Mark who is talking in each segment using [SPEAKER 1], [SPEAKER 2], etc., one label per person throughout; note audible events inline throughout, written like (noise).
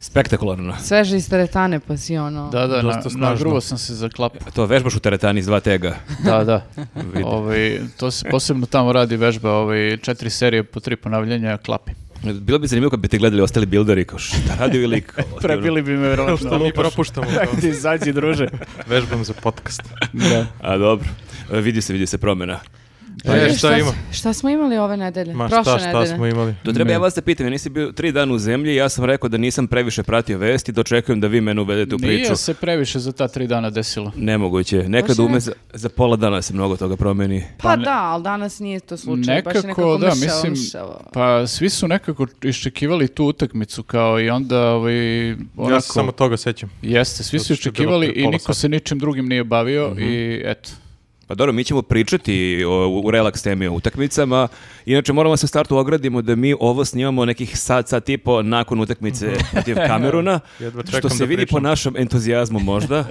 [SPEAKER 1] spektakularno.
[SPEAKER 2] Sveže iz teretane, pa si ono...
[SPEAKER 3] Da, da, na,
[SPEAKER 1] Dosta snažno.
[SPEAKER 3] nagruo sam se za klapu.
[SPEAKER 4] (laughs)
[SPEAKER 1] To vežbaš u teretani iz dva tega.
[SPEAKER 3] Da, (laughs) da.
[SPEAKER 1] Vidim.
[SPEAKER 3] ovaj, to se posebno tamo radi vežba, ovaj, četiri serije po tri ponavljanja klapi.
[SPEAKER 1] Bilo bi zanimljivo kad bi te gledali ostali bilderi, kao šta radi ovaj lik?
[SPEAKER 3] Prebili bi me verovatno. (laughs)
[SPEAKER 4] Što Pa mi (laughs) propuštamo to?
[SPEAKER 3] Ti izađi, druže.
[SPEAKER 4] Vežbam za podcast.
[SPEAKER 3] Da.
[SPEAKER 1] ono, A dobro, E, vidi se, vidi se promjena.
[SPEAKER 4] Pa
[SPEAKER 2] E,
[SPEAKER 4] je, šta ima?
[SPEAKER 2] s- Šta smo imali ove nedelje?
[SPEAKER 4] Ma
[SPEAKER 2] Prošle
[SPEAKER 4] šta, šta
[SPEAKER 2] nedelje.
[SPEAKER 4] smo imali?
[SPEAKER 1] To treba
[SPEAKER 3] Ne.
[SPEAKER 1] ja vas da pitam, ja nisi bio tri dana u zemlji, ja sam rekao da nisam previše pratio vesti, dočekujem da vi mene uvedete u priču.
[SPEAKER 3] Nije se previše za ta tri dana desilo.
[SPEAKER 1] Nemoguće. Nekad
[SPEAKER 2] Baš je
[SPEAKER 1] ume
[SPEAKER 2] ne-
[SPEAKER 1] za, za pola dana se mnogo toga promeni.
[SPEAKER 2] Pa da, ali danas nije to slučaj. baš je nekako
[SPEAKER 3] Nekako, da,
[SPEAKER 2] mršavo,
[SPEAKER 3] mislim,
[SPEAKER 2] mršavo.
[SPEAKER 3] pa svi su nekako iščekivali tu utakmicu kao i onda ovaj, onako,
[SPEAKER 4] Ja se samo toga sećam.
[SPEAKER 3] jeste, svi su
[SPEAKER 4] Zato što je bilo
[SPEAKER 3] iščekivali
[SPEAKER 4] prije
[SPEAKER 3] i
[SPEAKER 4] pola
[SPEAKER 3] niko
[SPEAKER 4] sata. Mhm.
[SPEAKER 3] se ničim drugim nije bavio i eto.
[SPEAKER 1] Pa dobro, mi ćemo pričati o, u relaks temi o utakmicama. Inače, moramo se u startu ogradimo da mi ovo snimamo nekih sat, sat i po nakon utakmice
[SPEAKER 4] Mhm.
[SPEAKER 1] (laughs) protiv
[SPEAKER 4] (laughs)
[SPEAKER 1] Kameruna.
[SPEAKER 4] Jedva
[SPEAKER 1] što
[SPEAKER 4] čekam
[SPEAKER 1] se
[SPEAKER 4] da
[SPEAKER 1] vidi po
[SPEAKER 4] pričam.
[SPEAKER 1] našem entuzijazmu možda.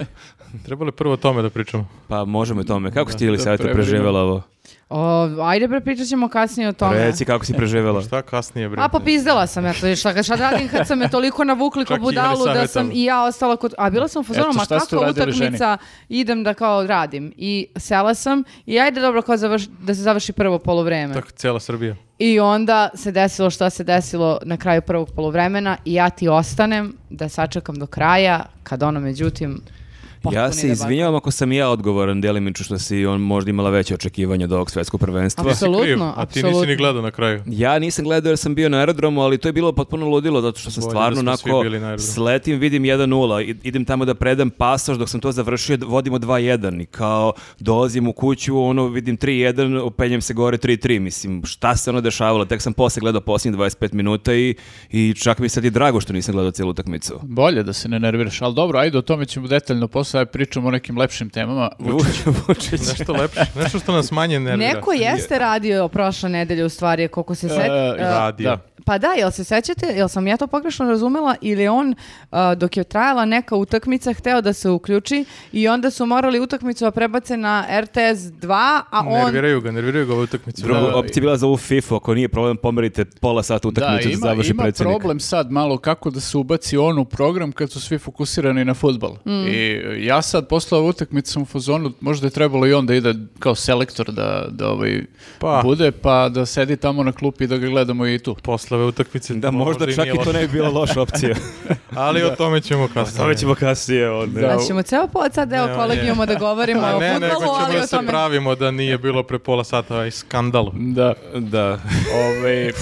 [SPEAKER 4] Trebalo je prvo o tome da pričamo.
[SPEAKER 1] Pa možemo i tome. Kako ste ili
[SPEAKER 3] da
[SPEAKER 1] sad
[SPEAKER 3] prebrinu.
[SPEAKER 1] preživjela ovo?
[SPEAKER 2] O, ajde bre, pričat ćemo kasnije o tome.
[SPEAKER 1] Reci kako si preživjela.
[SPEAKER 4] Šta kasnije, bre?
[SPEAKER 2] A pa pizdela sam ja to, šta, ga- šta da radim kad sam me toliko navukli ko
[SPEAKER 4] Čak i
[SPEAKER 2] budalu
[SPEAKER 4] Ivane
[SPEAKER 2] da sam
[SPEAKER 4] savjetovali.
[SPEAKER 2] i ja ostala kod... A bila sam u fazonu,
[SPEAKER 3] Eto,
[SPEAKER 2] ma
[SPEAKER 3] šta ste
[SPEAKER 2] kako
[SPEAKER 3] uradili ženi?"
[SPEAKER 2] utakmica idem da kao radim. I sela sam i ajde dobro kao završ- da se završi prvo polovreme.
[SPEAKER 4] Tako cijela Srbija.
[SPEAKER 2] I onda se desilo šta se desilo na kraju prvog polovremena i ja ti ostanem da sačekam do kraja kad ono međutim potpuni
[SPEAKER 1] Ja se
[SPEAKER 2] debakl.
[SPEAKER 1] izvinjavam ako sam i ja odgovoran delimično što si on možda imala veće očekivanja od ovog svetskog prvenstva.
[SPEAKER 4] Ti si kriv,
[SPEAKER 2] Pa, Apsolutno,
[SPEAKER 4] A ti
[SPEAKER 2] apsolutno.
[SPEAKER 4] nisi ni gledao na kraju.
[SPEAKER 1] Ja nisam gledao jer sam bio na aerodromu, ali to je bilo potpuno ludilo zato što sam
[SPEAKER 4] Bolje
[SPEAKER 1] stvarno
[SPEAKER 4] da smo svi
[SPEAKER 1] onako
[SPEAKER 4] bili na aerodromu.
[SPEAKER 1] sletim, vidim 1-0, i- idem tamo da predam pasaž, dok sam to završio, vodimo 2-1 i kao dolazim u kuću, ono vidim 3-1, openjem se gore 3-3, mislim šta se ono dešavalo, tek sam posle gledao posljednjih 25 minuta i, i čak mi je sad i drago što nisam gledao cijelu utakmicu.
[SPEAKER 3] Bolje da se ne nerviraš, ali dobro, ajde o tome ćemo detaljno posle, ajde pričamo o nekim lepšim
[SPEAKER 4] (laughs)
[SPEAKER 3] temama.
[SPEAKER 1] Vučić.
[SPEAKER 4] Nešto lepše, nešto što nas manje nervira.
[SPEAKER 2] Neko jeste radio prošle nedelje u stvari, koliko se
[SPEAKER 3] E,
[SPEAKER 2] se...
[SPEAKER 4] radi.
[SPEAKER 3] Da.
[SPEAKER 2] Pa da, jel se sećate, jel sam ja to pogrešno razumela ili je on a, dok je trajala neka utakmica hteo da se uključi i onda su morali utakmicu da prebace na RTS 2, a on...
[SPEAKER 4] Nerviraju ga, nerviraju ga ove utakmice.
[SPEAKER 1] Druga
[SPEAKER 4] Da.
[SPEAKER 1] opcija je bila za ovu FIFA, ako nije problem pomerite pola sata
[SPEAKER 3] Da,
[SPEAKER 1] utakmicu da,
[SPEAKER 3] ima,
[SPEAKER 1] završi
[SPEAKER 3] ima
[SPEAKER 1] predsjednik.
[SPEAKER 3] problem sad malo kako da se ubaci on u program kad su svi fokusirani na futbal.
[SPEAKER 2] Mm.
[SPEAKER 3] I ja sad posle ove utakmice sam u fazonu, možda je trebalo i on da ide kao selektor da, da ovaj
[SPEAKER 4] Pa.
[SPEAKER 3] bude, pa da sedi tamo na klupi i da ga gledamo i tu.
[SPEAKER 4] Posle ove utakmice.
[SPEAKER 1] Da, možda
[SPEAKER 4] i
[SPEAKER 1] čak
[SPEAKER 4] nije
[SPEAKER 1] i to
[SPEAKER 4] loše.
[SPEAKER 1] ne bi bila loša opcija.
[SPEAKER 4] (laughs) Ali o tome ćemo kasnije.
[SPEAKER 1] Stavit ćemo kasnije. Onda.
[SPEAKER 3] Da,
[SPEAKER 2] Znači, ćemo ceo pod sad deo
[SPEAKER 4] Ne, on
[SPEAKER 2] kolegijuma da govorimo
[SPEAKER 4] (laughs) A
[SPEAKER 2] o
[SPEAKER 4] ne, nego
[SPEAKER 2] fudbalu,
[SPEAKER 4] ćemo
[SPEAKER 2] ali
[SPEAKER 4] da
[SPEAKER 2] o
[SPEAKER 4] se
[SPEAKER 2] tome.
[SPEAKER 4] pravimo da nije bilo pre pola sata ovaj skandal.
[SPEAKER 3] Da,
[SPEAKER 1] Da.
[SPEAKER 2] (laughs)
[SPEAKER 3] ovaj,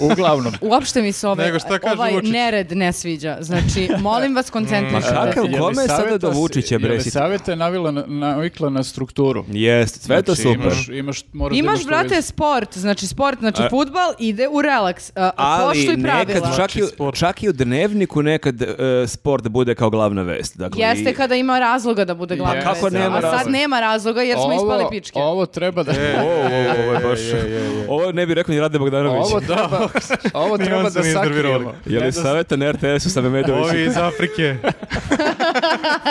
[SPEAKER 3] uglavnom.
[SPEAKER 2] Uopšte mi se ovaj,
[SPEAKER 4] Nego šta kaže
[SPEAKER 2] ovaj
[SPEAKER 4] Vučić? Mm.
[SPEAKER 2] nered ne sviđa. Znači, molim
[SPEAKER 4] (laughs)
[SPEAKER 2] vas
[SPEAKER 1] Ma
[SPEAKER 2] koncentrišite.
[SPEAKER 1] kakav
[SPEAKER 3] Jelisaveta
[SPEAKER 1] kome je sada do
[SPEAKER 3] se-
[SPEAKER 1] Vučića, bre?
[SPEAKER 3] Jelisaveta je navila na, navikla na strukturu.
[SPEAKER 1] Jest, sve je to
[SPEAKER 3] Znači,
[SPEAKER 1] super.
[SPEAKER 3] Imaš, imaš, moraš da
[SPEAKER 2] Imaš,
[SPEAKER 3] imaš
[SPEAKER 2] brate,
[SPEAKER 3] televizor.
[SPEAKER 2] sport, znači sport, znači futbal ide u relaks, a, a
[SPEAKER 1] Ali
[SPEAKER 2] Pa poštuj pravila.
[SPEAKER 1] nekad, čak i,
[SPEAKER 4] Znači, sport.
[SPEAKER 1] čak i u dnevniku nekad e, sport bude kao glavna vest. Dakle,
[SPEAKER 2] Jeste
[SPEAKER 1] i-
[SPEAKER 2] kada ima razloga da bude glavna
[SPEAKER 3] kako
[SPEAKER 2] vest.
[SPEAKER 1] nema
[SPEAKER 2] A sad
[SPEAKER 1] razloga?
[SPEAKER 2] nema razloga jer smo
[SPEAKER 3] Ovo-
[SPEAKER 2] ispali pičke.
[SPEAKER 3] Ovo treba da...
[SPEAKER 4] E,
[SPEAKER 1] Ovo je baš... Ovo ne bi rekao ni Rade Bogdanović.
[SPEAKER 3] Ovo treba, (laughs) ovo
[SPEAKER 4] Ni
[SPEAKER 3] treba
[SPEAKER 4] on se
[SPEAKER 3] da
[SPEAKER 4] nije iznervirao.
[SPEAKER 3] sakrijemo.
[SPEAKER 1] (laughs) Je li
[SPEAKER 3] (laughs)
[SPEAKER 1] saveta na RTS-u sa Memedovićem?
[SPEAKER 4] Ovi iz Afrike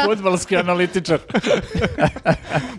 [SPEAKER 3] Futbalski analitičar.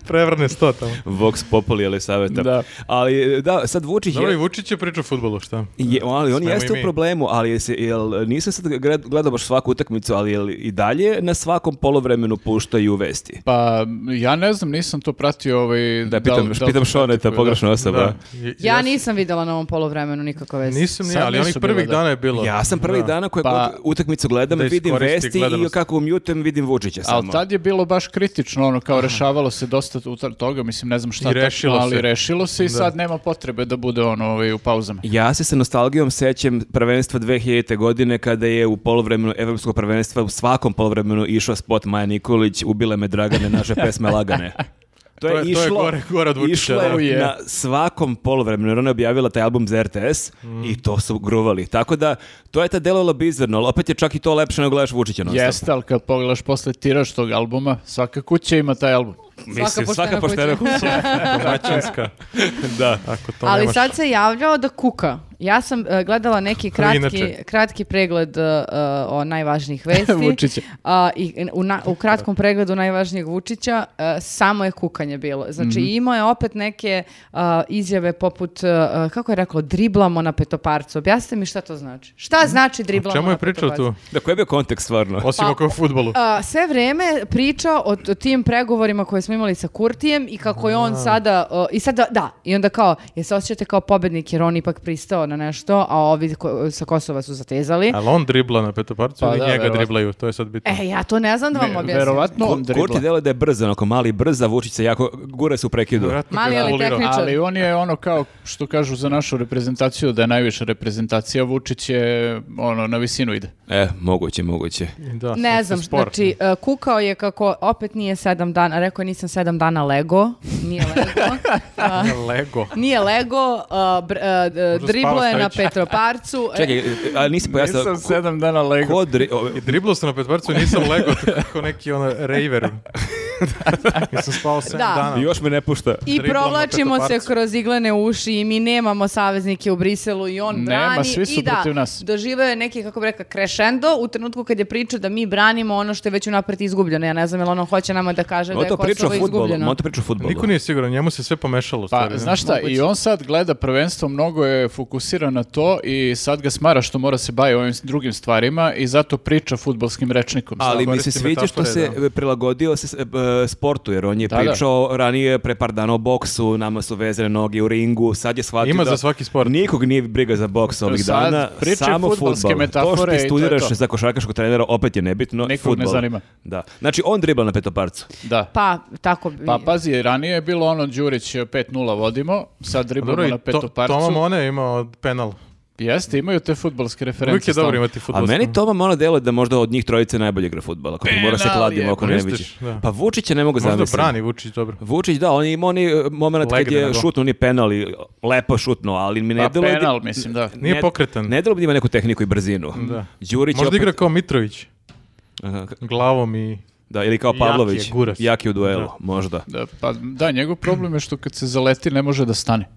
[SPEAKER 4] prevrne sto tamo.
[SPEAKER 1] Vox Populi, je li saveta?
[SPEAKER 3] Da.
[SPEAKER 1] Ali e, da, sad Vučić
[SPEAKER 4] Dobro, i
[SPEAKER 1] je...
[SPEAKER 4] Vučić je pričao o futbolu, šta?
[SPEAKER 1] Je, ali on
[SPEAKER 4] Smemo
[SPEAKER 1] jeste
[SPEAKER 4] i
[SPEAKER 1] u
[SPEAKER 4] mi.
[SPEAKER 1] problemu, ali jel se, jel, nisam sad gred- gledao baš svaku utakmicu, ali jel i dalje na svakom polovremenu puštaju vesti.
[SPEAKER 3] Pa, ja ne znam, nisam to pratio ovaj...
[SPEAKER 1] Da, pitam,
[SPEAKER 3] li- li
[SPEAKER 1] pitam
[SPEAKER 3] to
[SPEAKER 1] Šoneta,
[SPEAKER 3] pratikuje,
[SPEAKER 1] pogrešna osoba.
[SPEAKER 4] Da. I-
[SPEAKER 2] Ja
[SPEAKER 4] jes-
[SPEAKER 2] nisam videla na ovom polovremenu nikakve veze.
[SPEAKER 4] Nisam ni,
[SPEAKER 3] Sad
[SPEAKER 4] ja, ali onih
[SPEAKER 3] nisu bile,
[SPEAKER 4] prvih
[SPEAKER 3] da.
[SPEAKER 4] dana je bilo.
[SPEAKER 1] Ja sam prvih
[SPEAKER 4] Da.
[SPEAKER 1] dana koje
[SPEAKER 3] Pa-
[SPEAKER 1] god utakmicu gledam,
[SPEAKER 4] Da
[SPEAKER 1] vidim
[SPEAKER 4] iskoristi
[SPEAKER 1] vesti i
[SPEAKER 4] gledanost.
[SPEAKER 1] kako mutem vidim Vučića
[SPEAKER 3] Da. Ali
[SPEAKER 1] samo.
[SPEAKER 3] tad je bilo baš kritično, ono, kao rešavalo se dosta utar toga, mislim, ne znam šta
[SPEAKER 4] I
[SPEAKER 3] tačno,
[SPEAKER 4] rešilo
[SPEAKER 3] ali
[SPEAKER 4] se.
[SPEAKER 3] rešilo se i sad nema potrebe da bude ono ovaj, u pauzama.
[SPEAKER 1] Ja se sa nostalgijom sećam prvenstva 2000. godine kada je u polovremenu evropskog prvenstva u svakom polovremenu išao spot Maja Nikolić, ubile me Dragane, naše pesme
[SPEAKER 4] (laughs)
[SPEAKER 1] lagane. To je,
[SPEAKER 4] To je- to je
[SPEAKER 1] išlo,
[SPEAKER 4] gore- gore od Vučića,
[SPEAKER 1] išlo
[SPEAKER 4] da.
[SPEAKER 1] je
[SPEAKER 3] Je.
[SPEAKER 1] na svakom polovremenu, jer ona je objavila taj album za RTS
[SPEAKER 4] Mm.
[SPEAKER 1] i to su gruvali. Tako da, to je ta delovalo bizarno, ali opet je čak i to lepše nego gledaš Vučića non-stop.
[SPEAKER 3] Jeste, ali kad pogledaš posle tiraž tog albuma, svaka kuća ima taj album.
[SPEAKER 1] Mislim, svaka
[SPEAKER 2] poštena
[SPEAKER 1] poštena
[SPEAKER 2] kuća.
[SPEAKER 1] kuća.
[SPEAKER 4] Domaćinska.
[SPEAKER 1] da.
[SPEAKER 4] Ako to
[SPEAKER 2] Ali
[SPEAKER 4] nemaš.
[SPEAKER 2] sad se javljao da kuka. Ja sam e, gledala neki kratki,
[SPEAKER 4] Inače.
[SPEAKER 2] kratki pregled e, e, o
[SPEAKER 4] (laughs)
[SPEAKER 2] najvažnijih vesti.
[SPEAKER 3] Vučića.
[SPEAKER 2] A, i, u, na- u kratkom pregledu najvažnijeg Vučića e, samo je kukanje bilo.
[SPEAKER 4] Mhm.
[SPEAKER 2] Znači imao je opet neke a, izjave poput, e, kako je rekao, driblamo na petoparcu. Objasnite mi šta to znači. Šta znači
[SPEAKER 4] Mhm. O
[SPEAKER 2] driblamo
[SPEAKER 4] čemu
[SPEAKER 2] na
[SPEAKER 4] je pričao
[SPEAKER 2] petoparcu?
[SPEAKER 4] tu?
[SPEAKER 1] Da, koji je bio kontekst stvarno?
[SPEAKER 4] (laughs) Osim
[SPEAKER 2] Pa-
[SPEAKER 4] oko
[SPEAKER 2] (laughs)
[SPEAKER 4] futbolu.
[SPEAKER 2] A, sve vrijeme priča o t- tim pregovorima koje smo imali sa Kurtijem i kako je on sada, o, i sada, da, i onda kao, je se osjećate kao pobednik jer on ipak pristao na nešto, a ovi ko- sa Kosova su zatezali.
[SPEAKER 4] Ali on dribla na petoparcu
[SPEAKER 3] Pa
[SPEAKER 4] ili
[SPEAKER 3] da,
[SPEAKER 4] njega
[SPEAKER 3] verovatno.
[SPEAKER 4] driblaju, to je sad bitno.
[SPEAKER 2] E, ja to ne znam da vam objasnim.
[SPEAKER 3] Verovatno on
[SPEAKER 1] Ko- Kurti
[SPEAKER 3] dribla.
[SPEAKER 1] delo da je brzo, onako mali brza, Vučić se jako, gura se u prekidu.
[SPEAKER 4] Vjerojatno
[SPEAKER 2] Mali,
[SPEAKER 4] ga
[SPEAKER 2] ali
[SPEAKER 4] volirao.
[SPEAKER 2] tehnički.
[SPEAKER 3] Ali on je ono kao što kažu za našu reprezentaciju da je najviša reprezentacija, Vučić je ono na visinu ide.
[SPEAKER 1] E, moguće, moguće.
[SPEAKER 3] E,
[SPEAKER 4] Da,
[SPEAKER 2] Ne
[SPEAKER 4] sad
[SPEAKER 2] znam,
[SPEAKER 4] se spor. (laughs)
[SPEAKER 2] znači, e, kukao je kako opet nije sedam dana, rekao je nisam sedam dana Lego, nije Lego, A,
[SPEAKER 4] Lego.
[SPEAKER 2] nije Lego, a, br- a, d-
[SPEAKER 4] Možda
[SPEAKER 2] driblo je na
[SPEAKER 4] spava stavić.
[SPEAKER 2] Petroparcu, E,
[SPEAKER 1] Čekaj, a nisi pojasnila...
[SPEAKER 3] Nisam sedam dana Lego.
[SPEAKER 1] Ko dri- o,
[SPEAKER 4] I driblo sam na petvarcu i nisam lego kako neki ono raver.
[SPEAKER 2] (laughs)
[SPEAKER 4] Nisam spao 7
[SPEAKER 2] Da.
[SPEAKER 4] dana.
[SPEAKER 1] Još me ne pušta.
[SPEAKER 2] I
[SPEAKER 4] Driblom na
[SPEAKER 2] provlačimo se
[SPEAKER 4] petoparcu.
[SPEAKER 2] kroz iglene uši i mi nemamo saveznike u Briselu i on
[SPEAKER 3] Nema,
[SPEAKER 2] brani.
[SPEAKER 3] svi su
[SPEAKER 2] I da,
[SPEAKER 3] protiv nas.
[SPEAKER 2] doživeo je neki, kako bi rekao, crescendo u trenutku kad je pričao da mi branimo ono što je već unapred izgubljeno. Ja ne znam, jel ono hoće nama da kaže da
[SPEAKER 1] On
[SPEAKER 2] je
[SPEAKER 1] to priča o
[SPEAKER 2] Kosovo
[SPEAKER 1] futbolu.
[SPEAKER 2] izgubljeno.
[SPEAKER 1] On to priča o futbolu.
[SPEAKER 4] Niko nije siguran, njemu se sve pomešalo.
[SPEAKER 3] Pa,
[SPEAKER 4] stvari.
[SPEAKER 3] znaš šta, i on sad gleda prvenstvo, mnogo je fokusiran na to i sad ga smara što mora se bavi ovim drugim stvarima i zato priča futbolskim rečnikom.
[SPEAKER 1] Ali mi se
[SPEAKER 4] koristi
[SPEAKER 1] sviđa što se
[SPEAKER 4] metafore, da.
[SPEAKER 1] e, prilagodio se e, b- sportu, jer on je
[SPEAKER 3] Da, da.
[SPEAKER 1] pričao ranije pre par dana o boksu, nama su vezane noge u ringu, sad je shvatio
[SPEAKER 4] Ima
[SPEAKER 1] da
[SPEAKER 4] za svaki sport.
[SPEAKER 1] Nikog nije briga za boks ovih
[SPEAKER 3] Sad
[SPEAKER 1] dana,
[SPEAKER 3] pričaj
[SPEAKER 1] samo
[SPEAKER 3] fudbalske
[SPEAKER 1] fudbal. To što
[SPEAKER 3] metafore i to
[SPEAKER 1] ti
[SPEAKER 3] je
[SPEAKER 1] studiraš
[SPEAKER 3] to.
[SPEAKER 1] za košarkaškog trenera opet je nebitno,
[SPEAKER 3] Nikog
[SPEAKER 1] fudbal.
[SPEAKER 3] ne zanima.
[SPEAKER 1] Da. Znači on dribla na petoparcu.
[SPEAKER 3] Da.
[SPEAKER 2] Pa, tako bi...
[SPEAKER 3] Pa pazi, ranije je bilo ono Đurić 5-0 vodimo, sad driblamo
[SPEAKER 4] Pa Dobro, i
[SPEAKER 3] na
[SPEAKER 4] to,
[SPEAKER 3] petoparcu.
[SPEAKER 4] Toma Mone je imao penal.
[SPEAKER 3] Jeste, imaju te futbolske referencije.
[SPEAKER 4] Uvijek je dobro
[SPEAKER 3] stalno.
[SPEAKER 4] imati
[SPEAKER 1] A
[SPEAKER 4] futbolsku.
[SPEAKER 1] meni to malo delo da možda od njih trojice najbolje igra fudbal, ako
[SPEAKER 4] E,
[SPEAKER 1] ti mora se
[SPEAKER 3] Penal
[SPEAKER 1] kladim
[SPEAKER 3] je,
[SPEAKER 1] oko Nebića.
[SPEAKER 4] misliš? Da.
[SPEAKER 1] Pa Vučića ne mogu
[SPEAKER 4] Možda
[SPEAKER 1] zamisliti.
[SPEAKER 4] brani Vučić dobro.
[SPEAKER 1] Vučić, da, on je imao onaj e, moment kad
[SPEAKER 4] Legne
[SPEAKER 1] je
[SPEAKER 4] na gol.
[SPEAKER 1] šutno, nije penal i lepo šutno, ali mi ne
[SPEAKER 3] Pa
[SPEAKER 1] delo je-
[SPEAKER 3] penal, mislim, da.
[SPEAKER 4] Nije
[SPEAKER 1] ne-
[SPEAKER 4] pokretan.
[SPEAKER 1] Ne delo bi da ima neku tehniku i brzinu.
[SPEAKER 4] Da.
[SPEAKER 1] Đurić je
[SPEAKER 4] Možda
[SPEAKER 1] opet-
[SPEAKER 4] igra kao Mitrović,
[SPEAKER 1] Aha, k-
[SPEAKER 4] glavom i...
[SPEAKER 1] Da, ili kao
[SPEAKER 4] Jak je,
[SPEAKER 1] Pavlović.
[SPEAKER 4] gura se.
[SPEAKER 1] Jaki u duelu,
[SPEAKER 4] Da.
[SPEAKER 1] možda.
[SPEAKER 3] Da, pa da, njegov problem je što kad se zaleti ne može da stane.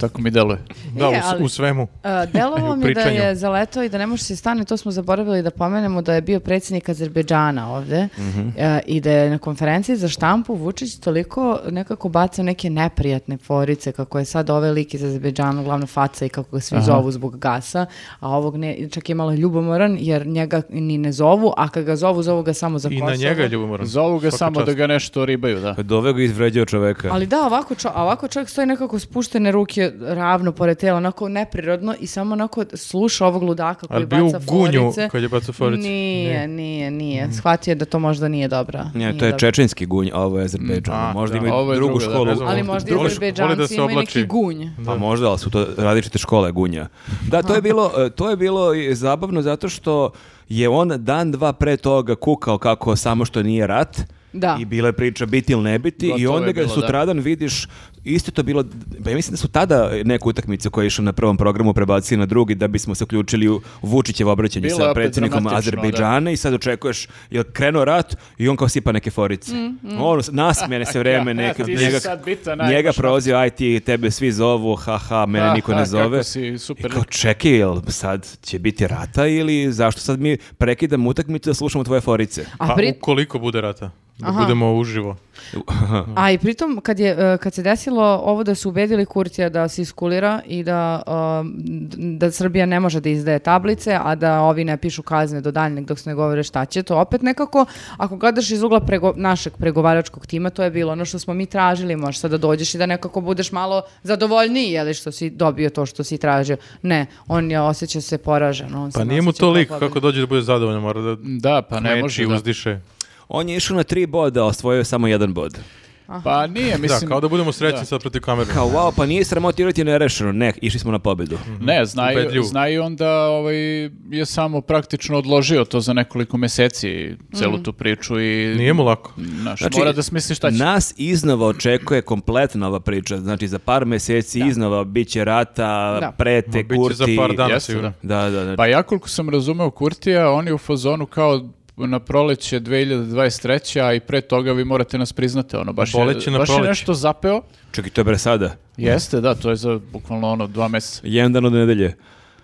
[SPEAKER 3] Tako mi deluje.
[SPEAKER 4] Da,
[SPEAKER 2] E,
[SPEAKER 4] u, s-
[SPEAKER 2] ali-
[SPEAKER 4] u svemu.
[SPEAKER 2] E, Delovalo
[SPEAKER 4] I (laughs) u
[SPEAKER 2] mi je da je
[SPEAKER 4] pričanju.
[SPEAKER 2] zaletao i da ne može se stane, to smo zaboravili da pomenemo da je bio predsjednik Azerbejdžana ovde
[SPEAKER 4] Mhm.
[SPEAKER 2] e, i da je na konferenciji za štampu Vučić toliko nekako bacao neke neprijatne forice kako je sad ovaj lik iz Azerbejdžana glavna faca i kako ga svi zovu zbog gasa, a ovog ne, čak je malo ljubomoran jer njega ni ne zovu, a kad ga zovu, zovu ga samo za
[SPEAKER 4] I
[SPEAKER 2] Kosovo.
[SPEAKER 4] na njega je ljubomoran.
[SPEAKER 3] Zovu ga
[SPEAKER 4] Pa, Svaka
[SPEAKER 3] samo
[SPEAKER 4] čast.
[SPEAKER 3] da ga nešto ribaju, da.
[SPEAKER 1] Doveo ga i izvređao čoveka.
[SPEAKER 2] Ali da, ovako, čo, a ovako čovjek stoji nekako spuštene ruke ravno pored tela, onako neprirodno i samo onako sluša ovog ludaka koji
[SPEAKER 4] Ali bio
[SPEAKER 2] baca
[SPEAKER 4] u gunju
[SPEAKER 2] forice.
[SPEAKER 4] kad je bacao forice. Mm.
[SPEAKER 2] Nije, nije, nije. Shvatio je da to možda nije dobra.
[SPEAKER 1] Ne,
[SPEAKER 2] Nije
[SPEAKER 1] to je
[SPEAKER 2] dobra.
[SPEAKER 1] čečenski gunj, a ovo je Azerbejdžan.
[SPEAKER 4] A,
[SPEAKER 1] možda
[SPEAKER 4] da.
[SPEAKER 1] imaju
[SPEAKER 3] Ovo je
[SPEAKER 1] drugu
[SPEAKER 3] drugo, da,
[SPEAKER 1] školu.
[SPEAKER 4] ne znam.
[SPEAKER 2] Ali možda i
[SPEAKER 4] Voli- voli da
[SPEAKER 2] Azerbejdžanci
[SPEAKER 4] se
[SPEAKER 2] imaju neki
[SPEAKER 4] oblači.
[SPEAKER 2] gunj.
[SPEAKER 1] Pa možda, ali su to različite škole gunja. Da, to je bilo, e, to je bilo i zabavno zato što je on dan, dva pre toga kukao kako samo što nije rat.
[SPEAKER 2] Da.
[SPEAKER 1] I bila je priča biti ili ne biti i
[SPEAKER 3] Gotovo
[SPEAKER 1] onda
[SPEAKER 3] je
[SPEAKER 1] ga
[SPEAKER 3] bilo, da.
[SPEAKER 1] sutradan vidiš isto je to bilo, pa ja mislim da su tada neku utakmicu koja je išla na prvom programu prebacili na drugi da bismo se uključili u Vučićevo obraćanje
[SPEAKER 3] Bilo je
[SPEAKER 1] sa
[SPEAKER 3] opet
[SPEAKER 1] predsjednikom
[SPEAKER 3] dramatično,
[SPEAKER 1] Azerbejdžana i sad očekuješ jel krenuo rat i on kao sipa neke forice. Ono, nasmijene se vreme neke,
[SPEAKER 3] (laughs) Ja, ti si
[SPEAKER 1] njega,
[SPEAKER 3] sad bitan, aj,
[SPEAKER 1] njega
[SPEAKER 3] imaš
[SPEAKER 1] pro- prolazio, aj ti, tebe svi zovu, haha, mene
[SPEAKER 3] Ha,
[SPEAKER 1] niko
[SPEAKER 3] ha,
[SPEAKER 1] ne zove.
[SPEAKER 3] kako si super
[SPEAKER 1] I kao, čekaj, jel sad će biti rata ili zašto sad mi prekidam utakmicu da slušamo tvoje forice? (laughs)
[SPEAKER 2] A,
[SPEAKER 4] Pa
[SPEAKER 2] pri,
[SPEAKER 4] ukoliko bude rata, da
[SPEAKER 2] Aha.
[SPEAKER 4] budemo uživo.
[SPEAKER 2] a i
[SPEAKER 4] Mhm.
[SPEAKER 2] pritom, kad, je, e, kad se desilo ovo da su ubedili Kurtija da se iskulira i da, um, da Srbija ne može da izdaje tablice, a da ovi ne pišu kazne do daljnjeg dok se ne govore šta će, to opet nekako, ako gledaš iz ugla prego- našeg pregovaračkog tima, to je bilo ono što smo mi tražili, možeš sad da dođeš i da nekako budeš malo zadovoljniji, je li što si dobio to što si tražio. Ne, on je osjeća se poražen. On se
[SPEAKER 4] Pa
[SPEAKER 2] ne
[SPEAKER 4] nije mu
[SPEAKER 2] osjeća
[SPEAKER 4] to
[SPEAKER 2] kao
[SPEAKER 4] lik,
[SPEAKER 2] pobednik.
[SPEAKER 4] kako dođe da bude zadovoljan, mora da
[SPEAKER 3] Da, pa ne
[SPEAKER 4] meči,
[SPEAKER 3] može da.
[SPEAKER 4] uzdiše.
[SPEAKER 1] On je išao na tri boda, a osvojio je samo jedan bod.
[SPEAKER 3] Pa nije, mislim...
[SPEAKER 4] da, kao da budemo srećni
[SPEAKER 3] da.
[SPEAKER 4] sad protiv kamere.
[SPEAKER 1] Kao, wow, pa nije sramotirati nerešeno. Ne, išli smo na pobedu.
[SPEAKER 3] Ne, znaju,
[SPEAKER 4] Ubedljivo.
[SPEAKER 3] znaju onda ovaj, je samo praktično odložio to za nekoliko meseci, celu tu priču i...
[SPEAKER 4] Nije mu lako.
[SPEAKER 3] Znaš,
[SPEAKER 1] Znači,
[SPEAKER 3] mora da smisli šta će.
[SPEAKER 1] Nas iznova očekuje kompletna ova priča. Znači, za par mjeseci iznova bit će rata,
[SPEAKER 2] Da.
[SPEAKER 1] prete,
[SPEAKER 4] Ma, bit će
[SPEAKER 1] kurti.
[SPEAKER 4] za par dana
[SPEAKER 3] Jeste,
[SPEAKER 4] sigurno.
[SPEAKER 3] da.
[SPEAKER 1] Da, da, da.
[SPEAKER 3] Pa ja koliko sam razumeo Kurtija, on je u fazonu kao na proleće 2023. a i pre toga vi morate nas priznate, ono, baš,
[SPEAKER 4] Poleće
[SPEAKER 3] je,
[SPEAKER 4] na
[SPEAKER 3] baš je
[SPEAKER 4] proleće.
[SPEAKER 3] nešto zapeo.
[SPEAKER 1] Čekaj, to je bre sada.
[SPEAKER 3] Jeste, da, to je za bukvalno ono dva meseca.
[SPEAKER 1] Jedan dan od nedelje.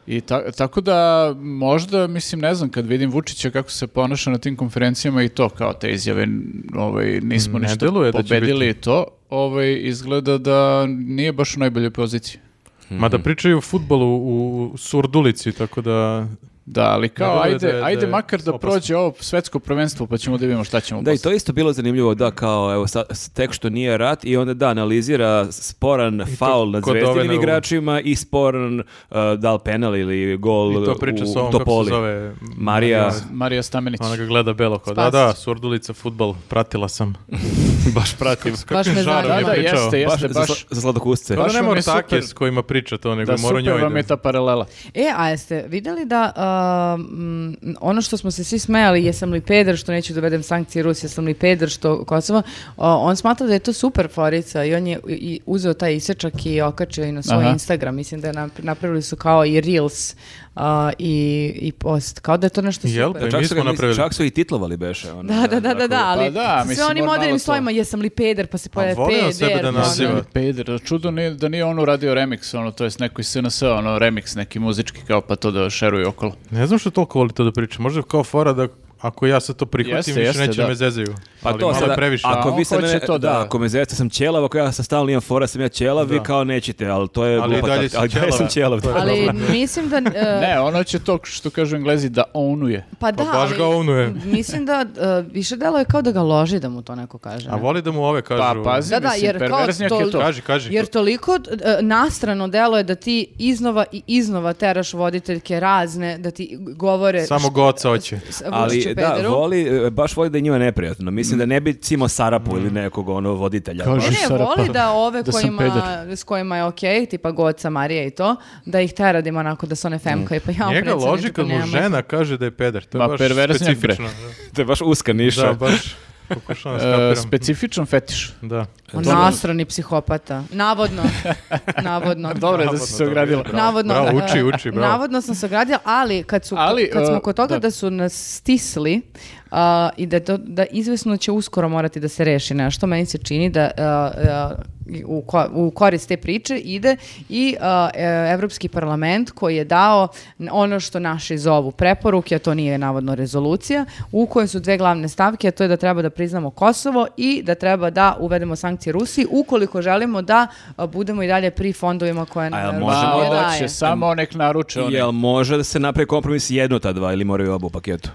[SPEAKER 3] I ta- tako da možda, mislim, ne znam, kad vidim Vučića kako se ponaša na tim konferencijama i to, kao te izjave, n- ovaj, nismo
[SPEAKER 4] Ne
[SPEAKER 3] ništa
[SPEAKER 4] deluje da će
[SPEAKER 3] pobedili i to, ovaj, izgleda da nije baš u najboljoj poziciji.
[SPEAKER 4] Ma
[SPEAKER 1] Mhm.
[SPEAKER 4] da pričaju o futbolu u surdulici, tako da...
[SPEAKER 3] Da, ali kao,
[SPEAKER 4] deluje
[SPEAKER 3] ajde,
[SPEAKER 4] da je- da
[SPEAKER 3] ajde
[SPEAKER 4] je
[SPEAKER 3] makar da
[SPEAKER 4] opasno.
[SPEAKER 3] prođe ovo svetsko prvenstvo, pa ćemo da vidimo šta ćemo
[SPEAKER 1] Da, i
[SPEAKER 3] posle.
[SPEAKER 1] to je isto bilo zanimljivo, da, kao, evo, sa, s- tek što nije rat i onda, da, analizira sporan faul nad
[SPEAKER 4] kod
[SPEAKER 1] zvezdinim
[SPEAKER 4] Ovena u-
[SPEAKER 1] igračima i sporan, uh, da li penal ili gol
[SPEAKER 4] I to priča
[SPEAKER 1] u
[SPEAKER 4] sa ovom, kako
[SPEAKER 1] Topoli.
[SPEAKER 4] se zove...
[SPEAKER 1] Marija-
[SPEAKER 3] Marija Stamenić.
[SPEAKER 4] Ona ga gleda belo kao, da,
[SPEAKER 2] Spasić.
[SPEAKER 4] da, surdulica, futbal, pratila
[SPEAKER 3] (laughs)
[SPEAKER 4] sam. baš pratim.
[SPEAKER 2] Baš me
[SPEAKER 4] žarom
[SPEAKER 2] zanima.
[SPEAKER 4] je
[SPEAKER 3] Da, da,
[SPEAKER 4] pričao.
[SPEAKER 3] jeste,
[SPEAKER 1] Baš,
[SPEAKER 3] jeste,
[SPEAKER 1] za,
[SPEAKER 3] baš,
[SPEAKER 1] sla- za sladokusce.
[SPEAKER 4] Kao
[SPEAKER 3] Baš
[SPEAKER 4] da ne
[SPEAKER 3] vam
[SPEAKER 4] mora
[SPEAKER 3] je super-
[SPEAKER 4] take s kojima priča to, nego
[SPEAKER 3] da,
[SPEAKER 4] mora
[SPEAKER 3] super
[SPEAKER 4] njoj
[SPEAKER 3] vam
[SPEAKER 4] da...
[SPEAKER 3] je ta paralela.
[SPEAKER 2] E, a jeste, vidjeli da um, ono što smo se svi smejali, jesam li peder što neću dovedem sankcije Rusije, jesam li peder što Kosovo, o, on smatra da je to super forica i on je i- i uzeo taj isečak i okačio i na svoj
[SPEAKER 3] Aha.
[SPEAKER 2] Instagram. Mislim da je nap- napravili su kao i Reels a, i, i post. Kao da je to nešto
[SPEAKER 4] Jel
[SPEAKER 2] super.
[SPEAKER 4] da?
[SPEAKER 1] Čak
[SPEAKER 4] Mi
[SPEAKER 1] su, ga,
[SPEAKER 4] smo napravili.
[SPEAKER 1] čak su i titlovali beše. Ono,
[SPEAKER 2] Da, da, da, da, da, ali
[SPEAKER 3] Pa da,
[SPEAKER 2] sve
[SPEAKER 3] mislim,
[SPEAKER 2] oni
[SPEAKER 3] mora malo
[SPEAKER 2] modernim
[SPEAKER 3] to.
[SPEAKER 2] slovima, jesam li peder, pa se pojavi
[SPEAKER 4] voli on
[SPEAKER 2] peder.
[SPEAKER 4] sebe da
[SPEAKER 2] ono.
[SPEAKER 4] naziva.
[SPEAKER 3] Ziva. Peder, čudo nije, da nije on uradio remix, ono, to jest neko iz SNS, ono, remix neki muzički, kao pa to da šeruju okolo.
[SPEAKER 4] Ne znam što toliko voli to da priča. Možda kao fora da ako ja sad to prihvatim,
[SPEAKER 3] Jeste,
[SPEAKER 4] više
[SPEAKER 3] jeste,
[SPEAKER 4] neće
[SPEAKER 3] da.
[SPEAKER 4] me zezaju.
[SPEAKER 1] Pa
[SPEAKER 4] Ali
[SPEAKER 1] to
[SPEAKER 4] malo
[SPEAKER 1] sada,
[SPEAKER 4] je previše.
[SPEAKER 1] ako
[SPEAKER 3] A on
[SPEAKER 1] vi sad
[SPEAKER 3] hoće
[SPEAKER 1] ne,
[SPEAKER 3] to
[SPEAKER 1] da,
[SPEAKER 3] da-
[SPEAKER 1] ako me zezate sam ćelav, ako ja sam stalno imam fora, sam ja ćelav, vi
[SPEAKER 4] Da.
[SPEAKER 1] kao nećete, ali to je
[SPEAKER 4] Ali i
[SPEAKER 1] glupa
[SPEAKER 4] dalje
[SPEAKER 1] tak-
[SPEAKER 4] si
[SPEAKER 1] ali i dalje
[SPEAKER 4] ćelav.
[SPEAKER 1] sam ćelav. da.
[SPEAKER 2] Ali mislim da... e,
[SPEAKER 3] Ne, ono će to, što kažu englezi, da ownuje.
[SPEAKER 2] Pa da,
[SPEAKER 4] Pa baš
[SPEAKER 2] ali
[SPEAKER 4] ga ovnuje.
[SPEAKER 2] mislim da uh, više delo je kao da ga loži da mu to neko kaže.
[SPEAKER 4] A
[SPEAKER 2] ne?
[SPEAKER 4] voli da mu ove
[SPEAKER 3] Pa,
[SPEAKER 4] kažu.
[SPEAKER 3] pazi,
[SPEAKER 2] Da, da,
[SPEAKER 3] mislim,
[SPEAKER 2] jer kao
[SPEAKER 3] perverznjak je
[SPEAKER 2] tol-
[SPEAKER 3] to.
[SPEAKER 4] Kaži, kaži.
[SPEAKER 2] Jer toliko e, nastrano delo je da ti iznova i iznova teraš voditeljke razne, da ti govore
[SPEAKER 4] Samo goca hoće.
[SPEAKER 2] s-
[SPEAKER 1] Ali
[SPEAKER 2] Vučiću
[SPEAKER 1] da,
[SPEAKER 2] pederu.
[SPEAKER 1] voli, e, baš voli da je njima neprijatno. Mislim da ne bi cimo Sarapu
[SPEAKER 4] Mm.
[SPEAKER 1] ili nekog ono voditelja.
[SPEAKER 3] Kaže,
[SPEAKER 1] baš.
[SPEAKER 2] Ne, ne,
[SPEAKER 3] Sara,
[SPEAKER 2] voli
[SPEAKER 3] pa,
[SPEAKER 2] da ove
[SPEAKER 3] da sam
[SPEAKER 2] kojima,
[SPEAKER 3] peder.
[SPEAKER 2] s kojima je okej, tipa Goca, Marija i to, da ih tera da ima onako da se one femkaju, pa ja
[SPEAKER 4] Mm. Njega loži kad mu žena kaže da je peder. To je
[SPEAKER 3] Ma,
[SPEAKER 4] baš
[SPEAKER 3] perverznjak, bre.
[SPEAKER 4] specifično.
[SPEAKER 1] To je baš uska niša.
[SPEAKER 4] Da, baš pokušavam
[SPEAKER 3] (laughs)
[SPEAKER 4] da
[SPEAKER 3] E,
[SPEAKER 4] skapiram.
[SPEAKER 3] specifičan fetiš.
[SPEAKER 4] Da.
[SPEAKER 2] Nastrani psihopata.
[SPEAKER 4] (laughs)
[SPEAKER 2] Navodno. Navodno.
[SPEAKER 3] Dobro je da si se ogradila.
[SPEAKER 4] Bravo,
[SPEAKER 2] Navodno,
[SPEAKER 4] bravo, uči,
[SPEAKER 2] e,
[SPEAKER 4] uči, bravo.
[SPEAKER 2] Navodno sam se ogradila, ali kad, su,
[SPEAKER 3] Ali,
[SPEAKER 2] kad smo
[SPEAKER 3] e,
[SPEAKER 2] kod toga
[SPEAKER 3] da.
[SPEAKER 2] da, su nas stisli uh, i da, to, da izvesno će uskoro morati da se reši nešto, meni se čini da uh, uh, u, ko- u korist te priče ide i uh, e, Evropski parlament koji je dao n- ono što naši zovu preporuke, a to nije navodno rezolucija, u kojoj su dve glavne stavke, a to je da treba da priznamo Kosovo i da treba da uvedemo sankcije Rusiji ukoliko želimo da uh, budemo i dalje pri fondovima koje
[SPEAKER 1] A
[SPEAKER 2] nam
[SPEAKER 1] jel
[SPEAKER 2] Evropska
[SPEAKER 1] možemo-
[SPEAKER 3] Ma,
[SPEAKER 2] unija
[SPEAKER 1] da
[SPEAKER 3] hoće,
[SPEAKER 2] daje.
[SPEAKER 3] samo nek naruče oni.
[SPEAKER 1] Jel može da se napravi kompromis jedno ta dva ili moraju oba u paketu?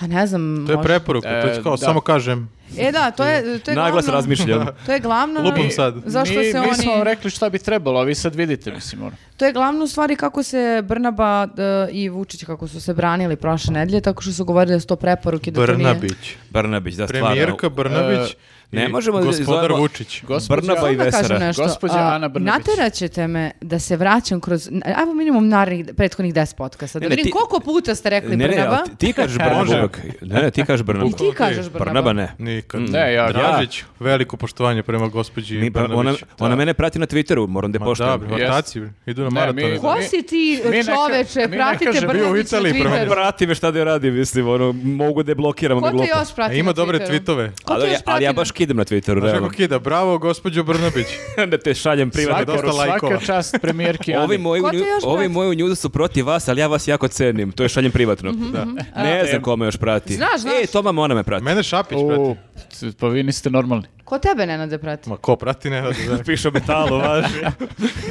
[SPEAKER 2] Pa ne znam.
[SPEAKER 4] To je
[SPEAKER 2] možda.
[SPEAKER 4] preporuka, to
[SPEAKER 3] E,
[SPEAKER 4] je kao,
[SPEAKER 3] da.
[SPEAKER 4] samo kažem.
[SPEAKER 2] E da, to je, to je
[SPEAKER 1] Naglas
[SPEAKER 2] glavno-
[SPEAKER 1] razmišljam.
[SPEAKER 2] To je glavno...
[SPEAKER 4] Lupam sad.
[SPEAKER 2] Zašto
[SPEAKER 3] mi,
[SPEAKER 2] se
[SPEAKER 3] mi
[SPEAKER 2] oni...
[SPEAKER 3] smo vam rekli šta bi trebalo, a vi sad vidite, mislim, ono.
[SPEAKER 2] To je glavno u stvari kako se Brnaba d- i Vučić kako su se branili prošle nedelje, tako što su govorili da su to preporuke. Da to nije-
[SPEAKER 4] Brnabić.
[SPEAKER 1] Brnabić, da stvarno.
[SPEAKER 4] Premijerka Brnabić
[SPEAKER 3] E,
[SPEAKER 4] i
[SPEAKER 1] ne možemo da
[SPEAKER 4] gospodar
[SPEAKER 1] zovemo-
[SPEAKER 4] Vučić.
[SPEAKER 3] Gospođa-
[SPEAKER 1] Brnaba i
[SPEAKER 2] Samo da kažem
[SPEAKER 1] Vesera.
[SPEAKER 2] Pa nešto.
[SPEAKER 3] Gospođa
[SPEAKER 2] a,
[SPEAKER 3] Ana Brnabić.
[SPEAKER 2] Naterat ćete me da se vraćam kroz, ajmo minimum narednih, prethodnih 10 podcasta. Da
[SPEAKER 1] Ne, ne,
[SPEAKER 2] vidim
[SPEAKER 1] ti-
[SPEAKER 2] koliko puta ste rekli
[SPEAKER 1] Ne, ne,
[SPEAKER 2] Brnaba.
[SPEAKER 1] ali ti- ti kažeš Brnaba
[SPEAKER 4] Može.
[SPEAKER 1] uvek. Ne, ne, ti kažeš Brnaba.
[SPEAKER 2] I ti kažeš Brnaba.
[SPEAKER 1] Brnaba ne.
[SPEAKER 4] Nikad.
[SPEAKER 3] Ne, ja-
[SPEAKER 4] Dražić, veliko poštovanje prema gospođi
[SPEAKER 1] Mi, pa,
[SPEAKER 4] Brnabić.
[SPEAKER 1] ona, ona mene prati na Twitteru, moram da je
[SPEAKER 4] Ma da,
[SPEAKER 1] poštujem.
[SPEAKER 4] bre,
[SPEAKER 3] Jeste.
[SPEAKER 4] vrtaci, bre, idu na
[SPEAKER 3] Ne,
[SPEAKER 4] maraton. E,
[SPEAKER 3] mi-
[SPEAKER 2] Ko
[SPEAKER 3] mi-
[SPEAKER 2] si ti
[SPEAKER 3] mi ne ka- mi
[SPEAKER 2] čoveče?
[SPEAKER 3] ne
[SPEAKER 2] Pratite
[SPEAKER 3] kažem, bio u
[SPEAKER 2] Brnabić na
[SPEAKER 4] Italiji,
[SPEAKER 2] Twitteru.
[SPEAKER 4] prvo.
[SPEAKER 1] Prati me šta da ja radim, mislim, ono, mogu da je blokiram
[SPEAKER 2] Ko
[SPEAKER 1] ga
[SPEAKER 2] te
[SPEAKER 1] glupo.
[SPEAKER 2] još prati
[SPEAKER 4] E, ima
[SPEAKER 2] na
[SPEAKER 4] dobre
[SPEAKER 2] Twitteru?
[SPEAKER 4] tvitove.
[SPEAKER 2] Ko te
[SPEAKER 1] Ali, ja- ali
[SPEAKER 2] još
[SPEAKER 1] ja
[SPEAKER 2] prati na-
[SPEAKER 1] baš kidem na Twitteru,
[SPEAKER 4] Znaš
[SPEAKER 1] realno. (laughs)
[SPEAKER 4] kako kida, bravo gospođo Brnabić.
[SPEAKER 1] da te šaljem privatne
[SPEAKER 4] Svaka-
[SPEAKER 1] poruke.
[SPEAKER 4] dosta lajkova.
[SPEAKER 3] Svaka čast premijerki Ani.
[SPEAKER 1] Ovi moji,
[SPEAKER 2] Ko te
[SPEAKER 1] nju-
[SPEAKER 2] još
[SPEAKER 1] ovi
[SPEAKER 2] prati?
[SPEAKER 1] moji u njuzu su protiv vas, ali ja vas jako cenim. To je šaljem privatno. Ne znam ko me još prati.
[SPEAKER 2] Mhm, Znaš, znaš.
[SPEAKER 1] E, Toma Mona me prati.
[SPEAKER 4] Mene Šapić
[SPEAKER 3] U,
[SPEAKER 4] prati.
[SPEAKER 3] t- pa vi niste normalni.
[SPEAKER 2] Ko tebe Nenade prati?
[SPEAKER 4] Ma ko prati, ne da da.
[SPEAKER 1] Piše o (laughs) metalu, važi.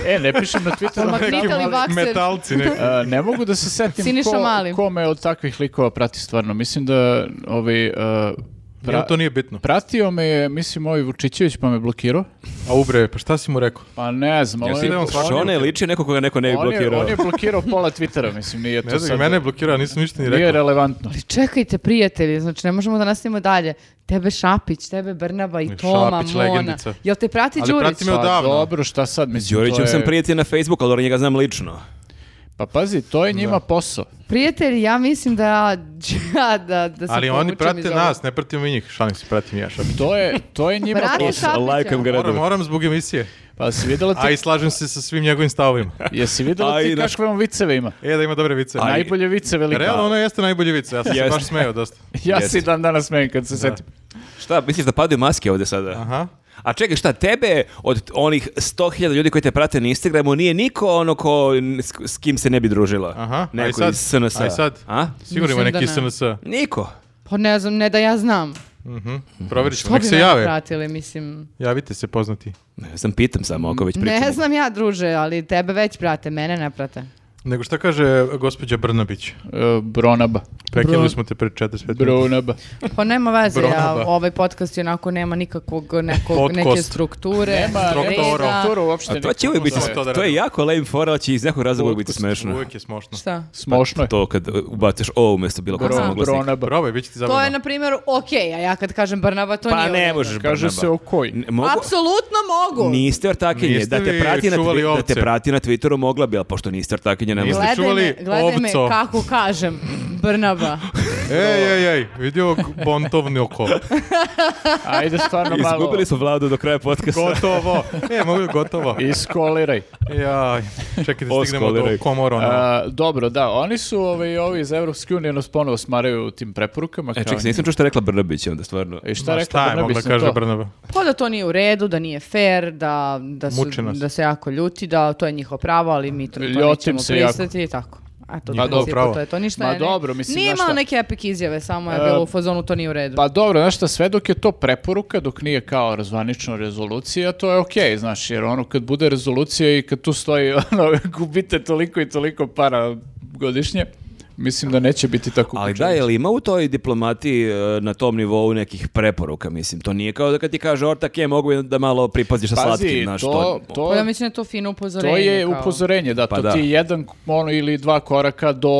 [SPEAKER 3] E, ne pišem na Twitteru.
[SPEAKER 2] Magneto ili Vakser?
[SPEAKER 4] Metalci
[SPEAKER 3] (laughs)
[SPEAKER 4] neki.
[SPEAKER 3] E, ne mogu da se setim
[SPEAKER 2] Siniša
[SPEAKER 3] ko,
[SPEAKER 2] Mali.
[SPEAKER 3] ko me od takvih likova prati stvarno. Mislim da ovaj, e, pra-
[SPEAKER 4] Njemu to nije bitno.
[SPEAKER 3] pratio me je, mislim, ovaj Vučićević pa me blokirao.
[SPEAKER 4] A ubre, pa šta si mu rekao?
[SPEAKER 3] Pa ne znam, ali-
[SPEAKER 4] Jesi da je on svakako-
[SPEAKER 1] Šone liči neko koga neko ne bi
[SPEAKER 3] on, je,
[SPEAKER 1] blokirao.
[SPEAKER 3] on je blokirao pola Twittera, mislim, nije to
[SPEAKER 4] Ne znam,
[SPEAKER 3] sad...
[SPEAKER 4] mene je blokirao, nisam ništa ni
[SPEAKER 3] Nije
[SPEAKER 4] rekao.
[SPEAKER 3] relevantno.
[SPEAKER 2] Ali čekajte, prijatelji, znači ne možemo da nastavimo dalje. Tebe Šapić, tebe Brnaba i Toma,
[SPEAKER 4] Šapić,
[SPEAKER 2] Mona.
[SPEAKER 4] legendica.
[SPEAKER 2] Jel te prati
[SPEAKER 4] Ali
[SPEAKER 2] Đurić?
[SPEAKER 4] prati me
[SPEAKER 3] Pa
[SPEAKER 4] odavno.
[SPEAKER 3] dobro, šta sad, mislim, to
[SPEAKER 1] Đurićem
[SPEAKER 3] je-
[SPEAKER 1] sam prijatelj na Facebooku, ali njega znam lično.
[SPEAKER 3] Pa pazi, to je njima posao.
[SPEAKER 2] Prijatelji, ja mislim da ja, (laughs) ja da, da se
[SPEAKER 4] Ali
[SPEAKER 2] povučem
[SPEAKER 4] oni prate
[SPEAKER 2] iz
[SPEAKER 4] nas, ne pratimo mi njih. Šalim se, pratim ja šalim.
[SPEAKER 3] Pa To je, to je njima
[SPEAKER 2] Brate,
[SPEAKER 3] posao.
[SPEAKER 2] Šapića.
[SPEAKER 1] Lajkam
[SPEAKER 4] Moram,
[SPEAKER 1] gradove.
[SPEAKER 4] moram zbog emisije.
[SPEAKER 3] Pa si vidjela
[SPEAKER 4] A i
[SPEAKER 3] ti,
[SPEAKER 4] slažem se sa svim njegovim stavovima.
[SPEAKER 3] jesi vidjela
[SPEAKER 1] A i
[SPEAKER 3] ti
[SPEAKER 1] naš-
[SPEAKER 3] kakve on viceve ima?
[SPEAKER 4] E, da ima dobre vice.
[SPEAKER 1] Aj.
[SPEAKER 3] Najbolje vice velika.
[SPEAKER 4] Realno, ono jeste najbolji vice. Ja sam se
[SPEAKER 1] Jeste.
[SPEAKER 4] baš
[SPEAKER 3] (laughs)
[SPEAKER 4] smeo dosta.
[SPEAKER 3] ja
[SPEAKER 1] Jeste.
[SPEAKER 3] se i dan danas smijem kad se setim.
[SPEAKER 1] Šta, misliš da padaju maske ovde sada?
[SPEAKER 4] Aha.
[SPEAKER 1] A čekaj, šta, tebe od onih 100.000 ljudi koji te prate na Instagramu nije niko ono ko, n- s, s kim se ne bi družila?
[SPEAKER 4] Aha, aj
[SPEAKER 1] Neko
[SPEAKER 4] sad,
[SPEAKER 1] iz SNS-a.
[SPEAKER 4] aj sad.
[SPEAKER 1] A?
[SPEAKER 4] Sigurno ima
[SPEAKER 2] Mislim da
[SPEAKER 4] neki
[SPEAKER 2] ne.
[SPEAKER 4] SNS.
[SPEAKER 3] Mhm.
[SPEAKER 1] Niko.
[SPEAKER 2] Pa ne znam, ne da ja znam.
[SPEAKER 4] Proverit ćemo,
[SPEAKER 2] To
[SPEAKER 4] nek
[SPEAKER 2] bi
[SPEAKER 4] se
[SPEAKER 2] me
[SPEAKER 4] jave.
[SPEAKER 2] pratili, mislim.
[SPEAKER 4] Javite se poznati.
[SPEAKER 1] Ne znam, pitam samo ako već pričamo.
[SPEAKER 2] Ne znam ja, druže, ali tebe već prate, mene ne prate.
[SPEAKER 4] Nego šta kaže gospođa Brnabić?
[SPEAKER 3] E, Bronaba.
[SPEAKER 4] Prekinuli smo te pred 45 minuta.
[SPEAKER 3] Bronaba.
[SPEAKER 2] Pa nema veze,
[SPEAKER 4] Bronaba.
[SPEAKER 2] ja, ovaj podcast onako nema nikakvog, nekog,
[SPEAKER 4] Podcast.
[SPEAKER 2] neke strukture,
[SPEAKER 3] Nema
[SPEAKER 4] Struktura.
[SPEAKER 2] reda.
[SPEAKER 3] strukturu uopšte.
[SPEAKER 1] A to će
[SPEAKER 3] nikako.
[SPEAKER 1] uvijek biti,
[SPEAKER 4] Kako se to da
[SPEAKER 1] to je
[SPEAKER 4] radi?
[SPEAKER 1] jako lame fora, ali će iz nekog razloga uvijek biti smešno.
[SPEAKER 4] Uvijek je smošno.
[SPEAKER 2] Šta?
[SPEAKER 3] Smošno je.
[SPEAKER 1] To kad uh, ubaciš o umjesto bilo kog
[SPEAKER 2] Bro-
[SPEAKER 1] samoglasnika.
[SPEAKER 3] Bronaba.
[SPEAKER 4] Probaj, bit će ti zabavno.
[SPEAKER 2] To je, na primjer, okej, a ja kad kažem Brnaba, to
[SPEAKER 1] Pa
[SPEAKER 2] nije u
[SPEAKER 1] ne
[SPEAKER 2] redu.
[SPEAKER 1] možeš,
[SPEAKER 3] Kaže
[SPEAKER 1] Barnaba.
[SPEAKER 3] se o koji.
[SPEAKER 1] N- mogu-
[SPEAKER 2] Apsolutno mogu.
[SPEAKER 1] Niste ortakinje,
[SPEAKER 4] Niste
[SPEAKER 1] da te,
[SPEAKER 4] vi
[SPEAKER 1] prati na,
[SPEAKER 4] čuvali
[SPEAKER 1] twi- da te
[SPEAKER 4] ovce.
[SPEAKER 1] prati na Twitteru mogla bi, ali pošto niste ortakinje, ne
[SPEAKER 4] Niste.
[SPEAKER 1] može.
[SPEAKER 2] Gledaj
[SPEAKER 4] čuvali
[SPEAKER 2] me, gledaj me
[SPEAKER 4] ovco?
[SPEAKER 2] kako kažem,
[SPEAKER 3] (laughs)
[SPEAKER 2] Brnaba.
[SPEAKER 4] Ej, ej, ej, vidi ovog bontovni oko.
[SPEAKER 3] Ajde stvarno malo.
[SPEAKER 1] Izgubili smo vladu do kraja podcasta.
[SPEAKER 4] Gotovo. E, mogu gotovo.
[SPEAKER 3] Iskoliraj.
[SPEAKER 4] Jaj, čekaj da stignemo do ono.
[SPEAKER 1] Oskoliraj.
[SPEAKER 4] komorona.
[SPEAKER 3] A, dobro, da, oni su ovaj, ovi iz Evropske unije nas ponovo smaraju tim preporukama.
[SPEAKER 1] E,
[SPEAKER 3] kao-
[SPEAKER 1] čekaj, nisam čuo što je rekla Brnabić onda, stvarno.
[SPEAKER 3] I šta
[SPEAKER 4] Ma,
[SPEAKER 3] rekla
[SPEAKER 4] Šta je
[SPEAKER 3] Brnabić
[SPEAKER 4] mogla
[SPEAKER 3] na
[SPEAKER 4] kaže
[SPEAKER 3] to?
[SPEAKER 4] Brnaba?
[SPEAKER 2] Pa da to nije u redu, da nije fair, da, da, su,
[SPEAKER 4] Muče nas.
[SPEAKER 2] da se jako ljuti, da to je njihovo pravo, ali mi to, to
[SPEAKER 3] Ljotim
[SPEAKER 2] nećemo
[SPEAKER 3] se jako.
[SPEAKER 2] pristati i tako. A to,
[SPEAKER 4] Ma
[SPEAKER 2] u
[SPEAKER 4] dobro,
[SPEAKER 2] principu
[SPEAKER 4] pravo.
[SPEAKER 2] to je to ništa.
[SPEAKER 3] Ma
[SPEAKER 2] je, ne-
[SPEAKER 3] dobro, mislim,
[SPEAKER 2] Nije
[SPEAKER 3] znaš
[SPEAKER 2] imao
[SPEAKER 3] šta?
[SPEAKER 2] neke epic izjave, samo je
[SPEAKER 3] E,
[SPEAKER 2] bilo u fazonu, to nije u redu.
[SPEAKER 3] Pa dobro, znaš šta, sve dok je to preporuka, dok nije kao razvanična rezolucija, to je okej, znaš, jer ono kad bude rezolucija i kad tu stoji, (laughs) ono, gubite toliko i toliko para godišnje, mislim da neće biti tako
[SPEAKER 1] Ali da,
[SPEAKER 3] kučević.
[SPEAKER 1] je li ima u toj diplomatiji e, na tom nivou nekih preporuka, mislim? To nije kao da kad ti kaže ortak je, mogu da malo pripaziš sa slatkim,
[SPEAKER 3] Pazi,
[SPEAKER 1] znaš,
[SPEAKER 3] to,
[SPEAKER 1] to-
[SPEAKER 3] to,
[SPEAKER 2] Pa ja mislim da je to fino upozorenje.
[SPEAKER 3] to je
[SPEAKER 2] kao.
[SPEAKER 3] upozorenje, da,
[SPEAKER 1] Pa
[SPEAKER 3] to
[SPEAKER 1] da.
[SPEAKER 3] ti je jedan ono, ili dva koraka do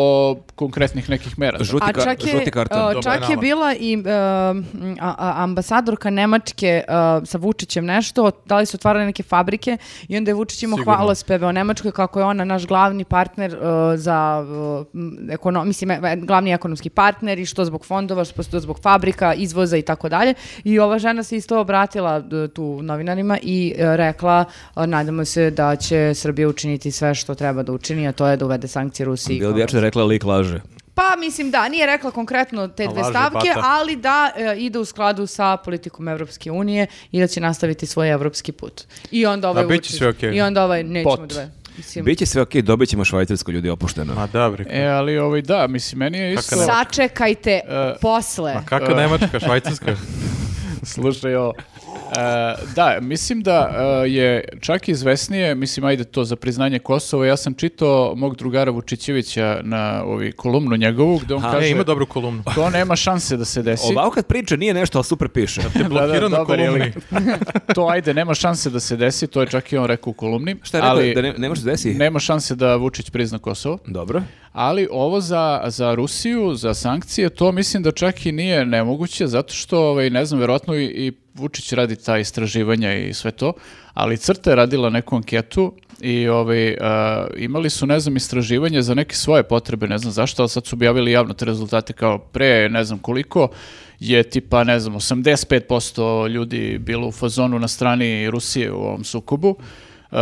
[SPEAKER 3] konkretnih nekih mera. znaš.
[SPEAKER 1] Žuti,
[SPEAKER 2] A
[SPEAKER 1] ka-
[SPEAKER 2] čak je,
[SPEAKER 1] žuti karton.
[SPEAKER 2] uh,
[SPEAKER 1] Dobro.
[SPEAKER 2] čak je
[SPEAKER 4] penala.
[SPEAKER 2] bila i um, a- a- ambasadorka Nemačke uh, sa Vučićem nešto, da li su otvarale neke fabrike i onda je Vučić imao
[SPEAKER 4] Sigurno.
[SPEAKER 2] hvalospeve o Nemačkoj kako je ona naš glavni partner uh, za uh, m, ekono- mislim, e- e, glavni ekonomski partner i što zbog fondova, što što zbog fabrika, izvoza i tako dalje. I ova žena se isto obratila uh, tu novinarima i uh, rekla uh, nadamo se da će Srbija učiniti sve što treba da učini, a to je da uvede sankcije Rusiji.
[SPEAKER 1] Bilo
[SPEAKER 2] kao-
[SPEAKER 1] bi jače da je rekla lik laže.
[SPEAKER 2] pa mislim da, nije rekla konkretno te dve
[SPEAKER 4] Laže
[SPEAKER 2] stavke,
[SPEAKER 4] bata.
[SPEAKER 2] ali da e, ide u skladu sa politikom Evropske unije i da će nastaviti svoj evropski put. I onda ovaj
[SPEAKER 4] A bit će
[SPEAKER 2] učiš-
[SPEAKER 4] sve okej.
[SPEAKER 2] I onda ovaj nećemo
[SPEAKER 3] Pot.
[SPEAKER 2] dve. Mislim,
[SPEAKER 1] Biće sve okej, dobit ćemo švajcarsko ljudi opušteno.
[SPEAKER 4] Ma da, bre.
[SPEAKER 3] E, ali ovaj, da, mislim, meni je isto...
[SPEAKER 2] sačekajte
[SPEAKER 4] E,
[SPEAKER 2] posle.
[SPEAKER 4] Ma
[SPEAKER 3] e.
[SPEAKER 4] kakva Nemačka,
[SPEAKER 3] (laughs)
[SPEAKER 4] Švajcarska?
[SPEAKER 3] (laughs) Slušaj ovo. E, da, mislim da e, je čak izvesnije, mislim, ajde to za priznanje Kosova, ja sam čitao mog drugara Vučićevića na ovi kolumnu njegovu, gde on
[SPEAKER 1] Ha,
[SPEAKER 3] kaže,
[SPEAKER 4] E, ima dobru kolumnu.
[SPEAKER 3] to nema šanse (laughs) da se desi.
[SPEAKER 1] Ovako kad priča nije nešto, ali super piše.
[SPEAKER 4] Te blokirano
[SPEAKER 3] da, dobar je
[SPEAKER 4] kolumni.
[SPEAKER 3] lik. (laughs) to ajde, nema šanse da se desi, to je čak i on rekao u kolumni.
[SPEAKER 1] Šta je rekao,
[SPEAKER 3] ali
[SPEAKER 1] da ne, ne može da desi?
[SPEAKER 3] Nema šanse da Vučić prizna Kosovo,
[SPEAKER 1] Dobro.
[SPEAKER 3] ali ovo za, za Rusiju, za sankcije, to mislim da čak i nije nemoguće, zato što, ovaj, ne znam, verovatno i, i Vučić radi ta istraživanja i sve to, ali Crta je radila neku anketu i ovaj, a, imali su, ne znam, istraživanje za neke svoje potrebe, ne znam zašto, ali sad su objavili javno te rezultate kao pre, ne znam koliko, je tipa, ne znam, 85% ljudi bilo u fazonu na strani Rusije u ovom sukobu. Uh,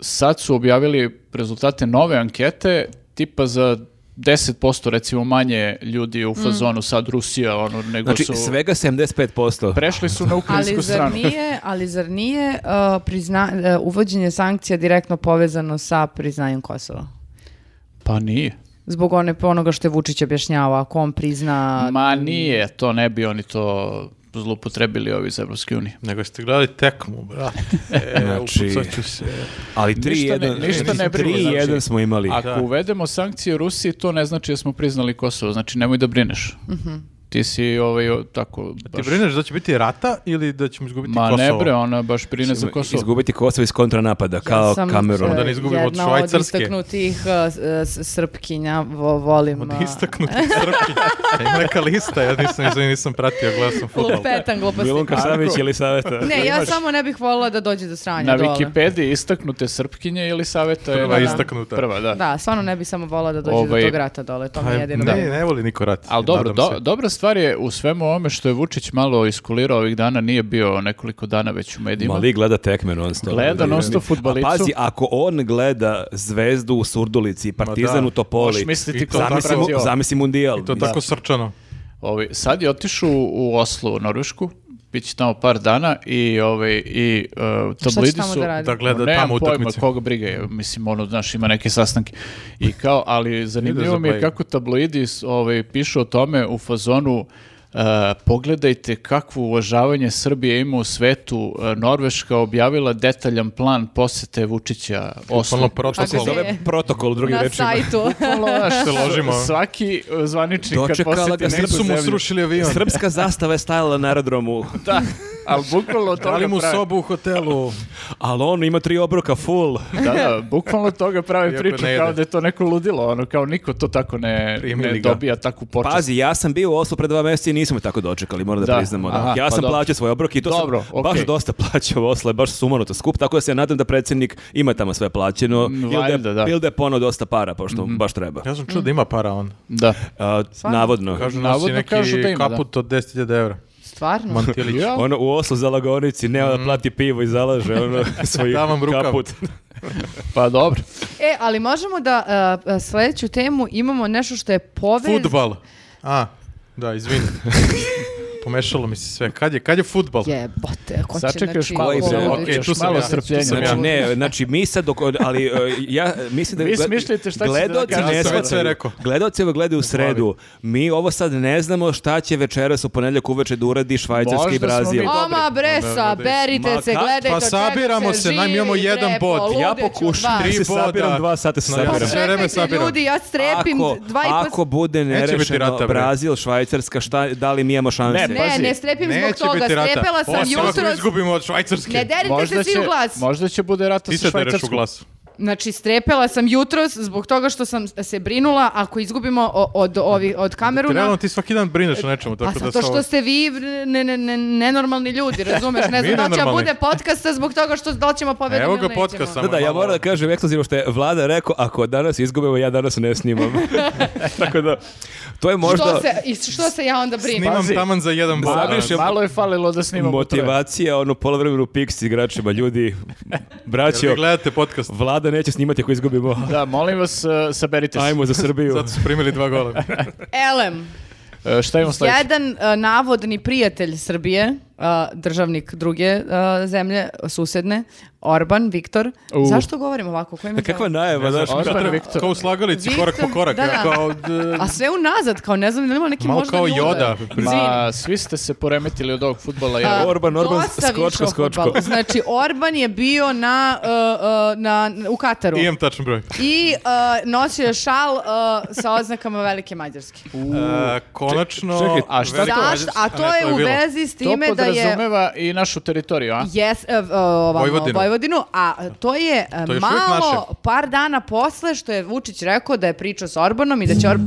[SPEAKER 3] sad su objavili rezultate nove ankete, tipa za 10% recimo manje ljudi
[SPEAKER 2] Mm.
[SPEAKER 3] u fazonu sad Rusija, ono, nego
[SPEAKER 1] Znači,
[SPEAKER 3] su...
[SPEAKER 1] svega 75%.
[SPEAKER 3] Prešli su na ukrajinsku
[SPEAKER 2] ali zar
[SPEAKER 3] stranu.
[SPEAKER 2] nije, ali zar nije uh, prizna- uh, uvođenje sankcija direktno povezano sa priznanjem Kosova?
[SPEAKER 3] Pa nije.
[SPEAKER 2] Zbog one, onoga što je Vučić objašnjavao, ako on prizna...
[SPEAKER 3] Ma nije, to ne bi oni to zlupotrebili ovi iz Evropske unije.
[SPEAKER 4] Nego ste gledali tekmu, brate. E,
[SPEAKER 1] Znači-
[SPEAKER 4] upucat ću se.
[SPEAKER 1] ali 3-1
[SPEAKER 3] ništa ne- ništa ne brine, znači.
[SPEAKER 1] 3-1 smo imali.
[SPEAKER 3] Ako
[SPEAKER 4] Da.
[SPEAKER 2] Mhm.
[SPEAKER 3] uvedemo sankcije Rusiji, to ne znači da smo priznali Kosovo, znači nemoj da brineš. ti si ovaj, o, tako...
[SPEAKER 4] Ti
[SPEAKER 3] Baš,
[SPEAKER 4] brineš da će biti rata ili da ćemo izgubiti
[SPEAKER 3] ma
[SPEAKER 4] Kosovo?
[SPEAKER 3] ne bre, ona baš brine za Kosovo.
[SPEAKER 1] Izgubiti Kosovo iz kontranapada, kao
[SPEAKER 2] Ja sam,
[SPEAKER 1] Kamerun.
[SPEAKER 2] e,
[SPEAKER 4] Da ne izgubimo od Švajcarske.
[SPEAKER 2] Jedna od istaknutih e, s- e, s- srpkinja, vo- volim.
[SPEAKER 4] Od
[SPEAKER 3] ono-
[SPEAKER 4] (laughs)
[SPEAKER 2] e,
[SPEAKER 4] istaknutih Srpki. Ja imam neka lista, ja nisam, izvini, nisam pratio, gledao sam futbol.
[SPEAKER 2] Lupetan gluposti.
[SPEAKER 1] Kasavić ili saveta.
[SPEAKER 2] Ne, ja samo ne bih volila da dođe do sranja
[SPEAKER 3] Na
[SPEAKER 2] dole.
[SPEAKER 3] Wikipediji istaknute Srpkinje ili saveta je...
[SPEAKER 4] Prva
[SPEAKER 2] da.
[SPEAKER 4] istaknuta.
[SPEAKER 3] Prva, da.
[SPEAKER 2] Da, stvarno ne bih samo volila da dođe
[SPEAKER 3] Ovaj,
[SPEAKER 2] do tog rata dole, to mi je
[SPEAKER 4] Aj,
[SPEAKER 2] jedino.
[SPEAKER 4] Ne, ne voli niko rat.
[SPEAKER 3] Ali dobro,
[SPEAKER 4] nadam
[SPEAKER 3] do-
[SPEAKER 4] se.
[SPEAKER 3] dobra stvar je u svemu ovome što je Vučić malo iskulirao ovih dana, nije bio nekoliko dana već u medijima.
[SPEAKER 1] Mali gleda tekme non stop.
[SPEAKER 3] Gleda non stop
[SPEAKER 1] A
[SPEAKER 3] fudbalicu.
[SPEAKER 1] pazi, ako on gleda Zvezdu u Surdulici i Partizan
[SPEAKER 4] Ma da.
[SPEAKER 1] u Topoli,
[SPEAKER 3] Možeš misliti
[SPEAKER 4] I
[SPEAKER 3] ko
[SPEAKER 4] to
[SPEAKER 3] je
[SPEAKER 1] zamisli, mu-
[SPEAKER 3] pratio.
[SPEAKER 1] zamisli mundijal.
[SPEAKER 4] I to
[SPEAKER 1] Da.
[SPEAKER 4] tako srčano.
[SPEAKER 3] Ovi, sad je otišao u Oslo, u Norvešku, bit će tamo par dana i, ovaj, i e, tabloidi
[SPEAKER 2] će tamo
[SPEAKER 3] su...
[SPEAKER 2] da radi?
[SPEAKER 4] Da gleda
[SPEAKER 3] Nemam
[SPEAKER 4] Pa tamo
[SPEAKER 3] pojma,
[SPEAKER 4] utakmice.
[SPEAKER 3] koga briga je, mislim, ono, znaš, ima neke sastanke. I kao, ali
[SPEAKER 4] (laughs) Ide
[SPEAKER 3] zanimljivo
[SPEAKER 4] za
[SPEAKER 3] mi je
[SPEAKER 4] play.
[SPEAKER 3] kako tabloidi s- ovaj, pišu o tome u fazonu e, pogledajte kakvo uvažavanje Srbije ima u svetu. E, Norveška objavila detaljan plan posete Vučića
[SPEAKER 4] Ono
[SPEAKER 3] Oslo. (laughs)
[SPEAKER 1] Što se
[SPEAKER 4] protokol.
[SPEAKER 2] Ako
[SPEAKER 1] zove protokol, drugim
[SPEAKER 2] Na
[SPEAKER 1] rečima.
[SPEAKER 2] sajtu.
[SPEAKER 4] (laughs) se ložimo.
[SPEAKER 3] Svaki e, zvaničnik kad
[SPEAKER 1] Dočekala
[SPEAKER 3] poseti
[SPEAKER 1] ga
[SPEAKER 3] neku
[SPEAKER 4] Nisu mu
[SPEAKER 3] zemlju.
[SPEAKER 4] srušili avion.
[SPEAKER 1] Srpska zastava je stajala na aerodromu,
[SPEAKER 3] Da, ali
[SPEAKER 4] (laughs)
[SPEAKER 3] bukvalno od toga
[SPEAKER 4] Dali mu
[SPEAKER 3] pravi-
[SPEAKER 4] sobu (laughs) u hotelu.
[SPEAKER 1] ali on ima tri obroka full.
[SPEAKER 3] Da, da, bukvalno od toga pravi
[SPEAKER 4] Iako
[SPEAKER 3] priču
[SPEAKER 4] ne
[SPEAKER 3] kao
[SPEAKER 4] ide.
[SPEAKER 3] da je to neko ludilo, ono kao niko to tako ne,
[SPEAKER 4] Primili
[SPEAKER 3] ne
[SPEAKER 4] ga.
[SPEAKER 3] dobija takvu počast.
[SPEAKER 1] Pazi, ja sam bio u Oslu pre dva mjeseca i nismo je tako dočekali, moram da,
[SPEAKER 3] Da,
[SPEAKER 1] priznamo. da.
[SPEAKER 3] aha,
[SPEAKER 1] ja
[SPEAKER 3] pa
[SPEAKER 1] sam
[SPEAKER 3] dobro.
[SPEAKER 1] plaćao svoj obrok i to
[SPEAKER 3] Dobro,
[SPEAKER 1] sam
[SPEAKER 3] okej.
[SPEAKER 1] baš dosta plaćao u Oslu, je baš sumano to skup, tako da se ja nadam da predsjednik ima tamo sve plaćeno ili da, je-
[SPEAKER 3] Mm, valjda, da. Mhm.
[SPEAKER 1] ili da je ponao dosta para, pošto baš treba.
[SPEAKER 4] Ja sam čuo da ima para on.
[SPEAKER 3] Da.
[SPEAKER 1] A, navodno.
[SPEAKER 4] Kažu nosi
[SPEAKER 3] Navodno
[SPEAKER 4] neki
[SPEAKER 3] kažu da ima, da.
[SPEAKER 4] kaput od 10.000
[SPEAKER 3] (laughs)
[SPEAKER 4] evra.
[SPEAKER 2] Stvarno?
[SPEAKER 4] Mantilić.
[SPEAKER 3] Ja,
[SPEAKER 1] Ono u Oslu za lagonici, ne
[SPEAKER 3] Mhm.
[SPEAKER 1] da plati pivo i zalaže
[SPEAKER 3] (laughs)
[SPEAKER 1] ono svoj
[SPEAKER 4] Da vam rukav.
[SPEAKER 1] kaput.
[SPEAKER 3] pa dobro.
[SPEAKER 2] E, ali možemo da e, e, sljedeću temu imamo nešto što je povez...
[SPEAKER 4] Futbal. A, da, izvini. Pomešalo mi se sve. Kad je, kad je futbal?
[SPEAKER 2] Jebote, ko će
[SPEAKER 3] Sačekaj još
[SPEAKER 2] znači,
[SPEAKER 3] malo,
[SPEAKER 1] ovo-
[SPEAKER 3] samo
[SPEAKER 1] Okej,
[SPEAKER 3] još
[SPEAKER 4] tu sam
[SPEAKER 3] malo
[SPEAKER 4] ja.
[SPEAKER 3] strpljenja.
[SPEAKER 4] Tu sam
[SPEAKER 1] Znači
[SPEAKER 4] ja.
[SPEAKER 1] ne, znači mi sad dok, ali e, ja mislim da
[SPEAKER 3] Vi smišljajte šta ćete da
[SPEAKER 1] gledaoci
[SPEAKER 3] kažete.
[SPEAKER 1] ne
[SPEAKER 3] Ja sam već
[SPEAKER 1] shvataju.
[SPEAKER 4] sve rekao.
[SPEAKER 1] Gledaoci ovo gledaju u sredu. Mi ovo sad ne znamo šta će večeras u ponedjeljak uveče da uradi
[SPEAKER 3] Možda
[SPEAKER 1] Švajcarski i
[SPEAKER 3] smo
[SPEAKER 1] Brazil.
[SPEAKER 3] mi-
[SPEAKER 2] Oma bre, saberite
[SPEAKER 1] Ma
[SPEAKER 2] se,
[SPEAKER 1] kak-
[SPEAKER 2] gledajte,
[SPEAKER 4] pa
[SPEAKER 2] od čega
[SPEAKER 4] sabiramo se, naj, mi imamo
[SPEAKER 2] živi,
[SPEAKER 4] jedan
[SPEAKER 2] trepo,
[SPEAKER 4] bod. Ja
[SPEAKER 2] ludeću,
[SPEAKER 1] pokušam.
[SPEAKER 2] dva.
[SPEAKER 1] Tri se
[SPEAKER 4] Tri
[SPEAKER 1] sabiram,
[SPEAKER 4] boda.
[SPEAKER 1] dva sata se
[SPEAKER 4] No, ja sam
[SPEAKER 1] sabiram.
[SPEAKER 4] sve vreme
[SPEAKER 2] Čekajte
[SPEAKER 4] sabiram.
[SPEAKER 2] ljudi, ja strepim
[SPEAKER 1] Ako,
[SPEAKER 2] dva i po-
[SPEAKER 1] ako bude
[SPEAKER 4] biti
[SPEAKER 1] nerešeno
[SPEAKER 4] rata, bre.
[SPEAKER 1] Brazil, Švajcarska, šta, da li mi imamo šanse?
[SPEAKER 3] Ne,
[SPEAKER 2] Ne,
[SPEAKER 3] pazi,
[SPEAKER 2] ne strepim zbog
[SPEAKER 4] Neće
[SPEAKER 2] toga,
[SPEAKER 4] biti rata.
[SPEAKER 2] strepela sam
[SPEAKER 4] Osim ako
[SPEAKER 2] jutros.
[SPEAKER 4] izgubimo od Švajcarske.
[SPEAKER 2] Ne derite se
[SPEAKER 3] Možda
[SPEAKER 2] svi
[SPEAKER 3] će,
[SPEAKER 2] u glas.
[SPEAKER 3] možda će bude rata
[SPEAKER 4] Ti
[SPEAKER 3] sa
[SPEAKER 4] se dereš u
[SPEAKER 3] Švajcarskom.
[SPEAKER 4] glasu.
[SPEAKER 2] Znači, strepela sam jutros zbog toga što sam se brinula ako izgubimo o- od, ovi, od
[SPEAKER 4] Realno
[SPEAKER 2] Kameruna.
[SPEAKER 4] ti svaki dan brineš o nečemu.
[SPEAKER 2] Pa
[SPEAKER 4] Tako da
[SPEAKER 2] zato
[SPEAKER 4] sa ovo-
[SPEAKER 2] što ste vi ne, ne, ne, nenormalni ljudi,
[SPEAKER 4] (laughs)
[SPEAKER 2] razumeš? Ne
[SPEAKER 4] Mi
[SPEAKER 2] znam da li će
[SPEAKER 4] nenormalni.
[SPEAKER 2] bude podcasta zbog toga što da li ćemo pobediti
[SPEAKER 4] Evo
[SPEAKER 2] ili
[SPEAKER 4] ga
[SPEAKER 2] nećemo.
[SPEAKER 4] podcasta.
[SPEAKER 1] Da, da, ja moram da kažem ekskluzivno što je Vlada rekao, ako danas izgubimo, ja danas ne
[SPEAKER 3] (laughs)
[SPEAKER 1] snimam. Tako da, to je možda
[SPEAKER 2] Što se, i što se ja onda brinem?
[SPEAKER 4] Snimam
[SPEAKER 3] Pazi.
[SPEAKER 4] taman za jedan bod.
[SPEAKER 1] Zabiš
[SPEAKER 4] danas.
[SPEAKER 1] je-
[SPEAKER 3] Malo je falilo da snimamo troje.
[SPEAKER 1] motivacija, ono, polovremenu piks igračima, ljudi,
[SPEAKER 4] Jel vi
[SPEAKER 1] braćo,
[SPEAKER 4] gledate podcast?
[SPEAKER 1] Vlada neće snimati ako izgubimo.
[SPEAKER 3] Da, molim vas, e, saberite se.
[SPEAKER 1] Ajmo za Srbiju.
[SPEAKER 4] Zato su primili dva gola.
[SPEAKER 2] Elem,
[SPEAKER 3] E, šta imamo sledeće?
[SPEAKER 2] jedan e, navodni prijatelj Srbije, e, državnik druge e, zemlje, susedne, Orban, Viktor.
[SPEAKER 3] U.
[SPEAKER 2] Zašto govorim ovako? Koji mi je
[SPEAKER 1] Kakva
[SPEAKER 2] to?
[SPEAKER 1] najava, znaš,
[SPEAKER 3] Orban
[SPEAKER 1] kao-
[SPEAKER 3] Viktor.
[SPEAKER 4] Kao u slagalici, korak po korak.
[SPEAKER 2] Da, da.
[SPEAKER 4] Kao, d-
[SPEAKER 2] A sve unazad, kao ne znam, nema neki
[SPEAKER 4] Malo
[SPEAKER 2] možda
[SPEAKER 4] kao
[SPEAKER 2] nule.
[SPEAKER 4] Yoda.
[SPEAKER 2] Izvini.
[SPEAKER 3] Ma, svi ste se poremetili od ovog futbola. jer-
[SPEAKER 2] A,
[SPEAKER 1] Orban, Orban,
[SPEAKER 2] dosta više
[SPEAKER 1] skočko,
[SPEAKER 2] o
[SPEAKER 1] skočko.
[SPEAKER 2] fudbalu. Znači, Orban je bio na, uh, uh, na, u Kataru
[SPEAKER 4] imam tačan broj.
[SPEAKER 2] i uh, nosio je šal uh, sa oznakama Velike Mađarske.
[SPEAKER 4] E, konačno...
[SPEAKER 1] čekaj,
[SPEAKER 3] a šta
[SPEAKER 4] Velika
[SPEAKER 3] to-
[SPEAKER 2] Zašto?
[SPEAKER 4] Mađarska-
[SPEAKER 2] A
[SPEAKER 4] ne,
[SPEAKER 2] to je u
[SPEAKER 4] bilo.
[SPEAKER 2] vezi s
[SPEAKER 3] to
[SPEAKER 2] time da je...
[SPEAKER 3] podrazumeva i našu teritoriju, a?
[SPEAKER 2] Yes, e, v- ovamo,
[SPEAKER 4] Vojvodinu.
[SPEAKER 2] Vojvodinu. a to je, e,
[SPEAKER 4] To je još uvijek
[SPEAKER 2] malo
[SPEAKER 4] naše.
[SPEAKER 2] par dana posle što je Vučić rekao da je pričao s Orbanom i da će Orban...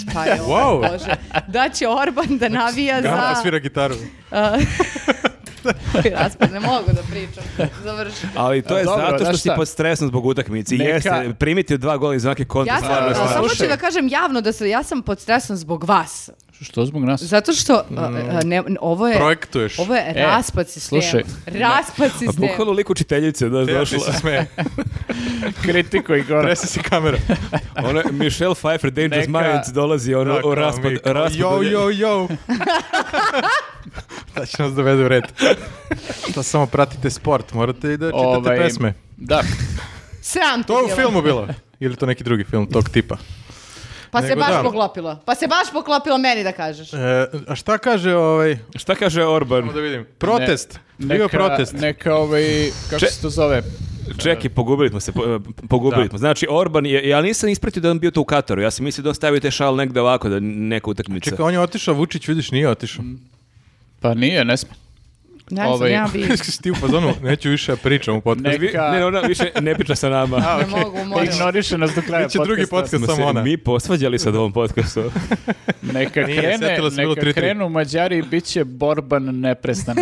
[SPEAKER 2] Šta je ovo,
[SPEAKER 4] Wow.
[SPEAKER 2] Bože? Da će Orban da navija
[SPEAKER 4] Gamba
[SPEAKER 2] za...
[SPEAKER 4] svira gitaru.
[SPEAKER 2] (laughs) Raspad, ne mogu da pričam. Završite.
[SPEAKER 1] Ali to je
[SPEAKER 3] Dobro,
[SPEAKER 1] zato što
[SPEAKER 3] znaš
[SPEAKER 1] si
[SPEAKER 3] šta?
[SPEAKER 1] pod stresom zbog utakmice.
[SPEAKER 3] Neka-
[SPEAKER 1] Jeste, primiti dva gola iz znake kontra.
[SPEAKER 2] Ja sam,
[SPEAKER 1] stvarno je
[SPEAKER 2] a,
[SPEAKER 1] stvarno.
[SPEAKER 2] samo ću
[SPEAKER 3] Slušaj.
[SPEAKER 2] da kažem javno da se, ja sam pod stresom zbog vas.
[SPEAKER 3] Što zbog (laughs) nas?
[SPEAKER 2] Zato što a, a, ne, ovo je...
[SPEAKER 4] Projektuješ.
[SPEAKER 2] Ovo je
[SPEAKER 3] E,
[SPEAKER 2] raspad sistema.
[SPEAKER 3] slušaj.
[SPEAKER 2] raspad
[SPEAKER 1] A
[SPEAKER 2] sistema.
[SPEAKER 1] Pa Bukvalno lik učiteljice, da,
[SPEAKER 4] Ja
[SPEAKER 1] došla.
[SPEAKER 4] se (laughs) smeje.
[SPEAKER 3] Kritiko i gore.
[SPEAKER 4] Trese se kamera.
[SPEAKER 1] Ono, je Michelle Pfeiffer, Dangerous
[SPEAKER 3] Neka-
[SPEAKER 1] Minds, dolazi ono,
[SPEAKER 4] Da, kao
[SPEAKER 1] o raspad,
[SPEAKER 4] mi, kao,
[SPEAKER 1] raspad.
[SPEAKER 4] Yo, yo, yo. (laughs) da će nas dovede u red. Šta samo pratite sport, morate i da čitate
[SPEAKER 3] Ovaj,
[SPEAKER 4] pesme.
[SPEAKER 3] Da,
[SPEAKER 2] Sram ti
[SPEAKER 4] To je u
[SPEAKER 2] bilo.
[SPEAKER 4] filmu bilo. Ili to neki drugi film tog tipa.
[SPEAKER 2] Pa se
[SPEAKER 4] Nego
[SPEAKER 2] baš
[SPEAKER 4] da.
[SPEAKER 2] poklopilo. Pa se baš poklopilo meni da kažeš.
[SPEAKER 4] E, a šta kaže ovaj...
[SPEAKER 1] Šta kaže Orban?
[SPEAKER 4] Samo da vidim. Protest. Bio protest.
[SPEAKER 3] Neka ovaj, kako
[SPEAKER 1] Če-
[SPEAKER 3] se to zove?
[SPEAKER 1] Čekaj, pogubili smo se, po- eh, pogubili
[SPEAKER 3] Da.
[SPEAKER 1] smo. Znači, Orban je, ja nisam ispratio da je on bio tu u Kataru, ja sam mislio da on stavio taj šal negde ovako, da neka utakmica.
[SPEAKER 4] Čekaj, on je otišao, Vučić, vidiš, nije otišao. (laughs)
[SPEAKER 3] Pa nije, ne smije.
[SPEAKER 2] Ne znam,
[SPEAKER 3] Ovaj-
[SPEAKER 2] ja bi...
[SPEAKER 4] (laughs) Ti u fazonu, neću više da pričam u podcastu.
[SPEAKER 1] Vi-
[SPEAKER 3] neka-
[SPEAKER 1] Ne, ne, ona više ne priča sa
[SPEAKER 3] (laughs)
[SPEAKER 1] nama.
[SPEAKER 2] Ne mogu, moram.
[SPEAKER 3] Ignoriše nas do kraja
[SPEAKER 4] Biće drugi
[SPEAKER 3] podcasta.
[SPEAKER 4] podcast.
[SPEAKER 1] Smo
[SPEAKER 4] samo
[SPEAKER 1] se
[SPEAKER 4] ona.
[SPEAKER 1] mi posvađali sad u ovom podcastu.
[SPEAKER 3] (laughs) Neka,
[SPEAKER 4] Nije,
[SPEAKER 3] krene,
[SPEAKER 4] setila se bilo
[SPEAKER 3] neka
[SPEAKER 4] 3:3.
[SPEAKER 3] krenu Mađari, bit će borban neprestan.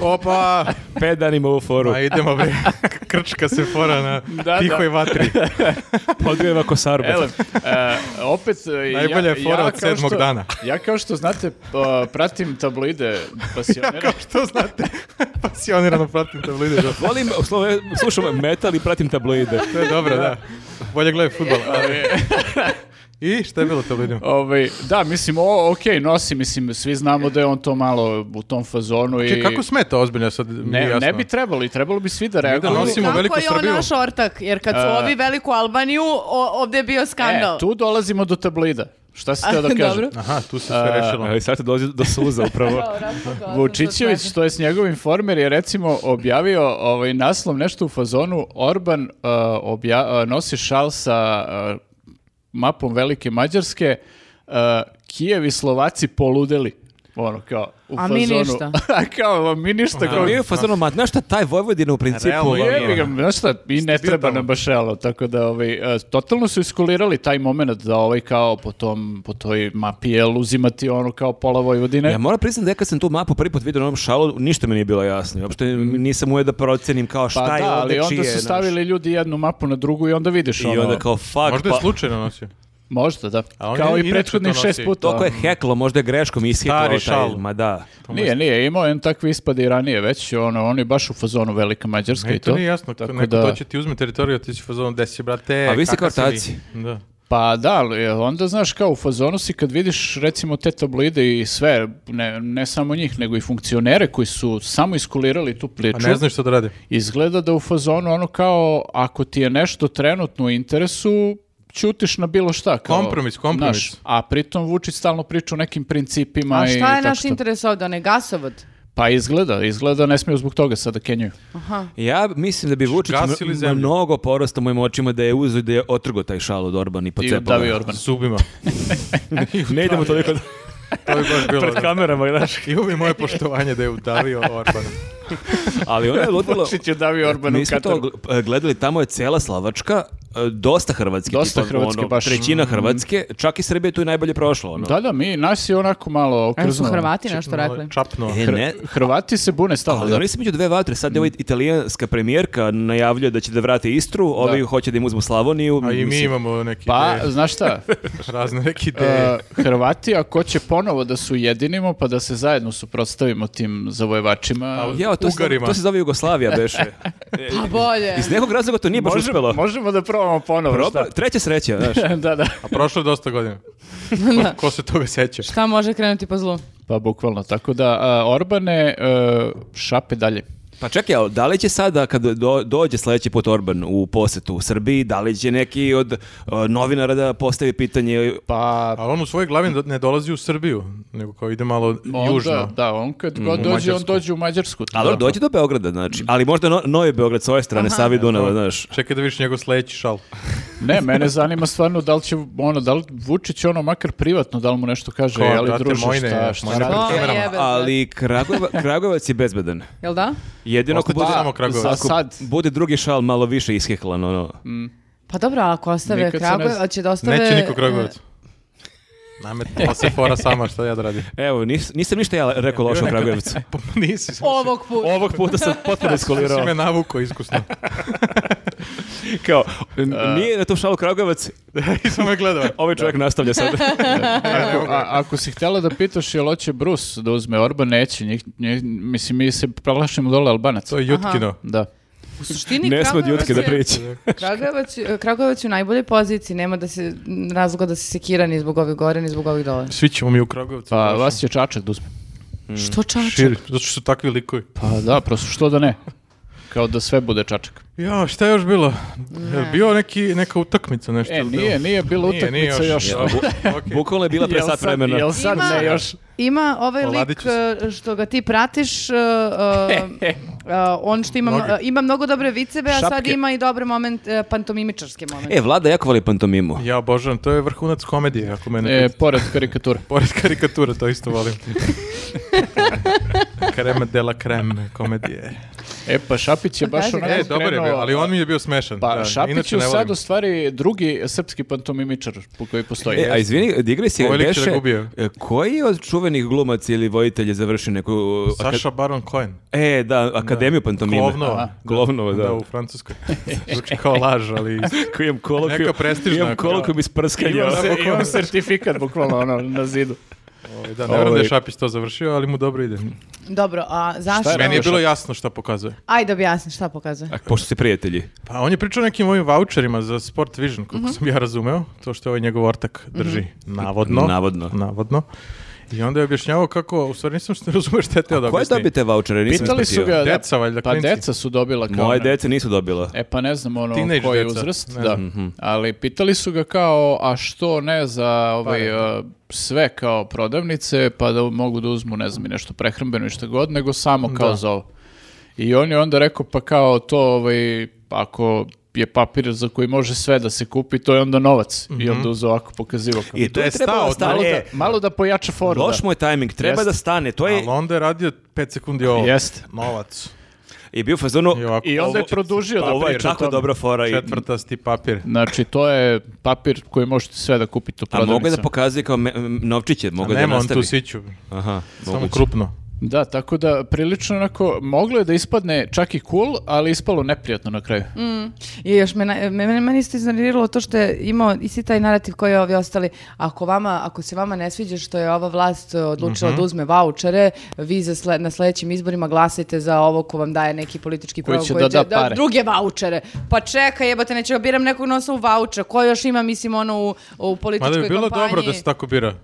[SPEAKER 4] Opa!
[SPEAKER 1] Pet danima u foru,
[SPEAKER 4] A idemo, bre. (laughs) Krčka se fora na
[SPEAKER 3] da.
[SPEAKER 4] tihoj vatri.
[SPEAKER 1] podgreva kosarbe.
[SPEAKER 3] Ele, e, opet... e,
[SPEAKER 4] Najbolja
[SPEAKER 3] ja,
[SPEAKER 4] je fora
[SPEAKER 3] ja kao
[SPEAKER 4] od sedmog
[SPEAKER 3] što-
[SPEAKER 4] dana.
[SPEAKER 3] Ja kao što znate, pa, pratim tabloide pasionera.
[SPEAKER 4] Kao što znate, (laughs) pasionirano pratim tabloide. da.
[SPEAKER 1] Volim, u slovo- slušam metal i pratim tabloide.
[SPEAKER 4] To je dobro, da. Bolje gledaj futbol.
[SPEAKER 3] Ali,
[SPEAKER 4] (laughs) I šta je bilo tabloidima?
[SPEAKER 3] ovaj, da, mislim, o, ok, nosi, mislim, svi znamo da je on to malo u tom fazonu i...
[SPEAKER 4] Čekaj, E, kako smeta ozbiljno sad? nije
[SPEAKER 3] Ne, ne
[SPEAKER 4] jasno.
[SPEAKER 3] bi trebalo i trebalo bi svi da reaguju.
[SPEAKER 4] nosimo
[SPEAKER 2] Kako
[SPEAKER 4] Veliku
[SPEAKER 2] je on
[SPEAKER 4] Srbiju.
[SPEAKER 2] naš ortak? Jer kad su ovi veliku Albaniju, o, ovdje je bio skandal.
[SPEAKER 3] E, tu dolazimo do tablida. Šta si teo da
[SPEAKER 2] Dobro.
[SPEAKER 3] kažem?
[SPEAKER 4] Aha, tu se sve rešilo.
[SPEAKER 1] Ali sad se dolazi do suza upravo.
[SPEAKER 2] Kao raspogledala sam
[SPEAKER 3] Vučićević,
[SPEAKER 2] sa
[SPEAKER 3] to je s njegov informer, je recimo objavio ovaj naslov nešto u fazonu Orban uh, obja- uh, nosi šal sa uh, mapom Velike Mađarske, uh, Kijev i Slovaci poludeli. Ono, kao, u
[SPEAKER 2] A mi
[SPEAKER 3] fazonu.
[SPEAKER 2] ništa.
[SPEAKER 3] (laughs) A kao, a mi ništa. kao,
[SPEAKER 1] Nije u fazonu, ma, znaš šta, taj Vojvodina u principu...
[SPEAKER 4] Realno je,
[SPEAKER 1] ono,
[SPEAKER 3] jebi ga, znaš šta, i ne treba
[SPEAKER 4] tamo?
[SPEAKER 3] nam baš elo, tako da ovaj, e, totalno su iskulirali taj moment da ovaj kao po, tom, po toj mapi jel uzimati ono kao pola Vojvodine.
[SPEAKER 1] Ja moram priznati da ja kad sam tu mapu prvi put vidio na ovom šalu, ništa mi nije bilo jasno. Uopšte nisam uje da procenim kao šta
[SPEAKER 3] pa
[SPEAKER 1] je
[SPEAKER 3] da,
[SPEAKER 1] ovde,
[SPEAKER 3] ali onda
[SPEAKER 1] čije je,
[SPEAKER 3] su
[SPEAKER 1] znaš.
[SPEAKER 3] stavili ljudi jednu mapu na drugu i onda vidiš ono.
[SPEAKER 1] I onda kao, fuck,
[SPEAKER 4] Možda je
[SPEAKER 1] pa...
[SPEAKER 4] slučajno nosio.
[SPEAKER 3] Možda, da.
[SPEAKER 4] A on
[SPEAKER 3] Kao
[SPEAKER 4] je
[SPEAKER 3] i
[SPEAKER 4] inače
[SPEAKER 3] prethodnih
[SPEAKER 4] to
[SPEAKER 3] šest
[SPEAKER 4] nosi.
[SPEAKER 3] puta. ono.
[SPEAKER 1] Toliko je heklo, možda je greškom isheklo
[SPEAKER 4] Stari
[SPEAKER 1] taj,
[SPEAKER 4] šal.
[SPEAKER 1] ma da.
[SPEAKER 3] Nije, nije, imao je on takve ispade i ranije već, ono, on je baš u fazonu Velika Mađarska
[SPEAKER 4] Ne,
[SPEAKER 3] i
[SPEAKER 4] E, to
[SPEAKER 3] to.
[SPEAKER 4] nije jasno. Tako neko to će ti uzme teritoriju, a ti će fazon desi, brate.
[SPEAKER 1] A vi ste
[SPEAKER 4] kakav
[SPEAKER 1] kao
[SPEAKER 4] si vi?"
[SPEAKER 1] ortaci.
[SPEAKER 4] Da.
[SPEAKER 3] Pa da, ali onda znaš kao u fazonu si kad vidiš recimo te tabloide i sve, ne, ne samo njih, nego i funkcionere koji su samo iskulirali tu
[SPEAKER 4] A
[SPEAKER 3] priču,
[SPEAKER 4] ne znaš što da radi.
[SPEAKER 3] izgleda da u fazonu ono kao ako ti je nešto trenutno u interesu, ćutiš na bilo šta. Kao,
[SPEAKER 4] Kompromis, kompromis.
[SPEAKER 3] znaš, a pritom Vučić stalno priča o nekim principima
[SPEAKER 2] A
[SPEAKER 3] i
[SPEAKER 2] šta je
[SPEAKER 3] tako
[SPEAKER 2] naš
[SPEAKER 3] što.
[SPEAKER 2] interes ovdje? Onaj gasovod?
[SPEAKER 3] Pa izgleda, izgleda ne smiju zbog toga sada Kenjaju.
[SPEAKER 2] Aha.
[SPEAKER 1] Ja mislim da bi Vučić
[SPEAKER 4] gasili
[SPEAKER 1] mno-
[SPEAKER 4] zemlju.
[SPEAKER 1] mnogo porasta mojim očima da je uzu i da je otrgo taj šal od Orbana i
[SPEAKER 3] I
[SPEAKER 1] pocepao.
[SPEAKER 3] Davi
[SPEAKER 1] ga.
[SPEAKER 3] (laughs) Orban.
[SPEAKER 4] Subima.
[SPEAKER 1] Ne idemo toliko
[SPEAKER 4] To je baš bilo.
[SPEAKER 1] pred
[SPEAKER 4] da.
[SPEAKER 1] kamerama, znaš.
[SPEAKER 4] I ubi moje poštovanje da je udavio Orbana.
[SPEAKER 1] Ali ono je ludilo...
[SPEAKER 3] Vučić je Davi Orban u
[SPEAKER 1] Mi smo to
[SPEAKER 3] Kataru.
[SPEAKER 1] gl- e, gledali, tamo je cela Slavačka, e, dosta Hrvatske.
[SPEAKER 3] Dosta
[SPEAKER 1] tipa,
[SPEAKER 3] Hrvatske,
[SPEAKER 1] ono,
[SPEAKER 3] baš. Mm.
[SPEAKER 1] Trećina Hrvatske, čak i Srbija je tu i najbolje prošla. Ono.
[SPEAKER 3] Da, da, mi, nas je onako malo
[SPEAKER 2] E, su
[SPEAKER 3] okrznuo.
[SPEAKER 2] Hrvati nešto
[SPEAKER 4] Malo
[SPEAKER 2] rekli.
[SPEAKER 4] Čapno.
[SPEAKER 1] E, ne,
[SPEAKER 3] Hrvati se bune stalno.
[SPEAKER 1] Ali
[SPEAKER 3] da. Mm.
[SPEAKER 1] oni su među dve vatre, sad je ovaj italijanska premijerka najavljuje da će da vrate Istru, ovi hoće da im uzmu Slavoniju.
[SPEAKER 4] A i mi
[SPEAKER 1] mislim,
[SPEAKER 4] imamo neke
[SPEAKER 3] Pa,
[SPEAKER 4] ideje,
[SPEAKER 3] znaš
[SPEAKER 1] (laughs)
[SPEAKER 3] šta,
[SPEAKER 4] razne neke ideje.
[SPEAKER 3] e, Hrvati ako će ponovo da su jedinimo pa da se zajedno suprotstavimo tim zavojevačima,
[SPEAKER 1] Jao, to, se,
[SPEAKER 4] Ugarima.
[SPEAKER 1] to se zove Jugoslavija,
[SPEAKER 3] (laughs)
[SPEAKER 1] beše. E,
[SPEAKER 2] Pa bolje.
[SPEAKER 1] Iz nekog razloga to nije baš
[SPEAKER 3] možemo,
[SPEAKER 1] uspelo.
[SPEAKER 3] možemo da probamo ponovo.
[SPEAKER 1] Proba,
[SPEAKER 3] šta?
[SPEAKER 1] treća sreća, znaš.
[SPEAKER 3] (laughs) da, da.
[SPEAKER 4] A prošlo je dosta godina. Ko, ko se toga seća?
[SPEAKER 2] Šta može krenuti po zlu?
[SPEAKER 3] Pa bukvalno, tako da a, Orbane e, šape dalje.
[SPEAKER 1] Pa čekaj, ali da li će sada kad do- dođe sledeći put Orban u posetu u Srbiji, da li će neki od e, novinara da postavi pitanje
[SPEAKER 3] Pa
[SPEAKER 4] Ali on u svojoj glavi do- ne dolazi u Srbiju, nego kao ide malo
[SPEAKER 3] onda,
[SPEAKER 4] južno.
[SPEAKER 3] da, on kad god dođe, on
[SPEAKER 4] Mađarsku.
[SPEAKER 3] dođe u Mađarsku.
[SPEAKER 1] Ali on dođe do Beograda, znači. Ali možda no- Novi Beograd s ove strane, Savi i Dunava, Pa znaš.
[SPEAKER 4] Čekaj da vidiš njegov sledeći šal.
[SPEAKER 3] Ne, mene zanima stvarno da li će, ono, da li Vučić ono makar privatno, da li mu nešto kaže,
[SPEAKER 4] Kao,
[SPEAKER 3] ali
[SPEAKER 4] brate,
[SPEAKER 3] druže,
[SPEAKER 4] moj ne,
[SPEAKER 3] šta, šta
[SPEAKER 4] moj ne
[SPEAKER 3] radi?
[SPEAKER 4] pred
[SPEAKER 2] O,
[SPEAKER 4] kamerama.
[SPEAKER 2] jebe.
[SPEAKER 1] Ali Kragujeva- Kragujevac je bezbedan.
[SPEAKER 2] Jel da?
[SPEAKER 1] Jedino ako
[SPEAKER 4] Ostaće
[SPEAKER 1] bude
[SPEAKER 4] samo
[SPEAKER 3] Za
[SPEAKER 4] Kragujevac.
[SPEAKER 3] sad.
[SPEAKER 1] Bude drugi šal malo više isheklan, ono.
[SPEAKER 2] Pa dobro, ako ostave
[SPEAKER 3] Nikad se ne
[SPEAKER 2] Kragujevac,
[SPEAKER 3] zna.
[SPEAKER 2] ali će da ostave...
[SPEAKER 4] Neće niko
[SPEAKER 2] e,
[SPEAKER 4] Kragujevac. Nametala se fora sama, šta ja da radim.
[SPEAKER 1] Evo, nis, nisam ništa ja rekao loše o Kragujevcu.
[SPEAKER 4] (laughs) Pa nisi, sam
[SPEAKER 2] Ovog puta.
[SPEAKER 1] Ovog puta
[SPEAKER 3] Pa,
[SPEAKER 1] sam potpuno
[SPEAKER 4] si
[SPEAKER 1] iskolirao.
[SPEAKER 4] me navuko iskusno. (laughs)
[SPEAKER 1] Kao, n- nije na tom šalu Kragujevac,
[SPEAKER 4] I sam me gledao.
[SPEAKER 1] ovaj čovjek nastavlja
[SPEAKER 3] (laughs)
[SPEAKER 1] sad.
[SPEAKER 3] Ako, a- ako si htjela da pitaš jel hoće Bruce da uzme Orban, neće. Njih, njih- mislim, mi se proglašamo dole Albanac.
[SPEAKER 4] To je Jutkino.
[SPEAKER 3] Da.
[SPEAKER 2] U suštini
[SPEAKER 1] ne smo od
[SPEAKER 2] Kragujevac
[SPEAKER 1] Jutke da
[SPEAKER 2] je-
[SPEAKER 1] prijeći.
[SPEAKER 2] Kragujevac, je- Kragujevac je u najboljoj poziciji, nema da se m, razloga da se sekira ni zbog ovih gore, ni zbog ovih dole.
[SPEAKER 4] Svi ćemo mi u Kragujevcu.
[SPEAKER 3] Pa
[SPEAKER 4] prošlo.
[SPEAKER 3] vas će Čačak da uzme. Mm.
[SPEAKER 2] Što čače?
[SPEAKER 4] Širi, zato što su takvi likovi.
[SPEAKER 3] Pa da, prosto što da ne. Kao da sve bude Čačak.
[SPEAKER 4] Ja, šta je još bilo? Ne. Bio neki, neka utakmica, nešto.
[SPEAKER 3] E,
[SPEAKER 4] je bilo?
[SPEAKER 3] nije, nije bila
[SPEAKER 4] Nije,
[SPEAKER 3] utakmica
[SPEAKER 4] nije
[SPEAKER 3] još.
[SPEAKER 4] još.
[SPEAKER 1] (laughs)
[SPEAKER 4] Okay.
[SPEAKER 1] Bukvalno je bila pre
[SPEAKER 3] Jel
[SPEAKER 1] sat
[SPEAKER 3] sad-
[SPEAKER 1] vremena.
[SPEAKER 3] Jel sad
[SPEAKER 2] Ima-
[SPEAKER 3] ne još?
[SPEAKER 2] Ima ovaj
[SPEAKER 4] Oladit
[SPEAKER 2] lik
[SPEAKER 4] ću se. (laughs)
[SPEAKER 2] e, što ga ti pratiš, e, e, Uh, eh, on što ima,
[SPEAKER 4] Mnoge.
[SPEAKER 2] uh, ima mnogo dobre vicebe, a sad
[SPEAKER 4] Šapke.
[SPEAKER 2] ima i dobre moment, uh, pantomimičarske momente.
[SPEAKER 1] E, Vlada jako voli pantomimu. E,
[SPEAKER 4] Ja obožavam, to je vrhunac komedije, ako mene...
[SPEAKER 3] E, pored karikatura.
[SPEAKER 4] Pored karikatura, to isto volim. Kreme de la creme, komedije.
[SPEAKER 3] E, pa Šapić je
[SPEAKER 2] Pa
[SPEAKER 3] baš
[SPEAKER 2] kaži,
[SPEAKER 3] onako
[SPEAKER 4] E, dobar je bio,
[SPEAKER 3] krenuo-
[SPEAKER 4] ali on mi je bio smešan.
[SPEAKER 3] Pa
[SPEAKER 4] da,
[SPEAKER 3] Šapić
[SPEAKER 4] inače
[SPEAKER 3] je
[SPEAKER 4] ne
[SPEAKER 3] sad
[SPEAKER 4] volim.
[SPEAKER 3] u stvari drugi srpski pantomimičar po koji postoji.
[SPEAKER 1] E, a izvini, da igra si
[SPEAKER 4] Ovaj lik će da
[SPEAKER 1] Gaše,
[SPEAKER 4] gubio.
[SPEAKER 1] e, koji od čuvenih glumaca ili vojitelja završio neku... e, aka-
[SPEAKER 4] Pa Saša Baron Cohen.
[SPEAKER 1] E, da, Akademiju pantomime.
[SPEAKER 4] Klovnova.
[SPEAKER 1] Aha. Klovnova, Pa da.
[SPEAKER 4] Da, u Francuskoj. Zvuči kao laž, ali...
[SPEAKER 1] Koji (laughs) imam kolokvijum-
[SPEAKER 4] Neka prestižna,
[SPEAKER 1] Imam kolokvijum iz prskanja.
[SPEAKER 3] Imam, se-
[SPEAKER 4] bukvalno.
[SPEAKER 3] imam sertifikat bukvalno ono, na zidu.
[SPEAKER 4] ovaj, Da, ne vjerujem da
[SPEAKER 3] Ovaj.
[SPEAKER 4] je Šapić to završio, ali mu dobro ide.
[SPEAKER 2] Dobro, a zašto?
[SPEAKER 3] Šta je
[SPEAKER 4] Meni je
[SPEAKER 3] Šapić?
[SPEAKER 4] bilo jasno šta pokazuje.
[SPEAKER 2] Ajde objasni šta pokazuje.
[SPEAKER 1] A, Pošto ste prijatelji.
[SPEAKER 4] Pa on je pričao o nekim ovim voucherima za Sport Vision, koliko
[SPEAKER 2] Mhm.
[SPEAKER 4] sam ja razumeo, to što ovaj njegov ortak drži, navodno.
[SPEAKER 1] Navodno.
[SPEAKER 4] Navodno. I onda je objašnjavao kako, u stvari nisam što razumeo šta je teo da
[SPEAKER 1] Ko je
[SPEAKER 4] objasni.
[SPEAKER 1] dobio te vouchere? Nisam
[SPEAKER 3] Pitali su
[SPEAKER 1] ispratio.
[SPEAKER 3] ga... da-
[SPEAKER 4] Deca, valjda,
[SPEAKER 3] Pa
[SPEAKER 4] klinci.
[SPEAKER 3] deca su dobila kao...
[SPEAKER 1] Moje
[SPEAKER 3] ne-
[SPEAKER 1] deca nisu dobila.
[SPEAKER 3] E pa ne znam ono
[SPEAKER 4] Teenage
[SPEAKER 3] koji je
[SPEAKER 4] deca,
[SPEAKER 3] uzrast,
[SPEAKER 4] ne
[SPEAKER 3] da.
[SPEAKER 4] znam.
[SPEAKER 1] mhm.
[SPEAKER 3] Ali pitali su ga kao, a što ne za
[SPEAKER 1] Pa,
[SPEAKER 3] ovaj, e, sve kao prodavnice, pa da mogu da uzmu ne znam i nešto prehrambeno i što god, nego samo kao
[SPEAKER 4] Da.
[SPEAKER 3] za ovo. I on je onda rekao pa kao to, ovaj, ako je papir za koji može sve da se kupi, to je onda novac. I onda uz ovako pokazivo. Kao.
[SPEAKER 1] Mhm. I to je
[SPEAKER 4] Da je
[SPEAKER 1] trebalo
[SPEAKER 4] stao,
[SPEAKER 1] da
[SPEAKER 3] Malo,
[SPEAKER 1] stane. E,
[SPEAKER 3] da, malo da pojača foru.
[SPEAKER 1] Loš
[SPEAKER 3] da.
[SPEAKER 1] moj tajming, treba
[SPEAKER 3] Jest.
[SPEAKER 1] da stane. To je,
[SPEAKER 4] Ali onda je radio 5 sekundi ovo.
[SPEAKER 3] Jeste.
[SPEAKER 4] Novac.
[SPEAKER 1] je bio u fazonu,
[SPEAKER 4] I, ovako,
[SPEAKER 3] I onda je
[SPEAKER 4] ovo-
[SPEAKER 3] produžio da
[SPEAKER 1] ovo je
[SPEAKER 3] priča o
[SPEAKER 1] tako
[SPEAKER 3] tome.
[SPEAKER 1] dobra fora. i-
[SPEAKER 4] Četvrtasti papir.
[SPEAKER 3] Znači, to je papir koji možete sve da kupite u
[SPEAKER 1] A
[SPEAKER 3] prodavnicama.
[SPEAKER 1] mogu je da pokazuje kao me- m, novčiće, mogu je da
[SPEAKER 4] Nema on
[SPEAKER 1] nastavi.
[SPEAKER 4] tu siću,
[SPEAKER 1] Aha,
[SPEAKER 4] samo
[SPEAKER 1] moguće.
[SPEAKER 4] krupno.
[SPEAKER 3] Da, tako da prilično onako moglo je da ispadne čak i cool, ali ispalo neprijatno na kraju.
[SPEAKER 2] Mm. I još me, na- me, me, meni isto iznerviralo to što je imao isti taj narativ koji je ovi ostali. Ako, vama, ako se vama ne sviđa što je ova vlast e, odlučila da uzme vaučere, vi za sle- na sledećim izborima glasajte za ovo ko vam daje neki politički
[SPEAKER 3] Koji
[SPEAKER 2] program
[SPEAKER 3] će da da pare.
[SPEAKER 2] druge vaučere. Pa čekaj, jebote, neću da biram nekog na osnovu vaučera. Ko još ima, mislim, ono u, u
[SPEAKER 4] Mada
[SPEAKER 2] političkoj
[SPEAKER 4] bi bilo
[SPEAKER 2] kampanji?
[SPEAKER 4] dobro da se tako bira.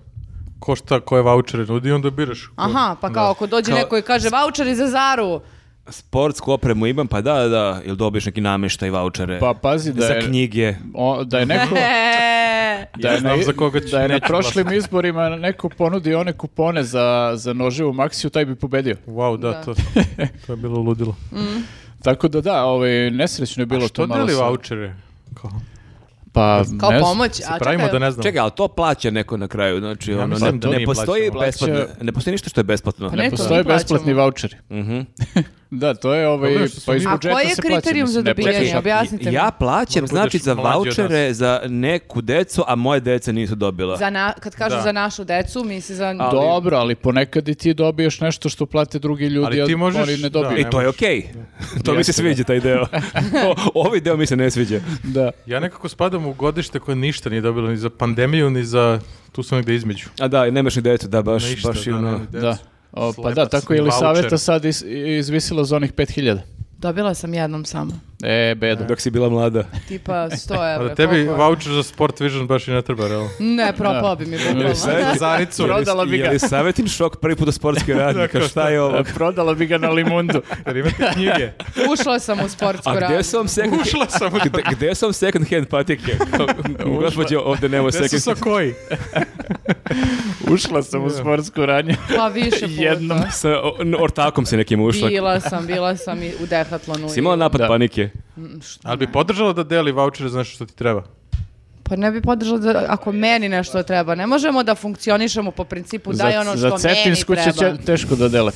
[SPEAKER 4] Ko šta, koje vouchere nudi, onda biraš. Ko-
[SPEAKER 2] Aha, pa kao ako dođe
[SPEAKER 1] Kao-
[SPEAKER 2] neko i kaže vaučeri za Zaru.
[SPEAKER 1] Sportsku opremu imam, pa da, da, ili dobiješ neki namještaj, vaučere.
[SPEAKER 3] Pa pazi da
[SPEAKER 1] za
[SPEAKER 3] je,
[SPEAKER 1] knjige.
[SPEAKER 3] o, da je neko...
[SPEAKER 2] E,
[SPEAKER 3] Da
[SPEAKER 4] Ja
[SPEAKER 3] je
[SPEAKER 4] znam za koga ću-
[SPEAKER 3] da je na
[SPEAKER 4] neću
[SPEAKER 3] prošlim izborima neko ponudio one kupone za, za noživu maksiju, taj bi pobedio.
[SPEAKER 4] Wow, da,
[SPEAKER 2] Da. Mhm.
[SPEAKER 4] To, to je bilo ludilo.
[SPEAKER 3] Tako da da, ovaj, nesrećno je bilo
[SPEAKER 4] A što
[SPEAKER 3] to malo.
[SPEAKER 4] deli
[SPEAKER 3] sa-
[SPEAKER 4] vouchere? Kao,
[SPEAKER 3] Pa,
[SPEAKER 2] (laughs) kao
[SPEAKER 3] ne znam.
[SPEAKER 2] pomoć.
[SPEAKER 4] se
[SPEAKER 2] A
[SPEAKER 4] pravimo
[SPEAKER 2] čekaj,
[SPEAKER 4] da ne znam.
[SPEAKER 1] Čekaj, ali to plaća neko na kraju, znači ono,
[SPEAKER 4] mislim
[SPEAKER 1] ne,
[SPEAKER 4] da
[SPEAKER 1] ne
[SPEAKER 4] nije
[SPEAKER 1] postoji
[SPEAKER 4] plaćeno.
[SPEAKER 1] besplatno,
[SPEAKER 3] Plaća-
[SPEAKER 1] ne postoji ništa što je besplatno.
[SPEAKER 2] Pa ne, to
[SPEAKER 3] Postoje
[SPEAKER 2] mi plaćamo.
[SPEAKER 3] besplatni voucheri. (laughs) da, to je ovaj,
[SPEAKER 4] Mhm. Dobro je što su
[SPEAKER 3] pa iz
[SPEAKER 4] mi-
[SPEAKER 2] A
[SPEAKER 3] budžeta
[SPEAKER 2] koji je
[SPEAKER 3] se plaća,
[SPEAKER 2] kriterijum
[SPEAKER 3] mislim,
[SPEAKER 2] za
[SPEAKER 3] ne plaćaš
[SPEAKER 2] dobijanje?
[SPEAKER 3] ja.
[SPEAKER 2] Objasnite mi.
[SPEAKER 1] Ja plaćam,
[SPEAKER 4] Moraš
[SPEAKER 1] znači
[SPEAKER 4] budeš
[SPEAKER 1] za
[SPEAKER 4] mlađi od
[SPEAKER 1] vouchere za neku decu, a moje deca nisu dobila.
[SPEAKER 2] Za na, kad kažu
[SPEAKER 4] Da.
[SPEAKER 2] za našu decu, misli za...
[SPEAKER 3] Dobro, ali ponekad i ti dobiješ nešto što plate drugi ljudi,
[SPEAKER 4] Ali ti
[SPEAKER 3] a
[SPEAKER 4] možeš-
[SPEAKER 3] oni ne
[SPEAKER 4] da.
[SPEAKER 3] dobiju.
[SPEAKER 1] I to je okej. (laughs) to mi se
[SPEAKER 3] Jeste,
[SPEAKER 1] sviđa taj
[SPEAKER 4] (laughs)
[SPEAKER 1] deo. O, ovaj deo mi se ne sviđa.
[SPEAKER 3] Da.
[SPEAKER 4] Ja nekako spadam u godište koje ništa nije dobilo ni za pandemiju, ni za tu sam negde između.
[SPEAKER 1] A da, i nemaš ni decu, da, baš,
[SPEAKER 4] Ništa,
[SPEAKER 1] baš i
[SPEAKER 4] da,
[SPEAKER 1] ono-
[SPEAKER 4] nema ni decu.
[SPEAKER 3] Da. O, pa
[SPEAKER 4] Slepac,
[SPEAKER 3] da, tako je
[SPEAKER 4] ni
[SPEAKER 3] ili saveta
[SPEAKER 4] voucher.
[SPEAKER 3] sad iz, izvisila za onih 5000.
[SPEAKER 2] Dobila sam jednom samo.
[SPEAKER 3] E, bedo.
[SPEAKER 1] Dok si bila mlada.
[SPEAKER 2] Tipa 100
[SPEAKER 4] A
[SPEAKER 2] evra.
[SPEAKER 4] da tebi
[SPEAKER 2] koliko je?
[SPEAKER 4] voucher za Sport Vision baš i ne
[SPEAKER 2] (laughs)
[SPEAKER 4] treba, realno.
[SPEAKER 2] Ne, propao bi mi bukvalno.
[SPEAKER 4] (laughs) Za Zaricu.
[SPEAKER 3] Prodala bi ga.
[SPEAKER 1] Je li savjetin šok prvi put od
[SPEAKER 4] (laughs)
[SPEAKER 1] sportskih radnika? Šta je ovo?
[SPEAKER 3] E, Prodala bi ga na limundu.
[SPEAKER 4] Jer imate knjige.
[SPEAKER 2] Ušla sam u sportsku
[SPEAKER 1] A gdje
[SPEAKER 2] radnju.
[SPEAKER 1] su vam second
[SPEAKER 4] Ušla sam u
[SPEAKER 1] Gde, gde su vam second hand
[SPEAKER 4] (laughs)
[SPEAKER 1] patike? Gospodje, ovde nemoj
[SPEAKER 4] Gde su
[SPEAKER 1] second
[SPEAKER 4] sa koji?
[SPEAKER 3] (laughs) Ušla sam u sportsku
[SPEAKER 4] (laughs)
[SPEAKER 3] ranju.
[SPEAKER 2] Pa više puta.
[SPEAKER 3] Jednom.
[SPEAKER 1] Sa o- n- ortakom si nekim ušla.
[SPEAKER 2] Bila sam, bila sam i u dehatlonu.
[SPEAKER 1] Si imala
[SPEAKER 2] i-
[SPEAKER 1] napad
[SPEAKER 3] Da.
[SPEAKER 1] panike?
[SPEAKER 2] Šta
[SPEAKER 4] Ali
[SPEAKER 2] ne?
[SPEAKER 4] bi podržala da deli vouchere za nešto što ti treba.
[SPEAKER 2] Pa ne bi podržala da, ako meni nešto treba. Ne možemo da funkcionišemo po principu daj ono
[SPEAKER 3] za
[SPEAKER 2] što meni
[SPEAKER 3] Cetinsku će
[SPEAKER 2] treba.
[SPEAKER 3] će- teško da dele.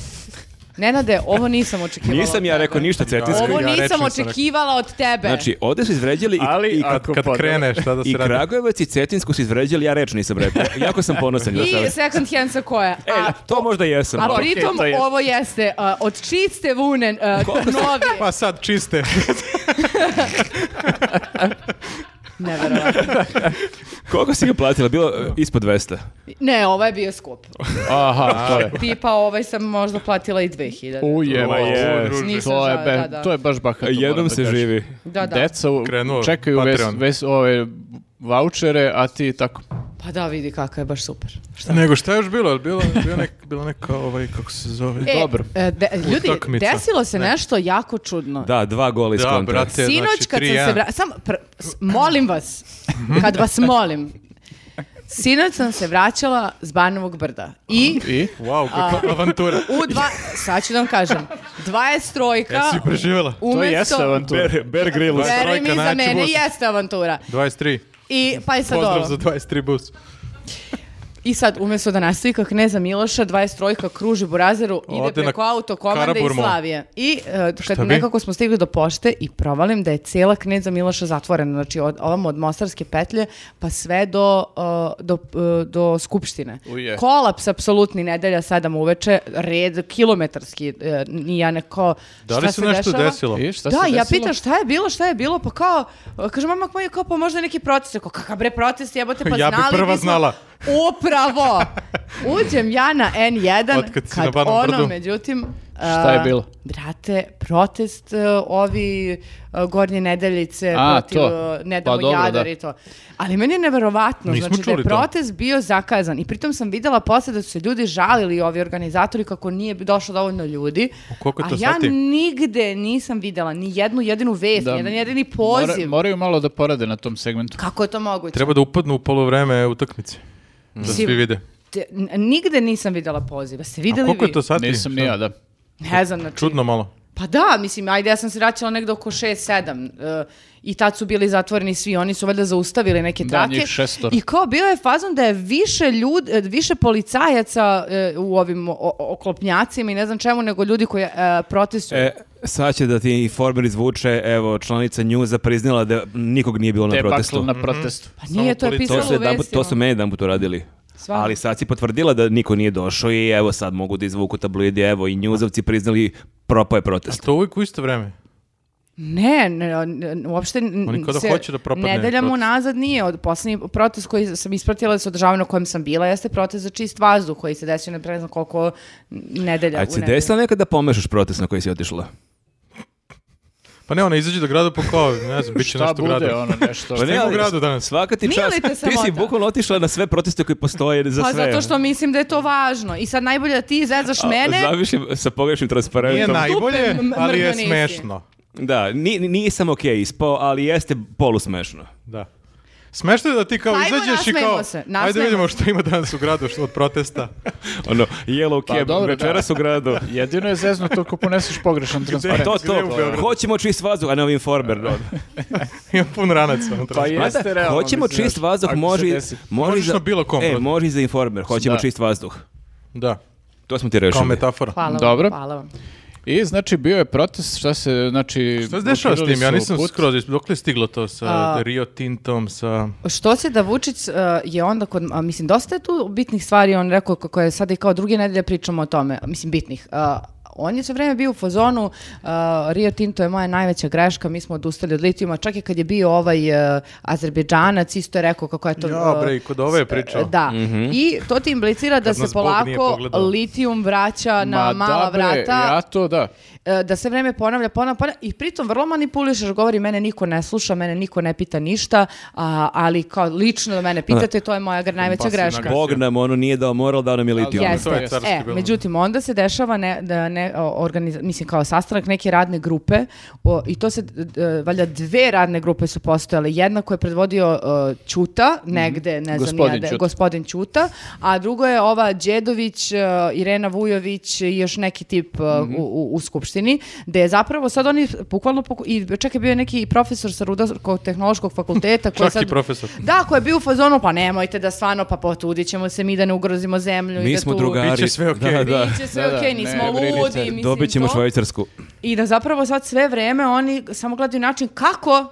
[SPEAKER 2] Nenade, ovo nisam očekivala. od
[SPEAKER 1] Nisam ja
[SPEAKER 2] tebe.
[SPEAKER 1] rekao ništa cetinsko.
[SPEAKER 2] Ovo
[SPEAKER 4] Ja rečem
[SPEAKER 2] nisam
[SPEAKER 4] sam rekao.
[SPEAKER 2] očekivala od tebe.
[SPEAKER 1] Znači, ovde su izvređali i,
[SPEAKER 3] Ali
[SPEAKER 1] i,
[SPEAKER 3] ako
[SPEAKER 4] Kad
[SPEAKER 3] podele-
[SPEAKER 4] krene šta pa da se
[SPEAKER 1] i
[SPEAKER 4] radi.
[SPEAKER 1] Kragujevac i Cetinsku su izvređali, ja reč nisam
[SPEAKER 2] (laughs)
[SPEAKER 1] rekao. Jako sam ponosan. na sebe.
[SPEAKER 2] I second hand sa koje?
[SPEAKER 1] E,
[SPEAKER 2] A,
[SPEAKER 1] to možda jesam.
[SPEAKER 2] a
[SPEAKER 1] ali-
[SPEAKER 2] pritom
[SPEAKER 3] to jest.
[SPEAKER 2] ovo jeste a, od čiste vune a, novi.
[SPEAKER 4] Pa sad čiste.
[SPEAKER 2] Neverovatno.
[SPEAKER 1] Koliko si ga platila? Bilo e, ispod 200.
[SPEAKER 2] Ne, ovo je bio skup.
[SPEAKER 3] Aha,
[SPEAKER 4] (laughs)
[SPEAKER 3] to je.
[SPEAKER 2] Tipa ovaj sam možda platila i 2000.
[SPEAKER 3] Ujeva
[SPEAKER 4] Ovo,
[SPEAKER 3] je.
[SPEAKER 4] druže.
[SPEAKER 2] Nisam
[SPEAKER 3] To je,
[SPEAKER 2] žao,
[SPEAKER 3] be-
[SPEAKER 2] da, da.
[SPEAKER 3] to je baš bahato.
[SPEAKER 4] E,
[SPEAKER 3] moram
[SPEAKER 1] Jednom
[SPEAKER 3] da
[SPEAKER 1] se
[SPEAKER 3] kažem.
[SPEAKER 1] živi.
[SPEAKER 2] Da, da.
[SPEAKER 3] Deca u-
[SPEAKER 4] Krenuo,
[SPEAKER 3] čekaju ves,
[SPEAKER 4] Patreon.
[SPEAKER 3] ves, ove vouchere, a ti tako.
[SPEAKER 2] Pa da, vidi kako je baš super. Šta?
[SPEAKER 4] Nego šta je još bilo? Jel Bilo, bilo, nek, bilo neka, ovaj, kako se zove?
[SPEAKER 2] E,
[SPEAKER 3] Dobro.
[SPEAKER 2] e, de- ljudi,
[SPEAKER 4] Utakmica.
[SPEAKER 2] desilo se nešto jako čudno.
[SPEAKER 1] Da, dva gola iz
[SPEAKER 4] Da,
[SPEAKER 1] kontra.
[SPEAKER 4] brate,
[SPEAKER 2] Sinoć
[SPEAKER 4] znači,
[SPEAKER 2] kad sam
[SPEAKER 4] 3:1.
[SPEAKER 2] se vra... Samo, pr- s- molim vas, kad vas molim, Sinoć sam se vraćala s Banovog brda i
[SPEAKER 3] I?
[SPEAKER 4] Wow, kakva
[SPEAKER 2] (laughs)
[SPEAKER 4] avantura.
[SPEAKER 2] u dva, sad ću da vam kažem, 23
[SPEAKER 4] Jesi preživjela?
[SPEAKER 3] To
[SPEAKER 2] umesto...
[SPEAKER 3] jeste avantura.
[SPEAKER 5] Bear Grylls.
[SPEAKER 4] Bear-
[SPEAKER 2] Veruj mi,
[SPEAKER 4] Trojka,
[SPEAKER 2] za
[SPEAKER 4] najjači
[SPEAKER 2] mene
[SPEAKER 4] bus.
[SPEAKER 2] jeste avantura.
[SPEAKER 4] 23.
[SPEAKER 2] I, pa i sad
[SPEAKER 4] Pozdrav
[SPEAKER 2] ovo.
[SPEAKER 4] za 23 bus.
[SPEAKER 2] I sad, umjesto da nastavi kao kneza Miloša, 23-ka kruži Burazeru, ide
[SPEAKER 4] Ode na
[SPEAKER 2] preko autokomande i
[SPEAKER 4] Karaburmu.
[SPEAKER 2] Slavije. I e, kad
[SPEAKER 4] bi?
[SPEAKER 2] nekako smo stigli do pošte i provalim da je cijela kneza Miloša zatvorena, znači od, ovom od Mostarske petlje pa sve do, e, do, e, do Skupštine.
[SPEAKER 3] Uje.
[SPEAKER 2] Kolaps apsolutni nedelja 7 uveče, red kilometarski, e, ni ja neko
[SPEAKER 4] Da li
[SPEAKER 2] šta
[SPEAKER 4] se nešto
[SPEAKER 2] dešava?
[SPEAKER 4] desilo?
[SPEAKER 3] I šta
[SPEAKER 2] da,
[SPEAKER 3] se
[SPEAKER 2] ja
[SPEAKER 3] desilo?
[SPEAKER 2] pitam šta je bilo, šta je bilo, pa kao, kaže mamak moj, kao pa možda neki protest, kao kakav bre protest, jebote, pa
[SPEAKER 4] Ja bi
[SPEAKER 2] znali
[SPEAKER 4] prva
[SPEAKER 2] bismo."
[SPEAKER 4] znala.
[SPEAKER 2] Upravo! Uđem ja na N1,
[SPEAKER 4] Otkad si
[SPEAKER 2] kad
[SPEAKER 4] na Banom
[SPEAKER 2] ono,
[SPEAKER 4] brdu.
[SPEAKER 2] međutim...
[SPEAKER 3] Šta je
[SPEAKER 2] a,
[SPEAKER 3] bilo?
[SPEAKER 2] Brate, protest e, ovi e, gornje nedeljice
[SPEAKER 3] A,
[SPEAKER 2] protiv
[SPEAKER 3] to.
[SPEAKER 2] e, ne
[SPEAKER 3] Pa
[SPEAKER 2] damo
[SPEAKER 3] dobro,
[SPEAKER 2] jadar
[SPEAKER 3] da.
[SPEAKER 2] i to. Ali meni je neverovatno,
[SPEAKER 4] Nismo
[SPEAKER 2] znači da je
[SPEAKER 4] čuli to.
[SPEAKER 2] protest bio zakazan i pritom sam videla posle da su se ljudi žalili ovi organizatori kako nije došlo dovoljno ljudi.
[SPEAKER 4] U koliko je to
[SPEAKER 2] a ja
[SPEAKER 4] sati?
[SPEAKER 2] nigde nisam videla ni jednu jedinu vest,
[SPEAKER 3] Da.
[SPEAKER 2] ni jedan jedini
[SPEAKER 3] Mora-
[SPEAKER 2] poziv.
[SPEAKER 3] moraju malo da porade na tom segmentu.
[SPEAKER 2] Kako je to moguće?
[SPEAKER 4] Treba da upadnu u polovreme utakmice. Da
[SPEAKER 2] Mislim,
[SPEAKER 4] svi vide.
[SPEAKER 2] Te- n- nigde nisam videla poziva. Ste
[SPEAKER 4] A
[SPEAKER 2] videli
[SPEAKER 4] koliko
[SPEAKER 2] vi?
[SPEAKER 4] je to sati?
[SPEAKER 3] Nisam ni
[SPEAKER 4] Šta?
[SPEAKER 3] ja, da.
[SPEAKER 2] Ne znam, znači...
[SPEAKER 4] Čudno malo.
[SPEAKER 2] Pa da, mislim, ajde, ja sam se vraćala negdje oko 6-7 i tad su bili zatvoreni svi, oni su valjda zaustavili neke
[SPEAKER 3] Da,
[SPEAKER 2] trake.
[SPEAKER 3] njih šestor.
[SPEAKER 2] I kao bio je fazon da je više ljud, e, više policajaca e, u ovim o- o- oklopnjacima i ne znam čemu, nego ljudi koji e, protestuju.
[SPEAKER 1] E, sad će da ti informer izvuče, evo, članica Njuza priznala da nikog nije bilo na
[SPEAKER 3] Te
[SPEAKER 1] protestu.
[SPEAKER 3] bakl na protestu.
[SPEAKER 2] pa nije, to je
[SPEAKER 4] policija.
[SPEAKER 1] To
[SPEAKER 2] pisalo
[SPEAKER 1] su,
[SPEAKER 2] u
[SPEAKER 1] jedanput-
[SPEAKER 2] vestima.
[SPEAKER 1] to su meni jedan put uradili.
[SPEAKER 2] Stvarno?
[SPEAKER 1] Ali sad si potvrdila da niko nije došao i evo sad mogu da izvuku tabloidi, evo i njuzovci priznali propao je
[SPEAKER 2] Pa
[SPEAKER 1] protest.
[SPEAKER 4] To uvijek u isto vreme.
[SPEAKER 2] Ne, ne, ne, uopšte n-
[SPEAKER 4] Oni kao da
[SPEAKER 2] se
[SPEAKER 4] hoće da propadne
[SPEAKER 2] Nedeljama
[SPEAKER 4] protest.
[SPEAKER 2] unazad nije. Od posljednji protest koji sam ispratila da se održava na kojem sam bila jeste protest za čist vazduh koji se desio na pre ne znam koliko nedelja.
[SPEAKER 1] A
[SPEAKER 2] u
[SPEAKER 1] ti se
[SPEAKER 2] nedelju.
[SPEAKER 1] desila nekad da pomešaš protest na koji si otišla?
[SPEAKER 4] Pa ne, ona izađe do grada po kao, ne znam, bit će
[SPEAKER 3] Šta
[SPEAKER 4] nešto u gradu.
[SPEAKER 3] bude ono
[SPEAKER 4] (laughs)
[SPEAKER 3] nešto?
[SPEAKER 1] Pa
[SPEAKER 4] ne, u gradu danas.
[SPEAKER 1] Svaka ti
[SPEAKER 2] Nije
[SPEAKER 1] čast.
[SPEAKER 2] li te
[SPEAKER 1] Ti si
[SPEAKER 2] sramota?
[SPEAKER 1] bukvalno otišla na sve proteste koji postoje za
[SPEAKER 2] Pa
[SPEAKER 1] sve.
[SPEAKER 2] zato što mislim da je to važno. I sad najbolje da ti zezaš mene.
[SPEAKER 1] Zavišim sa pogrešnim
[SPEAKER 4] Nije
[SPEAKER 1] transparentom.
[SPEAKER 4] najbolje,
[SPEAKER 2] m- mrgo
[SPEAKER 4] ali je
[SPEAKER 2] nisi.
[SPEAKER 4] E, smešno.
[SPEAKER 1] Da, ni, nisam okej ispao, ali jeste polusmešno.
[SPEAKER 4] Da. Smešno je da ti kao
[SPEAKER 2] Ajmo,
[SPEAKER 4] izađeš i
[SPEAKER 2] nasmejmo
[SPEAKER 4] kao,
[SPEAKER 2] se,
[SPEAKER 4] ajde
[SPEAKER 2] nasmejmo
[SPEAKER 4] vidimo
[SPEAKER 2] se."
[SPEAKER 4] što ima danas u gradu što od protesta. (laughs)
[SPEAKER 1] Ono, yellow
[SPEAKER 3] Pa
[SPEAKER 1] cab,
[SPEAKER 3] dobro, da.
[SPEAKER 1] večeras u gradu.
[SPEAKER 3] Jedino je zezno to ko poneseš
[SPEAKER 4] (laughs)
[SPEAKER 3] pogrešan
[SPEAKER 1] Pa
[SPEAKER 3] transparent.
[SPEAKER 1] to,
[SPEAKER 4] Gde u
[SPEAKER 1] to,
[SPEAKER 4] Beogradu?
[SPEAKER 1] hoćemo čist vazduh, a ne ovaj informer. da.
[SPEAKER 4] Ima pun ranac. ono, unutra.
[SPEAKER 3] Pa je. Jeste
[SPEAKER 1] Mada,
[SPEAKER 3] realno,
[SPEAKER 1] hoćemo
[SPEAKER 3] mislim,
[SPEAKER 1] čist vazduh,
[SPEAKER 3] ako se
[SPEAKER 1] može, i-
[SPEAKER 3] desi.
[SPEAKER 1] može i
[SPEAKER 4] Možeš
[SPEAKER 1] za-
[SPEAKER 4] na bilo kom
[SPEAKER 1] E,
[SPEAKER 4] brodu.
[SPEAKER 1] može i za informer, hoćemo
[SPEAKER 3] Da.
[SPEAKER 1] čist vazduh.
[SPEAKER 4] Da,
[SPEAKER 1] To smo ti
[SPEAKER 3] Pa
[SPEAKER 4] kao
[SPEAKER 1] rešili.
[SPEAKER 4] metafora.
[SPEAKER 2] Hvala vam,
[SPEAKER 3] Dobro.
[SPEAKER 2] hvala vam.
[SPEAKER 3] I znači bio je protest, šta se, znači...
[SPEAKER 4] Šta se dešava s
[SPEAKER 3] blokirali
[SPEAKER 4] tim? Ja
[SPEAKER 3] su
[SPEAKER 4] nisam
[SPEAKER 3] put.
[SPEAKER 4] skroz, is- dokle je stiglo to sa
[SPEAKER 2] A-
[SPEAKER 4] Rio Tintom, sa...
[SPEAKER 2] Što se da Vučić e, je onda kod, a, mislim, dosta je tu bitnih stvari, on rekao kako je sada i kao druge nedelje pričamo o tome, mislim, bitnih. A, on je sve vreme bio u fazonu, a, Rio Tinto je moja najveća greška, mi smo odustali od litijuma, čak i kad je bio ovaj e, Azerbejdžanac, isto je rekao kako je to...
[SPEAKER 4] Ja,
[SPEAKER 2] e,
[SPEAKER 4] bre, i kod ove je pričao.
[SPEAKER 2] Da.
[SPEAKER 3] Mhm.
[SPEAKER 2] I to ti implicira da
[SPEAKER 4] Kad
[SPEAKER 2] se
[SPEAKER 4] nas Bog nije
[SPEAKER 2] polako
[SPEAKER 4] pogledao.
[SPEAKER 2] litijum vraća na
[SPEAKER 3] Ma
[SPEAKER 2] mala
[SPEAKER 3] da, bre,
[SPEAKER 2] vrata
[SPEAKER 3] Ja to, da.
[SPEAKER 2] e, da se vreme ponavlja, ponavlja, ponavlja i pritom vrlo manipulišeš, govori mene niko ne sluša, mene niko ne pita ništa, a, ali kao lično da mene pitate, to je moja gr- najveća
[SPEAKER 4] Pasivna
[SPEAKER 2] greška.
[SPEAKER 4] greška.
[SPEAKER 1] Bog nam ono nije dao moral, dao nam je litijum.
[SPEAKER 3] Jeste.
[SPEAKER 4] To je carski
[SPEAKER 2] E,
[SPEAKER 4] govno.
[SPEAKER 2] međutim, onda se dešava ne, da ne, o, organiza- mislim kao sastanak neke radne grupe o, i to se, d- d- valjda dve radne grupe su postojale. Jedna koju je predvodio o, Ćuta,
[SPEAKER 4] Mhm.
[SPEAKER 2] negde, ne znam ni ja
[SPEAKER 3] Gospodin
[SPEAKER 2] da-
[SPEAKER 3] Ćuta.
[SPEAKER 2] gospodin Ćuta, a drugo je ova Đedović, e, Irena Vujović i još neki tip e,
[SPEAKER 4] Mhm.
[SPEAKER 2] u, u, u Skupštini, gde je zapravo sad oni bukvalno, poku- i čak je bio neki profesor sa Rudarskog tehnološkog fakulteta koji
[SPEAKER 4] Čak
[SPEAKER 2] sad...
[SPEAKER 4] i profesor.
[SPEAKER 2] Da, koji je bio u fazonu, pa nemojte da stvarno, pa potudit ćemo se mi da ne ugrozimo zemlju. i
[SPEAKER 1] Mi
[SPEAKER 2] da
[SPEAKER 1] smo
[SPEAKER 2] tu...
[SPEAKER 1] drugari.
[SPEAKER 4] Biće sve okej.
[SPEAKER 1] Da, da.
[SPEAKER 2] Biće sve
[SPEAKER 3] (laughs) Da, da,
[SPEAKER 2] okej,
[SPEAKER 3] ne
[SPEAKER 2] nismo
[SPEAKER 3] brinite.
[SPEAKER 2] ludi, mislim
[SPEAKER 1] Dobit ćemo
[SPEAKER 2] to.
[SPEAKER 1] švajcarsku.
[SPEAKER 2] I da zapravo sad sve vreme oni samo gledaju način kako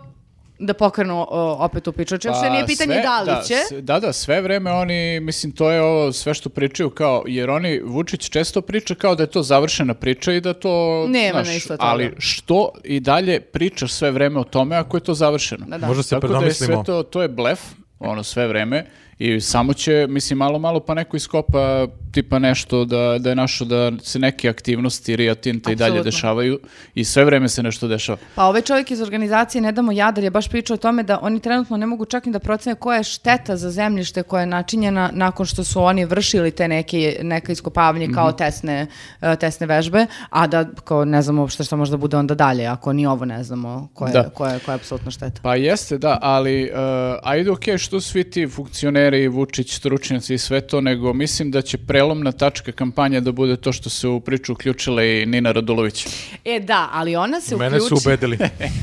[SPEAKER 2] da pokrenu o, opet tu priču. Čak se nije pitanje
[SPEAKER 3] Pa sve-
[SPEAKER 2] da li će.
[SPEAKER 3] s- Da, da, sve vreme oni, mislim, to je ovo sve što pričaju kao, jer oni, Vučić često priča kao da je to završena priča i da to,
[SPEAKER 2] Nema
[SPEAKER 3] znaš,
[SPEAKER 2] ništa od toga.
[SPEAKER 3] ali što i dalje pričaš sve vreme o tome ako je to završeno?
[SPEAKER 2] Da, da.
[SPEAKER 4] Možda se
[SPEAKER 3] Tako da je sve
[SPEAKER 4] predomislimo.
[SPEAKER 3] to, to je blef, ono sve vreme i samo će, mislim, malo, malo pa neko iskopa tipa nešto da, da je našo da se neke aktivnosti Rio Tinta i dalje
[SPEAKER 2] Apsolutno.
[SPEAKER 3] dešavaju i sve vreme se nešto dešava.
[SPEAKER 2] Pa ovaj čovjek iz organizacije Ne damo jadar je baš pričao o tome da oni trenutno ne mogu čak ni da procene koja je šteta za zemljište koja je načinjena nakon što su oni vršili te neke, neka iskopavanje kao
[SPEAKER 3] Mhm.
[SPEAKER 2] tesne, e, tesne vežbe, a da kao ne znamo uopšte što možda bude onda dalje, ako ni ovo ne znamo koja je,
[SPEAKER 3] Da.
[SPEAKER 2] koja je, koja je apsolutna šteta.
[SPEAKER 3] e, Pa jeste, da, ali uh, ajde okej što svi ti funkcioneri funkcioneri, Vučić, stručnjaci i sve to, nego mislim da će prelomna tačka kampanja da bude to što se u priču uključila i Nina Radulović.
[SPEAKER 2] E da, ali ona se
[SPEAKER 4] Mene su
[SPEAKER 2] uključi- (laughs)
[SPEAKER 4] ubedili.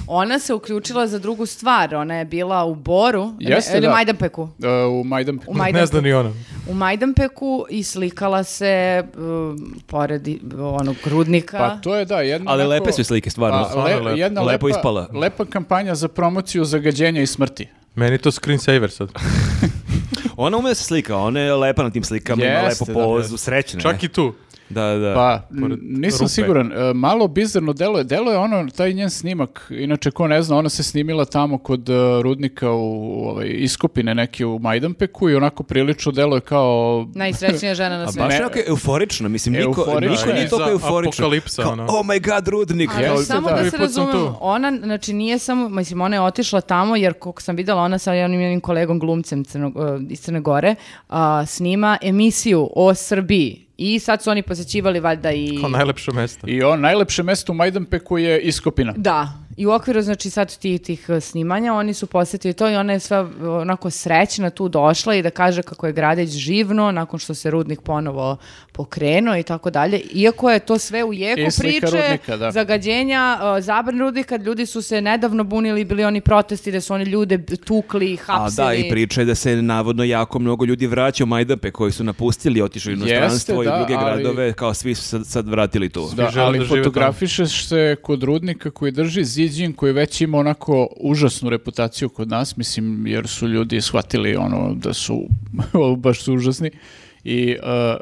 [SPEAKER 2] Ona se uključila za drugu stvar. Ona je bila u Boru,
[SPEAKER 3] Jeste,
[SPEAKER 2] ne, ili
[SPEAKER 3] da.
[SPEAKER 2] Majdanpeku.
[SPEAKER 3] E, u Majdanpeku.
[SPEAKER 2] U Majdanpeku.
[SPEAKER 4] ne zna ni ono. ona.
[SPEAKER 2] U Majdanpeku i slikala se um, pored i- onog rudnika.
[SPEAKER 3] Pa to je da, jedna...
[SPEAKER 1] Ali
[SPEAKER 3] onako-
[SPEAKER 1] lepe su slike, stvarno.
[SPEAKER 3] Pa, le-
[SPEAKER 4] Stvarno lepo.
[SPEAKER 3] jedna
[SPEAKER 1] Lepo
[SPEAKER 3] lepa,
[SPEAKER 1] ispala.
[SPEAKER 3] lepa kampanja za promociju zagađenja i smrti.
[SPEAKER 4] Meni je to screensaver sad.
[SPEAKER 1] Ona ume da se slika, ona je lepa na tim slikama, ima
[SPEAKER 3] Jeste,
[SPEAKER 1] lepu
[SPEAKER 3] da,
[SPEAKER 1] pozu, srećna je.
[SPEAKER 4] Čak i tu.
[SPEAKER 1] Da, da.
[SPEAKER 3] Pa, n- nisam
[SPEAKER 4] rupe.
[SPEAKER 3] siguran. E, malo bizarno delo je. Delo je ono, taj njen snimak, inače ko ne zna, ona se snimila tamo kod e, rudnika u, u ovaj, iskopine neke u Majdanpeku i onako prilično delo je kao...
[SPEAKER 2] Najsrećnija žena na
[SPEAKER 1] A
[SPEAKER 2] svijetu.
[SPEAKER 1] baš
[SPEAKER 3] Ne.
[SPEAKER 1] onako je euforično, mislim, niko,
[SPEAKER 3] Euforično
[SPEAKER 1] niko nije
[SPEAKER 4] je.
[SPEAKER 1] toliko
[SPEAKER 4] Za
[SPEAKER 1] euforično.
[SPEAKER 4] apokalipsa,
[SPEAKER 1] Kao,
[SPEAKER 4] ono.
[SPEAKER 1] oh my god, rudnik.
[SPEAKER 2] Ali
[SPEAKER 3] Jeste,
[SPEAKER 2] samo
[SPEAKER 3] da.
[SPEAKER 2] da,
[SPEAKER 4] Prvi
[SPEAKER 2] se
[SPEAKER 4] put sam
[SPEAKER 2] razumemo,
[SPEAKER 4] tu.
[SPEAKER 2] ona, znači nije samo, mislim, ona je otišla tamo jer kako sam vidjela, ona sa jednim njenim kolegom glumcem Crnog- eh, iz Crne Gore a, snima emisiju o Srbiji i sad su oni posjećivali valjda i...
[SPEAKER 4] Kao najlepše mesto.
[SPEAKER 3] I on, najlepše mesto u Majdanpeku je iskopina.
[SPEAKER 2] Da, i u okviru znači sad tih, tih eh, snimanja oni su posjetili to i ona je sva eh, onako srećna tu došla i da kaže kako je Gradić živno nakon što se rudnik ponovo pokrenuo i tako dalje. Iako je to sve u
[SPEAKER 3] I
[SPEAKER 2] jeku
[SPEAKER 3] slika
[SPEAKER 2] priče,
[SPEAKER 3] rudnika, da.
[SPEAKER 2] zagađenja, eh, zabran rudnika, ljudi su se nedavno bunili, i bili oni protesti da su oni ljude b- tukli
[SPEAKER 1] A
[SPEAKER 2] i hapsili.
[SPEAKER 1] da, i priča je da se navodno jako mnogo ljudi vraća u Majdanpe koji su napustili, otišli u
[SPEAKER 3] Jeste,
[SPEAKER 1] inostranstvo i
[SPEAKER 3] da,
[SPEAKER 1] druge
[SPEAKER 3] ali-
[SPEAKER 1] gradove, kao svi su sad, sad vratili tu.
[SPEAKER 3] Da,
[SPEAKER 4] žele
[SPEAKER 3] ali
[SPEAKER 4] da žive
[SPEAKER 3] fotografišeš se kod rudnika koji drži Ziđin koji već ima onako užasnu reputaciju kod nas, mislim, jer su ljudi shvatili ono da su, (laughs) baš su užasni i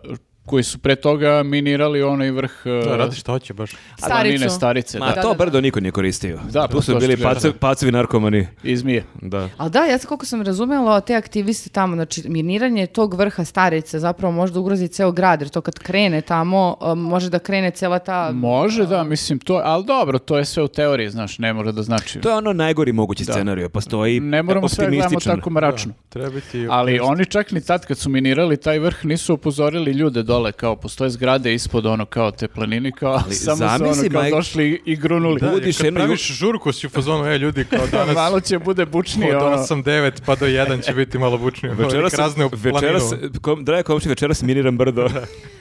[SPEAKER 3] uh, koji su pre toga minirali onaj vrh uh,
[SPEAKER 4] Da, radi šta hoće baš.
[SPEAKER 2] Staricu.
[SPEAKER 3] planine starice,
[SPEAKER 1] Ma
[SPEAKER 3] da,
[SPEAKER 1] to
[SPEAKER 2] da, da.
[SPEAKER 1] brdo niko nije koristio.
[SPEAKER 3] Da,
[SPEAKER 1] tu su
[SPEAKER 3] to
[SPEAKER 1] bili
[SPEAKER 3] što kažem.
[SPEAKER 1] paco- pacovi narkomani.
[SPEAKER 3] izmije.
[SPEAKER 1] Da.
[SPEAKER 2] Ali da, ja sam koliko sam razumela te aktiviste tamo, znači miniranje tog vrha starice zapravo možda ugrozi ceo grad, jer to kad krene tamo, eh, može da krene cela ta
[SPEAKER 3] Može, da, mislim, to, ali dobro, to je sve u teoriji, znaš, ne mora da znači.
[SPEAKER 1] To je ono najgori mogući scenarij, postoji
[SPEAKER 3] ne
[SPEAKER 4] e,
[SPEAKER 3] moramo sve gledamo
[SPEAKER 1] optimističan.
[SPEAKER 3] tako mračno.
[SPEAKER 4] Treba biti...
[SPEAKER 3] Ali oni čak ni tad kad su minirali taj vrh nisu upozorili ljude dole kao postoje zgrade ispod ono kao te planine kao (laughs) samo su ono
[SPEAKER 1] zamisli,
[SPEAKER 3] kao
[SPEAKER 1] Mike-
[SPEAKER 3] došli i grunuli.
[SPEAKER 4] Da, jer
[SPEAKER 1] budiš
[SPEAKER 4] kad
[SPEAKER 1] jedno
[SPEAKER 4] praviš žurku si u fazonu, e ljudi,
[SPEAKER 3] (laughs)
[SPEAKER 4] kao danas
[SPEAKER 3] Malo će bude bučnije
[SPEAKER 4] od
[SPEAKER 3] ono.
[SPEAKER 4] 8-9 pa do 1 će biti malo bučnije.
[SPEAKER 1] Večeras,
[SPEAKER 4] Večeras razne u
[SPEAKER 1] večeras,
[SPEAKER 4] planinu.
[SPEAKER 1] kom, draga komši, večeras miniram brdo.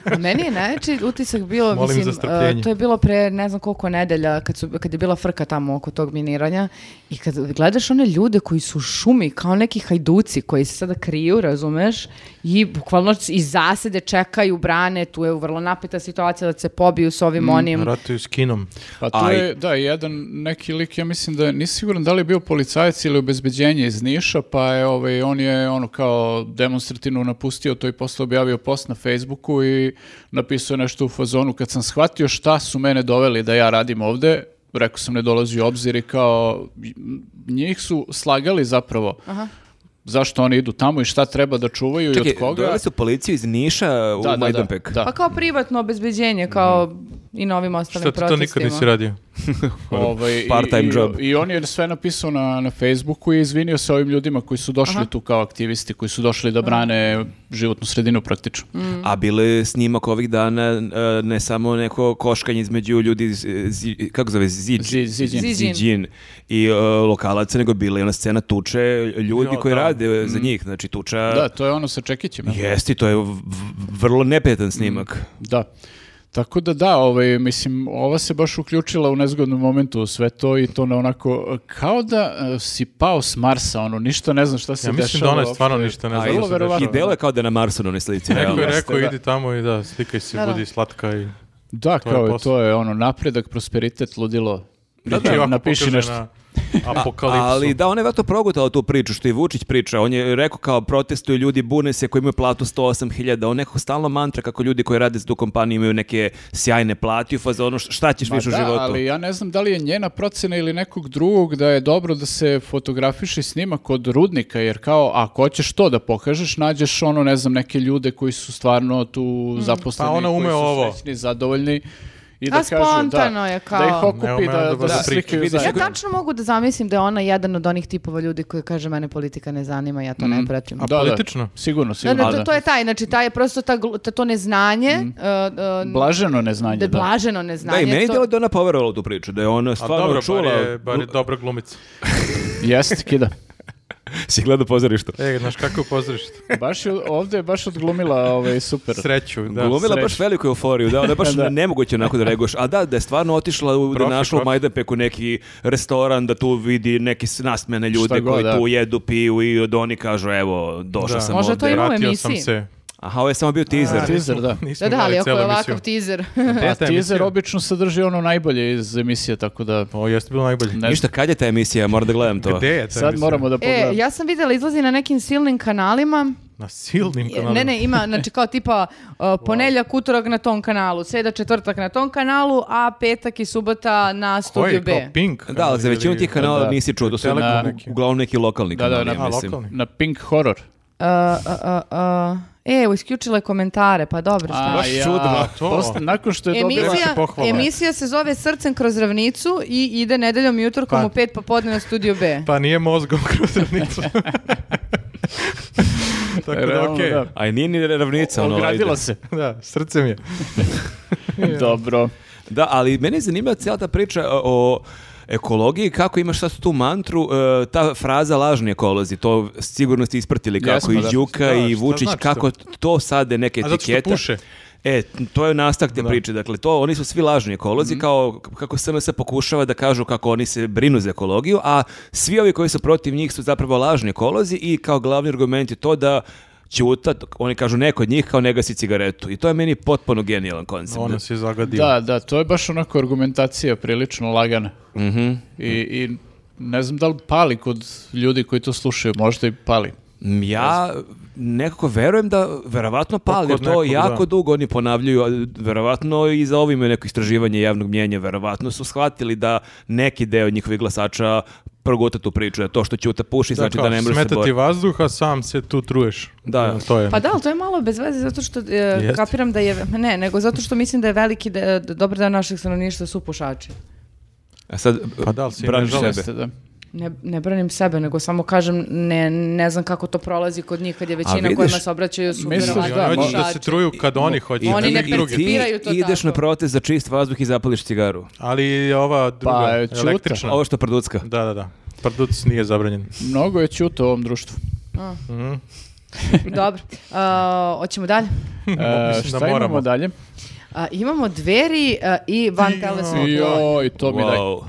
[SPEAKER 2] A Meni je najveći utisak bilo,
[SPEAKER 4] Molim za
[SPEAKER 2] mislim,
[SPEAKER 4] strpljenje.
[SPEAKER 2] uh, to je bilo pre ne znam koliko nedelja kad, su, kad je bila frka tamo oko tog miniranja i kad gledaš one ljude koji su u šumi kao neki hajduci koji se sada kriju, razumeš, i bukvalno iz zasede čekaju brane, tu je vrlo napeta situacija da se pobiju s
[SPEAKER 4] Mm,
[SPEAKER 2] ovim onim.
[SPEAKER 4] Ratuju s kinom.
[SPEAKER 3] Pa to
[SPEAKER 1] Aj.
[SPEAKER 3] je, da, jedan neki lik, ja mislim da nisam siguran da li je bio policajac ili obezbeđenje iz Niša, pa je, ovaj, on je ono kao demonstrativno napustio to i posle objavio post na Facebooku i napisao je nešto u fazonu. Kad sam shvatio šta su mene doveli da ja radim ovde, rekao sam ne dolazi u obzir i kao njih su slagali zapravo. Zašto oni idu tamo i šta treba da čuvaju i
[SPEAKER 1] Čekaj,
[SPEAKER 3] od koga.
[SPEAKER 1] doveli su policiju iz Niša u
[SPEAKER 3] Da, da, da,
[SPEAKER 1] Majdanpek.
[SPEAKER 3] da.
[SPEAKER 2] Pa kao privatno obezbeđenje, kao i na ovim ostalim
[SPEAKER 4] Šta ti to nikad
[SPEAKER 2] protestima.
[SPEAKER 4] nisi radio?
[SPEAKER 3] Ovaj, i-
[SPEAKER 1] Part-time
[SPEAKER 3] i,
[SPEAKER 1] job.
[SPEAKER 3] I on je sve napisao na, na Facebooku i izvinio se ovim ljudima koji su došli tu kao aktivisti, koji su došli da Mhm. brane životnu sredinu praktično.
[SPEAKER 1] A bilo je snimak ovih dana, e, ne samo neko koškanje između ljudi, iz, e, zi- kako zove, Ziđ,
[SPEAKER 3] Zi- Ziđin.
[SPEAKER 2] Ziđin.
[SPEAKER 1] Ziđin i e, lokalaca, nego bila je ona scena tuče ljudi
[SPEAKER 4] Jo,
[SPEAKER 1] koji
[SPEAKER 4] da. Mm.
[SPEAKER 1] rade za njih, znači tuča...
[SPEAKER 3] Da, to je ono sa Čekićem. ja.
[SPEAKER 1] Jesti, to je v- v- vrlo
[SPEAKER 4] Mm.
[SPEAKER 1] neprijatan snimak.
[SPEAKER 3] Da. Tako da da, ovaj, mislim, ova se baš uključila u nezgodnom momentu u sve to i to na onako, kao da e, si pao s Marsa, ono, ništa ne znam šta se
[SPEAKER 4] Ja mislim da
[SPEAKER 3] dešava.
[SPEAKER 4] ona je stvarno
[SPEAKER 3] uopšte.
[SPEAKER 4] ništa ne
[SPEAKER 1] A
[SPEAKER 4] zna.
[SPEAKER 1] i-
[SPEAKER 4] šta se
[SPEAKER 3] verovatno.
[SPEAKER 1] I
[SPEAKER 4] dešava.
[SPEAKER 1] delo je kao da je na Marsu na onoj slici.
[SPEAKER 4] Neko je
[SPEAKER 1] realno.
[SPEAKER 4] rekao
[SPEAKER 3] da.
[SPEAKER 4] idi tamo i da, slikaj se,
[SPEAKER 2] Da, da.
[SPEAKER 4] budi slatka i...
[SPEAKER 3] Da,
[SPEAKER 4] je
[SPEAKER 3] kao je,
[SPEAKER 4] posao.
[SPEAKER 3] to je ono, napredak, prosperitet, ludilo.
[SPEAKER 4] Da,
[SPEAKER 3] Pričaj, napiši nešto.
[SPEAKER 4] apokalipsu.
[SPEAKER 1] Ali da, on je vjerojatno progutao tu priču što i Vučić priča. On je rekao kao protestuju ljudi, bune se koji imaju platu 108.000. On nekako stalno mantra kako ljudi koji rade za tu kompaniju imaju neke sjajne plati. Faza ono šta ćeš
[SPEAKER 3] Pa
[SPEAKER 1] više u
[SPEAKER 3] da,
[SPEAKER 1] životu.
[SPEAKER 3] ali ja ne znam da li je njena procena ili nekog drugog da je dobro da se fotografiše snima kod rudnika, jer kao ako hoćeš to da pokažeš, nađeš ono, ne znam, neke ljude koji su stvarno tu zaposleni,
[SPEAKER 4] Pa ona ume
[SPEAKER 3] koji su
[SPEAKER 4] ovo.
[SPEAKER 3] srećni, zadovoljni i da
[SPEAKER 2] A
[SPEAKER 3] kažu da,
[SPEAKER 2] spontano je kao.
[SPEAKER 3] da ih
[SPEAKER 4] Ne
[SPEAKER 3] okupi,
[SPEAKER 4] ume
[SPEAKER 3] da,
[SPEAKER 4] da
[SPEAKER 3] da,
[SPEAKER 4] bude
[SPEAKER 3] se
[SPEAKER 4] prik.
[SPEAKER 3] slikaju
[SPEAKER 1] Vidiš
[SPEAKER 3] zajedno.
[SPEAKER 2] Ja tačno mogu da zamislim da je ona jedan od onih tipova ljudi koji kaže mene politika ne zanima, ja to ne pratim.
[SPEAKER 4] Mm. A
[SPEAKER 3] Da, da,
[SPEAKER 4] politično?
[SPEAKER 3] sigurno,
[SPEAKER 2] Da,
[SPEAKER 3] sigurno.
[SPEAKER 2] da, to, to je taj, znači taj je prosto ta, glu- ta- to neznanje,
[SPEAKER 4] Mm.
[SPEAKER 2] uh, uh,
[SPEAKER 3] Blaženo
[SPEAKER 2] da,
[SPEAKER 3] neznanje, da.
[SPEAKER 2] je
[SPEAKER 3] (laughs)
[SPEAKER 2] blaženo
[SPEAKER 1] Da,
[SPEAKER 2] neznanje.
[SPEAKER 1] i meni je
[SPEAKER 2] to-
[SPEAKER 1] delo da je ona poverovala u tu priču, da je ona
[SPEAKER 4] A
[SPEAKER 1] stvarno
[SPEAKER 4] dobro, pa
[SPEAKER 1] čula.
[SPEAKER 4] bar je, bar je dobra glumica.
[SPEAKER 2] (laughs)
[SPEAKER 3] Jeste, kida.
[SPEAKER 1] (laughs) Si gledao pozorištu.
[SPEAKER 4] E, znaš kako
[SPEAKER 3] (laughs)
[SPEAKER 4] pozorište?
[SPEAKER 3] Baš je, ovdje je baš odglumila ovaj, super.
[SPEAKER 4] Sreću, da.
[SPEAKER 1] Glumila baš
[SPEAKER 3] sreću.
[SPEAKER 1] veliku euforiju, da, onda je baš
[SPEAKER 3] (laughs) Da.
[SPEAKER 1] nemoguće onako da reaguješ. A da, da je stvarno otišla, u, da je
[SPEAKER 4] Profi,
[SPEAKER 1] našla u
[SPEAKER 4] profi.
[SPEAKER 1] Majdanpeku neki restoran, da tu vidi neki s- nasmene ljude
[SPEAKER 3] Šta god,
[SPEAKER 1] koji
[SPEAKER 3] da.
[SPEAKER 1] tu jedu, piju i od oni kažu, evo, došao
[SPEAKER 4] Da.
[SPEAKER 1] sam
[SPEAKER 2] Možda to
[SPEAKER 1] ovde.
[SPEAKER 2] ima u
[SPEAKER 4] Vratio sam
[SPEAKER 2] emisiji.
[SPEAKER 4] se.
[SPEAKER 1] Aha, ovo je samo bio teaser.
[SPEAKER 3] Teaser, da.
[SPEAKER 4] Nismo
[SPEAKER 2] Da, da, ali
[SPEAKER 4] gledali
[SPEAKER 2] ako
[SPEAKER 4] celu
[SPEAKER 2] je
[SPEAKER 4] emisiju.
[SPEAKER 2] ovakav teaser. (laughs) E,
[SPEAKER 4] Gde je
[SPEAKER 3] A
[SPEAKER 4] ta emisija?
[SPEAKER 3] Pa teaser obično sadrži ono najbolje iz emisije, tako da...
[SPEAKER 4] Ovo jeste bilo najbolje.
[SPEAKER 3] Ne,
[SPEAKER 1] Ništa, kad je ta emisija, moram da gledam to.
[SPEAKER 4] Gde je ta
[SPEAKER 3] sad
[SPEAKER 4] emisija?
[SPEAKER 3] moramo da
[SPEAKER 2] E,
[SPEAKER 3] pogledamo.
[SPEAKER 2] ja sam vidjela, izlazi na nekim silnim kanalima.
[SPEAKER 4] Na silnim kanalima.
[SPEAKER 2] Ne, ne, ima, znači kao tipa uh, ponedjeljak, utorak na tom kanalu, sreda, četvrtak na tom kanalu, a petak i subota na
[SPEAKER 4] Koji,
[SPEAKER 2] studiju
[SPEAKER 4] kao
[SPEAKER 2] B.
[SPEAKER 4] Pink?
[SPEAKER 1] Da, ali za
[SPEAKER 4] Ili-
[SPEAKER 1] većinu tih kanala
[SPEAKER 3] Da.
[SPEAKER 1] nisi čuo, to su
[SPEAKER 4] Telekom
[SPEAKER 1] na-
[SPEAKER 4] neki.
[SPEAKER 1] uglavnom neki lokalni
[SPEAKER 3] Da, da,
[SPEAKER 1] kanali,
[SPEAKER 3] da.
[SPEAKER 1] ja
[SPEAKER 4] A,
[SPEAKER 1] mislim.
[SPEAKER 4] lokalni.
[SPEAKER 3] Na Pink Horror.
[SPEAKER 2] Uh, uh, uh, uh, e, isključila je komentare, pa dobro. šta?
[SPEAKER 3] A, ja,
[SPEAKER 4] čudno to.
[SPEAKER 3] posle- nakon što je dobila...
[SPEAKER 4] Emisija- pohvala.
[SPEAKER 2] emisija se zove Srcem kroz ravnicu i ide nedeljom i utorkom
[SPEAKER 4] Pa-
[SPEAKER 2] u pet popodne na studiju B.
[SPEAKER 4] Pa nije mozgom (laughs) kroz ravnicu. Tako da,
[SPEAKER 3] Realno,
[SPEAKER 4] okej.
[SPEAKER 3] da.
[SPEAKER 1] A i nije ni ravnica. ono,
[SPEAKER 3] Ogradila
[SPEAKER 1] ajde.
[SPEAKER 3] se.
[SPEAKER 4] Da, srce mi je.
[SPEAKER 3] Dobro.
[SPEAKER 1] Da, ali mene je zanimljiva cijela ta priča e, o ekologiji, kako imaš sad tu mantru, e, ta fraza lažni ekolozi, to sigurno ste ispratili kako
[SPEAKER 3] Jesmo,
[SPEAKER 1] i
[SPEAKER 3] da.
[SPEAKER 1] Đuka
[SPEAKER 4] Da,
[SPEAKER 1] i
[SPEAKER 4] šta
[SPEAKER 1] Vučić,
[SPEAKER 4] znači
[SPEAKER 1] kako to sade neke
[SPEAKER 4] A zato što
[SPEAKER 1] etikete.
[SPEAKER 4] puše.
[SPEAKER 1] E, to je nastak te priče, dakle, to, oni su svi lažni
[SPEAKER 4] Mhm.
[SPEAKER 1] ekolozi, kao kako SNS pokušava da kažu kako oni se brinu za ekologiju, a svi ovi koji su protiv njih su zapravo lažni ekolozi i kao glavni argument je to da ćuta, oni kažu neko od njih kao ne gasi cigaretu i to je meni potpuno genijalan koncept.
[SPEAKER 4] Ono se zagadio.
[SPEAKER 3] Da, da, to je baš onako argumentacija prilično lagana. I, I ne znam da li pali kod ljudi koji to slušaju, možda i pali.
[SPEAKER 1] Mm, Ja nekako verujem da verovatno pali, jer
[SPEAKER 4] kod
[SPEAKER 1] to
[SPEAKER 4] Pa nekog,
[SPEAKER 1] jako
[SPEAKER 4] da.
[SPEAKER 1] dugo oni ponavljaju, a verovatno i za ovime neko istraživanje javnog mnjenja, verovatno su shvatili da neki deo njihovih glasača proguta tu priču, da to što ćuta puši znači
[SPEAKER 4] kao,
[SPEAKER 1] da ne može se
[SPEAKER 4] smeta ti
[SPEAKER 1] boriti.
[SPEAKER 4] vazduh, a sam se tu truješ.
[SPEAKER 1] Da.
[SPEAKER 4] Evo, to je.
[SPEAKER 2] Pa da, ali to je malo bez veze zato što e, kapiram da je, ma ne, nego zato što mislim da je veliki de, da dobar deo našeg stanovništva su pušači.
[SPEAKER 1] A E sad
[SPEAKER 4] Pa da, ali si
[SPEAKER 1] braniš
[SPEAKER 4] ne želiš.
[SPEAKER 1] sebe.
[SPEAKER 3] Jeste, da.
[SPEAKER 2] Ne, ne branim sebe, nego samo kažem ne, ne znam kako to prolazi kod njih kad je većina
[SPEAKER 1] vidiš,
[SPEAKER 2] kojima se obraćaju su
[SPEAKER 3] misliš
[SPEAKER 4] I
[SPEAKER 2] verovatno
[SPEAKER 4] oni
[SPEAKER 3] Da,
[SPEAKER 4] hoće da
[SPEAKER 2] pušači.
[SPEAKER 4] se truju kad oni hoće.
[SPEAKER 2] Oni
[SPEAKER 4] da
[SPEAKER 2] ne
[SPEAKER 4] neki
[SPEAKER 1] ti
[SPEAKER 4] drugi.
[SPEAKER 2] percipiraju to
[SPEAKER 1] ideš
[SPEAKER 2] tako.
[SPEAKER 1] na protest za čist vazduh i zapališ cigaru.
[SPEAKER 4] Ali i ova druga,
[SPEAKER 3] Pa, e, Ćuta.
[SPEAKER 4] električna.
[SPEAKER 1] Ovo što producka.
[SPEAKER 4] Da, da, da. Prduc nije zabranjen.
[SPEAKER 3] Mnogo je ćuto u ovom društvu.
[SPEAKER 2] Dobro, A, hoćemo dalje.
[SPEAKER 3] E,
[SPEAKER 4] Mislim da
[SPEAKER 3] šta
[SPEAKER 4] moramo.
[SPEAKER 3] imamo dalje?
[SPEAKER 2] A, imamo dveri a, i van telesnog tla.
[SPEAKER 3] Joj, to mi daj.
[SPEAKER 1] Wow.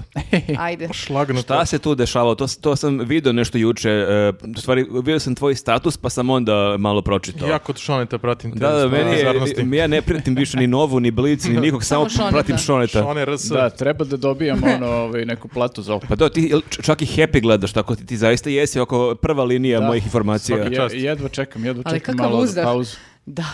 [SPEAKER 2] Ajde.
[SPEAKER 4] Šlagno
[SPEAKER 1] Šta se tu dešavalo? To, s- to sam video nešto juče. e, u stvari, vidio sam tvoj status pa sam onda malo pročitao.
[SPEAKER 4] Jako od Šoneta pratim te
[SPEAKER 1] Da, da, meni
[SPEAKER 4] bizarnosti.
[SPEAKER 1] je, ja ne pratim više ni Novu, ni Blic, ni nikog, samo,
[SPEAKER 2] Šoneta.
[SPEAKER 1] pratim Šoneta.
[SPEAKER 4] Šone RS.
[SPEAKER 3] Da, treba da dobijemo ono, ovaj, neku platu za ovo.
[SPEAKER 1] Pa da, ti jel č- čak i Happy gledaš, tako ti, ti zaista jesi oko prva linija
[SPEAKER 3] Da.
[SPEAKER 1] mojih informacija.
[SPEAKER 4] Svaka
[SPEAKER 3] Je-
[SPEAKER 4] čast.
[SPEAKER 3] jedva čekam, jedva
[SPEAKER 2] Ali
[SPEAKER 3] čekam
[SPEAKER 2] kakav
[SPEAKER 3] malo
[SPEAKER 2] uzdah.
[SPEAKER 3] za pauzu.
[SPEAKER 2] Da.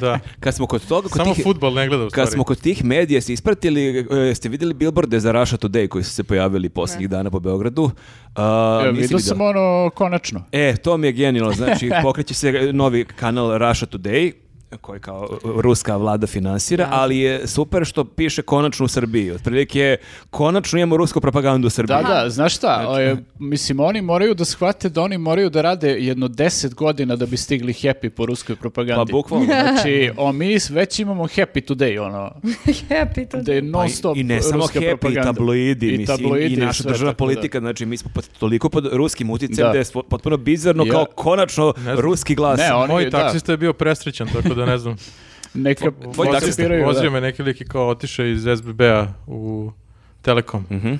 [SPEAKER 4] Da.
[SPEAKER 1] Kad smo kod toga, kod
[SPEAKER 4] Samo
[SPEAKER 1] tih,
[SPEAKER 4] futbol ne gleda u stvari.
[SPEAKER 1] kad smo kod tih medija se ispratili, e, ste vidjeli bilborde za Russia Today koji su se pojavili posljednjih dana po Beogradu? A,
[SPEAKER 3] Evo,
[SPEAKER 1] nisi
[SPEAKER 3] vidio
[SPEAKER 1] vidio?
[SPEAKER 3] sam ono konačno.
[SPEAKER 1] E, to mi je genijalno,
[SPEAKER 3] (laughs)
[SPEAKER 1] znači pokreće se e, novi kanal Russia Today, koji kao e, ruska vlada finansira, ali je super što piše konačno u Srbiji. Otprilike, konačno imamo rusku propagandu u Srbiji.
[SPEAKER 3] Da, da, znaš šta, e, mislim, oni moraju da shvate da oni moraju da rade jedno deset godina da bi stigli happy po ruskoj
[SPEAKER 1] Pa
[SPEAKER 3] propagandi.
[SPEAKER 1] bukvalno.
[SPEAKER 3] (laughs)
[SPEAKER 2] (laughs)
[SPEAKER 3] Znači, o, mi već imamo happy today, ono,
[SPEAKER 2] Happy to
[SPEAKER 3] da je non stop
[SPEAKER 1] Pa I ne samo
[SPEAKER 3] ruska
[SPEAKER 1] happy, i
[SPEAKER 3] propaganda.
[SPEAKER 1] tabloidi, mislim, i, i
[SPEAKER 3] i
[SPEAKER 1] naša
[SPEAKER 3] sve,
[SPEAKER 1] državna
[SPEAKER 3] tako da.
[SPEAKER 1] politika, znači mi smo pod, toliko pod ruskim uticajem da.
[SPEAKER 3] Da.
[SPEAKER 1] je svo- potpuno bizarno
[SPEAKER 3] Ja-
[SPEAKER 1] kao konačno
[SPEAKER 4] znam.
[SPEAKER 1] ruski glas.
[SPEAKER 3] Ne, on-
[SPEAKER 4] Moj
[SPEAKER 3] oni- da.
[SPEAKER 4] taksista je bio presrećan, tako da ne znam.
[SPEAKER 3] Neka
[SPEAKER 1] tvoj
[SPEAKER 3] vozio-
[SPEAKER 1] taksista,
[SPEAKER 3] biraju, da.
[SPEAKER 4] Vozio me neki lik i kao otišao iz SBB-a u Telekom.
[SPEAKER 1] Mm. Mhm.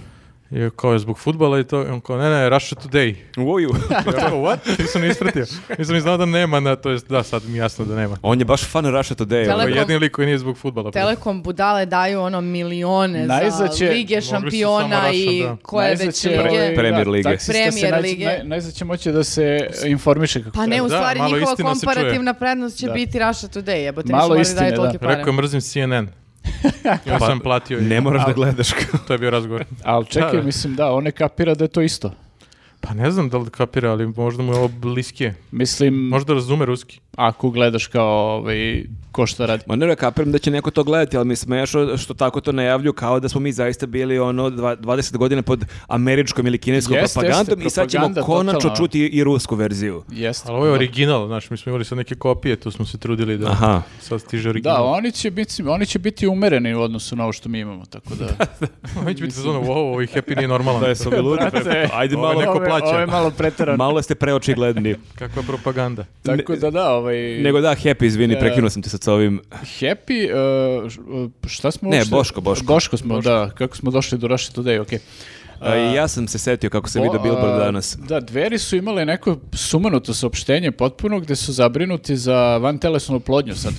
[SPEAKER 4] I ja kao je zbog futbala i to, i on kao, ne, ne, Russia Today.
[SPEAKER 1] Uju.
[SPEAKER 4] Ja kao, what? (laughs) Nisam ni ispratio. Nisam ni znao da nema, na, to jest, da, sad mi je jasno da nema.
[SPEAKER 1] (laughs) On je baš fan Russia Today. ono,
[SPEAKER 4] Ovo je
[SPEAKER 2] Telekom-
[SPEAKER 4] jedini lik koji nije zbog futbala.
[SPEAKER 2] Telekom budale daju ono milione
[SPEAKER 3] Najzad
[SPEAKER 2] za
[SPEAKER 3] će-
[SPEAKER 2] lige
[SPEAKER 4] Mogli su
[SPEAKER 2] šampiona
[SPEAKER 4] samo Raša,
[SPEAKER 2] i
[SPEAKER 4] da.
[SPEAKER 2] koje
[SPEAKER 3] Najzad
[SPEAKER 2] već
[SPEAKER 3] će,
[SPEAKER 2] lige.
[SPEAKER 3] ovaj,
[SPEAKER 1] Premier
[SPEAKER 3] da,
[SPEAKER 1] lige.
[SPEAKER 3] taksista se
[SPEAKER 2] Premier
[SPEAKER 3] naj-
[SPEAKER 2] lige.
[SPEAKER 3] naj- Najzad će moći da se informiše kako
[SPEAKER 2] Pa ne, u
[SPEAKER 4] Da,
[SPEAKER 2] stvari
[SPEAKER 4] malo
[SPEAKER 2] njihova
[SPEAKER 4] istina se čuje.
[SPEAKER 2] komparativna prednost će biti Russia Today, jebote, nisu
[SPEAKER 3] Malo
[SPEAKER 2] morali
[SPEAKER 3] istine,
[SPEAKER 2] daju
[SPEAKER 3] da.
[SPEAKER 2] tolike pare.
[SPEAKER 4] Rekao je, mrzim
[SPEAKER 2] (laughs)
[SPEAKER 4] CNN. Ja sam platio i
[SPEAKER 1] Ne moraš da gledaš.
[SPEAKER 3] (laughs)
[SPEAKER 4] to je bio razgovor.
[SPEAKER 3] Ali čekaj,
[SPEAKER 4] Da, da.
[SPEAKER 3] mislim da, on ne kapira da je to isto.
[SPEAKER 4] Pa ne znam da li kapira, ali možda mu je ovo bliskije.
[SPEAKER 3] Mislim,
[SPEAKER 4] Možda razume ruski.
[SPEAKER 3] ako gledaš kao ovaj, ko šta radi.
[SPEAKER 1] Ma ne ne, kapiram da će neko to gledati, ali mi smešno što tako to najavlju kao da smo mi zaista bili ono dva- 20 godina pod američkom ili kineskom
[SPEAKER 3] Jeste, jeste,
[SPEAKER 1] propagandom i sad ćemo
[SPEAKER 3] propaganda,
[SPEAKER 1] konačno
[SPEAKER 3] totalno.
[SPEAKER 1] čuti i rusku verziju.
[SPEAKER 3] Jeste.
[SPEAKER 4] Ali ovo je original, znaš, mi smo imali sad neke kopije, tu smo se trudili da
[SPEAKER 1] Aha.
[SPEAKER 4] sad stiže original.
[SPEAKER 1] Mm.
[SPEAKER 4] (laughs)
[SPEAKER 3] Da, oni će, biti, oni će biti umereni u odnosu na ovo što mi imamo, tako
[SPEAKER 1] (laughs)
[SPEAKER 3] da...
[SPEAKER 4] Oni će biti za ono, wow, ovaj happy nije normalan.
[SPEAKER 1] smo mi ludi,
[SPEAKER 3] Brate,
[SPEAKER 1] ajde
[SPEAKER 4] ovo je
[SPEAKER 1] malo,
[SPEAKER 4] neko
[SPEAKER 3] Ovo je-
[SPEAKER 4] plaća.
[SPEAKER 3] Ovo je malo preterano.
[SPEAKER 1] malo ste preočigledni.
[SPEAKER 4] Kakva propaganda.
[SPEAKER 3] Tako da da, ovaj...
[SPEAKER 1] Nego da, happy, izvini, prekinuo sam te sad sa ovim.
[SPEAKER 3] Happy, uh, š- uh, šta smo
[SPEAKER 1] Ne,
[SPEAKER 3] uopšte-
[SPEAKER 1] Boško, Boško.
[SPEAKER 3] Boško smo, da, kako smo došli do Russia Today, okej.
[SPEAKER 1] A, i ja sam se setio kako sam vidio
[SPEAKER 3] Bo-
[SPEAKER 1] Billboard
[SPEAKER 3] a,
[SPEAKER 1] danas.
[SPEAKER 3] Da, dveri su imale neko sumanuto saopštenje potpuno gde su zabrinuti za vantelesnu oplodnju sad.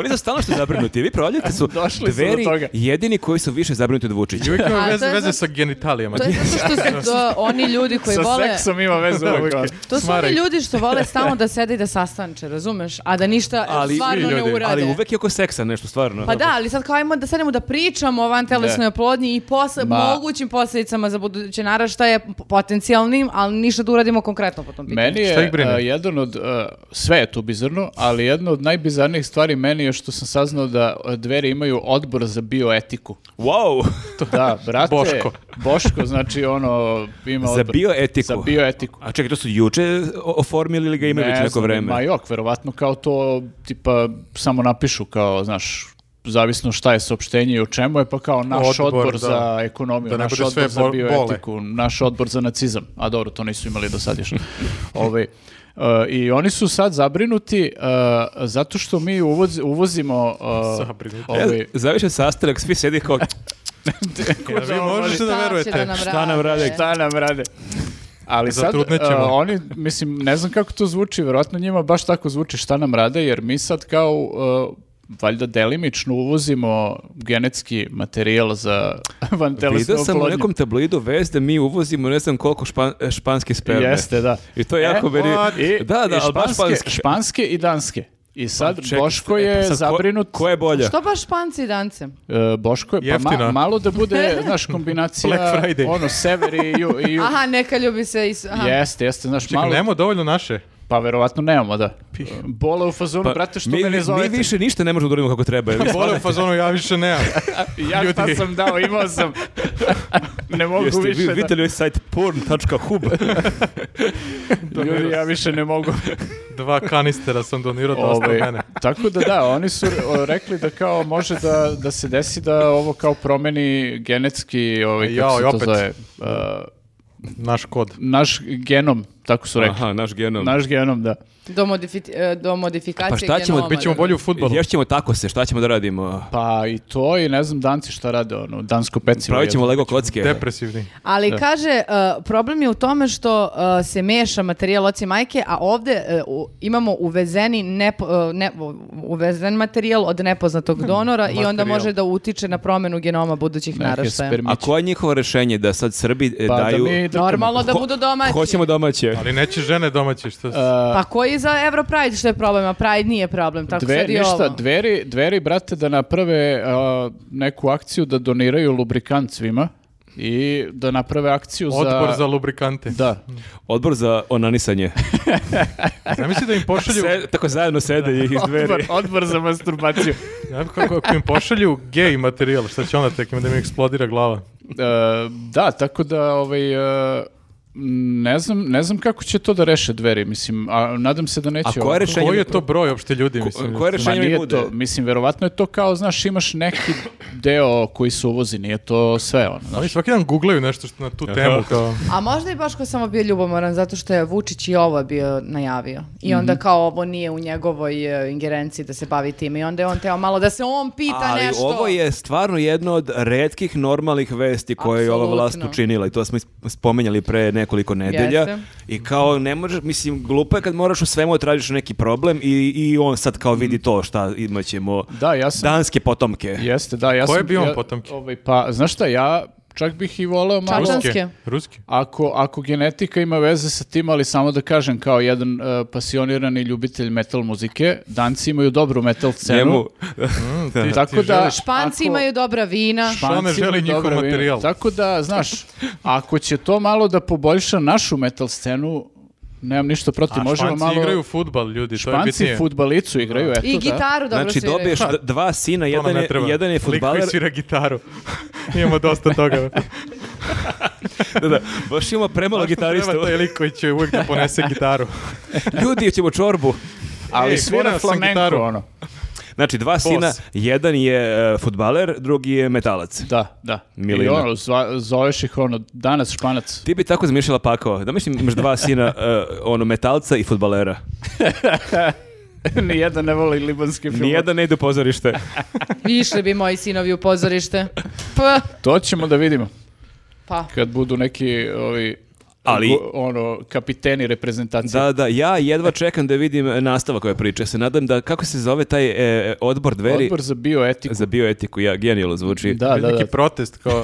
[SPEAKER 1] Oni su stalno što zabrinuti. Vi provaljate su
[SPEAKER 3] (laughs) Došli su do
[SPEAKER 1] dveri
[SPEAKER 3] toga.
[SPEAKER 1] jedini koji su više zabrinuti od Vučića.
[SPEAKER 4] I uvijek ima
[SPEAKER 2] (laughs) A,
[SPEAKER 4] veze,
[SPEAKER 2] to je
[SPEAKER 4] veze
[SPEAKER 2] zato-
[SPEAKER 4] sa genitalijama. (laughs)
[SPEAKER 2] To je zato što su to oni ljudi koji
[SPEAKER 3] Sa
[SPEAKER 2] vole...
[SPEAKER 3] seksom ima veze (laughs) uvijek.
[SPEAKER 2] To su oni ljudi što vole samo da sede i da sastanče, razumeš? A da ništa
[SPEAKER 1] Ali-
[SPEAKER 2] stvarno
[SPEAKER 4] Svi
[SPEAKER 2] ne
[SPEAKER 4] ljudi,
[SPEAKER 2] urade.
[SPEAKER 1] Ali uvek je oko seksa nešto, stvarno.
[SPEAKER 2] Pa da, ali sad kao ajmo da sedemo da pričamo o vantelesnoj
[SPEAKER 3] Ne.
[SPEAKER 2] oplodnji i posle,
[SPEAKER 3] Ma-
[SPEAKER 2] mogućim posljedicama za buduće naraštaje, p- potencijalnim, ali ništa da uradimo konkretno po tom pitanju.
[SPEAKER 3] Meni
[SPEAKER 4] Šta
[SPEAKER 3] je
[SPEAKER 4] ih brine?
[SPEAKER 3] a, jedan od, a, sve je tu bizarno, ali jedna od najbizarnijih stvari meni je što sam saznao da a, dveri imaju odbor za bioetiku.
[SPEAKER 1] Wow!
[SPEAKER 3] Da, brate.
[SPEAKER 4] Boško.
[SPEAKER 3] Boško, znači ono, ima
[SPEAKER 1] Za
[SPEAKER 3] odbor.
[SPEAKER 1] bioetiku.
[SPEAKER 3] Za bioetiku.
[SPEAKER 1] A čekaj, to su juče o- oformili ili ga imaju već
[SPEAKER 3] Ne
[SPEAKER 1] neko
[SPEAKER 3] znam,
[SPEAKER 1] vreme?
[SPEAKER 3] Ma jok, verovatno kao to, tipa, samo napišu kao, znaš, zavisno šta je saopštenje i o čemu je, pa kao naš
[SPEAKER 4] Odbor,
[SPEAKER 3] odbor,
[SPEAKER 4] da.
[SPEAKER 3] za ekonomiju,
[SPEAKER 4] Da ne
[SPEAKER 3] naš
[SPEAKER 4] bude sve
[SPEAKER 3] odbor za
[SPEAKER 4] bol-
[SPEAKER 3] bioetiku, naš odbor za nacizam. A dobro, to nisu imali do
[SPEAKER 4] (laughs)
[SPEAKER 3] sad još. Ovaj, uh, I oni su sad zabrinuti uh, zato što mi uvoz- uvozimo... Uh,
[SPEAKER 4] Zabrinuti.
[SPEAKER 1] Ja,
[SPEAKER 3] ovaj,
[SPEAKER 1] završen E, sastanak, svi sedi
[SPEAKER 3] (laughs)
[SPEAKER 1] kao,
[SPEAKER 4] Ja, vi možete da
[SPEAKER 2] Šta će
[SPEAKER 4] verujete.
[SPEAKER 2] da nam
[SPEAKER 1] šta nam
[SPEAKER 2] rade?
[SPEAKER 1] rade?
[SPEAKER 3] Šta nam rade? Ali sad,
[SPEAKER 4] Zatrudnećemo.
[SPEAKER 3] e, oni, mislim, ne znam kako to zvuči, vjerojatno njima baš tako zvuči šta nam rade, jer mi sad kao, e, valjda delimično uvozimo genetski materijal za (laughs) vantelesnu
[SPEAKER 1] vidio sam u
[SPEAKER 3] oplodnju.
[SPEAKER 1] nekom tabloidu vez da mi uvozimo ne znam koliko špan, e, španske sperme.
[SPEAKER 3] Jeste, da. E,
[SPEAKER 1] I to je jako meni...
[SPEAKER 4] what?
[SPEAKER 3] I,
[SPEAKER 1] da, da,
[SPEAKER 3] i
[SPEAKER 1] ali baš
[SPEAKER 3] španske,
[SPEAKER 1] španske.
[SPEAKER 3] španske i danske. I sad
[SPEAKER 1] Čekaj,
[SPEAKER 3] Boško
[SPEAKER 1] e, pa
[SPEAKER 3] je
[SPEAKER 1] sad ko-
[SPEAKER 3] zabrinut.
[SPEAKER 1] Ko je bolja?
[SPEAKER 2] Što baš španci i dance?
[SPEAKER 3] E, Boško je, pa ma-
[SPEAKER 4] Jeftina.
[SPEAKER 3] malo da bude, znaš,
[SPEAKER 4] Black
[SPEAKER 3] kombinacija,
[SPEAKER 4] Friday.
[SPEAKER 3] ono, sever i ju. I ju.
[SPEAKER 2] Aha, neka ljubi se i... s- Aha.
[SPEAKER 3] Jeste, jeste, znaš,
[SPEAKER 4] Čekaj,
[SPEAKER 3] malo...
[SPEAKER 4] nemamo dovoljno naše.
[SPEAKER 3] Pa verovatno nemamo, da. Bola u fazonu, brate, što
[SPEAKER 1] Pa, mi,
[SPEAKER 3] me ne zovete.
[SPEAKER 1] mi više ništa ne možemo da uradimo kako
[SPEAKER 3] (laughs)
[SPEAKER 1] treba. jel vi
[SPEAKER 4] Bole u fazonu, ja više nemam.
[SPEAKER 3] ja šta
[SPEAKER 4] ljudi.
[SPEAKER 3] sam dao, imao
[SPEAKER 1] (laughs)
[SPEAKER 3] sam. ne mogu
[SPEAKER 1] Jeste vi
[SPEAKER 3] više da-
[SPEAKER 1] vidjeli ovaj sajt
[SPEAKER 3] (laughs)
[SPEAKER 1] porn.hub?
[SPEAKER 3] Ljudi, ja više ne mogu.
[SPEAKER 4] (laughs) Dva kanistera sam donirao, dosta
[SPEAKER 3] Ovaj,
[SPEAKER 4] mene.
[SPEAKER 3] tako da da, oni su o, rekli da kao može da, da se desi da ovo kao promeni genetski, ovaj, kako
[SPEAKER 4] Jao,
[SPEAKER 3] se
[SPEAKER 4] i
[SPEAKER 3] to
[SPEAKER 4] opet.
[SPEAKER 3] zove, a,
[SPEAKER 4] Naš kod.
[SPEAKER 3] naš genom, tako su rekli.
[SPEAKER 1] Aha, naš genom.
[SPEAKER 3] Naš genom, da.
[SPEAKER 2] Do, modifi- e, do modifikacije
[SPEAKER 1] Pa šta ćemo,
[SPEAKER 2] genoma,
[SPEAKER 1] bit
[SPEAKER 4] Bićemo
[SPEAKER 2] da.
[SPEAKER 4] bolji u futbolu.
[SPEAKER 1] Još ćemo tako se, šta ćemo da radimo?
[SPEAKER 3] Pa i to i ne znam danci šta rade, ono, dansko pecivo.
[SPEAKER 1] Pravit ćemo Lego kocke.
[SPEAKER 4] Depresivni.
[SPEAKER 2] Ali kaže, uh, problem je u tome što uh, se meša materijal oci majke, a ovde uh, u- imamo uvezeni nepo, uh, ne, u- uvezen materijal od nepoznatog donora i onda
[SPEAKER 4] materijal.
[SPEAKER 2] može da utiče na promenu genoma budućih
[SPEAKER 3] Neke
[SPEAKER 2] naraštaja.
[SPEAKER 3] spermići.
[SPEAKER 1] A koje je njihovo rešenje da sad Srbi e,
[SPEAKER 3] Pa da
[SPEAKER 1] daju...
[SPEAKER 3] mi drkamo.
[SPEAKER 2] Normalno da
[SPEAKER 1] Ho-
[SPEAKER 2] budu domaći.
[SPEAKER 1] Hoćemo domaće.
[SPEAKER 4] Ali neće žene domaće, što
[SPEAKER 2] Pa koji za Euro Pride što je problem, a Pride nije problem, tako
[SPEAKER 3] Dve,
[SPEAKER 2] sad i ovo.
[SPEAKER 3] ništa, dveri, dveri, brate, da naprave a, neku akciju da doniraju lubrikant svima i da naprave akciju
[SPEAKER 4] Odbor za lubrikante.
[SPEAKER 3] Da.
[SPEAKER 1] Odbor za (laughs) onanisanje.
[SPEAKER 4] Zamisli da im pošalju,
[SPEAKER 1] Se- tako zajedno sede i (laughs) iz
[SPEAKER 3] Odbor,
[SPEAKER 1] dveri.
[SPEAKER 3] odbor za
[SPEAKER 1] (laughs)
[SPEAKER 3] masturbaciju. E,
[SPEAKER 4] Ja bih kako ako im pošalju gej materijal, šta će onda tek ima da mi eksplodira glava.
[SPEAKER 3] E, da, tako da ovaj, e, ne, znam, ne znam kako će to da reše dveri, mislim, a nadam se da neće.
[SPEAKER 1] A koje
[SPEAKER 3] ovako.
[SPEAKER 1] rešenje-
[SPEAKER 4] Koji je to broj uopšte ljudi, mislim?
[SPEAKER 1] Koje
[SPEAKER 3] Ma
[SPEAKER 1] rešenje mi
[SPEAKER 3] nije
[SPEAKER 1] bude?
[SPEAKER 3] to, mislim, verovatno je to kao, znaš, imaš neki deo koji se uvozi, nije to sve ono. znaš.
[SPEAKER 4] Oni svaki dan googlaju nešto što na tu temu kao...
[SPEAKER 2] A možda je Boško samo bio ljubomoran zato što je Vučić i ovo bio najavio. I onda
[SPEAKER 1] Mhm.
[SPEAKER 2] kao ovo nije u njegovoj e, ingerenciji da se bavi time. I onda je on teo malo da se on pita
[SPEAKER 1] Ali
[SPEAKER 2] pa nešto.
[SPEAKER 1] ovo je stvarno jedno od retkih normalnih vesti koje je ova vlast
[SPEAKER 2] Apsolutno.
[SPEAKER 1] učinila i to smo is- spomenjali pre nekoliko nedelja.
[SPEAKER 2] Jeste.
[SPEAKER 1] I kao ne možeš, mislim, glupo je kad moraš u svemu da tražiš neki problem i, i on sad kao vidi to šta imaćemo
[SPEAKER 3] Da, ja sam...
[SPEAKER 1] danske potomke.
[SPEAKER 3] Jeste, da, ja
[SPEAKER 4] Ko
[SPEAKER 3] sam...
[SPEAKER 4] je bio on
[SPEAKER 3] ja-
[SPEAKER 4] potomke?
[SPEAKER 3] Ovaj, pa, znaš šta, ja čak bih i voleo malo...
[SPEAKER 2] Čačan-
[SPEAKER 4] Ruski.
[SPEAKER 2] Danske.
[SPEAKER 4] Ruski.
[SPEAKER 3] Ako, ako genetika ima veze sa tim, ali samo da kažem, kao jedan e, pasionirani ljubitelj metal muzike, danci imaju dobru metal scenu.
[SPEAKER 1] Njemu,
[SPEAKER 4] Ti-
[SPEAKER 3] Tako
[SPEAKER 4] ti
[SPEAKER 3] da...
[SPEAKER 4] želiš-
[SPEAKER 2] Španci
[SPEAKER 3] ako-
[SPEAKER 2] imaju dobra vina.
[SPEAKER 3] Španci
[SPEAKER 4] Što ne želi
[SPEAKER 3] imaju
[SPEAKER 4] njihov
[SPEAKER 3] dobro vino.
[SPEAKER 4] materijal?
[SPEAKER 3] Tako da, znaš, ako će to malo da poboljša našu metal scenu, Nemam ništa protiv,
[SPEAKER 4] A
[SPEAKER 3] možemo
[SPEAKER 4] Španci
[SPEAKER 3] malo...
[SPEAKER 4] igraju futbal, ljudi, to je
[SPEAKER 3] Španci
[SPEAKER 4] bitnije.
[SPEAKER 3] futbalicu igraju, eto
[SPEAKER 2] I
[SPEAKER 3] da.
[SPEAKER 2] gitaru (laughs) dobro
[SPEAKER 1] Znači,
[SPEAKER 2] sviraju.
[SPEAKER 1] dobiješ d- dva sina,
[SPEAKER 4] To nam
[SPEAKER 1] jedan
[SPEAKER 4] ne
[SPEAKER 1] je,
[SPEAKER 4] treba.
[SPEAKER 1] jedan je
[SPEAKER 4] Lik koji
[SPEAKER 1] futbaler.
[SPEAKER 4] svira gitaru. (laughs) Imamo
[SPEAKER 1] (laughs)
[SPEAKER 4] dosta toga.
[SPEAKER 1] Da, da, baš ima premalo gitarista.
[SPEAKER 4] Treba taj lik koji će uvijek da ponese
[SPEAKER 1] (laughs)
[SPEAKER 4] gitaru.
[SPEAKER 1] Ljudi, ćemo čorbu.
[SPEAKER 3] Ali
[SPEAKER 4] Ej,
[SPEAKER 3] svira
[SPEAKER 4] morao sam
[SPEAKER 3] flamenko,
[SPEAKER 4] gitaru.
[SPEAKER 3] ono.
[SPEAKER 1] Znači, dva sina,
[SPEAKER 4] Bos.
[SPEAKER 1] jedan je uh, futbaler, drugi je metalac.
[SPEAKER 3] Da, da. I
[SPEAKER 1] Milina.
[SPEAKER 3] ono, zva- zoveš ih ono, danas španac.
[SPEAKER 1] Ti bi tako zamišljala pakao. Da mislim, imaš
[SPEAKER 3] (laughs)
[SPEAKER 1] dva sina, uh, ono, metalca i futbalera.
[SPEAKER 3] (laughs) Nijedan ne voli libanski film.
[SPEAKER 1] Nijedan ne ide u
[SPEAKER 3] (laughs)
[SPEAKER 1] pozorište.
[SPEAKER 2] Pa, Išli bi moji sinovi u
[SPEAKER 1] (laughs)
[SPEAKER 2] pozorište. Pa,
[SPEAKER 3] To ćemo da vidimo.
[SPEAKER 2] pa.
[SPEAKER 3] Kad budu neki ovi
[SPEAKER 1] Ali-
[SPEAKER 3] go- ono kapiteni reprezentacije.
[SPEAKER 1] Da, da, ja jedva čekam da vidim e, nastavak ove priče. Ja Se nadam da, kako se zove taj e, odbor dveri
[SPEAKER 3] Odbor za bioetiku.
[SPEAKER 1] za bioetiku, ja, genijalno zvuči.
[SPEAKER 3] Da, da, da.
[SPEAKER 4] Neki protest
[SPEAKER 3] (laughs)
[SPEAKER 4] kao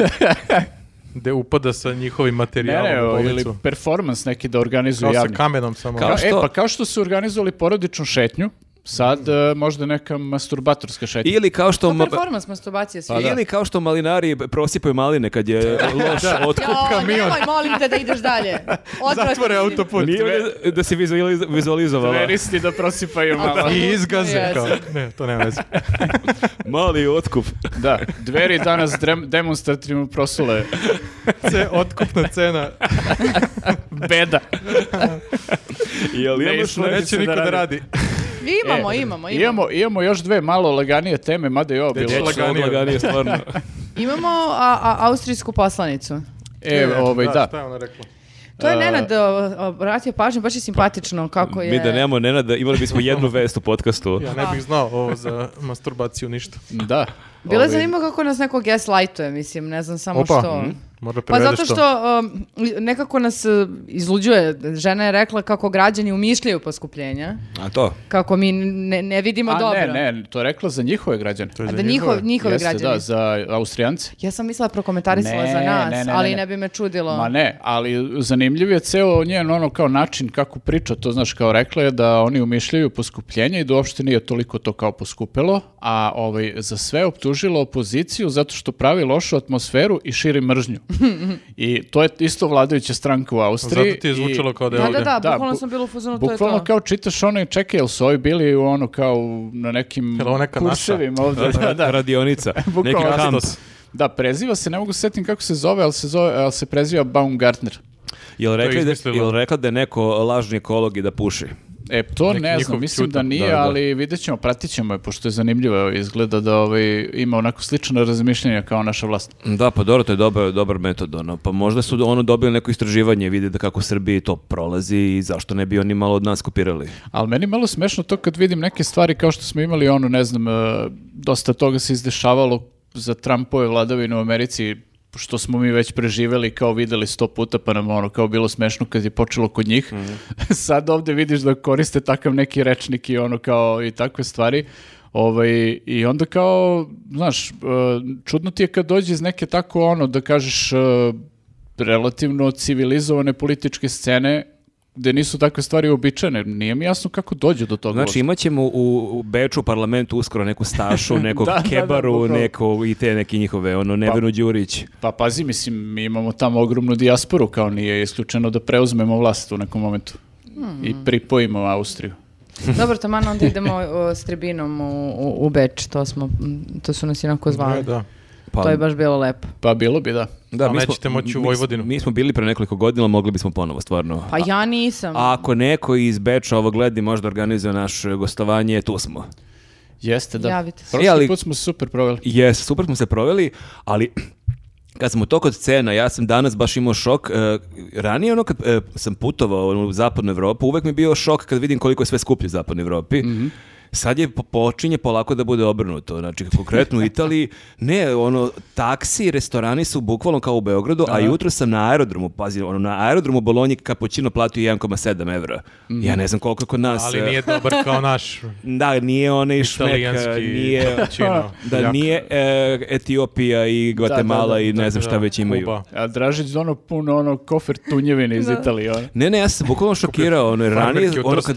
[SPEAKER 4] gde upada sa njihovim
[SPEAKER 3] Ne,
[SPEAKER 4] materijalom
[SPEAKER 3] ne,
[SPEAKER 4] u
[SPEAKER 3] o, ili
[SPEAKER 4] bolnicu.
[SPEAKER 3] performans neki da organizuju
[SPEAKER 4] Kao sa
[SPEAKER 3] javni.
[SPEAKER 4] kamenom samo.
[SPEAKER 1] Kao-
[SPEAKER 3] Kao-
[SPEAKER 1] što-
[SPEAKER 3] E, pa kao što su organizovali porodičnu šetnju, sad e, možda neka masturbatorska šetnja.
[SPEAKER 1] Ili kao što...
[SPEAKER 2] To
[SPEAKER 1] ma-
[SPEAKER 2] pa
[SPEAKER 1] pa-
[SPEAKER 2] performans masturbacije
[SPEAKER 3] Pa
[SPEAKER 2] svi.
[SPEAKER 1] Ili kao što malinari prosipaju maline kad je
[SPEAKER 3] (laughs)
[SPEAKER 1] loš otkup.
[SPEAKER 2] Jao, ovaj, nemoj, molim te da ideš
[SPEAKER 1] (laughs)
[SPEAKER 2] dalje. Odvratni
[SPEAKER 4] Zatvore
[SPEAKER 2] si.
[SPEAKER 4] autoput.
[SPEAKER 1] Nije valjda da si vizualiz- vizualizovala.
[SPEAKER 3] Veristi da prosipaju malo.
[SPEAKER 4] I izgaze.
[SPEAKER 2] Yes.
[SPEAKER 4] Kao. Ne, to nema veze.
[SPEAKER 1] Mali
[SPEAKER 3] (laughs)
[SPEAKER 1] otkup.
[SPEAKER 3] (laughs) Da, dveri danas drem- demonstrativno prosule
[SPEAKER 4] Ce, otkupna
[SPEAKER 1] (laughs)
[SPEAKER 4] cena.
[SPEAKER 3] beda.
[SPEAKER 1] Jel
[SPEAKER 3] Ne
[SPEAKER 1] imaš
[SPEAKER 3] isplati
[SPEAKER 1] neki-
[SPEAKER 4] Neće niko
[SPEAKER 3] radi.
[SPEAKER 4] da radi.
[SPEAKER 2] Imamo,
[SPEAKER 3] E,
[SPEAKER 2] imamo, imamo.
[SPEAKER 3] Imamo, imamo još dve malo laganije teme, mada je ovo bilo.
[SPEAKER 4] Dečija
[SPEAKER 1] Neće
[SPEAKER 4] Laganije.
[SPEAKER 1] odlaganije,
[SPEAKER 3] (laughs)
[SPEAKER 1] stvarno.
[SPEAKER 2] Imamo a, a, austrijsku poslanicu.
[SPEAKER 3] E,
[SPEAKER 4] Ne,
[SPEAKER 3] ovaj, da.
[SPEAKER 4] Šta je ona rekla?
[SPEAKER 2] To je
[SPEAKER 3] A-
[SPEAKER 2] Nenad o, obratio pažnju, baš je simpatično kako je...
[SPEAKER 1] Mi da nemamo Nenada, imali bismo
[SPEAKER 2] (laughs)
[SPEAKER 1] jednu vest u podcastu.
[SPEAKER 4] Ja ne bih znao ovo za masturbaciju ništa.
[SPEAKER 3] Da.
[SPEAKER 2] Bilo je
[SPEAKER 3] Ovaj,
[SPEAKER 2] zanimljivo kako nas neko gaslightuje, mislim, ne znam samo
[SPEAKER 4] Opa,
[SPEAKER 2] što.
[SPEAKER 4] mhm, mora
[SPEAKER 2] Pa
[SPEAKER 4] prevedeš
[SPEAKER 2] zato što um, nekako nas uh, izluđuje. Žena je rekla kako građani umišljaju poskupljenja,
[SPEAKER 1] A to?
[SPEAKER 2] kako mi ne, ne vidimo
[SPEAKER 3] A
[SPEAKER 2] dobro.
[SPEAKER 3] ne, ne, to je rekla za njihove građane.
[SPEAKER 4] To je
[SPEAKER 2] A
[SPEAKER 4] za
[SPEAKER 2] da
[SPEAKER 4] njihove.
[SPEAKER 2] njihov, njihove
[SPEAKER 3] Jeste,
[SPEAKER 2] građani.
[SPEAKER 3] da, za Austrijance.
[SPEAKER 2] Ja sam mislila prokomentarisala
[SPEAKER 3] Ne,
[SPEAKER 2] za nas,
[SPEAKER 3] ne, ne, ne,
[SPEAKER 2] ali ne.
[SPEAKER 3] ne.
[SPEAKER 2] bi me čudilo.
[SPEAKER 3] Ma ne, ali zanimljiv je ceo njen ono kao način kako priča, to znaš kao rekla je da oni umišljaju poskupljenje i da uopšte nije toliko to kao poskupelo, a ovaj, za sve optužila opoziciju zato što pravi lošu atmosferu i širi
[SPEAKER 2] (laughs)
[SPEAKER 3] mržnju. I to je isto vladajuća stranka u Austriji.
[SPEAKER 4] Zato ti je zvučalo
[SPEAKER 3] i-
[SPEAKER 4] kao da je
[SPEAKER 2] Da, da,
[SPEAKER 4] ovdje.
[SPEAKER 2] da,
[SPEAKER 3] Da,
[SPEAKER 2] bukvalno
[SPEAKER 3] bu-
[SPEAKER 2] sam bila u fazonu, to je
[SPEAKER 3] Bukvalno
[SPEAKER 2] to.
[SPEAKER 3] kao čitaš ono i čekaj, jel su ovi bili u ono kao u- na nekim
[SPEAKER 4] Jel ovo neka naša?
[SPEAKER 3] kursevima
[SPEAKER 4] (laughs)
[SPEAKER 3] ovdje? Da,
[SPEAKER 1] (laughs)
[SPEAKER 3] da.
[SPEAKER 1] Radionica. Neki
[SPEAKER 3] (laughs) Bukvalno.
[SPEAKER 1] kamp.
[SPEAKER 3] Da, preziva se, ne mogu se setim kako se zove, ali se, zove, ali se preziva Baumgartner.
[SPEAKER 1] Jel rekla, da,
[SPEAKER 4] izmislila.
[SPEAKER 1] jel rekla da je neko lažni ekolog i da puši?
[SPEAKER 3] E, to
[SPEAKER 4] Neki
[SPEAKER 3] ne
[SPEAKER 4] njihov
[SPEAKER 3] znam, mislim
[SPEAKER 4] Ćuta.
[SPEAKER 3] da nije,
[SPEAKER 1] Da, da.
[SPEAKER 3] ali vidjet ćemo, pratit ćemo je, pošto je zanimljivo, evo, izgleda da ovaj, ima onako slično razmišljenje kao naša vlast.
[SPEAKER 1] Da, pa dobro, to je dobar, dobar metod. Ono. Pa možda su ono dobili neko istraživanje, vide da kako u Srbiji to prolazi i zašto ne bi oni malo od nas kopirali.
[SPEAKER 3] Ali meni je malo smešno to kad vidim neke stvari kao što smo imali ono, ne znam, e, dosta toga se izdešavalo za Trumpove vladavine u Americi, što smo mi već preživeli kao videli sto puta pa nam ono kao bilo smešno kad je počelo kod njih. (laughs) Sad ovde vidiš da koriste takav neki rečnik i ono kao i takve stvari. Ovaj, I onda kao, znaš, e, čudno ti je kad dođe iz neke tako ono, da kažeš, e, relativno civilizovane političke scene gde nisu takve stvari uobičajene. Nije mi jasno kako dođe do toga.
[SPEAKER 1] Znači
[SPEAKER 3] uopšte.
[SPEAKER 1] imat ćemo u, u Beču parlamentu uskoro neku
[SPEAKER 3] (laughs)
[SPEAKER 1] stašu, nekog
[SPEAKER 3] Da, da, da,
[SPEAKER 1] kebaru,
[SPEAKER 3] bukvalno.
[SPEAKER 1] neko i te neke njihove, ono Nevenu Đurić.
[SPEAKER 3] Pa pazi, mislim, mi imamo tamo ogromnu dijasporu, kao nije isključeno da preuzmemo vlast u nekom momentu i
[SPEAKER 2] Hmm.
[SPEAKER 3] pripojimo Austriju.
[SPEAKER 2] Dobro, taman onda idemo o, s tribinom u, u, u Beč, to, smo, m, to su nas inako zvali.
[SPEAKER 4] Ne, da.
[SPEAKER 1] Pa,
[SPEAKER 2] To je baš bilo lepo.
[SPEAKER 3] Pa bilo bi, da.
[SPEAKER 1] da,
[SPEAKER 4] A nećete moći u
[SPEAKER 1] mi-
[SPEAKER 4] Vojvodinu.
[SPEAKER 1] Mi smo bili pre nekoliko godina, ali mogli bismo ponovo, stvarno.
[SPEAKER 2] Pa ja nisam.
[SPEAKER 1] A ako neko iz Beča ovo gledi, možda organizuje naše gostovanje, tu smo.
[SPEAKER 3] Jeste, da.
[SPEAKER 2] Javite se.
[SPEAKER 3] Prošli
[SPEAKER 1] E, ali-
[SPEAKER 3] put smo se super proveli.
[SPEAKER 1] Jes, super smo se proveli, ali (clears throat) kad smo to kod cena, ja sam danas baš imao šok. e, ranije ono kad e, sam putovao u zapadnu Evropu, uvek mi je bio šok kad vidim koliko je sve skuplje u zapadnoj Evropi. Sad je po- počinje polako da bude obrnuto. Znači, (laughs) konkretno u Italiji, ne, ono, taksi i restorani su bukvalno kao u Beogradu, a jutro sam na aerodromu, pazi, ono, na aerodromu Bolonji kapućino platio 1,7 evra. Ja ne znam koliko je kod nas.
[SPEAKER 4] Ali
[SPEAKER 1] e,
[SPEAKER 4] nije dobar kao naš
[SPEAKER 1] Da, nije onaj šmek, e,
[SPEAKER 4] italijanski
[SPEAKER 1] nije...
[SPEAKER 4] cappuccino.
[SPEAKER 1] (laughs) Da
[SPEAKER 4] Jak.
[SPEAKER 1] nije e, Etiopija i Gvatemala
[SPEAKER 3] da,
[SPEAKER 1] i ne znam
[SPEAKER 4] Da,
[SPEAKER 1] šta već imaju.
[SPEAKER 4] Kuba.
[SPEAKER 3] A Dražić ono puno ono kofer tunjevine iz Italije. ono.
[SPEAKER 1] Ne, ne, ja sam bukvalno šokirao, ono, jer ranije,
[SPEAKER 4] farmerke u
[SPEAKER 1] ono kad,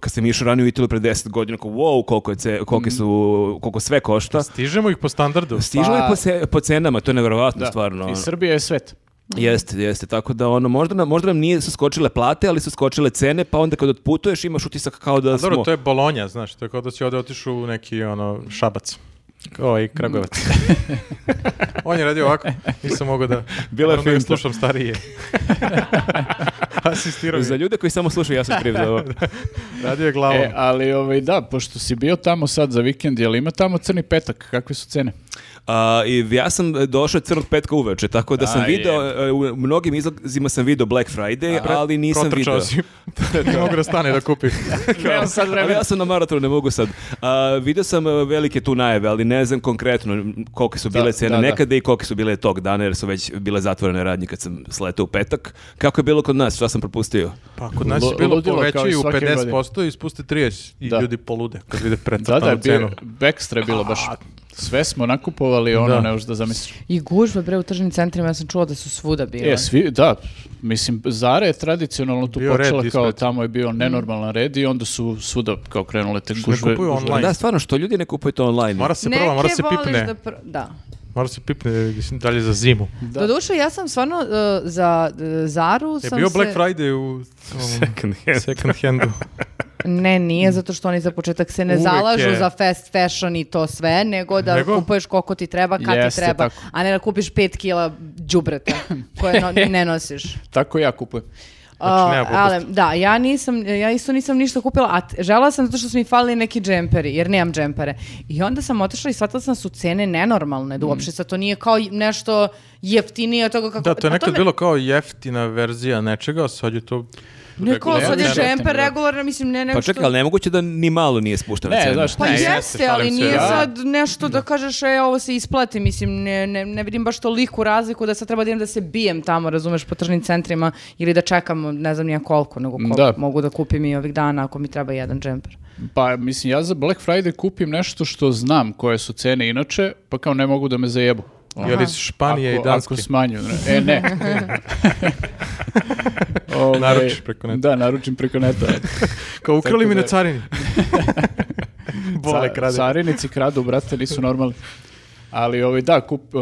[SPEAKER 1] kad sam išao ranije u Italiju pre 10 godina, kao, wow, koliko, je ce, koliko, su, koliko sve košta.
[SPEAKER 4] Stižemo ih po standardu.
[SPEAKER 1] Stižu je po, se- po cenama, to je nevjerovatno
[SPEAKER 3] Da.
[SPEAKER 1] stvarno. ono.
[SPEAKER 3] I Srbija je svet.
[SPEAKER 1] Jeste, jeste. Tako da ono možda nam možda nam nije su skočile plate, ali su skočile cene, pa onda kad otputuješ imaš utisak kao da
[SPEAKER 4] A
[SPEAKER 1] smo
[SPEAKER 4] dobro, to je Bolonja, znaš, to je kao da si ovde otišao u neki ono šabac. Ovaj
[SPEAKER 3] (laughs)
[SPEAKER 4] Kragujevac. On je radio ovako, nisam mogao da...
[SPEAKER 1] Bila je
[SPEAKER 4] moram da ga
[SPEAKER 1] finta.
[SPEAKER 4] slušam
[SPEAKER 3] (laughs)
[SPEAKER 4] starije. Asistirao
[SPEAKER 1] za
[SPEAKER 4] mi.
[SPEAKER 1] ljude koji samo slušaju ja sam kriv za ovo.
[SPEAKER 4] Radio je
[SPEAKER 1] Pa
[SPEAKER 4] glavom.
[SPEAKER 1] ono.
[SPEAKER 3] E, ali ovaj, da, pošto si bio tamo sad za vikend, je li ima tamo crni petak? Kakve su
[SPEAKER 1] (laughs)
[SPEAKER 3] cene?
[SPEAKER 1] A, i ja sam došao crnog petka uveče, tako da sam
[SPEAKER 3] A,
[SPEAKER 1] video e, u mnogim izlazima sam video Black Friday, ali nisam
[SPEAKER 4] Protrčao
[SPEAKER 1] video.
[SPEAKER 4] si. (laughs) ne mogu da stane da
[SPEAKER 3] (laughs)
[SPEAKER 4] kupi.
[SPEAKER 3] Nemam sad
[SPEAKER 1] (laughs) Ali ja sam na maratonu, ne mogu sad. A, video sam e, velike tu najave, ali ne znam konkretno kolike su bile
[SPEAKER 3] Da,
[SPEAKER 1] cene
[SPEAKER 3] da, da.
[SPEAKER 1] nekada i kolike su bile tog dana, jer su već bile zatvorene radnje kad sam sletao u petak. Kako je bilo kod nas? Šta sam propustio?
[SPEAKER 4] Pa kod nas je
[SPEAKER 3] Lu-
[SPEAKER 4] bilo
[SPEAKER 3] ludilo kao i
[SPEAKER 4] povećaju u
[SPEAKER 3] svake
[SPEAKER 4] 50% i spuste 30 i
[SPEAKER 3] Da.
[SPEAKER 4] ljudi polude kad vide
[SPEAKER 3] Da,
[SPEAKER 4] precrtanu
[SPEAKER 3] da, je bio,
[SPEAKER 4] cenu.
[SPEAKER 3] Backstra je bilo baš... Sve smo nakupovali, ono,
[SPEAKER 4] Da.
[SPEAKER 3] ne možeš da zamisliš.
[SPEAKER 2] I gužve bre u tržnim centrima, ja sam čuo da su svuda bile.
[SPEAKER 3] E, svi, da, mislim, Zara je tradicionalno tu
[SPEAKER 4] Bio red
[SPEAKER 3] počela kao
[SPEAKER 4] ispred. Mm.
[SPEAKER 3] tamo je bio nenormalan red i onda su svuda kao krenule te
[SPEAKER 4] Ne
[SPEAKER 3] gužve.
[SPEAKER 4] kupuju
[SPEAKER 3] gužve.
[SPEAKER 4] online.
[SPEAKER 1] Da, stvarno, što ljudi ne kupuju to online?
[SPEAKER 4] Mora se
[SPEAKER 2] Neke
[SPEAKER 4] prva, mora se
[SPEAKER 2] voliš
[SPEAKER 4] pipne.
[SPEAKER 2] Da, pr- da.
[SPEAKER 4] Mora se pipne mislim, dalje za zimu.
[SPEAKER 3] Da.
[SPEAKER 2] Doduše, ja sam stvarno e, za e, Zaru
[SPEAKER 4] Je
[SPEAKER 2] sam
[SPEAKER 4] bio
[SPEAKER 2] se...
[SPEAKER 4] Black Friday u ovom second handu. (laughs)
[SPEAKER 2] Ne, nije, zato što oni za početak se ne
[SPEAKER 4] Uvek
[SPEAKER 2] zalažu
[SPEAKER 4] je.
[SPEAKER 2] za fast fashion i to sve, nego da
[SPEAKER 4] Nego?
[SPEAKER 2] kupuješ koliko ti treba, kad ti
[SPEAKER 3] Jeste,
[SPEAKER 2] treba,
[SPEAKER 3] tako.
[SPEAKER 2] a ne da kupiš 5 kila
[SPEAKER 4] (laughs)
[SPEAKER 2] džubreta koje no- ne nosiš.
[SPEAKER 3] Tako ja kupujem.
[SPEAKER 4] Znači, nema
[SPEAKER 2] A,
[SPEAKER 4] popusta.
[SPEAKER 2] ale, da, ja nisam, ja isto nisam ništa kupila, a t- žela sam zato što su mi falili neki džemperi, jer nemam džempere. I onda sam otišla i shvatila sam da su cene nenormalne,
[SPEAKER 4] Mm.
[SPEAKER 2] da uopšte sad to nije kao nešto jeftinije od toga kako... Pa
[SPEAKER 4] Da, to je
[SPEAKER 2] a
[SPEAKER 4] nekad
[SPEAKER 2] me-
[SPEAKER 4] bilo kao jeftina verzija nečega, a sad je to...
[SPEAKER 2] Ne, kao sad je
[SPEAKER 3] regularno.
[SPEAKER 2] džemper regularno, mislim, ne nešto...
[SPEAKER 1] Pa čekaj, ali nemoguće da ni malo nije spuštena
[SPEAKER 3] Ne,
[SPEAKER 1] cena.
[SPEAKER 3] znaš,
[SPEAKER 2] Pa
[SPEAKER 3] ne,
[SPEAKER 2] jeste,
[SPEAKER 4] jeste,
[SPEAKER 2] ali
[SPEAKER 4] šalim se,
[SPEAKER 2] nije
[SPEAKER 3] da.
[SPEAKER 2] sad nešto da kažeš, e, ovo se isplati, mislim, ne, ne, ne vidim baš toliku razliku da sad treba da idem da se bijem tamo, razumeš, po tržnim centrima ili da čekam, ne znam nija koliko, nego koliko
[SPEAKER 3] Da.
[SPEAKER 2] mogu da kupim i ovih dana ako mi treba jedan džemper.
[SPEAKER 3] Pa, mislim, ja za Black Friday kupim nešto što znam koje su cene inače, pa kao ne mogu da me zajebu. Ono,
[SPEAKER 4] Je li iz Španije i
[SPEAKER 3] ako,
[SPEAKER 4] Danske?
[SPEAKER 3] Ako smanju. ne. E, ne. Ovaj,
[SPEAKER 4] (laughs) Naručiš preko neta.
[SPEAKER 3] Da, naručim preko neta.
[SPEAKER 4] Kao ukrali
[SPEAKER 3] Tako
[SPEAKER 4] mi
[SPEAKER 3] da-
[SPEAKER 4] na carini. (laughs) Bole
[SPEAKER 3] Ca-
[SPEAKER 4] krade.
[SPEAKER 3] Carinici kradu, brate, nisu normalni. Ali, ovaj, da, kup, e,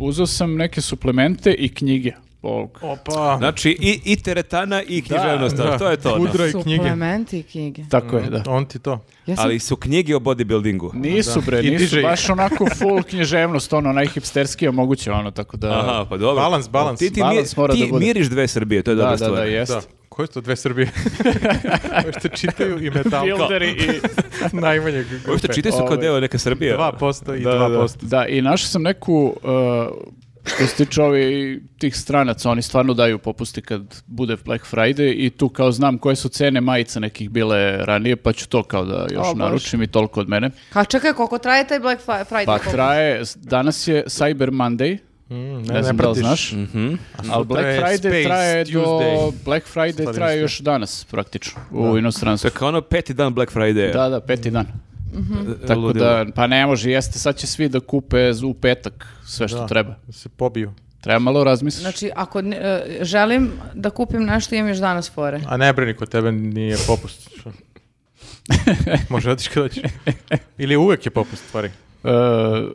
[SPEAKER 3] uzeo sam neke suplemente i knjige. Ovog.
[SPEAKER 4] Opa.
[SPEAKER 1] Znači, i, i teretana i književnost, ali to je to. da.
[SPEAKER 4] Udra i knjige.
[SPEAKER 2] Suplementi i knjige.
[SPEAKER 3] Tako je, da.
[SPEAKER 4] On ti Mm, to.
[SPEAKER 2] Ja sam-
[SPEAKER 1] Ali su knjige o bodybuildingu.
[SPEAKER 3] Nisu bre,
[SPEAKER 4] I
[SPEAKER 3] nisu
[SPEAKER 4] diže ih.
[SPEAKER 3] baš onako full književnost, ono najhipsterskije moguće, ono, tako da...
[SPEAKER 1] Aha, pa dobro.
[SPEAKER 4] Balans, balans.
[SPEAKER 1] Ti, ti,
[SPEAKER 3] Balans
[SPEAKER 1] mir-
[SPEAKER 3] mora
[SPEAKER 1] ti
[SPEAKER 3] da bude.
[SPEAKER 1] miriš dve Srbije, to je dobra
[SPEAKER 3] da, da,
[SPEAKER 1] stvar.
[SPEAKER 3] da, jest.
[SPEAKER 4] Da. Koje su to dve (laughs) Srbije? Koje što čitaju i metalka.
[SPEAKER 3] Builderi i...
[SPEAKER 4] Najmanje
[SPEAKER 1] Ovo što
[SPEAKER 4] grupe.
[SPEAKER 1] čitaju su kao
[SPEAKER 3] Ovaj,
[SPEAKER 1] deo neke Srbije.
[SPEAKER 4] 2% i
[SPEAKER 3] da, da,
[SPEAKER 4] 2%.
[SPEAKER 3] Da, i našao sam neku, uh, što se tiče ovi, tih stranaca, oni stvarno daju popusti kad bude Black Friday i tu kao znam koje su cene majica nekih bile ranije, pa ću to kao da još
[SPEAKER 2] O, Bože.
[SPEAKER 3] naručim i toliko od mene.
[SPEAKER 2] Kao, čekaj, koliko traje taj Black Fri- Friday?
[SPEAKER 3] Pa
[SPEAKER 2] Koliko-
[SPEAKER 3] traje, danas je Cyber Monday,
[SPEAKER 4] Mm,
[SPEAKER 3] ne, znam da li
[SPEAKER 4] pratiš.
[SPEAKER 3] znaš,
[SPEAKER 1] Mhm.
[SPEAKER 3] ali Black
[SPEAKER 4] je Space
[SPEAKER 3] Friday traje do,
[SPEAKER 4] Tuesday.
[SPEAKER 3] Black Friday
[SPEAKER 4] Stari
[SPEAKER 3] traje
[SPEAKER 4] Tuesday.
[SPEAKER 3] još danas praktično u
[SPEAKER 1] To
[SPEAKER 3] inostranstvu.
[SPEAKER 1] je kao ono peti dan Black Friday.
[SPEAKER 3] Da, da, peti dan. Tako
[SPEAKER 1] Ludilo.
[SPEAKER 3] da, pa ne može, jeste, sad će svi da kupe u petak sve što
[SPEAKER 4] Da.
[SPEAKER 3] treba.
[SPEAKER 4] Da Se pobiju.
[SPEAKER 3] Treba malo razmisliti.
[SPEAKER 2] Znači, ako ne- e, želim da kupim nešto, imam još danas fore.
[SPEAKER 4] A ne brini, kod tebe nije popust. Što? Može otiš kada ćeš. Ili uvek je popust, stvari.
[SPEAKER 3] E,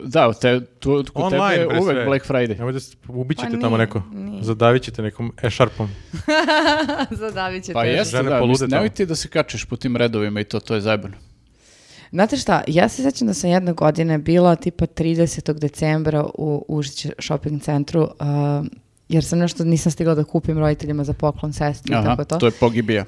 [SPEAKER 3] da, te, tu, kod
[SPEAKER 4] Online,
[SPEAKER 3] tebe je
[SPEAKER 4] bre,
[SPEAKER 3] uvek
[SPEAKER 4] sve.
[SPEAKER 3] Black Friday.
[SPEAKER 4] Nemoj da se ubit
[SPEAKER 2] Pa
[SPEAKER 4] ćete
[SPEAKER 2] nije,
[SPEAKER 4] tamo neko.
[SPEAKER 2] nije.
[SPEAKER 4] Zadavit ćete nekom e-sharpom.
[SPEAKER 2] (laughs) Zadavit ćete.
[SPEAKER 3] Pa jeste,
[SPEAKER 4] žene ono.
[SPEAKER 3] da,
[SPEAKER 4] polude
[SPEAKER 3] mislim,
[SPEAKER 4] tamo.
[SPEAKER 3] nemoj ti da se kačeš po tim redovima i to, to je zajebano.
[SPEAKER 2] Znate šta, ja se sjećam da sam jedne godine bila tipa 30. decembra u Užić shopping centru a, jer sam nešto nisam stigla da kupim roditeljima za poklon sestri i
[SPEAKER 3] Aha,
[SPEAKER 2] tako to.
[SPEAKER 3] to je pogibija.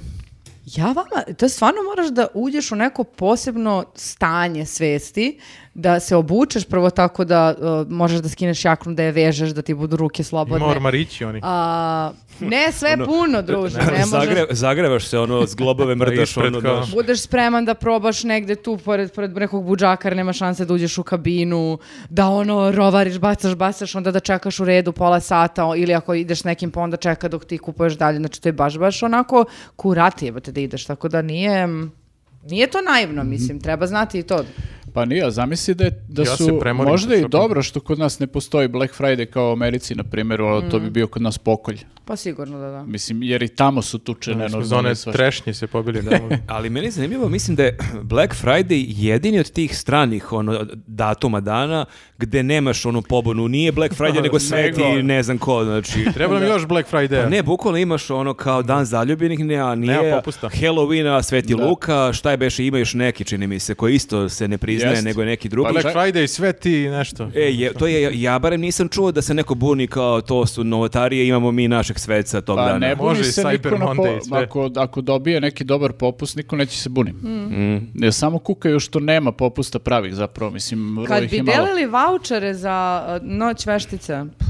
[SPEAKER 2] Ja vama, to stvarno moraš da uđeš u neko posebno stanje svesti, da se obučeš prvo tako da a, možeš da skineš jaknu, da je vežeš, da ti budu ruke
[SPEAKER 4] Ima
[SPEAKER 2] slobodne.
[SPEAKER 4] ormarići oni.
[SPEAKER 2] A, ne, sve je
[SPEAKER 1] (laughs)
[SPEAKER 2] puno, druže, ne možeš.
[SPEAKER 1] Zagre, zagrevaš se ono,
[SPEAKER 3] (laughs)
[SPEAKER 1] zglobove mrdaš
[SPEAKER 4] Ispred
[SPEAKER 1] ono,
[SPEAKER 4] kao.
[SPEAKER 1] daš.
[SPEAKER 2] Budeš spreman da probaš negde tu pored, pored nekog buđaka jer nema šanse da uđeš u kabinu, da ono rovariš, bacaš, bacaš, onda da čekaš u redu pola sata o- ili ako ideš s nekim pa onda čeka dok ti kupuješ dalje. Znači to je baš, baš onako
[SPEAKER 3] Mhm.
[SPEAKER 2] kurati jebate da ideš, tako da nije... Nije to naivno, mislim, treba znati i to.
[SPEAKER 3] Pa nije, a zamisli da, je- da
[SPEAKER 4] Ja se
[SPEAKER 3] su
[SPEAKER 4] premorim
[SPEAKER 3] možda
[SPEAKER 4] sa
[SPEAKER 3] i
[SPEAKER 4] šopom.
[SPEAKER 3] dobro što kod nas ne postoji Black Friday kao u Americi, na primjer, ali to
[SPEAKER 2] Mm.
[SPEAKER 3] bi bio kod nas pokolj.
[SPEAKER 2] Pa sigurno da da.
[SPEAKER 3] Mislim, jer i tamo su tuče
[SPEAKER 4] Mi smo
[SPEAKER 3] nenormalne
[SPEAKER 4] za one
[SPEAKER 3] svašta.
[SPEAKER 4] Znači, trešnje se
[SPEAKER 3] (laughs)
[SPEAKER 4] pobili. Da.
[SPEAKER 1] Ali meni je zanimljivo, mislim da je Black Friday jedini od tih stranih ono, datuma dana gde nemaš onu pobunu. Nije Black
[SPEAKER 3] (laughs)
[SPEAKER 1] Friday, nego sveti
[SPEAKER 4] Nego-
[SPEAKER 1] ne znam ko. Znači, (laughs)
[SPEAKER 4] Treba nam još Black Friday.
[SPEAKER 1] Pa ne, bukvalno imaš ono kao dan zaljubljenih, ne, a nije
[SPEAKER 4] Nema popusta.
[SPEAKER 1] Halloween, a Sveti Luka, šta je beše, ima još neki, čini mi se, koji isto se ne priznaje,
[SPEAKER 3] Jest.
[SPEAKER 1] nego je neki drugi.
[SPEAKER 4] Black
[SPEAKER 3] čak-
[SPEAKER 4] Friday, sve ti nešto.
[SPEAKER 1] E, je, to je, ja barem nisam čuo da se neko buni kao to su novotarije, imamo mi našeg sveca tog
[SPEAKER 3] Pa
[SPEAKER 1] dana.
[SPEAKER 3] ne buni
[SPEAKER 4] Može i
[SPEAKER 3] se niko
[SPEAKER 4] Cyber
[SPEAKER 3] na po-
[SPEAKER 4] Monday i sve.
[SPEAKER 3] ako, ako dobije neki dobar popust, niko neće se buniti.
[SPEAKER 2] Mm.
[SPEAKER 4] Mm.
[SPEAKER 3] Ne, samo kukaju što nema popusta pravih zapravo, mislim, vrlo
[SPEAKER 2] Kad
[SPEAKER 3] ih
[SPEAKER 2] bi
[SPEAKER 3] je malo.
[SPEAKER 2] delili vaučere za uh, noć veštice, pff,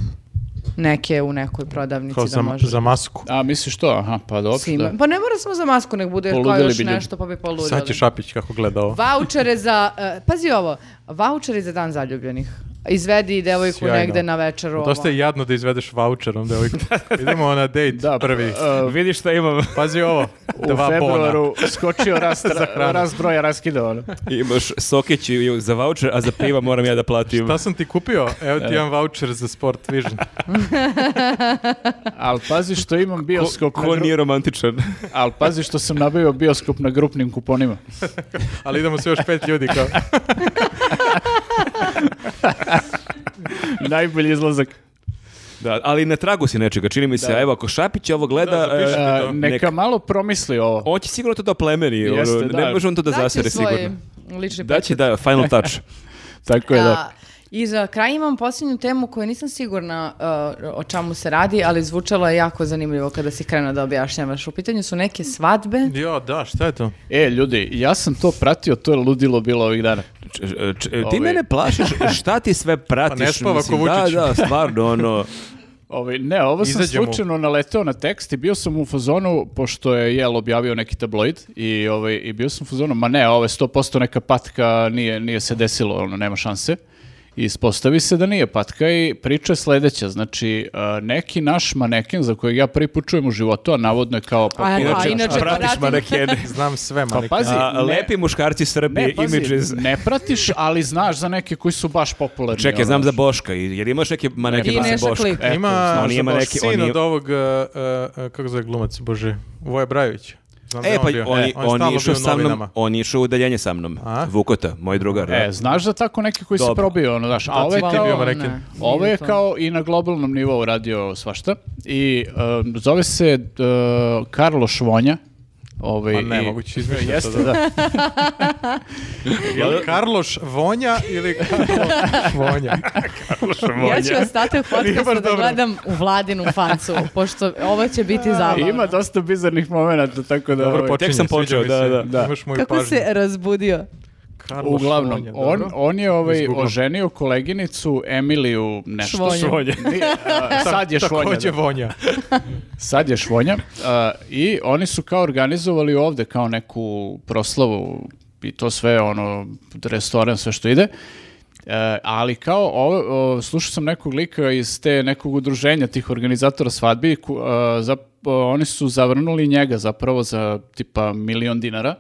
[SPEAKER 2] neke u nekoj prodavnici
[SPEAKER 4] Kao
[SPEAKER 2] da
[SPEAKER 4] za,
[SPEAKER 2] može.
[SPEAKER 4] za masku.
[SPEAKER 3] A misliš to? Aha, pa dobro.
[SPEAKER 2] Svima.
[SPEAKER 3] da.
[SPEAKER 2] Pa ne mora samo za masku, nek bude kao
[SPEAKER 3] Poludeli
[SPEAKER 2] još
[SPEAKER 3] bi ljudi.
[SPEAKER 2] nešto, pa bi poludili.
[SPEAKER 4] Sad će Šapić kako gleda ovo.
[SPEAKER 2] Vaučere za, e, pazi ovo, vaučeri za dan zaljubljenih. Izvedi devojku
[SPEAKER 4] Sjajno.
[SPEAKER 2] negde na večeru.
[SPEAKER 4] Dosta
[SPEAKER 2] ovo.
[SPEAKER 4] je Pa jadno da izvedeš
[SPEAKER 3] (laughs)
[SPEAKER 4] voucherom, devojku. Idemo na date
[SPEAKER 3] Da,
[SPEAKER 4] prvi.
[SPEAKER 3] e,
[SPEAKER 1] Vidiš šta imam.
[SPEAKER 4] Pazi ovo,
[SPEAKER 3] u
[SPEAKER 4] dva bona.
[SPEAKER 3] februaru
[SPEAKER 4] (laughs)
[SPEAKER 3] skočio rast, rast broja raskida. ono.
[SPEAKER 1] Imaš sokić i- za voucher, a za piva moram ja da platim.
[SPEAKER 4] Šta sam ti kupio? Evo ti jedan voucher za Sport Vision.
[SPEAKER 3] Ali pazi što imam bioskop,
[SPEAKER 1] Ko,
[SPEAKER 3] na
[SPEAKER 1] ko
[SPEAKER 3] gru-
[SPEAKER 1] nije romantičan?
[SPEAKER 3] ali pazi što sam nabavio bioskop na grupnim kuponima.
[SPEAKER 4] Ali idemo se još pet ljudi kao.
[SPEAKER 3] Najbolji izlazak.
[SPEAKER 1] da, ali na tragu si nečega, čini mi se. a Evo, ako Šapić ovo gleda,
[SPEAKER 4] Da, zapišite
[SPEAKER 1] e,
[SPEAKER 3] A,
[SPEAKER 4] to.
[SPEAKER 3] neka
[SPEAKER 1] Neka-
[SPEAKER 3] malo promisli ovo.
[SPEAKER 1] on će sigurno to da oplemeni.
[SPEAKER 3] Jeste,
[SPEAKER 1] ono,
[SPEAKER 3] da.
[SPEAKER 1] Ne može on to da
[SPEAKER 2] Daće
[SPEAKER 1] zasere
[SPEAKER 2] svoj
[SPEAKER 1] sigurno.
[SPEAKER 2] lični
[SPEAKER 1] Da će, da, final touch.
[SPEAKER 3] Tako je da.
[SPEAKER 2] A, I za kraj imam posljednju temu koju nisam sigurna uh, o čemu se radi, ali zvučalo je jako zanimljivo kada si krenuo da objašnjavaš. U pitanju su neke svadbe.
[SPEAKER 4] Jo, da, šta je to?
[SPEAKER 3] E, ljudi, ja sam to pratio, to je ludilo bilo ovih dana.
[SPEAKER 1] Č- č- č- ti
[SPEAKER 3] Ovaj-
[SPEAKER 1] mene plašiš, šta ti sve pratiš?
[SPEAKER 4] (laughs) Pa ne spava
[SPEAKER 1] mislim,
[SPEAKER 4] ko Vučić.
[SPEAKER 1] Da, da, stvarno,
[SPEAKER 4] (laughs)
[SPEAKER 1] ono,
[SPEAKER 3] Ovaj, ne, ovo sam
[SPEAKER 4] Izađemo.
[SPEAKER 3] slučajno naleteo na tekst i bio sam u fazonu, pošto je Jel objavio neki tabloid, i, ovaj, i bio sam u fazonu, ma ne, ovo je 100% neka patka, nije, nije se desilo, ono, nema šanse. I ispostavi se da nije patka i priča je sledeća, znači a, neki naš maneken za kojeg ja prvi put čujem u životu, a navodno je kao... Pa,
[SPEAKER 2] A,
[SPEAKER 1] inače,
[SPEAKER 2] a inače
[SPEAKER 1] pratiš
[SPEAKER 2] pratim-
[SPEAKER 1] manekene.
[SPEAKER 4] Znam sve,
[SPEAKER 3] pa
[SPEAKER 4] manike.
[SPEAKER 3] pazi,
[SPEAKER 1] A,
[SPEAKER 3] ne-
[SPEAKER 1] lepi muškarci Srbije,
[SPEAKER 3] Ne, pazi,
[SPEAKER 1] images.
[SPEAKER 3] ne pratiš, ali znaš za neke koji su baš popularni.
[SPEAKER 1] Čekaj,
[SPEAKER 3] ono.
[SPEAKER 1] znam za Boška, i- jer imaš neke maneke
[SPEAKER 2] I
[SPEAKER 1] za
[SPEAKER 2] Neša
[SPEAKER 1] Boška.
[SPEAKER 2] Klik.
[SPEAKER 1] E,
[SPEAKER 4] Ima
[SPEAKER 1] on
[SPEAKER 4] on
[SPEAKER 1] ima neki- on
[SPEAKER 4] sin
[SPEAKER 1] ima-
[SPEAKER 4] od ovog, uh, uh, uh, kako zove glumac, bože, Voja Brajović. Znam da
[SPEAKER 1] E,
[SPEAKER 4] je
[SPEAKER 1] pa
[SPEAKER 4] bio.
[SPEAKER 1] on,
[SPEAKER 4] E, je
[SPEAKER 1] on,
[SPEAKER 4] stalno
[SPEAKER 1] je išao
[SPEAKER 4] bio u
[SPEAKER 1] sa mnom,
[SPEAKER 4] novinama.
[SPEAKER 1] on je išao u udaljenje sa mnom.
[SPEAKER 4] A?
[SPEAKER 1] Vukota, moj drugar.
[SPEAKER 3] E,
[SPEAKER 1] E,
[SPEAKER 3] znaš za tako neke koji se
[SPEAKER 1] Dobro.
[SPEAKER 3] probio, ono, znaš, a ovo je
[SPEAKER 4] Ti
[SPEAKER 2] Hvala
[SPEAKER 4] bio
[SPEAKER 2] vam,
[SPEAKER 3] kao...
[SPEAKER 4] maneken.
[SPEAKER 2] ne.
[SPEAKER 3] Ovo
[SPEAKER 2] Nije
[SPEAKER 3] je
[SPEAKER 2] to.
[SPEAKER 3] kao i na globalnom nivou radio svašta i um, zove se e, Karlo Švonja. Ovaj,
[SPEAKER 4] Pa ne,
[SPEAKER 3] i-
[SPEAKER 4] moguće izmišljaš
[SPEAKER 3] (laughs) Jeste,
[SPEAKER 4] to, da.
[SPEAKER 3] da.
[SPEAKER 4] Ili Karloš Vonja ili Karloš Vonja.
[SPEAKER 2] Ja ću ostati u podcastu da gledam u vladinu facu, pošto ovo će biti zabavno.
[SPEAKER 3] Ima dosta bizarnih momenenta, tako da... ovaj,
[SPEAKER 1] počinje, sam
[SPEAKER 4] sviđa
[SPEAKER 1] počeo,
[SPEAKER 4] mi se.
[SPEAKER 1] da, da.
[SPEAKER 3] Da.
[SPEAKER 4] Imaš moju
[SPEAKER 2] Kako
[SPEAKER 4] pažnju.
[SPEAKER 2] se razbudio.
[SPEAKER 4] Karloš
[SPEAKER 3] Uglavnom,
[SPEAKER 4] Vonja,
[SPEAKER 3] on,
[SPEAKER 4] dobro.
[SPEAKER 3] on je ovaj,
[SPEAKER 4] Izguglam.
[SPEAKER 3] oženio koleginicu Emiliju nešto.
[SPEAKER 2] Švonju.
[SPEAKER 3] Švonju. Nije,
[SPEAKER 1] (laughs)
[SPEAKER 3] a, sad je Švonja.
[SPEAKER 4] Takođe
[SPEAKER 3] da.
[SPEAKER 4] Vonja.
[SPEAKER 3] Sad je švonja a, i oni su kao organizovali ovde kao neku proslavu i to sve, ono, restoran, sve što ide. E, ali kao, ovo, o, slušao sam nekog lika iz te nekog udruženja tih organizatora svadbi, ku- a, zap- a, oni su zavrnuli njega zapravo za tipa milion dinara.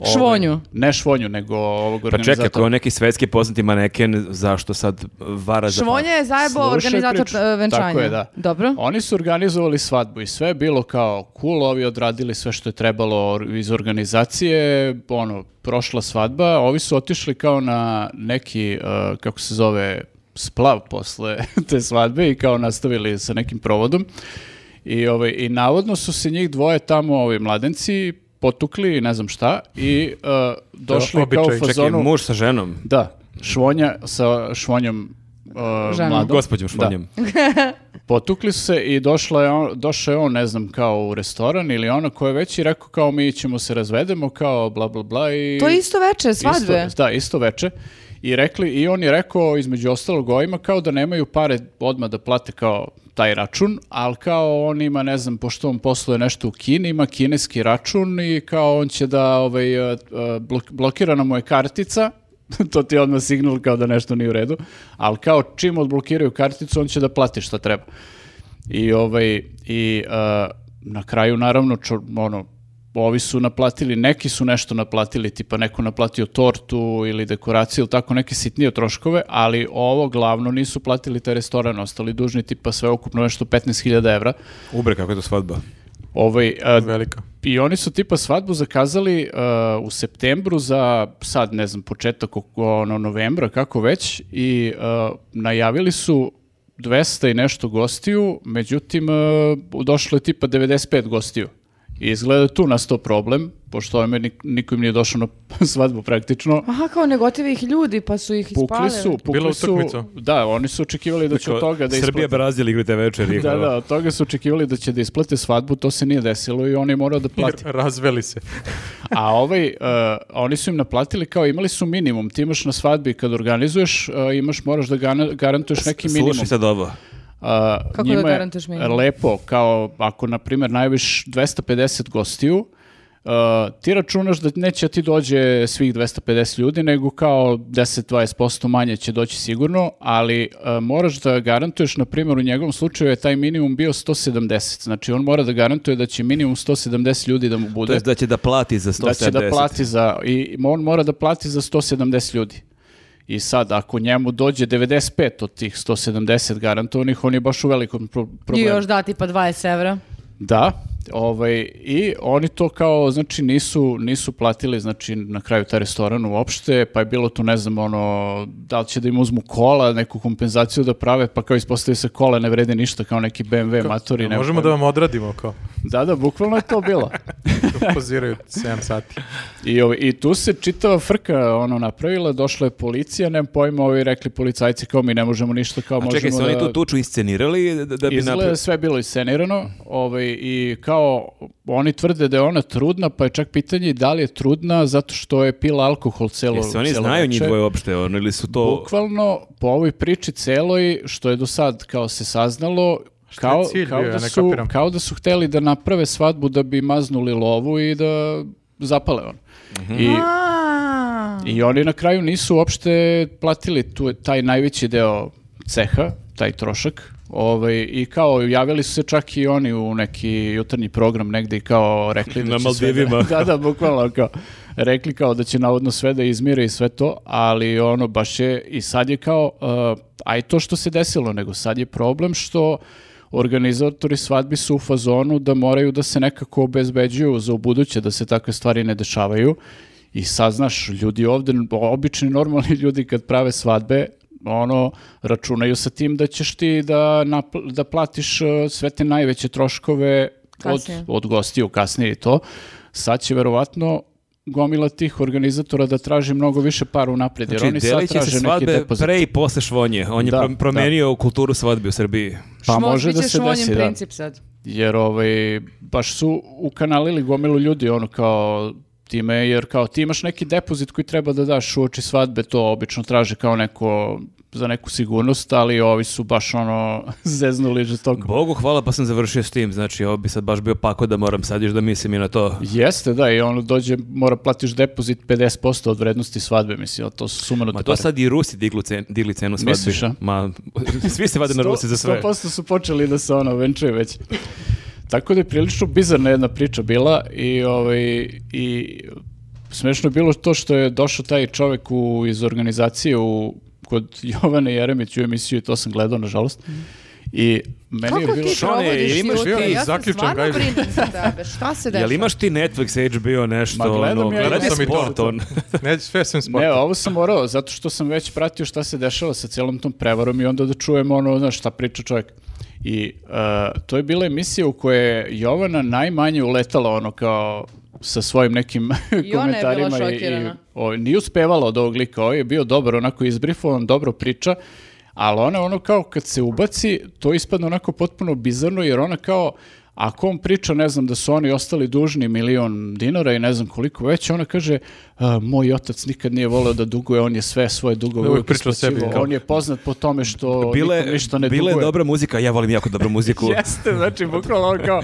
[SPEAKER 3] Ovaj,
[SPEAKER 2] Švonju.
[SPEAKER 3] Ne švonju, nego ovog
[SPEAKER 1] pa čekaj,
[SPEAKER 3] organizatora.
[SPEAKER 1] ako je on neki svetski poznati maneken, zašto sad vara za...
[SPEAKER 2] Švonja je zajebao
[SPEAKER 3] pa Slušaj
[SPEAKER 2] organizator
[SPEAKER 3] priču.
[SPEAKER 2] e, venčanja.
[SPEAKER 3] Tako je, da.
[SPEAKER 2] Dobro.
[SPEAKER 3] Oni su organizovali svadbu i sve je bilo kao cool, ovi odradili sve što je trebalo or- iz organizacije, ono, prošla svadba, ovi su otišli kao na neki, uh, kako se zove, splav posle (laughs) te svadbe i kao nastavili sa nekim provodom. I, ovaj, I navodno su se njih dvoje tamo, ovi mladenci, potukli i ne znam šta i uh, došli kao
[SPEAKER 4] običaj.
[SPEAKER 3] u
[SPEAKER 4] Čekaj,
[SPEAKER 1] Čekaj,
[SPEAKER 3] fazonu...
[SPEAKER 1] muž sa ženom.
[SPEAKER 3] Da, švonja sa švonjom uh,
[SPEAKER 2] Ženom.
[SPEAKER 3] mladom.
[SPEAKER 1] Gospodjom
[SPEAKER 3] Da.
[SPEAKER 1] Švonjem.
[SPEAKER 3] Potukli su se i došla je on, došao je on, ne znam, kao u restoran ili ono koje već i rekao kao mi ćemo se razvedemo, kao bla bla bla i...
[SPEAKER 2] To je isto veče, svadbe.
[SPEAKER 3] Isto, da, isto veče. I, rekli, I on je rekao između ostalog ovima kao da nemaju pare odmah da plate kao taj račun, ali kao on ima, ne znam, pošto on posluje nešto u Kini, ima kineski račun i kao on će da, ovaj, e, e, blok- blokirana mu je kartica, (laughs) to ti je odmah signal kao da nešto nije u redu, ali kao čim odblokiraju karticu, on će da plati šta treba. I, ovaj, i e, na kraju, naravno, čo- ono, ovi su naplatili, neki su nešto naplatili, tipa neko naplatio tortu ili dekoraciju ili tako neke sitnije troškove, ali ovo glavno nisu platili taj restoran, ostali dužni tipa sve ukupno nešto 15.000 evra.
[SPEAKER 1] Ubre, kako je to svadba.
[SPEAKER 3] Ovaj, a,
[SPEAKER 4] Velika.
[SPEAKER 3] i oni su tipa svadbu zakazali uh, u septembru za sad ne znam početak oko- ono novembra kako već i uh, najavili su 200 i nešto gostiju, međutim uh, došlo je tipa 95 gostiju. I izgleda je tu nastao problem, pošto ovome nik- niko im nije došao na (laughs) svadbu praktično.
[SPEAKER 2] Aha, kao ne gotive ih ljudi, pa su ih ispalili.
[SPEAKER 3] Pukli su, pukli
[SPEAKER 4] Bila
[SPEAKER 3] su.
[SPEAKER 4] utakmica.
[SPEAKER 3] Da, oni su očekivali da će od toga da
[SPEAKER 1] Srbija
[SPEAKER 3] isplate-
[SPEAKER 1] Brazil igru te večeri.
[SPEAKER 3] Da, da, od toga su očekivali da će da isplate svadbu, to se nije desilo i on je morao da plati.
[SPEAKER 4] Razveli se.
[SPEAKER 3] A ovaj, uh, oni su im naplatili kao imali su minimum, ti imaš na svadbi kad organizuješ, uh, imaš, moraš da gana- garantuješ neki minimum.
[SPEAKER 1] Slušaj sad ovo.
[SPEAKER 3] A,
[SPEAKER 2] Kako
[SPEAKER 3] njima
[SPEAKER 2] da
[SPEAKER 3] je
[SPEAKER 2] garantuješ minimum?
[SPEAKER 3] Lepo, kao ako, na primjer, najaviš 250 gostiju, a, ti računaš da neće ti dođe svih 250 ljudi, nego kao 10-20% manje će doći sigurno, ali a, moraš da garantuješ, na primjer, u njegovom slučaju je taj minimum bio 170, znači on mora da garantuje da će minimum 170 ljudi da mu bude
[SPEAKER 1] To jest da će da plati za 170.
[SPEAKER 3] da će da plati za, i on mora da plati za 170 ljudi. I sad, ako njemu dođe 95 od tih 170 garantovanih, on je baš u velikom pro-
[SPEAKER 2] I
[SPEAKER 3] problemu.
[SPEAKER 2] još dati pa 20 evra.
[SPEAKER 3] Da, ovaj, i oni to kao, znači, nisu, nisu platili, znači, na kraju taj restoran uopšte, pa je bilo tu, ne znam, ono, da li će da im uzmu kola, neku kompenzaciju da prave, pa kao ispostavi se kola, ne vrede ništa, kao neki BMW matori. nema
[SPEAKER 4] Možemo da
[SPEAKER 3] pojma.
[SPEAKER 4] vam odradimo kao. (laughs)
[SPEAKER 3] Da, da, bukvalno je to bilo.
[SPEAKER 4] Poziraju 7 sati.
[SPEAKER 3] I, ovi- I tu se čitava frka ono napravila, došla je policija, nemam pojma, ovi rekli policajci kao mi ne možemo ništa, kao
[SPEAKER 1] A
[SPEAKER 3] Pa možemo
[SPEAKER 1] čekaj, su oni
[SPEAKER 3] da...
[SPEAKER 1] tu tuču iscenirali da, da bi
[SPEAKER 3] Izgleda
[SPEAKER 1] napravili?
[SPEAKER 3] sve je bilo iscenirano ovaj, i kao oni tvrde da je ona trudna, pa je čak pitanje i da li je trudna zato što je pila alkohol celo,
[SPEAKER 1] Jesu oni
[SPEAKER 3] celo
[SPEAKER 1] znaju njih
[SPEAKER 3] veče.
[SPEAKER 1] dvoje uopšte, ono, ili su to...
[SPEAKER 3] Bukvalno po ovoj priči celoj što je do sad kao se saznalo
[SPEAKER 4] je
[SPEAKER 3] kao,
[SPEAKER 4] cilj
[SPEAKER 3] kao,
[SPEAKER 4] bio,
[SPEAKER 3] da
[SPEAKER 4] ja ne
[SPEAKER 3] su,
[SPEAKER 4] kapiram.
[SPEAKER 3] kao da su hteli da naprave svadbu da bi maznuli lovu i da zapale on.
[SPEAKER 1] Mhm.
[SPEAKER 3] I
[SPEAKER 2] A,
[SPEAKER 3] i oni na kraju nisu uopšte platili tu, taj najveći deo ceha, taj trošak. Ovaj, I kao javili su se čak i oni u neki jutarnji program negdje i kao rekli da
[SPEAKER 1] Na
[SPEAKER 3] će sve
[SPEAKER 1] Maldivima. (laughs)
[SPEAKER 3] (laughs) Da, da, da, bukvalno kao rekli kao da će navodno sve da izmire i sve to, ali ono baš je i sad je kao uh, a i to što se desilo, nego sad je problem što organizatori svadbi su u fazonu da moraju da se nekako obezbeđuju za ubuduće da se takve stvari ne dešavaju i sad, znaš, ljudi ovdje, obični normalni (laughs) ljudi kad prave svadbe, ono, računaju sa tim da ćeš ti da, napl- da platiš uh, sve te najveće troškove od,
[SPEAKER 2] Kasnije.
[SPEAKER 3] od gostiju kasnije i to. Sad će verovatno gomila tih organizatora da traži mnogo više para unaprijed, jer
[SPEAKER 1] Znači,
[SPEAKER 3] oni sad
[SPEAKER 1] delit će se
[SPEAKER 3] traže neki
[SPEAKER 1] svadbe
[SPEAKER 3] depozit.
[SPEAKER 1] pre i posle švonje. On je
[SPEAKER 3] Da,
[SPEAKER 1] pro- promenio kulturu svadbe u Srbiji.
[SPEAKER 3] Pa može da se
[SPEAKER 2] šmonjen
[SPEAKER 3] desi, da.
[SPEAKER 2] princip sad.
[SPEAKER 3] Jer ovaj, baš su ukanalili gomilu ljudi, ono kao time, jer kao ti imaš neki depozit koji treba da daš u oči svadbe, to obično traže kao neko, za neku sigurnost, ali ovi su baš ono (laughs) zeznuli žestoko.
[SPEAKER 1] Bogu hvala pa sam završio s tim, znači ovo bi sad baš bio pako da moram sad još da mislim i na to.
[SPEAKER 3] Jeste, da, i ono dođe, mora platiš depozit 50% od vrednosti svadbe, mislim, a to su sumanute
[SPEAKER 1] Ma to
[SPEAKER 3] pare.
[SPEAKER 1] sad i Rusi digli, cen, digli cenu svadbi.
[SPEAKER 3] Misliš, a?
[SPEAKER 1] Ma, (laughs) svi se vade na Rusi za sve.
[SPEAKER 3] 100% su počeli da se ono venčaju već. Tako da je prilično bizarna jedna priča bila i, ovaj, i smešno je bilo to što je došao taj čovek u, iz organizacije u, kod (laughs) Jovane Jeremić u emisiju i to sam gledao, nažalost. I meni je
[SPEAKER 2] Mhm. Kako
[SPEAKER 3] bilo...
[SPEAKER 2] ti
[SPEAKER 1] Šone,
[SPEAKER 2] provodiš
[SPEAKER 1] imaš
[SPEAKER 2] jutro?
[SPEAKER 4] bio i
[SPEAKER 2] Ja se
[SPEAKER 4] zaključan
[SPEAKER 2] stvarno
[SPEAKER 4] gajbi.
[SPEAKER 2] brinem za tebe. Šta
[SPEAKER 3] (laughs)
[SPEAKER 2] se dešava?
[SPEAKER 1] Jel imaš ti Netflix, HBO, nešto?
[SPEAKER 3] Ma, gledam
[SPEAKER 1] ono,
[SPEAKER 3] ja i
[SPEAKER 1] gledaj
[SPEAKER 4] Netflix.
[SPEAKER 1] sport, on.
[SPEAKER 4] Ne, sve sam sport.
[SPEAKER 3] Ne, ovo sam morao, zato što sam već pratio šta se dešava sa cijelom tom prevarom i onda da čujem ono, znaš, šta priča čovjek. I uh, to je bila emisija u kojoj je Jovana najmanje uletala ono kao sa svojim nekim (laughs)
[SPEAKER 2] bila
[SPEAKER 3] komentarima.
[SPEAKER 2] šokirana.
[SPEAKER 3] o, Ovaj, nije uspevala od ovog lika, ovo je bio dobar, onako izbrifovan, dobro priča, ali ona ono kao kad se ubaci, to ispadne onako potpuno bizarno, jer ona kao, ako on priča, ne znam, da su oni ostali dužni milion dinara i ne znam koliko već, ona kaže, "A, moj otac nikad nije voleo da duguje, on je sve svoje dugove
[SPEAKER 4] Uvijek
[SPEAKER 3] uvijek
[SPEAKER 4] priča o sebi,
[SPEAKER 3] isplaćivao.
[SPEAKER 4] kao-
[SPEAKER 3] On je poznat po tome što
[SPEAKER 1] Bile,
[SPEAKER 3] nikom ništa ne
[SPEAKER 1] bila je
[SPEAKER 3] duguje.
[SPEAKER 1] dobra muzika, ja volim jako
[SPEAKER 3] (laughs)
[SPEAKER 1] dobru muziku.
[SPEAKER 3] Jeste, znači, bukvalno on kao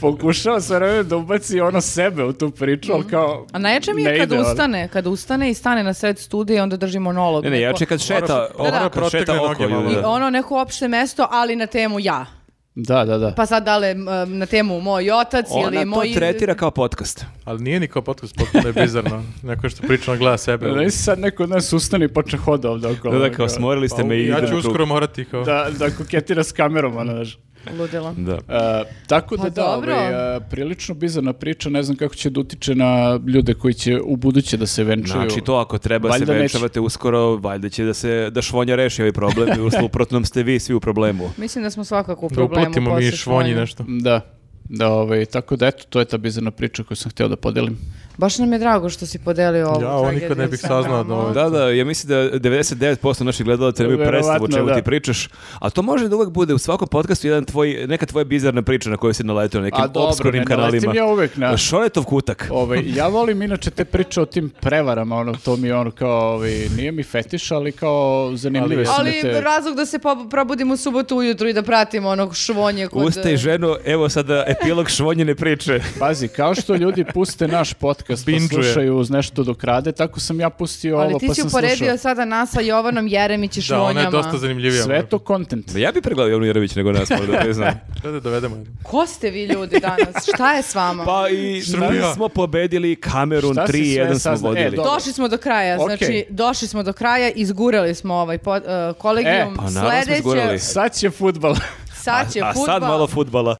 [SPEAKER 3] pokušao sve vreme da ubaci ono sebe u tu priču, ali kao...
[SPEAKER 2] A najjače mi je
[SPEAKER 3] ne
[SPEAKER 2] kad
[SPEAKER 3] ide, ono.
[SPEAKER 2] ustane, kad ustane i stane na sred studija i onda drži monolog.
[SPEAKER 1] Ne, ne,
[SPEAKER 2] Neko-
[SPEAKER 1] jače kad šeta,
[SPEAKER 4] mora
[SPEAKER 1] oko,
[SPEAKER 4] protegne
[SPEAKER 1] šeta
[SPEAKER 4] noge
[SPEAKER 1] oko.
[SPEAKER 4] malo,
[SPEAKER 1] ljudi.
[SPEAKER 4] da.
[SPEAKER 2] I ono neko opšte mesto, ali na temu ja.
[SPEAKER 3] Da, da, da.
[SPEAKER 2] Pa sad da li je, m, na temu moj otac
[SPEAKER 1] Ona
[SPEAKER 2] ili
[SPEAKER 1] to
[SPEAKER 2] moj...
[SPEAKER 1] tretira kao podcast.
[SPEAKER 4] Ali nije ni kao podcast, potpuno je bizarno. Neko što priča na glas sebe.
[SPEAKER 3] Da nisi sad neko od nas ustane i počne hoda ovde okolo.
[SPEAKER 1] Da, da,
[SPEAKER 3] Kao-
[SPEAKER 1] kao smorili ste
[SPEAKER 4] Pa,
[SPEAKER 1] me i
[SPEAKER 4] ja
[SPEAKER 1] idem
[SPEAKER 4] ću
[SPEAKER 1] u krug.
[SPEAKER 4] uskoro morati kao...
[SPEAKER 3] Da, da koketira s kamerom, ono, znaš.
[SPEAKER 2] Ludilo.
[SPEAKER 1] Da.
[SPEAKER 3] E, tako da
[SPEAKER 2] Pa
[SPEAKER 3] da,
[SPEAKER 2] dobro.
[SPEAKER 3] ovaj, e, prilično bizarna priča, ne znam kako će da utiče na ljude koji će u buduće da se venčuju.
[SPEAKER 1] Znači to ako treba
[SPEAKER 3] Valjda
[SPEAKER 1] se
[SPEAKER 3] neće.
[SPEAKER 1] venčavate uskoro, valjda će da se da švonja reši ovaj
[SPEAKER 3] (laughs)
[SPEAKER 1] problem, jer u suprotnom ste vi svi u problemu.
[SPEAKER 2] Mislim da smo svakako u
[SPEAKER 4] Da
[SPEAKER 2] problemu.
[SPEAKER 4] uplatimo mi
[SPEAKER 2] posle
[SPEAKER 4] švonji
[SPEAKER 2] švonja.
[SPEAKER 4] nešto.
[SPEAKER 3] Da, da, ovaj, tako da eto, to je ta bizarna priča koju sam htio da podelim.
[SPEAKER 2] Baš nam je drago što si podelio ovu
[SPEAKER 4] Ja, ovo nikad
[SPEAKER 2] tragediju
[SPEAKER 4] ne bih
[SPEAKER 2] sa
[SPEAKER 4] saznao
[SPEAKER 2] nama.
[SPEAKER 4] da ovo-
[SPEAKER 1] Da, da, ja mislim da 99% naših gledalaca nemaju predstavu o čemu
[SPEAKER 3] Verovatno, da.
[SPEAKER 1] ti pričaš, a to može da uvek bude u svakom podcastu jedan tvoj, neka tvoja bizarna priča na koju si naletio na
[SPEAKER 3] A
[SPEAKER 1] nekim
[SPEAKER 3] dobro,
[SPEAKER 1] obskurnim
[SPEAKER 3] ne naletim
[SPEAKER 1] kanalima.
[SPEAKER 3] ja uvek na-
[SPEAKER 1] Šoretov kutak.
[SPEAKER 3] Ovaj, ja volim inače te priče o tim prevarama, ono, to mi je ono kao, ovaj, nije mi fetiš, ali kao zanimljive su mi
[SPEAKER 2] Ali
[SPEAKER 3] te...
[SPEAKER 2] razlog da se po- probudim u subotu ujutru i da pratim onog švonje
[SPEAKER 3] pa
[SPEAKER 2] kod...
[SPEAKER 1] Ustaj ženo, evo sada epilog švonjene priče.
[SPEAKER 3] (laughs) Pazi, kao što ljudi puste naš podcast pa
[SPEAKER 4] Binge-uje.
[SPEAKER 3] slušaju uz nešto dok rade, tako sam ja pustio
[SPEAKER 2] Ali
[SPEAKER 3] ovo
[SPEAKER 2] ti
[SPEAKER 3] pa
[SPEAKER 2] si
[SPEAKER 3] sam
[SPEAKER 2] uporedio
[SPEAKER 3] slušao.
[SPEAKER 2] sada nas sa Jovanom Jeremić i
[SPEAKER 4] Da,
[SPEAKER 2] švonjama.
[SPEAKER 4] ona je dosta zanimljivija. ono.
[SPEAKER 3] Sve je to content.
[SPEAKER 1] Ja bi pregledao Jovnu Jerović nego nas, možda priznam.
[SPEAKER 4] Treba da je dovedemo.
[SPEAKER 2] Ko ste vi ljudi danas? Šta je s vama?
[SPEAKER 1] Pa i
[SPEAKER 4] Srbija.
[SPEAKER 1] mi smo pobedili Kamerun
[SPEAKER 3] Šta si sve
[SPEAKER 1] 3-1 smo
[SPEAKER 3] saznao? E,
[SPEAKER 1] vodili.
[SPEAKER 3] dobro.
[SPEAKER 2] Došli smo do kraja,
[SPEAKER 3] Okej.
[SPEAKER 2] znači došli smo do kraja, izgurali smo ovaj po, uh, kolegijum.
[SPEAKER 3] E,
[SPEAKER 1] pa naravno smo
[SPEAKER 2] Sledeće-
[SPEAKER 1] izgurali.
[SPEAKER 3] Sad će futbal. (laughs)
[SPEAKER 1] A,
[SPEAKER 2] Sad će
[SPEAKER 1] a
[SPEAKER 2] fudbal.
[SPEAKER 1] sad malo futbala.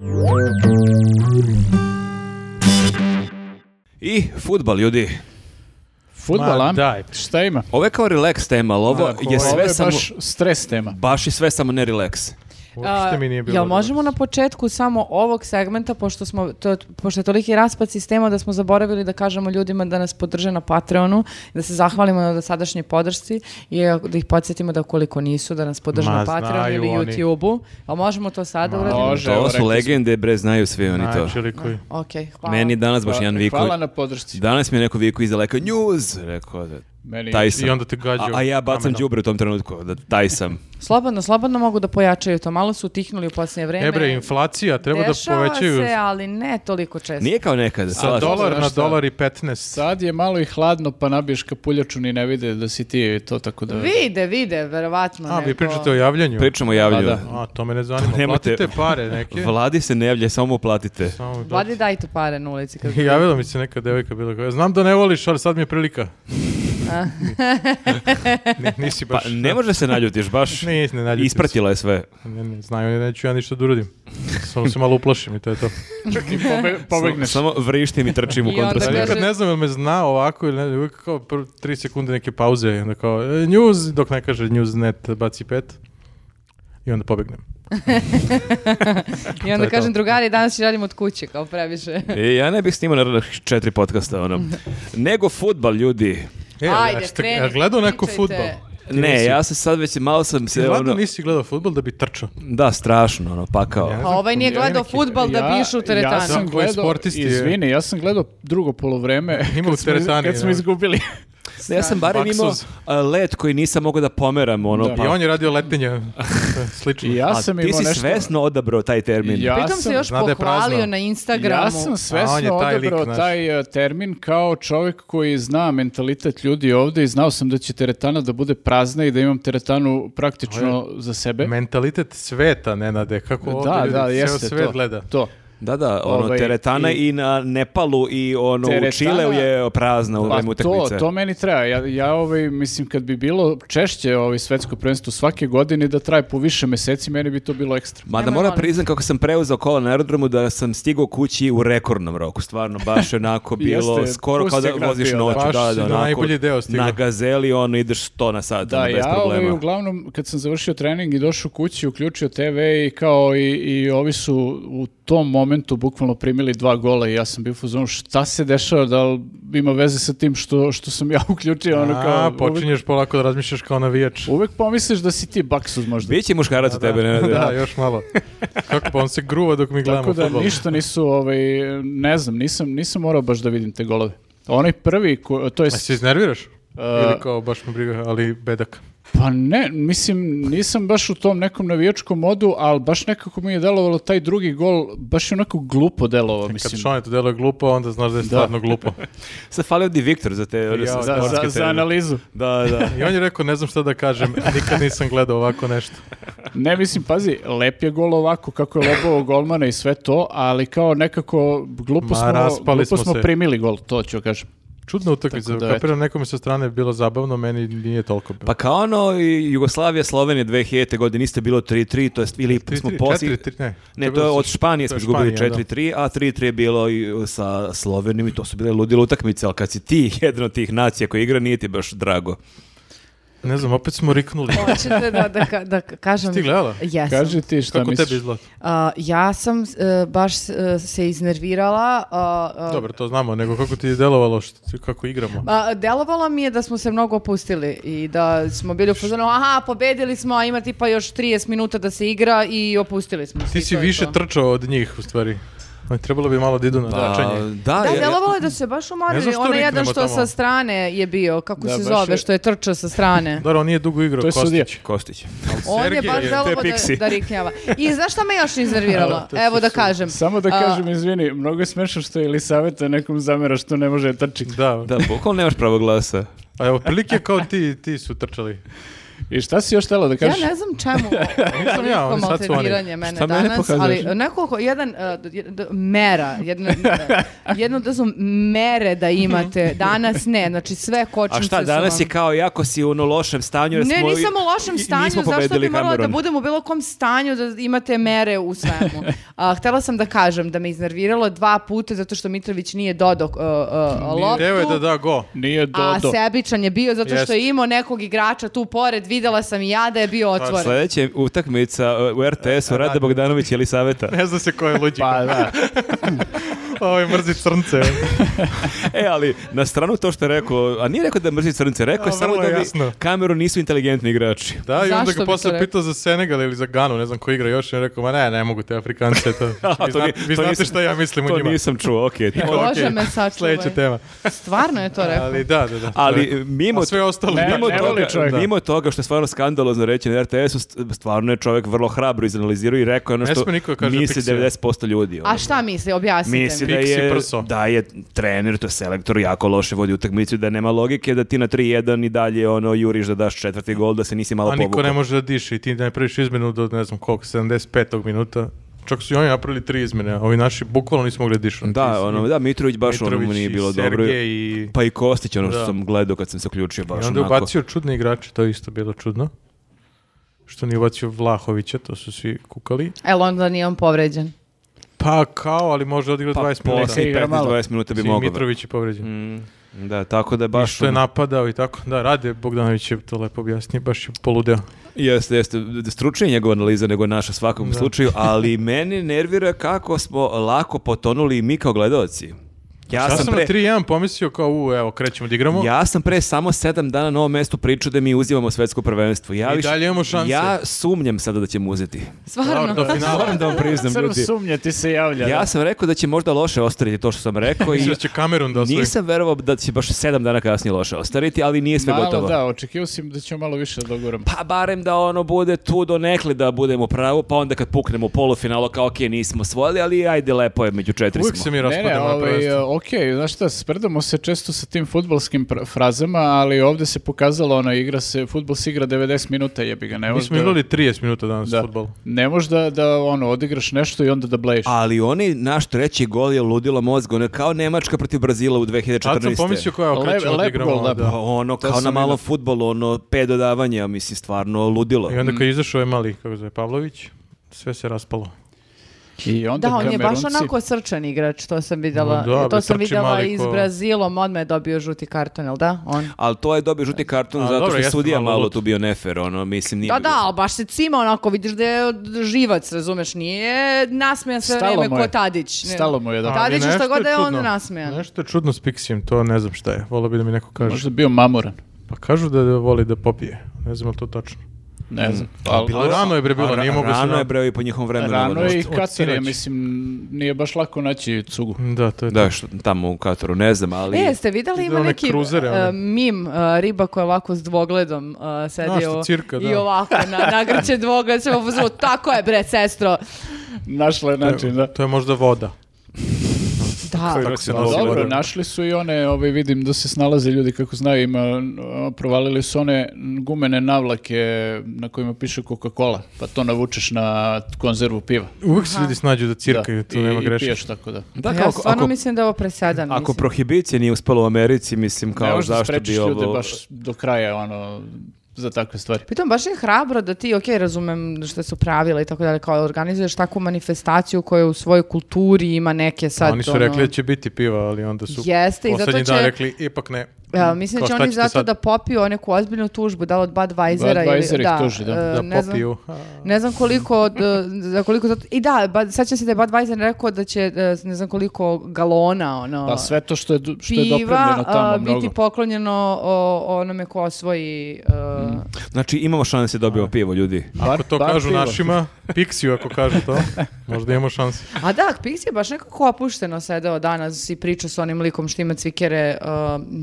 [SPEAKER 1] I futbal, ljudi.
[SPEAKER 3] Futbal,
[SPEAKER 4] Ma,
[SPEAKER 3] a?
[SPEAKER 4] daj.
[SPEAKER 3] Šta ima?
[SPEAKER 1] Ovo je kao relax tema, ali ovo
[SPEAKER 4] Tako,
[SPEAKER 1] je
[SPEAKER 3] Ovo
[SPEAKER 1] sve
[SPEAKER 3] je
[SPEAKER 1] samo...
[SPEAKER 3] baš stres tema.
[SPEAKER 1] Baš i sve samo ne relax.
[SPEAKER 4] Uopšte mi nije bilo.
[SPEAKER 2] Jel
[SPEAKER 4] dobro.
[SPEAKER 2] možemo na početku samo ovog segmenta, pošto, smo, to, pošto je toliki raspad sistema da smo zaboravili da kažemo ljudima da nas podrže na Patreonu, da se zahvalimo na dosadašnjoj podršci i da ih podsjetimo da ukoliko nisu, da nas podrže
[SPEAKER 4] Ma,
[SPEAKER 2] na Patreonu
[SPEAKER 4] znaju
[SPEAKER 2] ili
[SPEAKER 4] oni.
[SPEAKER 2] YouTube-u. A možemo to sada uraditi?
[SPEAKER 3] Može, evo,
[SPEAKER 1] to su
[SPEAKER 3] rekli smo.
[SPEAKER 1] legende, bre, znaju svi oni to. Pa,
[SPEAKER 4] Znači, likuj.
[SPEAKER 2] Ok, hvala.
[SPEAKER 1] Meni danas baš jedan viku...
[SPEAKER 3] pa, Hvala na podršci.
[SPEAKER 1] Danas mi je neko viku iz daleka, news, rekao da
[SPEAKER 3] Meni
[SPEAKER 1] taj sam.
[SPEAKER 4] I onda te gađaju.
[SPEAKER 1] A, a ja bacam
[SPEAKER 4] kamenom.
[SPEAKER 1] đubre u tom trenutku, da taj
[SPEAKER 3] (laughs)
[SPEAKER 1] sam.
[SPEAKER 2] Slobodno, slobodno mogu da pojačaju to. Malo su utihnuli u posljednje vreme.
[SPEAKER 4] E bre, inflacija, treba da
[SPEAKER 2] Dešava
[SPEAKER 4] povećaju.
[SPEAKER 2] se, ali ne toliko često.
[SPEAKER 1] Nije kao nekad,
[SPEAKER 4] Sa
[SPEAKER 1] slažem.
[SPEAKER 4] dolar na
[SPEAKER 3] Znaš šta?
[SPEAKER 4] dolar i 15.
[SPEAKER 3] Sad je malo i hladno, pa nabiješ kapuljaču ni ne vide da si ti to tako da... (laughs)
[SPEAKER 2] Vide, vide, verovatno.
[SPEAKER 4] A, vi
[SPEAKER 2] nego-
[SPEAKER 4] pričate o javljanju.
[SPEAKER 1] Pričamo o javljanju.
[SPEAKER 3] Pa da.
[SPEAKER 4] A, to me ne zanima.
[SPEAKER 1] Nemojte-
[SPEAKER 4] Platite pare neke.
[SPEAKER 1] Vladi se ne javlja, samo mu platite.
[SPEAKER 4] Samo mi
[SPEAKER 2] Vladi dajte pare na ulici.
[SPEAKER 4] (laughs)
[SPEAKER 2] Kad...
[SPEAKER 4] I Javila mi se neka devojka bila koja, znam da ne voliš, ali sad mi je prilika. (laughs) Ni- Nisi
[SPEAKER 1] Pa
[SPEAKER 4] baš...
[SPEAKER 1] ne može se naljutiš,
[SPEAKER 3] (laughs)
[SPEAKER 1] baš
[SPEAKER 4] Nis, ne naljutim se.
[SPEAKER 1] ispratila je sve.
[SPEAKER 4] Ne, ne, znaju, oni, neću ja ništa da uradim. Samo se malo uplašim i to je
[SPEAKER 2] (laughs)
[SPEAKER 4] to.
[SPEAKER 3] I pobe- pobegneš.
[SPEAKER 1] Samo vrištim i trčim u
[SPEAKER 2] I onda
[SPEAKER 1] kontra
[SPEAKER 2] kaže-
[SPEAKER 4] Ja
[SPEAKER 1] smjeru.
[SPEAKER 4] nikad ne znam jel me zna ovako ili ne, uvijek kao prv, tri sekunde neke pauze i onda kao e, news, dok ne kaže news net baci pet i onda pobegnem.
[SPEAKER 2] I
[SPEAKER 4] To
[SPEAKER 2] onda
[SPEAKER 4] je to.
[SPEAKER 2] kažem, drugari, danas će radim od kuće, kao previše.
[SPEAKER 1] E, ja ne bih snimao naravno četiri podcasta,
[SPEAKER 2] (laughs)
[SPEAKER 1] ono. Nego futbal, ljudi.
[SPEAKER 4] E,
[SPEAKER 2] Ajde,
[SPEAKER 4] jeste-
[SPEAKER 2] kreni.
[SPEAKER 4] jel gledao neko
[SPEAKER 2] pričajte.
[SPEAKER 4] futbol?
[SPEAKER 1] Ne, ja sam sad već, malo sam
[SPEAKER 4] Ti
[SPEAKER 1] se,
[SPEAKER 4] gledao
[SPEAKER 1] ono,
[SPEAKER 4] nisi gledao futbol da bi trčao.
[SPEAKER 1] da, strašno, ono, pakao.
[SPEAKER 4] Ja.
[SPEAKER 2] A ovaj nije
[SPEAKER 4] Ja
[SPEAKER 2] gledao
[SPEAKER 4] neki-
[SPEAKER 2] futbal da
[SPEAKER 3] Ja-
[SPEAKER 2] pišu u teretanu.
[SPEAKER 3] Ja sam
[SPEAKER 4] Da, koji
[SPEAKER 3] gledao,
[SPEAKER 4] sportisti je?
[SPEAKER 3] izvini, ja sam gledao drugo polovreme
[SPEAKER 4] Ima u
[SPEAKER 3] kad smo, iz-
[SPEAKER 4] teretani,
[SPEAKER 3] kad smo
[SPEAKER 4] da.
[SPEAKER 3] izgubili.
[SPEAKER 1] Ne, ja sam barem imao
[SPEAKER 4] Baksuz.
[SPEAKER 1] a, let koji nisam mogao da pomeram, ono,
[SPEAKER 3] Da.
[SPEAKER 1] pa.
[SPEAKER 4] I on je radio letenje. (laughs) Slično.
[SPEAKER 3] I ja
[SPEAKER 1] A
[SPEAKER 3] sam
[SPEAKER 1] ti
[SPEAKER 3] imao
[SPEAKER 1] si
[SPEAKER 3] nešto...
[SPEAKER 1] svesno odabrao taj termin.
[SPEAKER 3] Ja
[SPEAKER 2] Pritom
[SPEAKER 3] sam-
[SPEAKER 2] se još
[SPEAKER 4] zna da je
[SPEAKER 2] pohvalio
[SPEAKER 4] prazno.
[SPEAKER 2] na Instagramu.
[SPEAKER 3] Ja sam
[SPEAKER 4] A on je
[SPEAKER 3] svesno
[SPEAKER 4] taj lik,
[SPEAKER 3] odabrao
[SPEAKER 4] znaš.
[SPEAKER 3] taj e, termin kao čovjek koji zna mentalitet ljudi ovdje i znao sam da će teretana da bude prazna i da imam teretanu praktično za sebe.
[SPEAKER 4] Mentalitet sveta, Nenade, kako ovdje
[SPEAKER 3] Da,
[SPEAKER 4] ljudi
[SPEAKER 3] da,
[SPEAKER 4] ceo
[SPEAKER 3] jeste
[SPEAKER 4] svet
[SPEAKER 3] to.
[SPEAKER 4] gleda.
[SPEAKER 3] To.
[SPEAKER 1] Da, da, ono,
[SPEAKER 3] Ovaj,
[SPEAKER 1] teretana
[SPEAKER 3] i-
[SPEAKER 1] i... na Nepalu i ono, u
[SPEAKER 3] Teretana-
[SPEAKER 1] Čileu je prazna u vreme
[SPEAKER 3] Pa to,
[SPEAKER 1] utakmice.
[SPEAKER 3] to meni treba. Ja, ja ovaj, mislim, kad bi bilo češće ovaj svetsko prvenstvo svake godine da traje po više mjeseci, meni bi to bilo ekstra.
[SPEAKER 1] Mada
[SPEAKER 2] Nemoj,
[SPEAKER 1] moram
[SPEAKER 2] molim.
[SPEAKER 1] priznam kako sam preuzeo kola na aerodromu da sam stigao kući u rekordnom roku. Stvarno, baš je onako bilo
[SPEAKER 3] Jeste,
[SPEAKER 1] skoro kao
[SPEAKER 3] pusti
[SPEAKER 1] da
[SPEAKER 3] grad
[SPEAKER 1] voziš
[SPEAKER 3] bio, da.
[SPEAKER 1] noću.
[SPEAKER 4] Baš
[SPEAKER 1] da,
[SPEAKER 4] si
[SPEAKER 1] da,
[SPEAKER 4] na
[SPEAKER 1] onako,
[SPEAKER 4] najbolji deo stigao.
[SPEAKER 1] Na gazeli ono ideš 100 na sat,
[SPEAKER 3] Da,
[SPEAKER 1] ono, bez
[SPEAKER 3] ja ovaj,
[SPEAKER 1] problema.
[SPEAKER 3] uglavnom kad sam završio trening i došao kući, uključio TV i kao i, i ovi su u tom momentu bukvalno primili dva gola i ja sam bio u fazonu šta se dešava, da li ima veze sa tim što, što sam ja (laughs) uključio, ono kao
[SPEAKER 4] A,
[SPEAKER 3] uvek,
[SPEAKER 4] počinješ polako da razmišljaš kao navijač.
[SPEAKER 3] uvek pomisliš da si ti baksuz možda.
[SPEAKER 1] Biće muškarac u tebe,
[SPEAKER 4] (laughs)
[SPEAKER 1] ne?
[SPEAKER 4] da, još malo. Kako pa on se gruva dok mi gledamo
[SPEAKER 3] Tako da
[SPEAKER 4] fudbal.
[SPEAKER 3] ništa nisu, ovaj, ne znam, nisam, nisam morao baš da vidim te golove. Onaj prvi, ko, to je
[SPEAKER 4] A se iznerviraš?
[SPEAKER 3] E,
[SPEAKER 4] Ili kao baš me briga, ali bedak.
[SPEAKER 3] Pa ne, mislim, nisam baš u tom nekom navijačkom modu, ali baš nekako mi je delovalo taj drugi gol, baš je onako glupo delovao,
[SPEAKER 4] Kad
[SPEAKER 3] mislim.
[SPEAKER 4] šone to deluje glupo, onda znaš da je
[SPEAKER 3] (laughs)
[SPEAKER 4] stvarno glupo.
[SPEAKER 1] Sad falio di Viktor za te one,
[SPEAKER 4] Jao,
[SPEAKER 1] sportske
[SPEAKER 4] da,
[SPEAKER 3] Za, za, za
[SPEAKER 1] teme.
[SPEAKER 3] analizu.
[SPEAKER 1] Da, da.
[SPEAKER 4] I on je rekao, ne znam šta da kažem, nikad nisam gledao ovako nešto.
[SPEAKER 3] Ne, mislim, pazi, lep je gol ovako, kako je lobao golmana i sve to, ali kao nekako glupo
[SPEAKER 4] Ma,
[SPEAKER 3] smo,
[SPEAKER 4] raspali
[SPEAKER 3] glupo smo,
[SPEAKER 4] smo se.
[SPEAKER 3] primili gol, to ću kažem.
[SPEAKER 4] Čudna utakmica,
[SPEAKER 3] Tako da,
[SPEAKER 4] da,
[SPEAKER 3] eto.
[SPEAKER 4] kapiram nekome sa strane je bilo zabavno, meni nije toliko bilo.
[SPEAKER 1] Pa kao ono i Jugoslavija, Slovenija 2000. godine isto je bilo 3-3, to jest ili smo
[SPEAKER 4] 3-3,
[SPEAKER 1] poslije...
[SPEAKER 4] 4-3, ne.
[SPEAKER 1] Ne,
[SPEAKER 4] To
[SPEAKER 1] to je
[SPEAKER 4] je
[SPEAKER 1] od
[SPEAKER 4] s-
[SPEAKER 1] Španije
[SPEAKER 4] to
[SPEAKER 1] smo
[SPEAKER 4] je
[SPEAKER 1] izgubili
[SPEAKER 4] Španija, da.
[SPEAKER 1] 4-3, a 3-3 je bilo i e, sa Slovenijom i to su bile ludile utakmice, ali kad si ti (laughs) jedan od tih nacija koji igra, nije ti baš drago.
[SPEAKER 4] Ne znam, opet smo riknuli.
[SPEAKER 3] Pa,
[SPEAKER 2] Hoćete da, da, ka- da ka- kažem...
[SPEAKER 4] Ti gledala?
[SPEAKER 2] Jesam.
[SPEAKER 3] Kaži ti šta
[SPEAKER 4] Kako
[SPEAKER 3] misliš.
[SPEAKER 4] tebi izgleda?
[SPEAKER 2] A, ja sam e, baš e, se iznervirala. a, a,
[SPEAKER 4] Dobro, to znamo, nego kako ti je delovalo, što, kako igramo?
[SPEAKER 2] A, delovalo mi je da smo se mnogo opustili i da smo bili u fazonu, aha, pobedili smo, a ima tipa još 30 minuta da se igra i opustili smo. se
[SPEAKER 4] Ti
[SPEAKER 2] i
[SPEAKER 4] si
[SPEAKER 2] to je
[SPEAKER 4] više
[SPEAKER 2] to.
[SPEAKER 4] trčao od njih, u stvari. Ali Trebalo bi malo da idu na
[SPEAKER 1] A,
[SPEAKER 4] tračanje.
[SPEAKER 1] da,
[SPEAKER 2] Da,
[SPEAKER 1] ja- ja-
[SPEAKER 2] delovalo je da se baš
[SPEAKER 4] Ne
[SPEAKER 2] umorili.
[SPEAKER 4] znam što
[SPEAKER 2] Onaj jedan
[SPEAKER 4] riknemo
[SPEAKER 2] što
[SPEAKER 4] tamo.
[SPEAKER 2] sa strane je bio, kako
[SPEAKER 3] Da,
[SPEAKER 2] se
[SPEAKER 3] baš
[SPEAKER 2] zove,
[SPEAKER 3] je-
[SPEAKER 2] što je trčao sa strane.
[SPEAKER 4] Dobro, on nije dugo igrao
[SPEAKER 3] To je sudija.
[SPEAKER 4] Kostić.
[SPEAKER 1] Kostić.
[SPEAKER 2] On je
[SPEAKER 4] Sergej
[SPEAKER 2] baš
[SPEAKER 4] je-
[SPEAKER 2] delovao
[SPEAKER 1] to je Pixi.
[SPEAKER 2] da, da riknjava. I znaš šta me još iznerviralo?
[SPEAKER 4] to su
[SPEAKER 2] Evo da
[SPEAKER 4] svi.
[SPEAKER 2] kažem.
[SPEAKER 3] Samo da
[SPEAKER 2] A,
[SPEAKER 3] kažem, izvini, mnogo je smešno što je Elisaveta nekom zamera što ne može trčiti.
[SPEAKER 4] Da,
[SPEAKER 1] Da, bukvalno nemaš pravo glasa.
[SPEAKER 4] a evo, prilike kao ti, ti su trčali.
[SPEAKER 3] I šta si još htjela da kažeš?
[SPEAKER 2] Ja ne znam čemu
[SPEAKER 4] Nisam ja,
[SPEAKER 2] ovo
[SPEAKER 4] oni sad su oni.
[SPEAKER 2] maltretiranje mene
[SPEAKER 1] Šta mene
[SPEAKER 2] danas,
[SPEAKER 1] pokazuješ?
[SPEAKER 2] ali nekoliko, jedan, e, d- d- mera, jedno, e, jedno da su mere da imate, danas ne, znači sve kočnice
[SPEAKER 1] A šta, danas
[SPEAKER 2] su
[SPEAKER 1] je
[SPEAKER 2] vam...
[SPEAKER 1] kao jako si u ono lošem stanju. Jer
[SPEAKER 2] Ne,
[SPEAKER 1] smo i-
[SPEAKER 2] nisam u
[SPEAKER 1] i-
[SPEAKER 2] lošem
[SPEAKER 1] i
[SPEAKER 2] stanju,
[SPEAKER 1] nismo
[SPEAKER 2] zašto bi
[SPEAKER 1] pobedili
[SPEAKER 2] morala da
[SPEAKER 1] Kamerun.
[SPEAKER 2] budem u bilo kom stanju da imate mere u svemu. A, htela sam da kažem da me iznerviralo dva puta zato što Mitrović nije dodao e, e, loptu.
[SPEAKER 4] Teo je da da go.
[SPEAKER 3] Nije
[SPEAKER 2] A
[SPEAKER 3] Dodo.
[SPEAKER 2] sebičan je bio zato što
[SPEAKER 4] Jeste.
[SPEAKER 2] je imao nekog igrača tu pored, videla sam i ja da je bio otvoren.
[SPEAKER 1] Sljedeća Pa utakmica uh, u RTS-u Rade Bogdanović i
[SPEAKER 4] (laughs)
[SPEAKER 1] Elisaveta.
[SPEAKER 4] Ne zna se ko je luđi.
[SPEAKER 3] Pa da.
[SPEAKER 4] Ovo je mrzi crnce.
[SPEAKER 1] e, ali na stranu to što je rekao, a nije rekao da mrzi crnce, rekao je
[SPEAKER 4] A,
[SPEAKER 1] samo
[SPEAKER 4] vrlo
[SPEAKER 1] da bi
[SPEAKER 4] jasno.
[SPEAKER 1] kameru nisu inteligentni igrači.
[SPEAKER 4] Da, i
[SPEAKER 2] Zašto
[SPEAKER 4] onda ga
[SPEAKER 2] bi to
[SPEAKER 4] posle
[SPEAKER 2] rekao?
[SPEAKER 4] pitao za Senegal ili za Ganu, ne znam ko igra još, i on je rekao, ma ne, ne mogu te Afrikance, to,
[SPEAKER 1] (laughs) A,
[SPEAKER 4] Znači, vi, zna-
[SPEAKER 1] ni-
[SPEAKER 4] vi znate
[SPEAKER 1] nisam-
[SPEAKER 4] šta ja mislim
[SPEAKER 1] to
[SPEAKER 4] o njima.
[SPEAKER 1] nisam čuo, okej.
[SPEAKER 4] (laughs)
[SPEAKER 2] Bože
[SPEAKER 4] Ok,
[SPEAKER 2] me sačuvaj.
[SPEAKER 4] Sljedeća tema.
[SPEAKER 2] Stvarno je to rekao.
[SPEAKER 4] Ali da, da, da.
[SPEAKER 1] Ali e, mimo,
[SPEAKER 4] A sve ostalo.
[SPEAKER 3] Ne,
[SPEAKER 1] mimo,
[SPEAKER 3] ne voli
[SPEAKER 1] toga,
[SPEAKER 3] čovjek.
[SPEAKER 1] mimo toga što je stvarno skandalozno reći na RTS-u, st- stvarno je čovjek vrlo hrabro izanalizirao i rekao je ono
[SPEAKER 4] Ne
[SPEAKER 1] što
[SPEAKER 4] sme niko da kaže
[SPEAKER 1] misli
[SPEAKER 4] Pixija.
[SPEAKER 1] 90% ljudi. ono.
[SPEAKER 2] A šta misli, objasnite
[SPEAKER 1] Misli
[SPEAKER 2] mi.
[SPEAKER 1] da
[SPEAKER 4] Pixi
[SPEAKER 1] je,
[SPEAKER 4] prso.
[SPEAKER 1] da je trener, to je selektor, jako loše vodi utakmicu, da nema logike da ti na 3-1 i dalje ono, juriš da daš četvrti gol, da se nisi malo
[SPEAKER 4] A
[SPEAKER 1] povukao.
[SPEAKER 4] niko ne može da diše i ti ne praviš izmenu do, ne znam koliko, 75. minuta. Čak su i oni napravili tri izmene, a ovi naši bukvalno nismo mogli da dišu. Ti
[SPEAKER 1] Da,
[SPEAKER 4] si-
[SPEAKER 1] ono, da, Mitrović baš ono
[SPEAKER 4] Mitrović
[SPEAKER 1] mu nije
[SPEAKER 4] i
[SPEAKER 1] bilo
[SPEAKER 4] Sergej
[SPEAKER 1] dobro.
[SPEAKER 4] i-
[SPEAKER 1] Pa i Kostić, ono što
[SPEAKER 4] Da.
[SPEAKER 1] sam gledao kad sam se uključio baš
[SPEAKER 4] I onda je
[SPEAKER 1] onako.
[SPEAKER 4] ubacio čudni igrače, to je isto bilo čudno. Što nije ubacio Vlahovića, to su svi kukali.
[SPEAKER 2] Jel onda E, nije on povređen?
[SPEAKER 4] Pa kao, ali može odigra
[SPEAKER 1] Pa
[SPEAKER 4] 20 minuta.
[SPEAKER 1] poslije
[SPEAKER 3] igra malo.
[SPEAKER 1] 15-20 minuta bi
[SPEAKER 4] Mislim,
[SPEAKER 1] mogao.
[SPEAKER 4] Mitrović je povređen.
[SPEAKER 1] Mm, Da, tako da baš...
[SPEAKER 4] I što je
[SPEAKER 1] ono-
[SPEAKER 4] napadao i tako. Da, Rade Bogdanović je to lepo objasnio, baš je poludeo.
[SPEAKER 1] Jeste, jeste. Stručnije je njegova analiza nego naša u svakom slučaju, (laughs) ali mene nervira kako smo lako potonuli i mi kao gledalci. Ja
[SPEAKER 4] Ja sam,
[SPEAKER 1] pre...
[SPEAKER 4] na 3-1 pomislio kao, u, evo, krećemo da igramo.
[SPEAKER 1] Ja sam pre samo sedam dana na ovom mestu pričao da mi uzimamo svetsko prvenstvo. Ja
[SPEAKER 4] I
[SPEAKER 1] više-
[SPEAKER 4] dalje imamo šanse.
[SPEAKER 1] Ja sumnjam sada da ćemo uzeti.
[SPEAKER 4] Dobro,
[SPEAKER 2] Stvarno.
[SPEAKER 4] do finala.
[SPEAKER 1] Moram da vam priznam,
[SPEAKER 3] Crno
[SPEAKER 1] ljudi.
[SPEAKER 3] sumnje ti se javlja. da.
[SPEAKER 1] Ja sam rekao da će možda loše ostariti to što sam (laughs) rekao i
[SPEAKER 4] Mislim da će Kamerun da osvoji.
[SPEAKER 1] nisam verovao da će baš sedam dana kasnije loše ostariti, ali nije sve
[SPEAKER 3] Malo
[SPEAKER 1] gotovo.
[SPEAKER 3] da, očekivao sam da ćemo malo više da doguram.
[SPEAKER 1] Pa barem da ono bude tu do nekle da budemo pravo, pa onda kad puknemo u polufinalu kao okej nismo svojili, ali ajde lepo je među četiri
[SPEAKER 4] Uvijek
[SPEAKER 1] smo.
[SPEAKER 4] se mi
[SPEAKER 3] Ne, ne,
[SPEAKER 4] raspadamo na
[SPEAKER 3] ovaj,
[SPEAKER 4] prvenstvu.
[SPEAKER 3] ok, znaš šta, sprdamo se često sa tim futbolskim pr- frazama, ali ovdje se pokazalo, ona igra se, futbol se igra 90 minuta, jebi ga, ne
[SPEAKER 4] Mi
[SPEAKER 3] možeš
[SPEAKER 4] smo
[SPEAKER 3] da-
[SPEAKER 4] igrali 30 minuta danas
[SPEAKER 3] da.
[SPEAKER 4] futbol.
[SPEAKER 3] Ne možeš da, da, ono, odigraš nešto i onda da blejiš.
[SPEAKER 1] Ali oni, naš treći gol je ludilo mozga, ono je kao Nemačka protiv Brazila u 2014.
[SPEAKER 4] Tad sam pomislio koja
[SPEAKER 3] Lep-
[SPEAKER 4] okrećemo da
[SPEAKER 3] lep
[SPEAKER 4] igramo.
[SPEAKER 3] gol, da.
[SPEAKER 1] Pa
[SPEAKER 4] da.
[SPEAKER 1] ono,
[SPEAKER 3] To
[SPEAKER 1] kao
[SPEAKER 3] sam
[SPEAKER 1] na malom
[SPEAKER 3] vidio.
[SPEAKER 1] futbolu, ono, pet dodavanja, mislim, stvarno ludilo.
[SPEAKER 4] I
[SPEAKER 3] Mm.
[SPEAKER 4] onda kad je izašao je mali, kako zove, Pavlović, sve se raspalo.
[SPEAKER 3] I onda
[SPEAKER 2] Da, on je baš
[SPEAKER 3] Kamerunci-
[SPEAKER 2] onako srčan igrač, to sam vidjela.
[SPEAKER 4] No, da,
[SPEAKER 2] to
[SPEAKER 4] bre,
[SPEAKER 2] sam
[SPEAKER 4] trči
[SPEAKER 2] vidjela
[SPEAKER 4] mali
[SPEAKER 2] iz
[SPEAKER 4] ko-
[SPEAKER 2] Brazilom, odmah je dobio žuti karton, jel da? On.
[SPEAKER 1] Ali to je dobio žuti karton
[SPEAKER 4] A,
[SPEAKER 1] zato
[SPEAKER 4] dobro,
[SPEAKER 1] što je
[SPEAKER 4] jeste
[SPEAKER 1] sudija
[SPEAKER 4] malo
[SPEAKER 1] malo
[SPEAKER 4] lud.
[SPEAKER 1] tu bio nefer, ono, mislim, nije
[SPEAKER 2] Da,
[SPEAKER 1] bilo-
[SPEAKER 2] da, ali baš se cima onako, vidiš da je od- živac, razumeš, nije nasmejan sve
[SPEAKER 3] Stalo
[SPEAKER 2] vreme
[SPEAKER 3] mu je.
[SPEAKER 2] ko Tadić. Ne.
[SPEAKER 3] Stalo mu je, da.
[SPEAKER 2] Da. Tadić
[SPEAKER 4] Ali
[SPEAKER 2] je šta
[SPEAKER 4] nešto
[SPEAKER 2] god da je on
[SPEAKER 4] čudno.
[SPEAKER 2] nasmejan.
[SPEAKER 4] Nešto je čudno s Pixijem, to ne znam šta je. Volio bi da mi neko kaže.
[SPEAKER 3] Možda je bio mamoran.
[SPEAKER 4] Pa kažu da voli da popije. Ne znam je li to tačno.
[SPEAKER 3] Ne znam. ali-
[SPEAKER 4] A rano je bre bilo,
[SPEAKER 1] A ra-
[SPEAKER 4] nije mogu se
[SPEAKER 1] Rano
[SPEAKER 4] na-
[SPEAKER 1] je breo i po njihovom vremenu.
[SPEAKER 3] Rano
[SPEAKER 1] ono,
[SPEAKER 3] je i
[SPEAKER 1] što-
[SPEAKER 3] Katarija,
[SPEAKER 4] odsirač.
[SPEAKER 3] mislim, nije baš lako naći cugu.
[SPEAKER 4] Da, to je
[SPEAKER 1] Da, što, tamo u Kataru, ne znam, ali...
[SPEAKER 2] E, ste vidjeli ima
[SPEAKER 4] One
[SPEAKER 2] neki
[SPEAKER 4] kruzere, one.
[SPEAKER 2] e, mim e, riba koja ovako s dvogledom e, sedi
[SPEAKER 4] Znaš, što
[SPEAKER 2] o-
[SPEAKER 4] cirka, da.
[SPEAKER 2] i ovako na, nagrće dvogled, sve u fazonu, tako je bre, sestro.
[SPEAKER 3] Našla je
[SPEAKER 4] to.
[SPEAKER 3] način, Znači, da.
[SPEAKER 4] To je možda voda.
[SPEAKER 2] Da,
[SPEAKER 4] Kako se
[SPEAKER 3] Pa
[SPEAKER 4] naziva?
[SPEAKER 3] dobro, našli su i one, ovaj, vidim da se snalaze ljudi kako znaju, ima, a, provalili su one gumene navlake na kojima piše Coca-Cola, pa to navučeš na konzervu piva.
[SPEAKER 4] Uvijek se ljudi snađu da
[SPEAKER 3] Da,
[SPEAKER 4] cirkaju, tu
[SPEAKER 3] i-
[SPEAKER 4] nema
[SPEAKER 3] i
[SPEAKER 4] greške.
[SPEAKER 3] piješ tako da.
[SPEAKER 1] Da,
[SPEAKER 2] Pa ja
[SPEAKER 1] kao,
[SPEAKER 2] stvarno
[SPEAKER 1] ako,
[SPEAKER 2] mislim da je ovo presedan.
[SPEAKER 1] ako
[SPEAKER 2] mislim.
[SPEAKER 1] prohibicija nije uspela u Americi, mislim,
[SPEAKER 3] ne
[SPEAKER 1] kao
[SPEAKER 3] možeš da
[SPEAKER 1] zašto
[SPEAKER 3] sprečiš
[SPEAKER 1] bi ovo...
[SPEAKER 3] ljude baš do kraja, ono, za takve stvari.
[SPEAKER 2] Pritom, baš je hrabro da ti, ok, razumem što su pravila i tako dalje, kao organizuješ takvu manifestaciju koja u svojoj kulturi ima neke sad...
[SPEAKER 4] Pa Oni su
[SPEAKER 2] ono,
[SPEAKER 4] rekli da će biti piva, ali onda su
[SPEAKER 2] Jeste, i zato
[SPEAKER 4] poslednji dan
[SPEAKER 2] će-
[SPEAKER 4] rekli, ipak ne.
[SPEAKER 2] Ja, mislim da
[SPEAKER 4] Mm, Kao,
[SPEAKER 2] će
[SPEAKER 4] šta
[SPEAKER 2] oni
[SPEAKER 4] ćete
[SPEAKER 2] zato
[SPEAKER 4] sad?
[SPEAKER 2] da popiju neku ozbiljnu tužbu, da li od Budweisera
[SPEAKER 3] Budweiser
[SPEAKER 2] ili...
[SPEAKER 3] ih tuži, da.
[SPEAKER 2] e,
[SPEAKER 4] da
[SPEAKER 2] ne znam-
[SPEAKER 4] popiju. A,
[SPEAKER 2] Ne znam koliko od, e, za koliko zato, i da, ba, sećam se da je Budweiser rekao da će e, ne znam koliko galona ono
[SPEAKER 3] Pa sve to što je, du- što je
[SPEAKER 2] piva
[SPEAKER 3] dopremljeno tamo
[SPEAKER 2] a,
[SPEAKER 3] mnogo.
[SPEAKER 2] biti poklonjeno o, onome ko osvoji e,
[SPEAKER 3] Mm.
[SPEAKER 1] Znači, imamo šanse da dobijemo pivo, ljudi.
[SPEAKER 4] Ako to
[SPEAKER 3] Bar- bar
[SPEAKER 4] kažu
[SPEAKER 3] piva.
[SPEAKER 4] našima, Pixiju ako kažu
[SPEAKER 3] (laughs)
[SPEAKER 4] to, možda imamo šanse.
[SPEAKER 3] Pa-
[SPEAKER 2] A da, Pixi je baš nekako opušteno sedeo danas i pričao s onim likom što ima cvikere, e,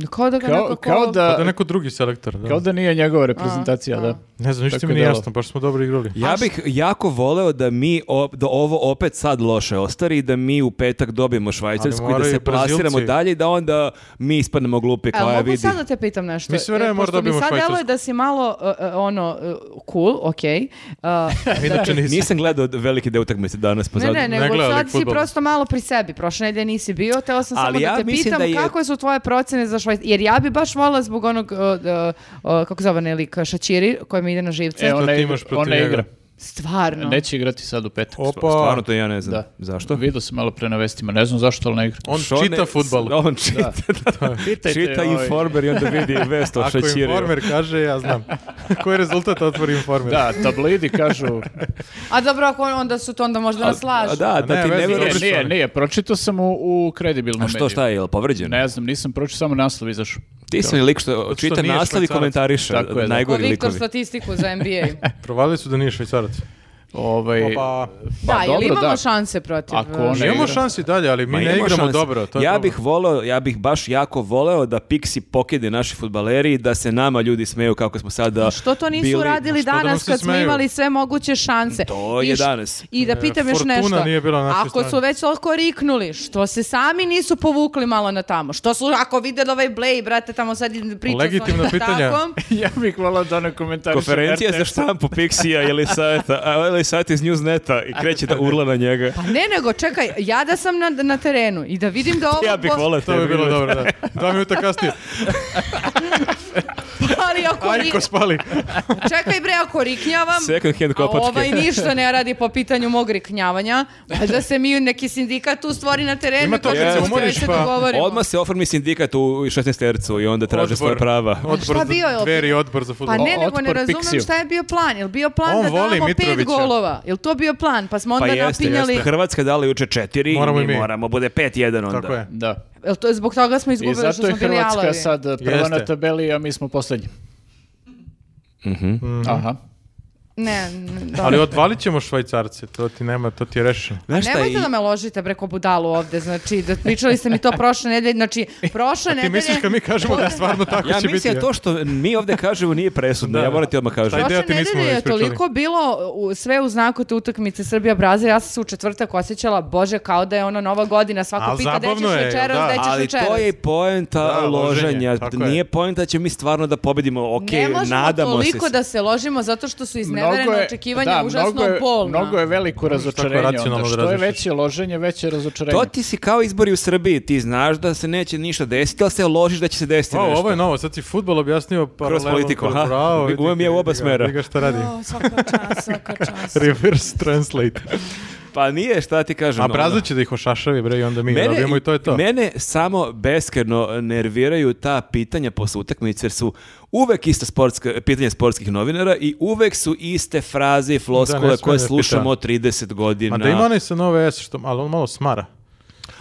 [SPEAKER 2] kao da ga
[SPEAKER 3] Kao,
[SPEAKER 2] nekako...
[SPEAKER 3] kao
[SPEAKER 4] Pa da
[SPEAKER 3] da,
[SPEAKER 4] je neko drugi selektor. Da.
[SPEAKER 3] kao da nije njegova reprezentacija,
[SPEAKER 2] a.
[SPEAKER 3] da.
[SPEAKER 4] Ne znam, ništa
[SPEAKER 3] Tako
[SPEAKER 4] mi nije
[SPEAKER 3] delo.
[SPEAKER 4] jasno, baš smo dobro igrali.
[SPEAKER 1] Ja bih jako voleo da mi o- da ovo opet sad loše ostari i da mi u petak dobijemo Švajcarsku i da
[SPEAKER 4] Ali moraju
[SPEAKER 1] se
[SPEAKER 4] i Brazilci.
[SPEAKER 1] plasiramo dalje i da onda mi ispadnemo glupi
[SPEAKER 2] E,
[SPEAKER 1] kao ja
[SPEAKER 2] mogu
[SPEAKER 1] vidi.
[SPEAKER 2] sad da te pitam nešto?
[SPEAKER 4] Mi sve vreme
[SPEAKER 2] Jer
[SPEAKER 4] možda
[SPEAKER 2] pošto mi
[SPEAKER 4] dobijemo
[SPEAKER 2] sad deluje
[SPEAKER 4] Švajcarsku.
[SPEAKER 2] da si malo, e, e, ono, e, cool, okej. e,
[SPEAKER 4] Inače nisam.
[SPEAKER 1] Nisam gledao veliki deo utakmice danas, pa
[SPEAKER 2] Ne,
[SPEAKER 1] zato-
[SPEAKER 2] ne,
[SPEAKER 4] Znači, Ne
[SPEAKER 2] nego
[SPEAKER 4] gleda
[SPEAKER 2] sad
[SPEAKER 4] lik
[SPEAKER 2] si
[SPEAKER 4] fudbal.
[SPEAKER 2] prosto malo pri sebi. Prošle nedelje nisi bio, teo sam
[SPEAKER 1] Ali
[SPEAKER 2] samo
[SPEAKER 1] ja
[SPEAKER 2] da te
[SPEAKER 1] mislim
[SPEAKER 2] pitam
[SPEAKER 1] da je-
[SPEAKER 2] kako su tvoje procene za Švajc... Jer ja bi baš volila zbog onog, uh, d- uh, kako zove ne lik, Šačiri, koji mi ide na živce.
[SPEAKER 3] E, ona,
[SPEAKER 4] ti
[SPEAKER 3] igra,
[SPEAKER 4] imaš protiv
[SPEAKER 3] ona
[SPEAKER 4] njega?
[SPEAKER 3] igra.
[SPEAKER 2] Stvarno.
[SPEAKER 3] Neće igrati sad u petak.
[SPEAKER 4] Opa,
[SPEAKER 1] Stvarno to ja ne znam.
[SPEAKER 3] Da.
[SPEAKER 1] Zašto?
[SPEAKER 3] Vidio sam malo pre na vestima, ne znam zašto, ali ne igra.
[SPEAKER 4] on
[SPEAKER 1] Što
[SPEAKER 4] čita
[SPEAKER 1] ne-
[SPEAKER 4] futbal.
[SPEAKER 1] (laughs) On čita, (laughs) da.
[SPEAKER 3] Pitajte,
[SPEAKER 1] čita
[SPEAKER 3] ovaj.
[SPEAKER 1] informer i onda
[SPEAKER 4] (laughs)
[SPEAKER 1] vidi vest o
[SPEAKER 4] Ako
[SPEAKER 1] šećiriju.
[SPEAKER 4] informer kaže,
[SPEAKER 1] (laughs)
[SPEAKER 4] ja znam. Koji je rezultat otvori informer?
[SPEAKER 3] Da, tablidi
[SPEAKER 1] (laughs)
[SPEAKER 3] kažu,
[SPEAKER 2] A dobro, ako on- onda su to onda možda nas lažu.
[SPEAKER 1] A Da, da
[SPEAKER 4] ne,
[SPEAKER 1] ti ne
[SPEAKER 4] veze,
[SPEAKER 1] veruješ.
[SPEAKER 3] nije,
[SPEAKER 4] Dobro,
[SPEAKER 3] nije,
[SPEAKER 4] što ne?
[SPEAKER 3] nije, pročitao sam u, u kredibilnom
[SPEAKER 1] A
[SPEAKER 3] mediju.
[SPEAKER 1] što, šta je, jel povređen?
[SPEAKER 3] Ne znam, nisam pročitao, samo naslov izašao.
[SPEAKER 1] Ti si lik što
[SPEAKER 4] što
[SPEAKER 1] čita
[SPEAKER 4] nije
[SPEAKER 1] naslov i
[SPEAKER 4] Švajcarac.
[SPEAKER 1] komentariše.
[SPEAKER 3] Tako je, da.
[SPEAKER 2] Ko
[SPEAKER 1] Najgori
[SPEAKER 2] Pa Viktor
[SPEAKER 1] likovi.
[SPEAKER 2] statistiku za NBA.
[SPEAKER 4] Provalili su da nije švajcarac.
[SPEAKER 1] E,
[SPEAKER 3] Ovaj,
[SPEAKER 4] Opa.
[SPEAKER 2] da, ili
[SPEAKER 3] dobro,
[SPEAKER 2] imamo
[SPEAKER 3] da.
[SPEAKER 2] šanse protiv...
[SPEAKER 3] Ako
[SPEAKER 2] uh,
[SPEAKER 3] on- Ne
[SPEAKER 4] Imamo
[SPEAKER 3] igra.
[SPEAKER 4] šansi dalje, ali mi
[SPEAKER 1] Ma
[SPEAKER 4] ne
[SPEAKER 1] imamo
[SPEAKER 4] igramo
[SPEAKER 1] šanse.
[SPEAKER 4] dobro. To je
[SPEAKER 1] ja
[SPEAKER 4] problem.
[SPEAKER 1] bih voleo, ja bih baš jako voleo da Pixi pokide naši futbaleri i da se nama ljudi smeju kako smo sada
[SPEAKER 2] Što to nisu
[SPEAKER 1] bili-
[SPEAKER 2] radili
[SPEAKER 4] što da nam
[SPEAKER 2] danas
[SPEAKER 4] se
[SPEAKER 2] kad smo
[SPEAKER 4] smeju?
[SPEAKER 2] imali sve moguće šanse?
[SPEAKER 1] To
[SPEAKER 2] I
[SPEAKER 1] je
[SPEAKER 2] š-
[SPEAKER 1] danas.
[SPEAKER 2] I da pitam još
[SPEAKER 4] E, Fortuna
[SPEAKER 2] nešto.
[SPEAKER 4] nije bila na našoj
[SPEAKER 2] ako su
[SPEAKER 4] strani.
[SPEAKER 2] već toliko riknuli, što se sami nisu povukli malo na tamo? Što su, ako vide da ovaj Blej, brate, tamo sad priča (laughs)
[SPEAKER 4] Legitimna
[SPEAKER 2] s onim
[SPEAKER 4] pitanja.
[SPEAKER 2] takom,
[SPEAKER 3] (laughs) ja bih volao da ne komentariš.
[SPEAKER 1] Konferencija za štampu Pixija ili sajta, a ili sajt iz Newsneta i kreće da urla na njega.
[SPEAKER 2] Pa ne, nego, čekaj, ja da sam na, na terenu i da vidim da ovo...
[SPEAKER 1] (laughs) Ja bih
[SPEAKER 2] po-
[SPEAKER 1] voleo
[SPEAKER 4] To bi bilo
[SPEAKER 1] vidjeti.
[SPEAKER 4] dobro, da.
[SPEAKER 1] (laughs)
[SPEAKER 4] Dva minuta kasnije.
[SPEAKER 2] (laughs) Ali ako... ri-
[SPEAKER 4] Ajko spali.
[SPEAKER 2] Čekaj bre,
[SPEAKER 1] (laughs)
[SPEAKER 2] ako riknjavam,
[SPEAKER 1] Second hand
[SPEAKER 2] a
[SPEAKER 1] kopatke.
[SPEAKER 2] ovaj ništa ne radi po pitanju mog riknjavanja, da se mi neki sindikat tu stvori na terenu.
[SPEAKER 4] Ima to
[SPEAKER 2] kaže,
[SPEAKER 4] kad se
[SPEAKER 2] "Sve
[SPEAKER 4] umoriš,
[SPEAKER 2] se
[SPEAKER 4] pa
[SPEAKER 2] dogovorimo."
[SPEAKER 1] Odmah se oformi sindikat u 16 tercu i onda traže svoje
[SPEAKER 4] Odbor.
[SPEAKER 1] prava.
[SPEAKER 4] Odbor
[SPEAKER 2] Šta
[SPEAKER 4] za
[SPEAKER 2] bio je opet?
[SPEAKER 4] dveri, odbor za
[SPEAKER 2] Pa
[SPEAKER 4] futbol.
[SPEAKER 2] ne,
[SPEAKER 3] O-
[SPEAKER 2] nego ne
[SPEAKER 3] otpor
[SPEAKER 2] razumem
[SPEAKER 3] Pixiju.
[SPEAKER 2] šta je bio plan. Jel bio plan
[SPEAKER 4] On
[SPEAKER 2] da
[SPEAKER 4] voli
[SPEAKER 2] damo pet
[SPEAKER 4] Mitrovića.
[SPEAKER 2] golova? Jel to bio plan? Pa smo onda
[SPEAKER 1] Pa jeste,
[SPEAKER 2] napinjali...
[SPEAKER 1] jeste. Hrvatska je dala juče četiri,
[SPEAKER 4] Moramo
[SPEAKER 1] mi,
[SPEAKER 4] i mi.
[SPEAKER 1] moramo, bude 5-1 onda.
[SPEAKER 4] Tako je.
[SPEAKER 3] Da.
[SPEAKER 2] Jel to je zbog toga smo
[SPEAKER 3] I
[SPEAKER 2] izgubili što
[SPEAKER 3] zato
[SPEAKER 2] smo
[SPEAKER 3] je
[SPEAKER 2] bili
[SPEAKER 3] Hrvatska
[SPEAKER 2] alavi?
[SPEAKER 3] sad prva na
[SPEAKER 4] Jeste.
[SPEAKER 3] tabeli, a mi smo poslednji.
[SPEAKER 1] Mhm.
[SPEAKER 3] Aha.
[SPEAKER 2] Ne, n- dobro.
[SPEAKER 4] Ali ono, odvalit ćemo švajcarce, to ti nema, to ti je rešeno.
[SPEAKER 1] Znaš šta,
[SPEAKER 2] Nemojte
[SPEAKER 1] i-
[SPEAKER 2] da me ložite preko budalu ovde, znači, da pričali ste mi to prošle nedelje, znači,
[SPEAKER 4] (laughs)
[SPEAKER 2] prošle nedelje...
[SPEAKER 4] Ti misliš kad mi kažemo da stvarno tako
[SPEAKER 1] Ja
[SPEAKER 4] će biti?
[SPEAKER 1] mislim da to što mi ovde kažemo nije presudno,
[SPEAKER 4] Da,
[SPEAKER 1] ja
[SPEAKER 4] da.
[SPEAKER 1] moram ti odmah kažem.
[SPEAKER 4] Taj
[SPEAKER 2] Prošle
[SPEAKER 4] deo ti nismo
[SPEAKER 2] nedelje je
[SPEAKER 4] ispričali.
[SPEAKER 2] toliko bilo u, sve u znaku te utakmice Srbija-Brazil, ja sam se u četvrtak osjećala, bože, kao da je ono nova godina, svako
[SPEAKER 4] A
[SPEAKER 2] pita gde ćeš
[SPEAKER 4] zabavno je,
[SPEAKER 2] večeras,
[SPEAKER 4] da.
[SPEAKER 2] gde ćeš
[SPEAKER 1] Ali
[SPEAKER 2] večeras.
[SPEAKER 1] to je i poenta
[SPEAKER 4] Da, loženje,
[SPEAKER 1] loženja.
[SPEAKER 4] tako je.
[SPEAKER 1] Nije poenta da ćemo mi stvarno da pobedimo. Ok,
[SPEAKER 2] ne možemo
[SPEAKER 1] nadamo se.
[SPEAKER 2] toliko da se ložimo zato što su izneverena očekivanja užasno
[SPEAKER 3] mnogo je,
[SPEAKER 2] bolna.
[SPEAKER 3] Mnogo je veliko
[SPEAKER 1] Ono
[SPEAKER 3] razočarenje. Onda.
[SPEAKER 4] racionalno da
[SPEAKER 3] Što je
[SPEAKER 4] razmišljaš?
[SPEAKER 3] veće loženje, veće razočarenje.
[SPEAKER 1] To ti si kao izbori u Srbiji, ti znaš da se neće ništa desiti, ali se ložiš da će se desiti
[SPEAKER 4] Wow,
[SPEAKER 1] nešto.
[SPEAKER 4] ovo je novo, sad si futbol objasnio paralelno.
[SPEAKER 1] politiku, aha.
[SPEAKER 4] Bravo, vidi,
[SPEAKER 1] Uvem je u oba
[SPEAKER 4] vidi ga,
[SPEAKER 1] smera.
[SPEAKER 4] Vidi ga šta radi.
[SPEAKER 2] O, svaka čast, svaka
[SPEAKER 4] (laughs)
[SPEAKER 2] čast.
[SPEAKER 4] Reverse translate.
[SPEAKER 1] Pa nije, šta ti kažem.
[SPEAKER 4] A
[SPEAKER 1] ono.
[SPEAKER 4] Brazil će da ih ošašavi, bre, i onda mi dobijemo i to je to.
[SPEAKER 1] mene samo beskreno nerviraju ta pitanja posle utakmice jer su uvek ista sportska, pitanja sportskih novinara i uvek su iste fraze i floskule
[SPEAKER 4] smem
[SPEAKER 1] koje
[SPEAKER 4] da
[SPEAKER 1] slušamo
[SPEAKER 4] pitam.
[SPEAKER 1] 30 godina.
[SPEAKER 4] Ma da ima onaj sa nove S, što, ali on malo smara.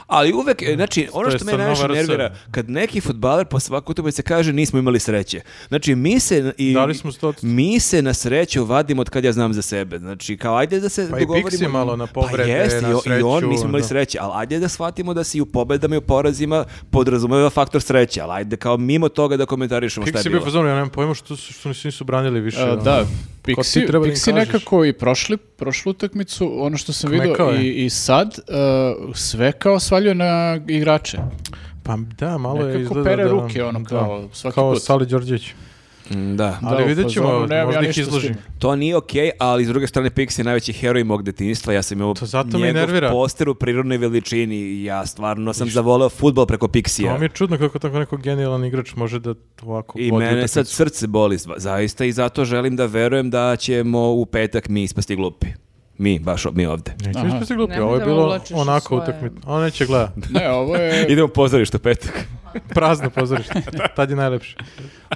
[SPEAKER 1] Ali uvek, e, znači, ono
[SPEAKER 4] Mm. To je
[SPEAKER 1] što me
[SPEAKER 4] sad nova
[SPEAKER 1] najviše
[SPEAKER 4] RS.
[SPEAKER 1] nervira, kad neki futbaler po svaku utakmicu kaže nismo imali sreće. Znači, mi se... I,
[SPEAKER 4] Dali smo 100%.
[SPEAKER 1] Mi se na sreću vadimo od kad ja znam za sebe. Znači, kao ajde da se
[SPEAKER 4] Pa i
[SPEAKER 1] dogovorimo.
[SPEAKER 4] Pixi malo na povrede,
[SPEAKER 1] Pa jest,
[SPEAKER 4] na
[SPEAKER 1] i o- i, on
[SPEAKER 4] sreću,
[SPEAKER 1] nismo imali
[SPEAKER 4] da.
[SPEAKER 1] sreće, ali ajde da shvatimo da se i u pobedama i u porazima podrazumeva faktor sreće, ali ajde kao mimo toga da komentarišemo šta
[SPEAKER 4] Pixi
[SPEAKER 1] je
[SPEAKER 4] je bio
[SPEAKER 1] bilo. E,
[SPEAKER 4] fazon, ja nemam pojma što, su- što nisu, nisu branili više.
[SPEAKER 3] A,
[SPEAKER 4] ono.
[SPEAKER 3] da,
[SPEAKER 4] ti
[SPEAKER 3] Pixi,
[SPEAKER 4] treba da im
[SPEAKER 3] Pixi
[SPEAKER 4] kažeš?
[SPEAKER 3] nekako i prošli, prošlu utakmicu, ono što sam
[SPEAKER 4] Kmekao
[SPEAKER 3] vidio
[SPEAKER 4] je.
[SPEAKER 3] i, i sad, uh, sve kao svaljuje na igrače.
[SPEAKER 4] Pa da, malo je
[SPEAKER 3] Nekako
[SPEAKER 4] izgleda
[SPEAKER 3] pere
[SPEAKER 4] da-
[SPEAKER 3] ruke, ono, kao svaki
[SPEAKER 4] kao
[SPEAKER 3] put.
[SPEAKER 4] Sali Đorđević.
[SPEAKER 1] Mm, Da.
[SPEAKER 4] Ali
[SPEAKER 3] Da, u
[SPEAKER 4] vidjet ćemo,
[SPEAKER 3] fazonu, nemam
[SPEAKER 4] možda
[SPEAKER 3] ja
[SPEAKER 4] ih
[SPEAKER 3] ništa s
[SPEAKER 4] izloži.
[SPEAKER 3] tim.
[SPEAKER 1] To nije okej, ali s druge strane Pixi je najveći heroj mog detinjstva. Ja sam imao
[SPEAKER 4] To zato me
[SPEAKER 1] njegov
[SPEAKER 4] nervira.
[SPEAKER 1] poster u prirodnoj veličini i ja stvarno sam zavoleo futbol preko
[SPEAKER 4] To mi
[SPEAKER 1] Pixija.
[SPEAKER 4] je čudno kako tako neko genijalan igrač može da ovako
[SPEAKER 1] I
[SPEAKER 4] vodi
[SPEAKER 1] mene sad
[SPEAKER 4] utakmicu.
[SPEAKER 1] srce boli zva- zaista i zato želim da verujem da ćemo u petak mi ispasti glupi. Mi, baš o- mi ovde.
[SPEAKER 4] Neću
[SPEAKER 3] Aha.
[SPEAKER 4] ispasti glupi,
[SPEAKER 2] Nemoj
[SPEAKER 4] ovo je
[SPEAKER 2] da
[SPEAKER 4] bilo
[SPEAKER 2] uvlačiš u
[SPEAKER 4] onako
[SPEAKER 2] svoje-
[SPEAKER 4] utakmica. On neće gleda,
[SPEAKER 3] Ne, ovo
[SPEAKER 4] (laughs)
[SPEAKER 3] je,
[SPEAKER 1] Idemo u pozorište u petak.
[SPEAKER 4] prazno pozorište, (laughs) tad je najlepše.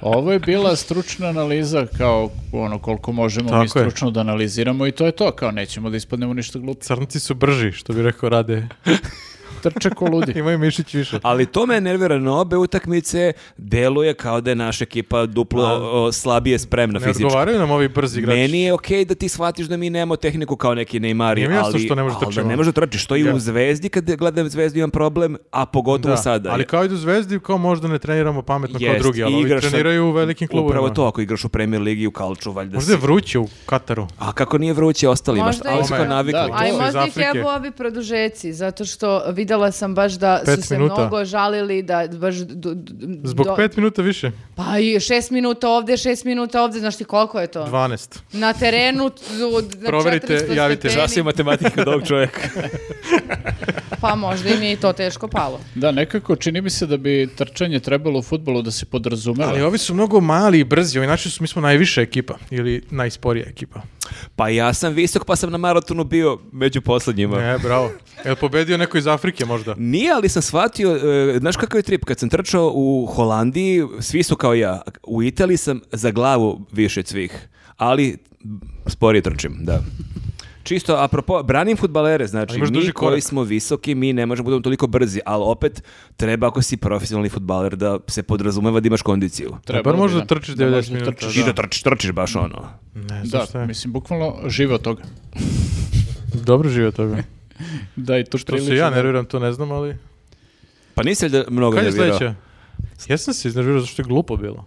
[SPEAKER 3] ovo je bila stručna analiza, kao ono koliko možemo mi
[SPEAKER 4] Tako je.
[SPEAKER 3] stručno da analiziramo i to je to, kao nećemo da ispadnemo ništa glupo.
[SPEAKER 4] Crnci su brži, što bi rekao Rade.
[SPEAKER 3] Trče ko ludi.
[SPEAKER 4] (laughs) Imaju mišić više.
[SPEAKER 1] Ali to me nervira na obe utakmice, deluje kao da je naša ekipa duplo o, slabije spremna
[SPEAKER 4] Ne
[SPEAKER 1] fizički.
[SPEAKER 4] odgovaraju nam ovi brzi igrači.
[SPEAKER 1] Meni je okej da ti shvatiš da mi nemamo tehniku kao neki Neymari,
[SPEAKER 4] Nije mi jasno
[SPEAKER 1] ali,
[SPEAKER 4] što ne može
[SPEAKER 1] ali
[SPEAKER 4] ono.
[SPEAKER 1] da
[SPEAKER 4] trčimo.
[SPEAKER 1] ne može trčiti. Što i
[SPEAKER 4] Da.
[SPEAKER 1] u Zvezdi, kad gledam Zvezdu imam problem, a pogotovo
[SPEAKER 4] Da,
[SPEAKER 1] sada.
[SPEAKER 4] Ali kao i do Zvezdi, kao možda ne treniramo pametno kao
[SPEAKER 1] Jest,
[SPEAKER 4] drugi, ali
[SPEAKER 1] i
[SPEAKER 4] ovi
[SPEAKER 1] igraš sa-
[SPEAKER 4] treniraju u velikim klubovima.
[SPEAKER 1] Upravo to, ako igraš u Premier Ligi, u Kalču, valjda
[SPEAKER 4] Možda je
[SPEAKER 1] si-
[SPEAKER 4] vruće u Kataru.
[SPEAKER 1] A kako nije vruće ostalima,
[SPEAKER 2] Možda
[SPEAKER 1] šta- ali
[SPEAKER 2] i-
[SPEAKER 1] su kao
[SPEAKER 4] Ome,
[SPEAKER 1] navikli.
[SPEAKER 3] da,
[SPEAKER 2] A i
[SPEAKER 4] To su iz
[SPEAKER 2] možda ih
[SPEAKER 4] Afrike.
[SPEAKER 2] jebu ovi produžeci, zato što videla sam baš da
[SPEAKER 4] Pet
[SPEAKER 2] su se
[SPEAKER 4] minuta.
[SPEAKER 2] mnogo žalili da baš... do- do-
[SPEAKER 4] Zbog
[SPEAKER 2] do-
[SPEAKER 4] pet minuta više.
[SPEAKER 2] Pa i šest minuta ovdje, šest minuta ovdje, znaš ti koliko je to?
[SPEAKER 4] 12.
[SPEAKER 2] Na terenu, u- na
[SPEAKER 4] Proverite,
[SPEAKER 2] 400
[SPEAKER 4] javite.
[SPEAKER 2] stepeni.
[SPEAKER 1] Šta si matematika kod ovog čovjeka?
[SPEAKER 2] Pa možda im je i to teško palo.
[SPEAKER 3] Da, nekako čini mi se da bi trčanje trebalo u futbolu da se podrazumeva.
[SPEAKER 4] Ali ovi su mnogo mali i brzi, ovi naši su, mi smo najviše ekipa, ili najsporija ekipa.
[SPEAKER 1] Pa ja sam visok, pa sam na maratonu bio među poslednjima.
[SPEAKER 4] Ne, E, bravo. Jel pobedio neko iz Afrike možda?
[SPEAKER 1] Nije, ali sam shvatio, e, znaš kakav je trip, kad sam trčao u Holandiji, svi su kao ja, u Italiji sam za glavu više od svih, ali sporije trčim, da. Čisto, apropo, branim futbalere, znači,
[SPEAKER 4] Ali imaš
[SPEAKER 1] mi
[SPEAKER 4] duži
[SPEAKER 1] koji
[SPEAKER 4] korak.
[SPEAKER 1] smo visoki, mi ne možemo budemo toliko brzi, ali opet, treba ako si profesionalni futbaler da se podrazumeva da imaš kondiciju.
[SPEAKER 3] Trebalo
[SPEAKER 4] Bar
[SPEAKER 3] bi
[SPEAKER 4] možda
[SPEAKER 3] da-
[SPEAKER 4] trčiš
[SPEAKER 3] da
[SPEAKER 4] 90
[SPEAKER 3] možda
[SPEAKER 4] minuta,
[SPEAKER 3] trčiš.
[SPEAKER 4] Da.
[SPEAKER 1] I da trčiš, trčiš baš ono.
[SPEAKER 4] Ne,
[SPEAKER 3] Da, mislim, bukvalno žive od toga.
[SPEAKER 4] Dobro žive od
[SPEAKER 3] (laughs)
[SPEAKER 4] toga.
[SPEAKER 3] Da, i to
[SPEAKER 4] To se ja nerviram, to ne znam, ali...
[SPEAKER 1] Pa nisi li da mnogo
[SPEAKER 4] Kad je
[SPEAKER 1] nervirao?
[SPEAKER 4] sledeća? Ja sam se iznervirao zašto je glupo bilo.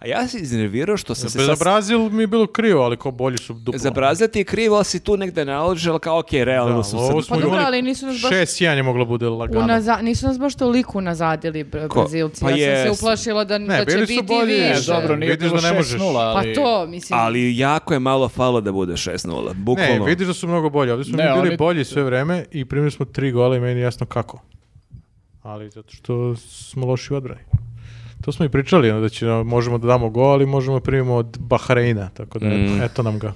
[SPEAKER 1] A ja se iznervirao što sam se
[SPEAKER 4] Za
[SPEAKER 1] sad-
[SPEAKER 4] Brazil mi je bilo krivo, ali kao bolji su duplo.
[SPEAKER 1] Za Brazil ti je krivo, ali si tu negde naložio, ali kao, okej, realno
[SPEAKER 4] Da,
[SPEAKER 1] su
[SPEAKER 4] ovo
[SPEAKER 1] sad-
[SPEAKER 4] smo
[SPEAKER 2] Pa dobro,
[SPEAKER 4] imali
[SPEAKER 2] ali nisu nas baš-
[SPEAKER 4] Šest jedan je moglo bude lagano.
[SPEAKER 2] Unaza- nisu nas baš toliko nazadili Bra-
[SPEAKER 1] Ko?
[SPEAKER 2] Brazilci.
[SPEAKER 1] Pa
[SPEAKER 2] ja sam
[SPEAKER 1] jes.
[SPEAKER 2] se uplašila da,
[SPEAKER 4] Ne,
[SPEAKER 2] da će
[SPEAKER 4] bili su
[SPEAKER 2] biti
[SPEAKER 4] bolji,
[SPEAKER 3] Ne,
[SPEAKER 2] više.
[SPEAKER 3] E, dobro, nije
[SPEAKER 4] Vidiš
[SPEAKER 3] bilo
[SPEAKER 4] da ne možeš.
[SPEAKER 3] 6:0, ali...
[SPEAKER 2] Pa to, mislim.
[SPEAKER 1] Ali jako je malo falo da bude 6-0,
[SPEAKER 4] Ne,
[SPEAKER 1] bukvalno.
[SPEAKER 4] vidiš da su mnogo bolji. Ovdje su
[SPEAKER 3] Ne,
[SPEAKER 4] mi bili
[SPEAKER 3] oni-
[SPEAKER 4] bolji sve vreme i primili smo tri gola i meni je jasno kako. Ali zato što smo loši u odbrani. To smo i pričali, ono, da će, možemo da damo gol i možemo da primimo od Bahreina, tako da
[SPEAKER 1] Mm.
[SPEAKER 4] eto nam ga.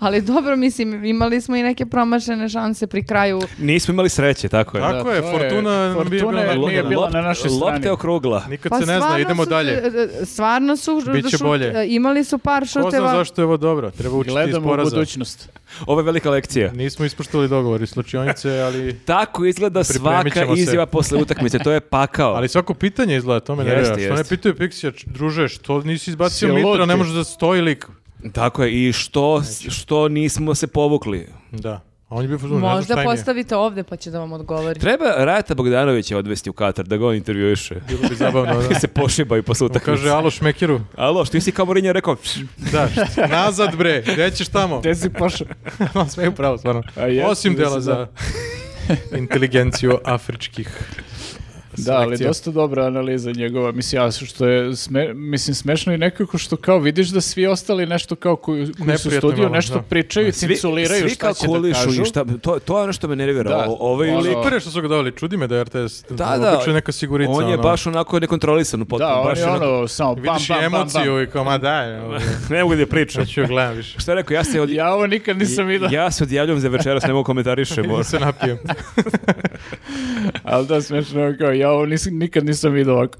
[SPEAKER 2] Ali dobro, mislim, imali smo i neke promašene šanse pri kraju.
[SPEAKER 1] Nismo imali sreće, tako je.
[SPEAKER 4] Tako
[SPEAKER 3] Da,
[SPEAKER 4] je,
[SPEAKER 3] to je-
[SPEAKER 4] Fortuna nam je
[SPEAKER 3] Fortuna
[SPEAKER 4] bila
[SPEAKER 3] je-
[SPEAKER 4] na-
[SPEAKER 3] nije
[SPEAKER 1] Lo-
[SPEAKER 3] bila
[SPEAKER 1] lopt-
[SPEAKER 3] na našoj strani.
[SPEAKER 1] Lopte okrugla.
[SPEAKER 4] Nikad
[SPEAKER 2] Pa
[SPEAKER 4] se ne zna,
[SPEAKER 2] stvarno
[SPEAKER 4] idemo
[SPEAKER 2] su-
[SPEAKER 4] dalje.
[SPEAKER 2] Stvarno su
[SPEAKER 4] Biće
[SPEAKER 2] šut-
[SPEAKER 4] bolje.
[SPEAKER 2] imali su par
[SPEAKER 4] Ko zna
[SPEAKER 2] šuteva.
[SPEAKER 4] zašto je ovo dobro, treba učiti iz
[SPEAKER 3] Gledamo u
[SPEAKER 4] poraza.
[SPEAKER 3] budućnost.
[SPEAKER 1] Ovo je velika lekcija.
[SPEAKER 4] Nismo ispoštovali dogovor iz slučionice, ali,
[SPEAKER 1] Tako izgleda
[SPEAKER 4] Pripremit
[SPEAKER 1] svaka
[SPEAKER 4] ćemo se.
[SPEAKER 1] izjava posle utakmice, to je pakao.
[SPEAKER 4] ali svako pitanje izgleda, to me
[SPEAKER 1] Jeste,
[SPEAKER 4] nervira. Što ne
[SPEAKER 1] jeste.
[SPEAKER 4] pitaju Pixija, "Č- druže, što nisi izbacio
[SPEAKER 3] Si
[SPEAKER 4] Mitra, ne
[SPEAKER 3] lud ti."
[SPEAKER 4] može da stoji lik.
[SPEAKER 1] Tako je, i što, što nismo se povukli.
[SPEAKER 4] Da. A on je bio fuzon, ne znam
[SPEAKER 2] Možda
[SPEAKER 4] šta im je.
[SPEAKER 2] postavite ovde pa će da vam odgovori.
[SPEAKER 1] Treba Rajata Bogdanovića odvesti u Katar, da ga on intervjuiše.
[SPEAKER 4] Bilo bi zabavno,
[SPEAKER 3] (laughs)
[SPEAKER 1] (laughs)
[SPEAKER 4] da.
[SPEAKER 1] Da se pošibaju posle utakmice.
[SPEAKER 4] Kaže, alo šmekeru.
[SPEAKER 1] Alo, što si kao Mourinho rekao? "Pš,
[SPEAKER 3] (laughs)
[SPEAKER 4] Da, šta- nazad bre, gde ćeš tamo?
[SPEAKER 3] Gde si pošao?
[SPEAKER 4] (laughs) On sve je upravo, stvarno.
[SPEAKER 3] A jes,
[SPEAKER 4] Osim
[SPEAKER 3] mislim
[SPEAKER 4] dela
[SPEAKER 3] da.
[SPEAKER 4] za inteligenciju afričkih.
[SPEAKER 3] (laughs) Da, ali
[SPEAKER 4] selekcija.
[SPEAKER 3] dosta dobra analiza njegova. Mislim, ja, što je sme, mislim, smešno i nekako što kao vidiš da svi ostali nešto kao koji, koji su u
[SPEAKER 4] Neprijatno
[SPEAKER 3] studiju
[SPEAKER 4] malo,
[SPEAKER 3] nešto
[SPEAKER 4] da.
[SPEAKER 3] pričaju, cinculiraju
[SPEAKER 1] svi
[SPEAKER 3] šta će da
[SPEAKER 1] kalkulišu
[SPEAKER 3] kažu.
[SPEAKER 1] i šta, to, to je ono što me nervira.
[SPEAKER 3] Da,
[SPEAKER 1] O- ovaj
[SPEAKER 3] ono-
[SPEAKER 1] lik-
[SPEAKER 4] Lik prije što su ga doveli, čudi me da je RTS
[SPEAKER 1] Da, da.
[SPEAKER 4] obično je neka sigurica.
[SPEAKER 1] On je
[SPEAKER 4] ono.
[SPEAKER 1] baš onako nekontrolisan u potpuno.
[SPEAKER 3] Da, on
[SPEAKER 1] baš
[SPEAKER 3] je
[SPEAKER 1] onako-
[SPEAKER 3] ono samo bam,
[SPEAKER 4] Vidiš i
[SPEAKER 3] bam, bam,
[SPEAKER 4] emociju
[SPEAKER 3] bam.
[SPEAKER 4] i kao, ma
[SPEAKER 3] (laughs)
[SPEAKER 4] daj, ono,
[SPEAKER 1] (laughs) Ne mogu da pričam.
[SPEAKER 4] neću joj
[SPEAKER 1] (laughs)
[SPEAKER 4] gledam više.
[SPEAKER 1] Šta je rekao, ja se od...
[SPEAKER 3] Ja ovo nikad nisam vidio.
[SPEAKER 1] Ja se odjavljujem za večeras, ne mogu
[SPEAKER 4] (laughs)
[SPEAKER 1] komentarišem.
[SPEAKER 4] Idem se napijem.
[SPEAKER 3] Ali da, smešno je kao, ja ovo nis, nikad nisam vidio ovako.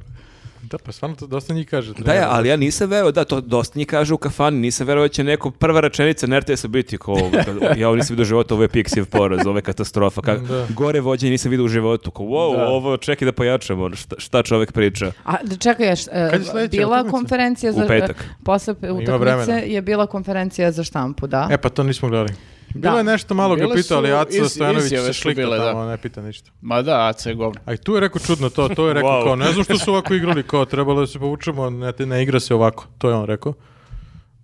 [SPEAKER 4] Da, pa stvarno to dosta njih kaže.
[SPEAKER 1] Da, ja, ali ja nisam veo, da, to dosta njih kaže u kafani, nisam verao da će neko prva rečenica na RTS-u biti kao, ovo, kad- ja ovo nisam vidio u životu, ovo je Pixiv poraz, ovo je katastrofa, ka,
[SPEAKER 4] Da.
[SPEAKER 1] gore vođe nisam vidio u životu, kao, wow,
[SPEAKER 4] Da.
[SPEAKER 1] ovo čekaj da pojačamo, ono, šta, šta čovek priča.
[SPEAKER 2] A da čekaj, ješ, e,
[SPEAKER 4] Kad je sledeća
[SPEAKER 2] bila
[SPEAKER 4] utakmica?
[SPEAKER 2] konferencija
[SPEAKER 1] U
[SPEAKER 2] za
[SPEAKER 1] petak.
[SPEAKER 2] posle pe- utakmice
[SPEAKER 4] vremena.
[SPEAKER 2] je bila konferencija za štampu, da.
[SPEAKER 4] E pa to nismo gledali. Bilo
[SPEAKER 2] Da.
[SPEAKER 4] je nešto malo ga
[SPEAKER 3] Bile
[SPEAKER 4] pitao, ali
[SPEAKER 3] su
[SPEAKER 4] Aca
[SPEAKER 3] iz-
[SPEAKER 4] Stojanović
[SPEAKER 3] izjave
[SPEAKER 4] se
[SPEAKER 3] su
[SPEAKER 4] šlika
[SPEAKER 3] bile, da.
[SPEAKER 4] tamo, ne pita ništa.
[SPEAKER 3] Ma da, AC je
[SPEAKER 1] (laughs)
[SPEAKER 3] govno.
[SPEAKER 4] A i tu je rekao čudno to, to je rekao
[SPEAKER 1] Wow.
[SPEAKER 4] kao, ne znam što su
[SPEAKER 3] (laughs)
[SPEAKER 4] ovako igrali, kao trebalo je da se povučemo, ne, te- ne igra se ovako, to je on rekao.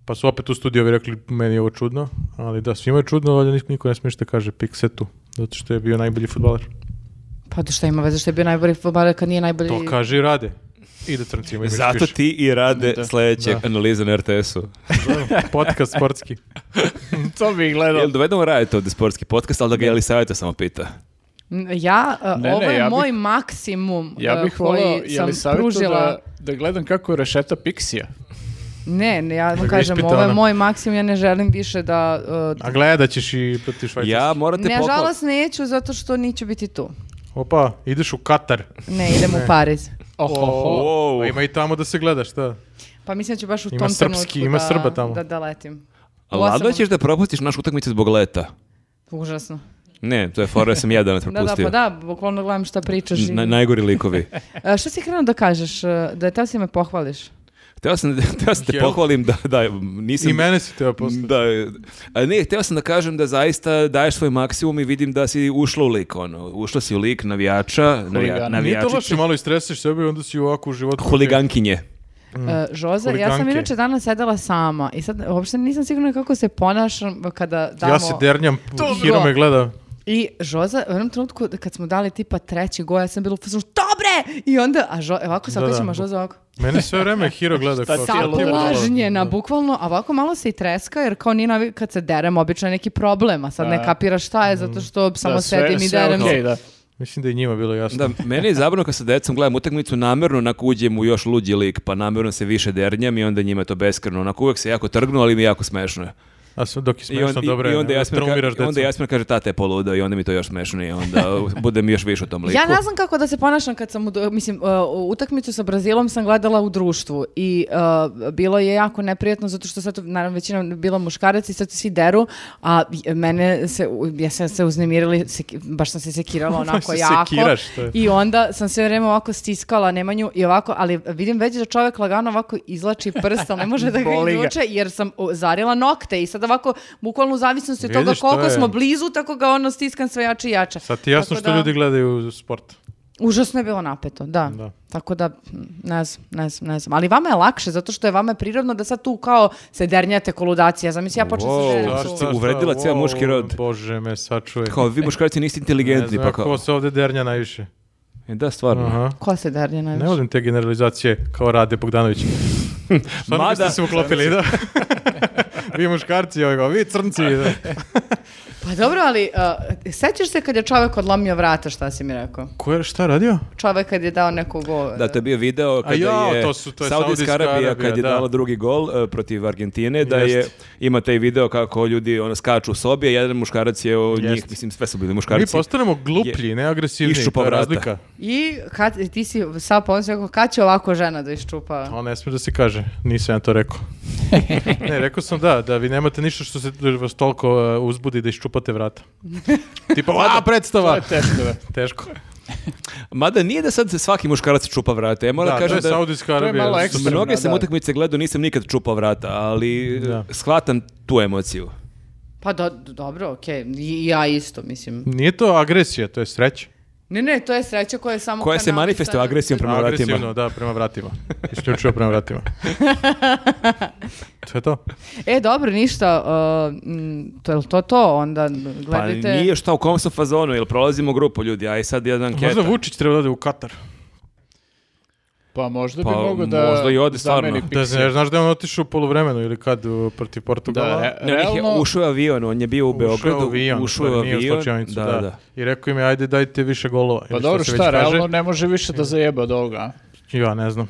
[SPEAKER 4] Pa su opet u studiju ovi rekli, meni je ovo čudno, ali da, svima je čudno, ali niko, niko ne smije šta kaže Piksetu, zato što je bio najbolji futbaler.
[SPEAKER 2] Pa to šta ima veze što je bio najbolji fudbaler kad nije najbolji...
[SPEAKER 4] To kaže i rade. I da crnci imaju
[SPEAKER 1] Zato ti i rade
[SPEAKER 3] Da.
[SPEAKER 1] sledećeg
[SPEAKER 4] Da.
[SPEAKER 1] analiza na RTS-u.
[SPEAKER 4] Podcast sportski.
[SPEAKER 3] To bi gledao.
[SPEAKER 1] Jel dovedemo Rajetu ovde sportski podcast, ali da ga Jeli Saveta samo pita.
[SPEAKER 2] N- Ja, e,
[SPEAKER 3] Ne, ne,
[SPEAKER 2] ovo je
[SPEAKER 3] ja bih-
[SPEAKER 2] moj maksimum
[SPEAKER 3] Ja
[SPEAKER 2] e,
[SPEAKER 3] bih volao,
[SPEAKER 2] koji
[SPEAKER 3] je
[SPEAKER 2] sam
[SPEAKER 3] li savjetu
[SPEAKER 2] pružila.
[SPEAKER 3] da, da gledam kako rešeta Pixija?
[SPEAKER 2] Ne, ne, ja vam
[SPEAKER 4] ga
[SPEAKER 2] kažem,
[SPEAKER 4] ispita
[SPEAKER 2] ovo je
[SPEAKER 4] ona.
[SPEAKER 2] moj maksimum, ja ne želim više da... e,
[SPEAKER 4] A gledat ćeš i protiv Švajcarske.
[SPEAKER 1] Ja morate pohvaliti.
[SPEAKER 2] Nažalost neću zato što neću biti tu.
[SPEAKER 4] Opa, ideš u Katar.
[SPEAKER 2] Ne, idem u Pariz.
[SPEAKER 3] Oh, Ohoho.
[SPEAKER 4] Pa
[SPEAKER 1] Wow.
[SPEAKER 4] ima i tamo da se gleda, šta?
[SPEAKER 2] Pa mislim da ću baš u
[SPEAKER 4] Ima
[SPEAKER 2] tom
[SPEAKER 4] srpski,
[SPEAKER 2] trenutku
[SPEAKER 4] ima
[SPEAKER 2] da,
[SPEAKER 4] Srba tamo.
[SPEAKER 2] Da, da letim.
[SPEAKER 1] A
[SPEAKER 2] U
[SPEAKER 1] Lado
[SPEAKER 2] osam-
[SPEAKER 1] ćeš da propustiš našu utakmicu zbog leta.
[SPEAKER 2] Užasno.
[SPEAKER 1] Ne, to je fora, ja sam
[SPEAKER 2] (laughs)
[SPEAKER 1] jedan
[SPEAKER 2] Da, da,
[SPEAKER 1] propustio.
[SPEAKER 2] pa da, bukvalno gledam šta pričaš. i-
[SPEAKER 1] Na, najgori likovi.
[SPEAKER 2] E, šta si krenuo da kažeš? e, Da je teo si me pohvališ? E,
[SPEAKER 1] Hteo sam, hteo sam te
[SPEAKER 4] Jel?
[SPEAKER 1] pohvalim da, da nisam...
[SPEAKER 4] I mene si teo posle.
[SPEAKER 1] Da, a ne, hteo sam da kažem da zaista daješ svoj maksimum i vidim da si ušla u lik, ono, ušla si u lik navijača, navija,
[SPEAKER 3] Huligana.
[SPEAKER 4] Nije to
[SPEAKER 1] navijači,
[SPEAKER 4] loše, malo istresiš sebe i onda si ovako u životu.
[SPEAKER 1] huligankinje.
[SPEAKER 2] E, Žoze, ja sam
[SPEAKER 4] Mm. Huliganke.
[SPEAKER 2] inače danas sedela sama i sad uopšte nisam sigurna kako se ponašam kada damo...
[SPEAKER 4] Ja se dernjam,
[SPEAKER 2] To-
[SPEAKER 4] Hiro me gleda.
[SPEAKER 2] I Žoza, u jednom trenutku kad smo dali tipa treći gol, ja sam bila u fazonu, što bre! I onda, a Žo, ovako se
[SPEAKER 4] Da, da.
[SPEAKER 2] okrećemo, a Žoza ovako.
[SPEAKER 4] Mene sve vreme Hiro gleda. kao,
[SPEAKER 3] ti je
[SPEAKER 4] "Šta ti je
[SPEAKER 3] luda?"
[SPEAKER 4] bilo?"
[SPEAKER 2] Saplažnjena, bukvalno, a ovako malo se i treska, jer kao nije navi- kad se derem, obično je neki problem, a sad ne
[SPEAKER 3] Da.
[SPEAKER 2] kapira šta je, zato što samo
[SPEAKER 3] Da, sve,
[SPEAKER 2] sedim i
[SPEAKER 3] sve
[SPEAKER 2] derem.
[SPEAKER 3] okej, da.
[SPEAKER 4] Mislim da je njima bilo jasno.
[SPEAKER 1] Da, meni je zabrano kad sa decom gledam utakmicu, namerno onako uđem u još luđi lik, pa namerno se više dernjam i onda njima je to beskreno. Onako uvek se jako trgnu, ali mi je jako smešno. je.
[SPEAKER 4] A sve dok je
[SPEAKER 1] I, on,
[SPEAKER 4] smešno,
[SPEAKER 1] i-
[SPEAKER 4] dobro je.
[SPEAKER 1] i onda
[SPEAKER 4] ne,
[SPEAKER 1] Jasmina
[SPEAKER 4] traumiraš
[SPEAKER 1] ka- i onda
[SPEAKER 4] decu.
[SPEAKER 1] Jasmina kaže, tate je poluda i onda mi to još smešnije. Onda
[SPEAKER 4] (laughs)
[SPEAKER 1] budem još više u tom liku.
[SPEAKER 2] Ja ne znam kako da se ponašam kad sam, u, do- mislim, uh, utakmicu sa Brazilom sam gledala u društvu i uh, bilo je jako neprijatno zato što sad, naravno, većina je bila muškarac i sad svi deru, a mene se, ja sam se uznemirila, i seki- baš sam se
[SPEAKER 4] (laughs)
[SPEAKER 2] sekirala onako
[SPEAKER 4] se
[SPEAKER 2] jako.
[SPEAKER 4] sekiraš, to je.
[SPEAKER 2] I onda sam sve vrijeme ovako stiskala Nemanju i ovako, ali vidim već da čovjek lagano ovako izlači prst, ali ne
[SPEAKER 4] (laughs)
[SPEAKER 2] može da ga
[SPEAKER 3] Boli ga.
[SPEAKER 2] izvuče jer sam o, zarila nokte i sad ovako, bukvalno u zavisnosti od toga
[SPEAKER 4] Vidiš, to
[SPEAKER 2] koliko
[SPEAKER 4] je.
[SPEAKER 2] smo blizu, tako ga ono stiskam sve jače i jače.
[SPEAKER 4] Sad ti je jasno
[SPEAKER 2] Tako
[SPEAKER 4] što
[SPEAKER 2] da-
[SPEAKER 4] ljudi gledaju sport.
[SPEAKER 2] Užasno je bilo napeto, da.
[SPEAKER 4] Da.
[SPEAKER 2] Tako da, mm, ne znam, ne znam, ne znam. Ali vama je lakše, zato što je vama prirodno da sad tu kao se dernjate koludacija. Znam, mislim, ja počnem
[SPEAKER 1] Wow,
[SPEAKER 2] se derem
[SPEAKER 1] šta
[SPEAKER 2] tu.
[SPEAKER 1] si- uvredila cijel muški rod.
[SPEAKER 4] Bože me, sačuj.
[SPEAKER 1] Kao, vi muškarci niste
[SPEAKER 4] Ne
[SPEAKER 1] inteligentni,
[SPEAKER 4] znam
[SPEAKER 1] pa
[SPEAKER 4] ko
[SPEAKER 1] kao...
[SPEAKER 4] se ovde dernja najviše.
[SPEAKER 1] E, Da, stvarno.
[SPEAKER 4] Aha.
[SPEAKER 2] Ko se dernje najviše?
[SPEAKER 4] Ne volim te generalizacije kao Rade (laughs) Bogdanović. Stvarno
[SPEAKER 1] Mada-
[SPEAKER 4] biste se uklopili, da? (laughs) vi muškarci, ovaj, vi crnci. Da.
[SPEAKER 2] Pa dobro, ali uh, sećaš se kad je čovek odlomio vrata, šta si mi rekao?
[SPEAKER 4] (laughs) Ko je šta radio?
[SPEAKER 2] Čovek kad je dao neku gol.
[SPEAKER 1] Da, to je bio video kada
[SPEAKER 4] jao,
[SPEAKER 1] je,
[SPEAKER 4] to su- to je
[SPEAKER 1] Saudijska
[SPEAKER 4] Saudijska
[SPEAKER 1] Arabija,
[SPEAKER 4] Arabija,
[SPEAKER 1] kad je
[SPEAKER 4] da.
[SPEAKER 1] dala drugi gol e, protiv Argentine, da je,
[SPEAKER 4] Jest.
[SPEAKER 1] ima taj video kako ljudi ono, skaču u sobi, a jedan muškarac je od
[SPEAKER 4] Jest.
[SPEAKER 1] njih, mislim sve su bili
[SPEAKER 4] Mi
[SPEAKER 1] muškarci.
[SPEAKER 4] postanemo gluplji, ne agresivni.
[SPEAKER 1] Iščupa
[SPEAKER 4] to je
[SPEAKER 1] vrata.
[SPEAKER 4] razlika.
[SPEAKER 2] I kad, ti si sad pomislio kako, kad će ovako žena da iščupa?
[SPEAKER 4] A ne smije da se kaže, nisam ja to (laughs) rekao. ne, rekao sam da, da vi nemate ništa što se vas toliko e, uzbudi da iščupate vrata. (laughs) Tipa, a,
[SPEAKER 3] To
[SPEAKER 4] predstava!
[SPEAKER 3] je teško, da.
[SPEAKER 4] Teško.
[SPEAKER 1] Mada nije da sad se svaki muškarac čupa vrata. Ja moram
[SPEAKER 4] Da, to
[SPEAKER 1] kažem
[SPEAKER 4] je
[SPEAKER 1] da,
[SPEAKER 4] Saudijska
[SPEAKER 3] je
[SPEAKER 4] Arabija.
[SPEAKER 3] malo
[SPEAKER 4] Su-
[SPEAKER 3] ekstra.
[SPEAKER 1] mnoge
[SPEAKER 3] da,
[SPEAKER 1] sam
[SPEAKER 3] da.
[SPEAKER 1] utakmice gledao, nisam nikad čupao vrata, ali e,
[SPEAKER 4] Da.
[SPEAKER 1] shvatam tu emociju.
[SPEAKER 2] Pa do- dobro, okej, I- i ja isto, mislim.
[SPEAKER 4] Nije to agresija, to je sreća.
[SPEAKER 2] Ne, ne, to je sreća koja je samo...
[SPEAKER 1] Koja se
[SPEAKER 2] kanalisana-
[SPEAKER 1] manifestuje agresijom prema vratima.
[SPEAKER 4] Agresivno, da, prema vratima. (laughs) Isključivo prema vratima. (laughs) to je to.
[SPEAKER 2] E, dobro, ništa, uh, m, to je to to, onda
[SPEAKER 1] Pa
[SPEAKER 2] gledajte...
[SPEAKER 1] nije šta u kom sam fazonu, jel prolazimo grupu ljudi, a i sad jedna anketa.
[SPEAKER 4] Možda Vučić treba da ode u Katar.
[SPEAKER 3] Pa možda
[SPEAKER 1] Pa
[SPEAKER 3] bi mogao da
[SPEAKER 1] možda i ode
[SPEAKER 3] zameni
[SPEAKER 1] stvarno.
[SPEAKER 4] Da,
[SPEAKER 3] Pixija.
[SPEAKER 4] znaš, znaš da je on otišao u poluvremenu ili kad u- protiv Portugala?
[SPEAKER 3] Da, re-
[SPEAKER 1] Ne, on ih je
[SPEAKER 3] realno,
[SPEAKER 1] ušao je avion, on je bio e, u
[SPEAKER 4] Ušao je
[SPEAKER 1] Beogradu,
[SPEAKER 4] u avion,
[SPEAKER 1] ušao je u
[SPEAKER 4] stvari, nije
[SPEAKER 1] avion,
[SPEAKER 4] slučajnicu,
[SPEAKER 1] da, da.
[SPEAKER 4] I rekao im je, ajde dajte više golova.
[SPEAKER 3] pa
[SPEAKER 4] ili
[SPEAKER 3] dobro,
[SPEAKER 4] se
[SPEAKER 3] šta,
[SPEAKER 4] već kaže.
[SPEAKER 3] realno ne može više da zajeba od ovoga. a?
[SPEAKER 4] Ja
[SPEAKER 1] (laughs)
[SPEAKER 4] ne znam.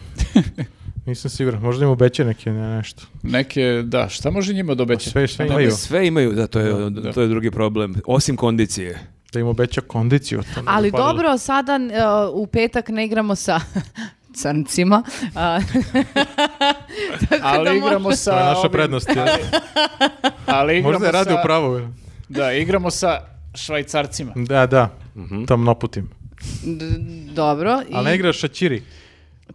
[SPEAKER 4] Nisam siguran, možda im obeća neke ne, nešto.
[SPEAKER 3] Neke, da, šta može njima da obeća?
[SPEAKER 4] Pa Sve, sve
[SPEAKER 1] Da,
[SPEAKER 4] imaju.
[SPEAKER 1] sve imaju, da, to je,
[SPEAKER 3] da.
[SPEAKER 1] to je drugi problem. Osim kondicije.
[SPEAKER 4] Da im obeća kondiciju. to ne pa bi
[SPEAKER 2] Ali
[SPEAKER 4] falilo.
[SPEAKER 2] dobro, sada uh, u petak ne igramo sa (laughs) crncima. A, (laughs) tako da
[SPEAKER 3] (laughs) Ali igramo
[SPEAKER 2] možda-
[SPEAKER 3] sa...
[SPEAKER 4] To je naša
[SPEAKER 3] ovim-
[SPEAKER 4] prednost.
[SPEAKER 3] (laughs)
[SPEAKER 4] je.
[SPEAKER 3] Ali igramo
[SPEAKER 4] Možda je radi u
[SPEAKER 3] sa-
[SPEAKER 4] pravu. je.
[SPEAKER 3] Da, igramo sa švajcarcima.
[SPEAKER 4] Da, da.
[SPEAKER 1] Mhm.
[SPEAKER 4] Tam naputim.
[SPEAKER 2] D- dobro.
[SPEAKER 4] Ali ne
[SPEAKER 2] i
[SPEAKER 4] igraš šačiri.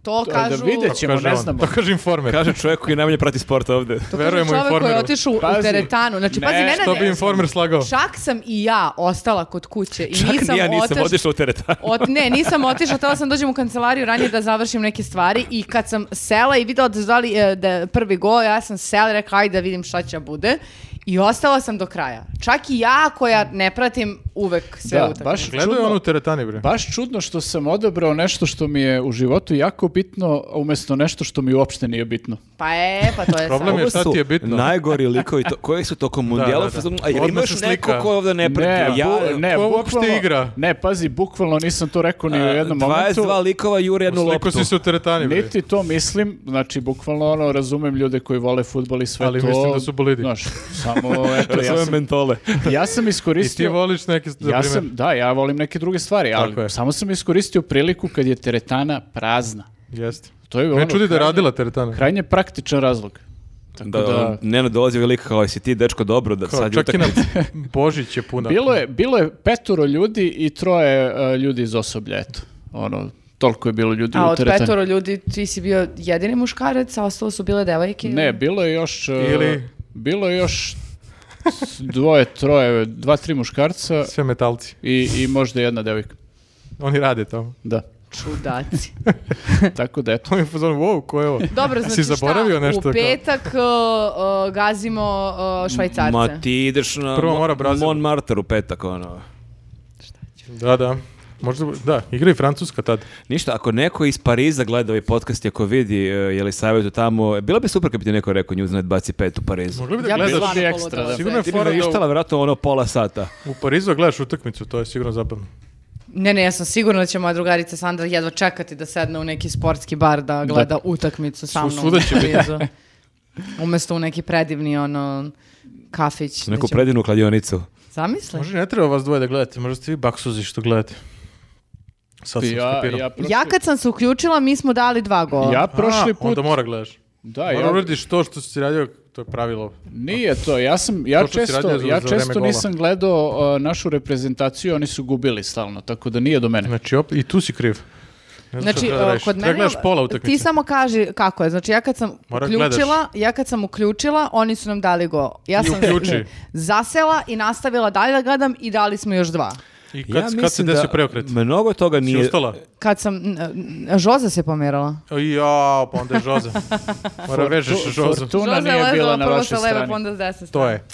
[SPEAKER 2] To
[SPEAKER 3] Da, da
[SPEAKER 2] kažu...
[SPEAKER 3] vidjet ćemo,
[SPEAKER 4] Kaže
[SPEAKER 3] ne
[SPEAKER 4] on.
[SPEAKER 3] znamo.
[SPEAKER 4] To kaže informer.
[SPEAKER 1] Kaže čovjek koji najmanje prati sport ovde.
[SPEAKER 2] To kaže
[SPEAKER 4] Verujemo
[SPEAKER 2] čovek koji je
[SPEAKER 4] informeru.
[SPEAKER 2] otišao u- u
[SPEAKER 3] Pazi.
[SPEAKER 2] teretanu. Znači,
[SPEAKER 3] Ne,
[SPEAKER 2] pazi, Nenade,
[SPEAKER 4] To bi informer slagao.
[SPEAKER 2] Čak sam i ja ostala kod kuće i
[SPEAKER 1] Čak
[SPEAKER 2] nisam
[SPEAKER 1] ni ja nisam
[SPEAKER 2] otišla-
[SPEAKER 1] otišao u teretanu.
[SPEAKER 2] Ot, ne, nisam otišla, htela sam dođem u kancelariju ranije da završim neke stvari i kad sam sela i videla da su dali e, da je prvi gol, ja sam sela i rekla ajde da vidim šta će bude i ostala sam do kraja. Čak i ja koja ne pratim uvek sve
[SPEAKER 3] Da,
[SPEAKER 2] utakmice.
[SPEAKER 3] baš
[SPEAKER 4] Gledao je
[SPEAKER 3] čudno-
[SPEAKER 4] on u teretani, bre.
[SPEAKER 3] Baš čudno što sam odabrao nešto što mi je u životu jako bitno, a umjesto nešto što mi uopšte nije bitno.
[SPEAKER 2] Pa je, pa to je
[SPEAKER 4] Problem
[SPEAKER 2] sad.
[SPEAKER 4] je šta
[SPEAKER 1] Ovo su
[SPEAKER 4] ti je bitno.
[SPEAKER 1] Najgori likovi to, koji su tokom mundijala
[SPEAKER 4] da, da.
[SPEAKER 1] fazonu, a jel
[SPEAKER 4] Odmah
[SPEAKER 1] imaš
[SPEAKER 4] se
[SPEAKER 1] neko
[SPEAKER 4] slika.
[SPEAKER 1] ko ovde ne prati? ja,
[SPEAKER 3] bu- ne,
[SPEAKER 4] ko uopšte
[SPEAKER 3] bukvalno-
[SPEAKER 4] igra? E,
[SPEAKER 3] Ne, pazi, bukvalno nisam to rekao ni u jednom
[SPEAKER 1] 22
[SPEAKER 3] momentu.
[SPEAKER 1] likova jure jednu
[SPEAKER 4] Sliko
[SPEAKER 1] loptu.
[SPEAKER 4] si se u teretani, bre.
[SPEAKER 3] Niti to mislim, znači bukvalno ono, razumem ljude koji vole futbol i sve
[SPEAKER 4] Ali
[SPEAKER 3] to.
[SPEAKER 4] mislim da su bolidi.
[SPEAKER 3] znaš, samo, eto, ja sam,
[SPEAKER 1] mentole.
[SPEAKER 3] ja sam
[SPEAKER 4] I ti
[SPEAKER 3] iskoristio...
[SPEAKER 4] voliš neki, za
[SPEAKER 3] Ja
[SPEAKER 4] primjer.
[SPEAKER 3] sam, da, ja volim neke druge stvari,
[SPEAKER 4] Tako
[SPEAKER 3] ali
[SPEAKER 4] je.
[SPEAKER 3] samo sam iskoristio priliku kad je teretana prazna.
[SPEAKER 4] Jeste.
[SPEAKER 3] To je ono
[SPEAKER 4] Me čudi da je
[SPEAKER 3] krajnje-
[SPEAKER 4] radila teretana.
[SPEAKER 3] Krajnje praktičan razlog. Tako
[SPEAKER 1] Da,
[SPEAKER 3] da,
[SPEAKER 1] da. Nenad dolazi velika kao, jesi ti dečko dobro da
[SPEAKER 4] Kao,
[SPEAKER 1] sad je
[SPEAKER 4] čak i na
[SPEAKER 1] utakmica.
[SPEAKER 4] (laughs) Božić je puna.
[SPEAKER 3] Bilo je, bilo je petoro ljudi i troje e, ljudi iz osoblja, eto. Ono, toliko je bilo ljudi
[SPEAKER 2] A
[SPEAKER 3] u
[SPEAKER 2] od
[SPEAKER 3] teretani.
[SPEAKER 2] petoro ljudi ti si bio jedini muškarac, a ostalo su bile devojke.
[SPEAKER 3] Ne, bilo je još... e,
[SPEAKER 4] Ili-
[SPEAKER 3] Bilo je još dvoje, troje, dva, tri muškarca
[SPEAKER 4] Sve metalci.
[SPEAKER 3] i, i možda jedna devojka.
[SPEAKER 4] Oni rade tamo. (laughs)
[SPEAKER 2] (laughs)
[SPEAKER 3] Da.
[SPEAKER 2] Čudaci.
[SPEAKER 3] Tako da, eto.
[SPEAKER 4] To mi je fazon, wow, ko je ovo?
[SPEAKER 2] Dobro,
[SPEAKER 4] (laughs) Si
[SPEAKER 2] znači
[SPEAKER 4] zaboravio
[SPEAKER 2] šta,
[SPEAKER 4] nešto kao?
[SPEAKER 2] u petak uh, uh, gazimo uh, švajcarce.
[SPEAKER 1] Ma ti ideš na
[SPEAKER 4] Prvo mora
[SPEAKER 1] Mon-
[SPEAKER 4] Brazil.
[SPEAKER 1] Montmartre u petak, ono.
[SPEAKER 4] Da, da. Možda, da, igra i Francuska tad.
[SPEAKER 1] Ništa, ako neko iz Pariza gleda ovaj podcast i ako vidi uh, je li savjetu tamo, bilo bi super kad bi ti neko rekao Newsnet baci pet u Parizu.
[SPEAKER 4] Mogli bi da
[SPEAKER 2] Ja bih
[SPEAKER 4] gledaš,
[SPEAKER 3] stvarno-
[SPEAKER 2] stvarno pogledala
[SPEAKER 3] ekstra, da.
[SPEAKER 2] sve.
[SPEAKER 4] Sigurno je
[SPEAKER 1] Ti bi
[SPEAKER 4] fora da u-
[SPEAKER 1] naištala vjerojatno ono pola sata.
[SPEAKER 4] u Parizu da gledaš utakmicu, to je sigurno zabavno.
[SPEAKER 2] Ne, ne, ja sam sigurna da će moja drugarica Sandra jedva čekati da sedne u neki sportski bar da gleda utakmicu sa mnom.
[SPEAKER 4] svuda će biti.
[SPEAKER 2] Parizu. Umesto u neki predivni ono kafić.
[SPEAKER 1] Neku
[SPEAKER 2] da će-
[SPEAKER 1] predivnu kladionicu.
[SPEAKER 2] Zamisli.
[SPEAKER 4] Možda i ne treba vas dvoje da gledate, možda ste vi baksuzi što gledate. Sad sam
[SPEAKER 3] Ja,
[SPEAKER 4] skapirao.
[SPEAKER 3] ja, prošli,
[SPEAKER 2] Ja kad sam se uključila, mi smo dali dva gola.
[SPEAKER 3] ja prošli
[SPEAKER 4] A,
[SPEAKER 3] put...
[SPEAKER 4] Onda mora gledaš.
[SPEAKER 3] Da,
[SPEAKER 4] Mora
[SPEAKER 3] ja,
[SPEAKER 4] uradiš to što si radio, to je pravilo.
[SPEAKER 3] Nije to, ja sam, ja
[SPEAKER 4] To što si
[SPEAKER 3] često,
[SPEAKER 4] radio za-
[SPEAKER 3] ja
[SPEAKER 4] za
[SPEAKER 3] često
[SPEAKER 4] vreme gola.
[SPEAKER 3] nisam gledao uh, našu reprezentaciju, oni su gubili stalno, tako da nije do mene.
[SPEAKER 4] Znači, op, i tu si kriv. Ne znam šta
[SPEAKER 2] Znači,
[SPEAKER 4] treba da radiš.
[SPEAKER 2] kod
[SPEAKER 4] Treba
[SPEAKER 2] mene...
[SPEAKER 4] gledaš pola utakmice.
[SPEAKER 2] Ti samo kaži kako je. Znači, ja kad sam
[SPEAKER 4] Mora
[SPEAKER 2] uključila,
[SPEAKER 4] gledaš.
[SPEAKER 2] ja kad sam uključila, oni su nam dali go. Ja
[SPEAKER 4] I
[SPEAKER 2] sam
[SPEAKER 4] uključi.
[SPEAKER 2] zasela i nastavila dalje da gledam i dali smo još dva.
[SPEAKER 4] I kad, kad se
[SPEAKER 1] mislim
[SPEAKER 4] desio
[SPEAKER 1] da
[SPEAKER 4] preokret?
[SPEAKER 1] Mnogo toga
[SPEAKER 4] Si
[SPEAKER 1] nije...
[SPEAKER 4] ustala?
[SPEAKER 2] Kad sam... n- n- Žoza se pomerala.
[SPEAKER 4] Ja, pa onda je Žoza. (laughs) Mora režeš
[SPEAKER 3] Fortu-
[SPEAKER 4] Žoza.
[SPEAKER 3] Fortuna
[SPEAKER 2] Žoza je
[SPEAKER 3] nije bila
[SPEAKER 2] ležala
[SPEAKER 3] na
[SPEAKER 2] prvo
[SPEAKER 3] vašoj
[SPEAKER 2] sa leve,
[SPEAKER 3] strani.
[SPEAKER 2] pa onda s desne
[SPEAKER 4] To
[SPEAKER 2] strane.
[SPEAKER 4] je.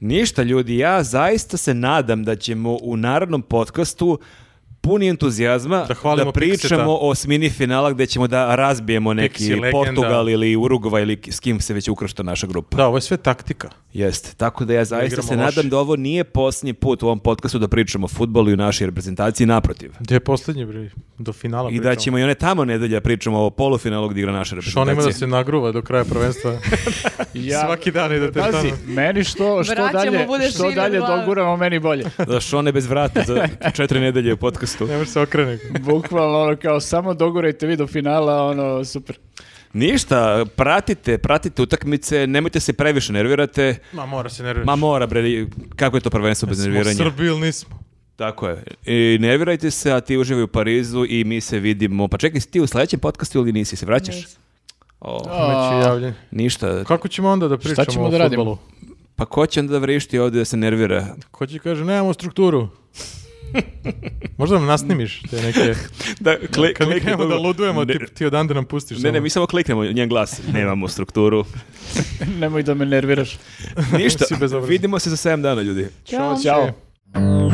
[SPEAKER 1] Ništa ljudi, ja zaista se nadam da ćemo u narednom podcastu puni entuzijazma
[SPEAKER 4] Da hvalimo Pixeta.
[SPEAKER 1] pričamo o smini finala gde ćemo da razbijemo neki
[SPEAKER 4] Pixi, legenda.
[SPEAKER 1] Portugal ili Urugvaj ili s kim se već ukršta naša grupa.
[SPEAKER 4] Da, ovo je sve taktika.
[SPEAKER 1] Jeste, tako da ja zaista
[SPEAKER 4] igramo
[SPEAKER 1] se
[SPEAKER 4] loše.
[SPEAKER 1] nadam da ovo nije posljednji put u ovom podcastu da pričamo o futbolu i o našoj reprezentaciji, naprotiv.
[SPEAKER 4] Gdje je posljednji, bre? Do finala
[SPEAKER 1] I da
[SPEAKER 4] pričamo.
[SPEAKER 1] ćemo i one tamo nedelje da pričamo o polufinalu gdje igra naša
[SPEAKER 4] Što on ima da
[SPEAKER 1] reprezentacija.
[SPEAKER 4] se nagruva do kraja prvenstva. (laughs)
[SPEAKER 3] Ja-
[SPEAKER 4] Svaki dan ide te
[SPEAKER 3] Pazi,
[SPEAKER 4] tamo.
[SPEAKER 3] meni što, što
[SPEAKER 2] Braća mu
[SPEAKER 3] dalje,
[SPEAKER 2] bude
[SPEAKER 3] što
[SPEAKER 2] šire
[SPEAKER 3] dalje
[SPEAKER 2] glave.
[SPEAKER 3] doguramo, meni bolje.
[SPEAKER 1] Da što bez vrata za četiri nedelje u podcastu.
[SPEAKER 4] Ne može se okrene.
[SPEAKER 3] Bukvalno ono kao samo dogurajte vi do finala, ono super.
[SPEAKER 1] Ništa, pratite, pratite utakmice, nemojte se previše nervirate.
[SPEAKER 4] Ma mora se nerviraš.
[SPEAKER 1] Ma mora bre, kako je to prvenstvo bez nerviranja?
[SPEAKER 4] Smo Srbi ili nismo?
[SPEAKER 1] Tako je. I nervirajte se, a ti uživaj u Parizu i mi se vidimo. Pa čekaj, si ti u sledećem podcastu ili nisi, se vraćaš? O,
[SPEAKER 4] Imaće javljenje.
[SPEAKER 1] ništa.
[SPEAKER 4] Kako ćemo onda da pričamo
[SPEAKER 3] ćemo
[SPEAKER 4] o
[SPEAKER 3] da radimo?
[SPEAKER 4] fudbalu?
[SPEAKER 1] Pa ko će onda da vrišti ovdje da se nervira?
[SPEAKER 4] Ko će kaže, nemamo strukturu. Možda nam nasnimiš te
[SPEAKER 1] (laughs)
[SPEAKER 4] neke...
[SPEAKER 1] Da, kli,
[SPEAKER 4] Kad mi krenemo da ludujemo, ono.
[SPEAKER 1] ne,
[SPEAKER 4] ti, ti odande nam pustiš.
[SPEAKER 1] Ne,
[SPEAKER 4] samo.
[SPEAKER 1] ne, mi samo kliknemo njen glas. Nemamo
[SPEAKER 4] (laughs)
[SPEAKER 1] strukturu.
[SPEAKER 3] (laughs) Nemoj da me nerviraš.
[SPEAKER 1] Ništa.
[SPEAKER 4] Si bezobrazan.
[SPEAKER 1] Vidimo se za 7 dana, ljudi.
[SPEAKER 3] Ćao.
[SPEAKER 4] Ćao.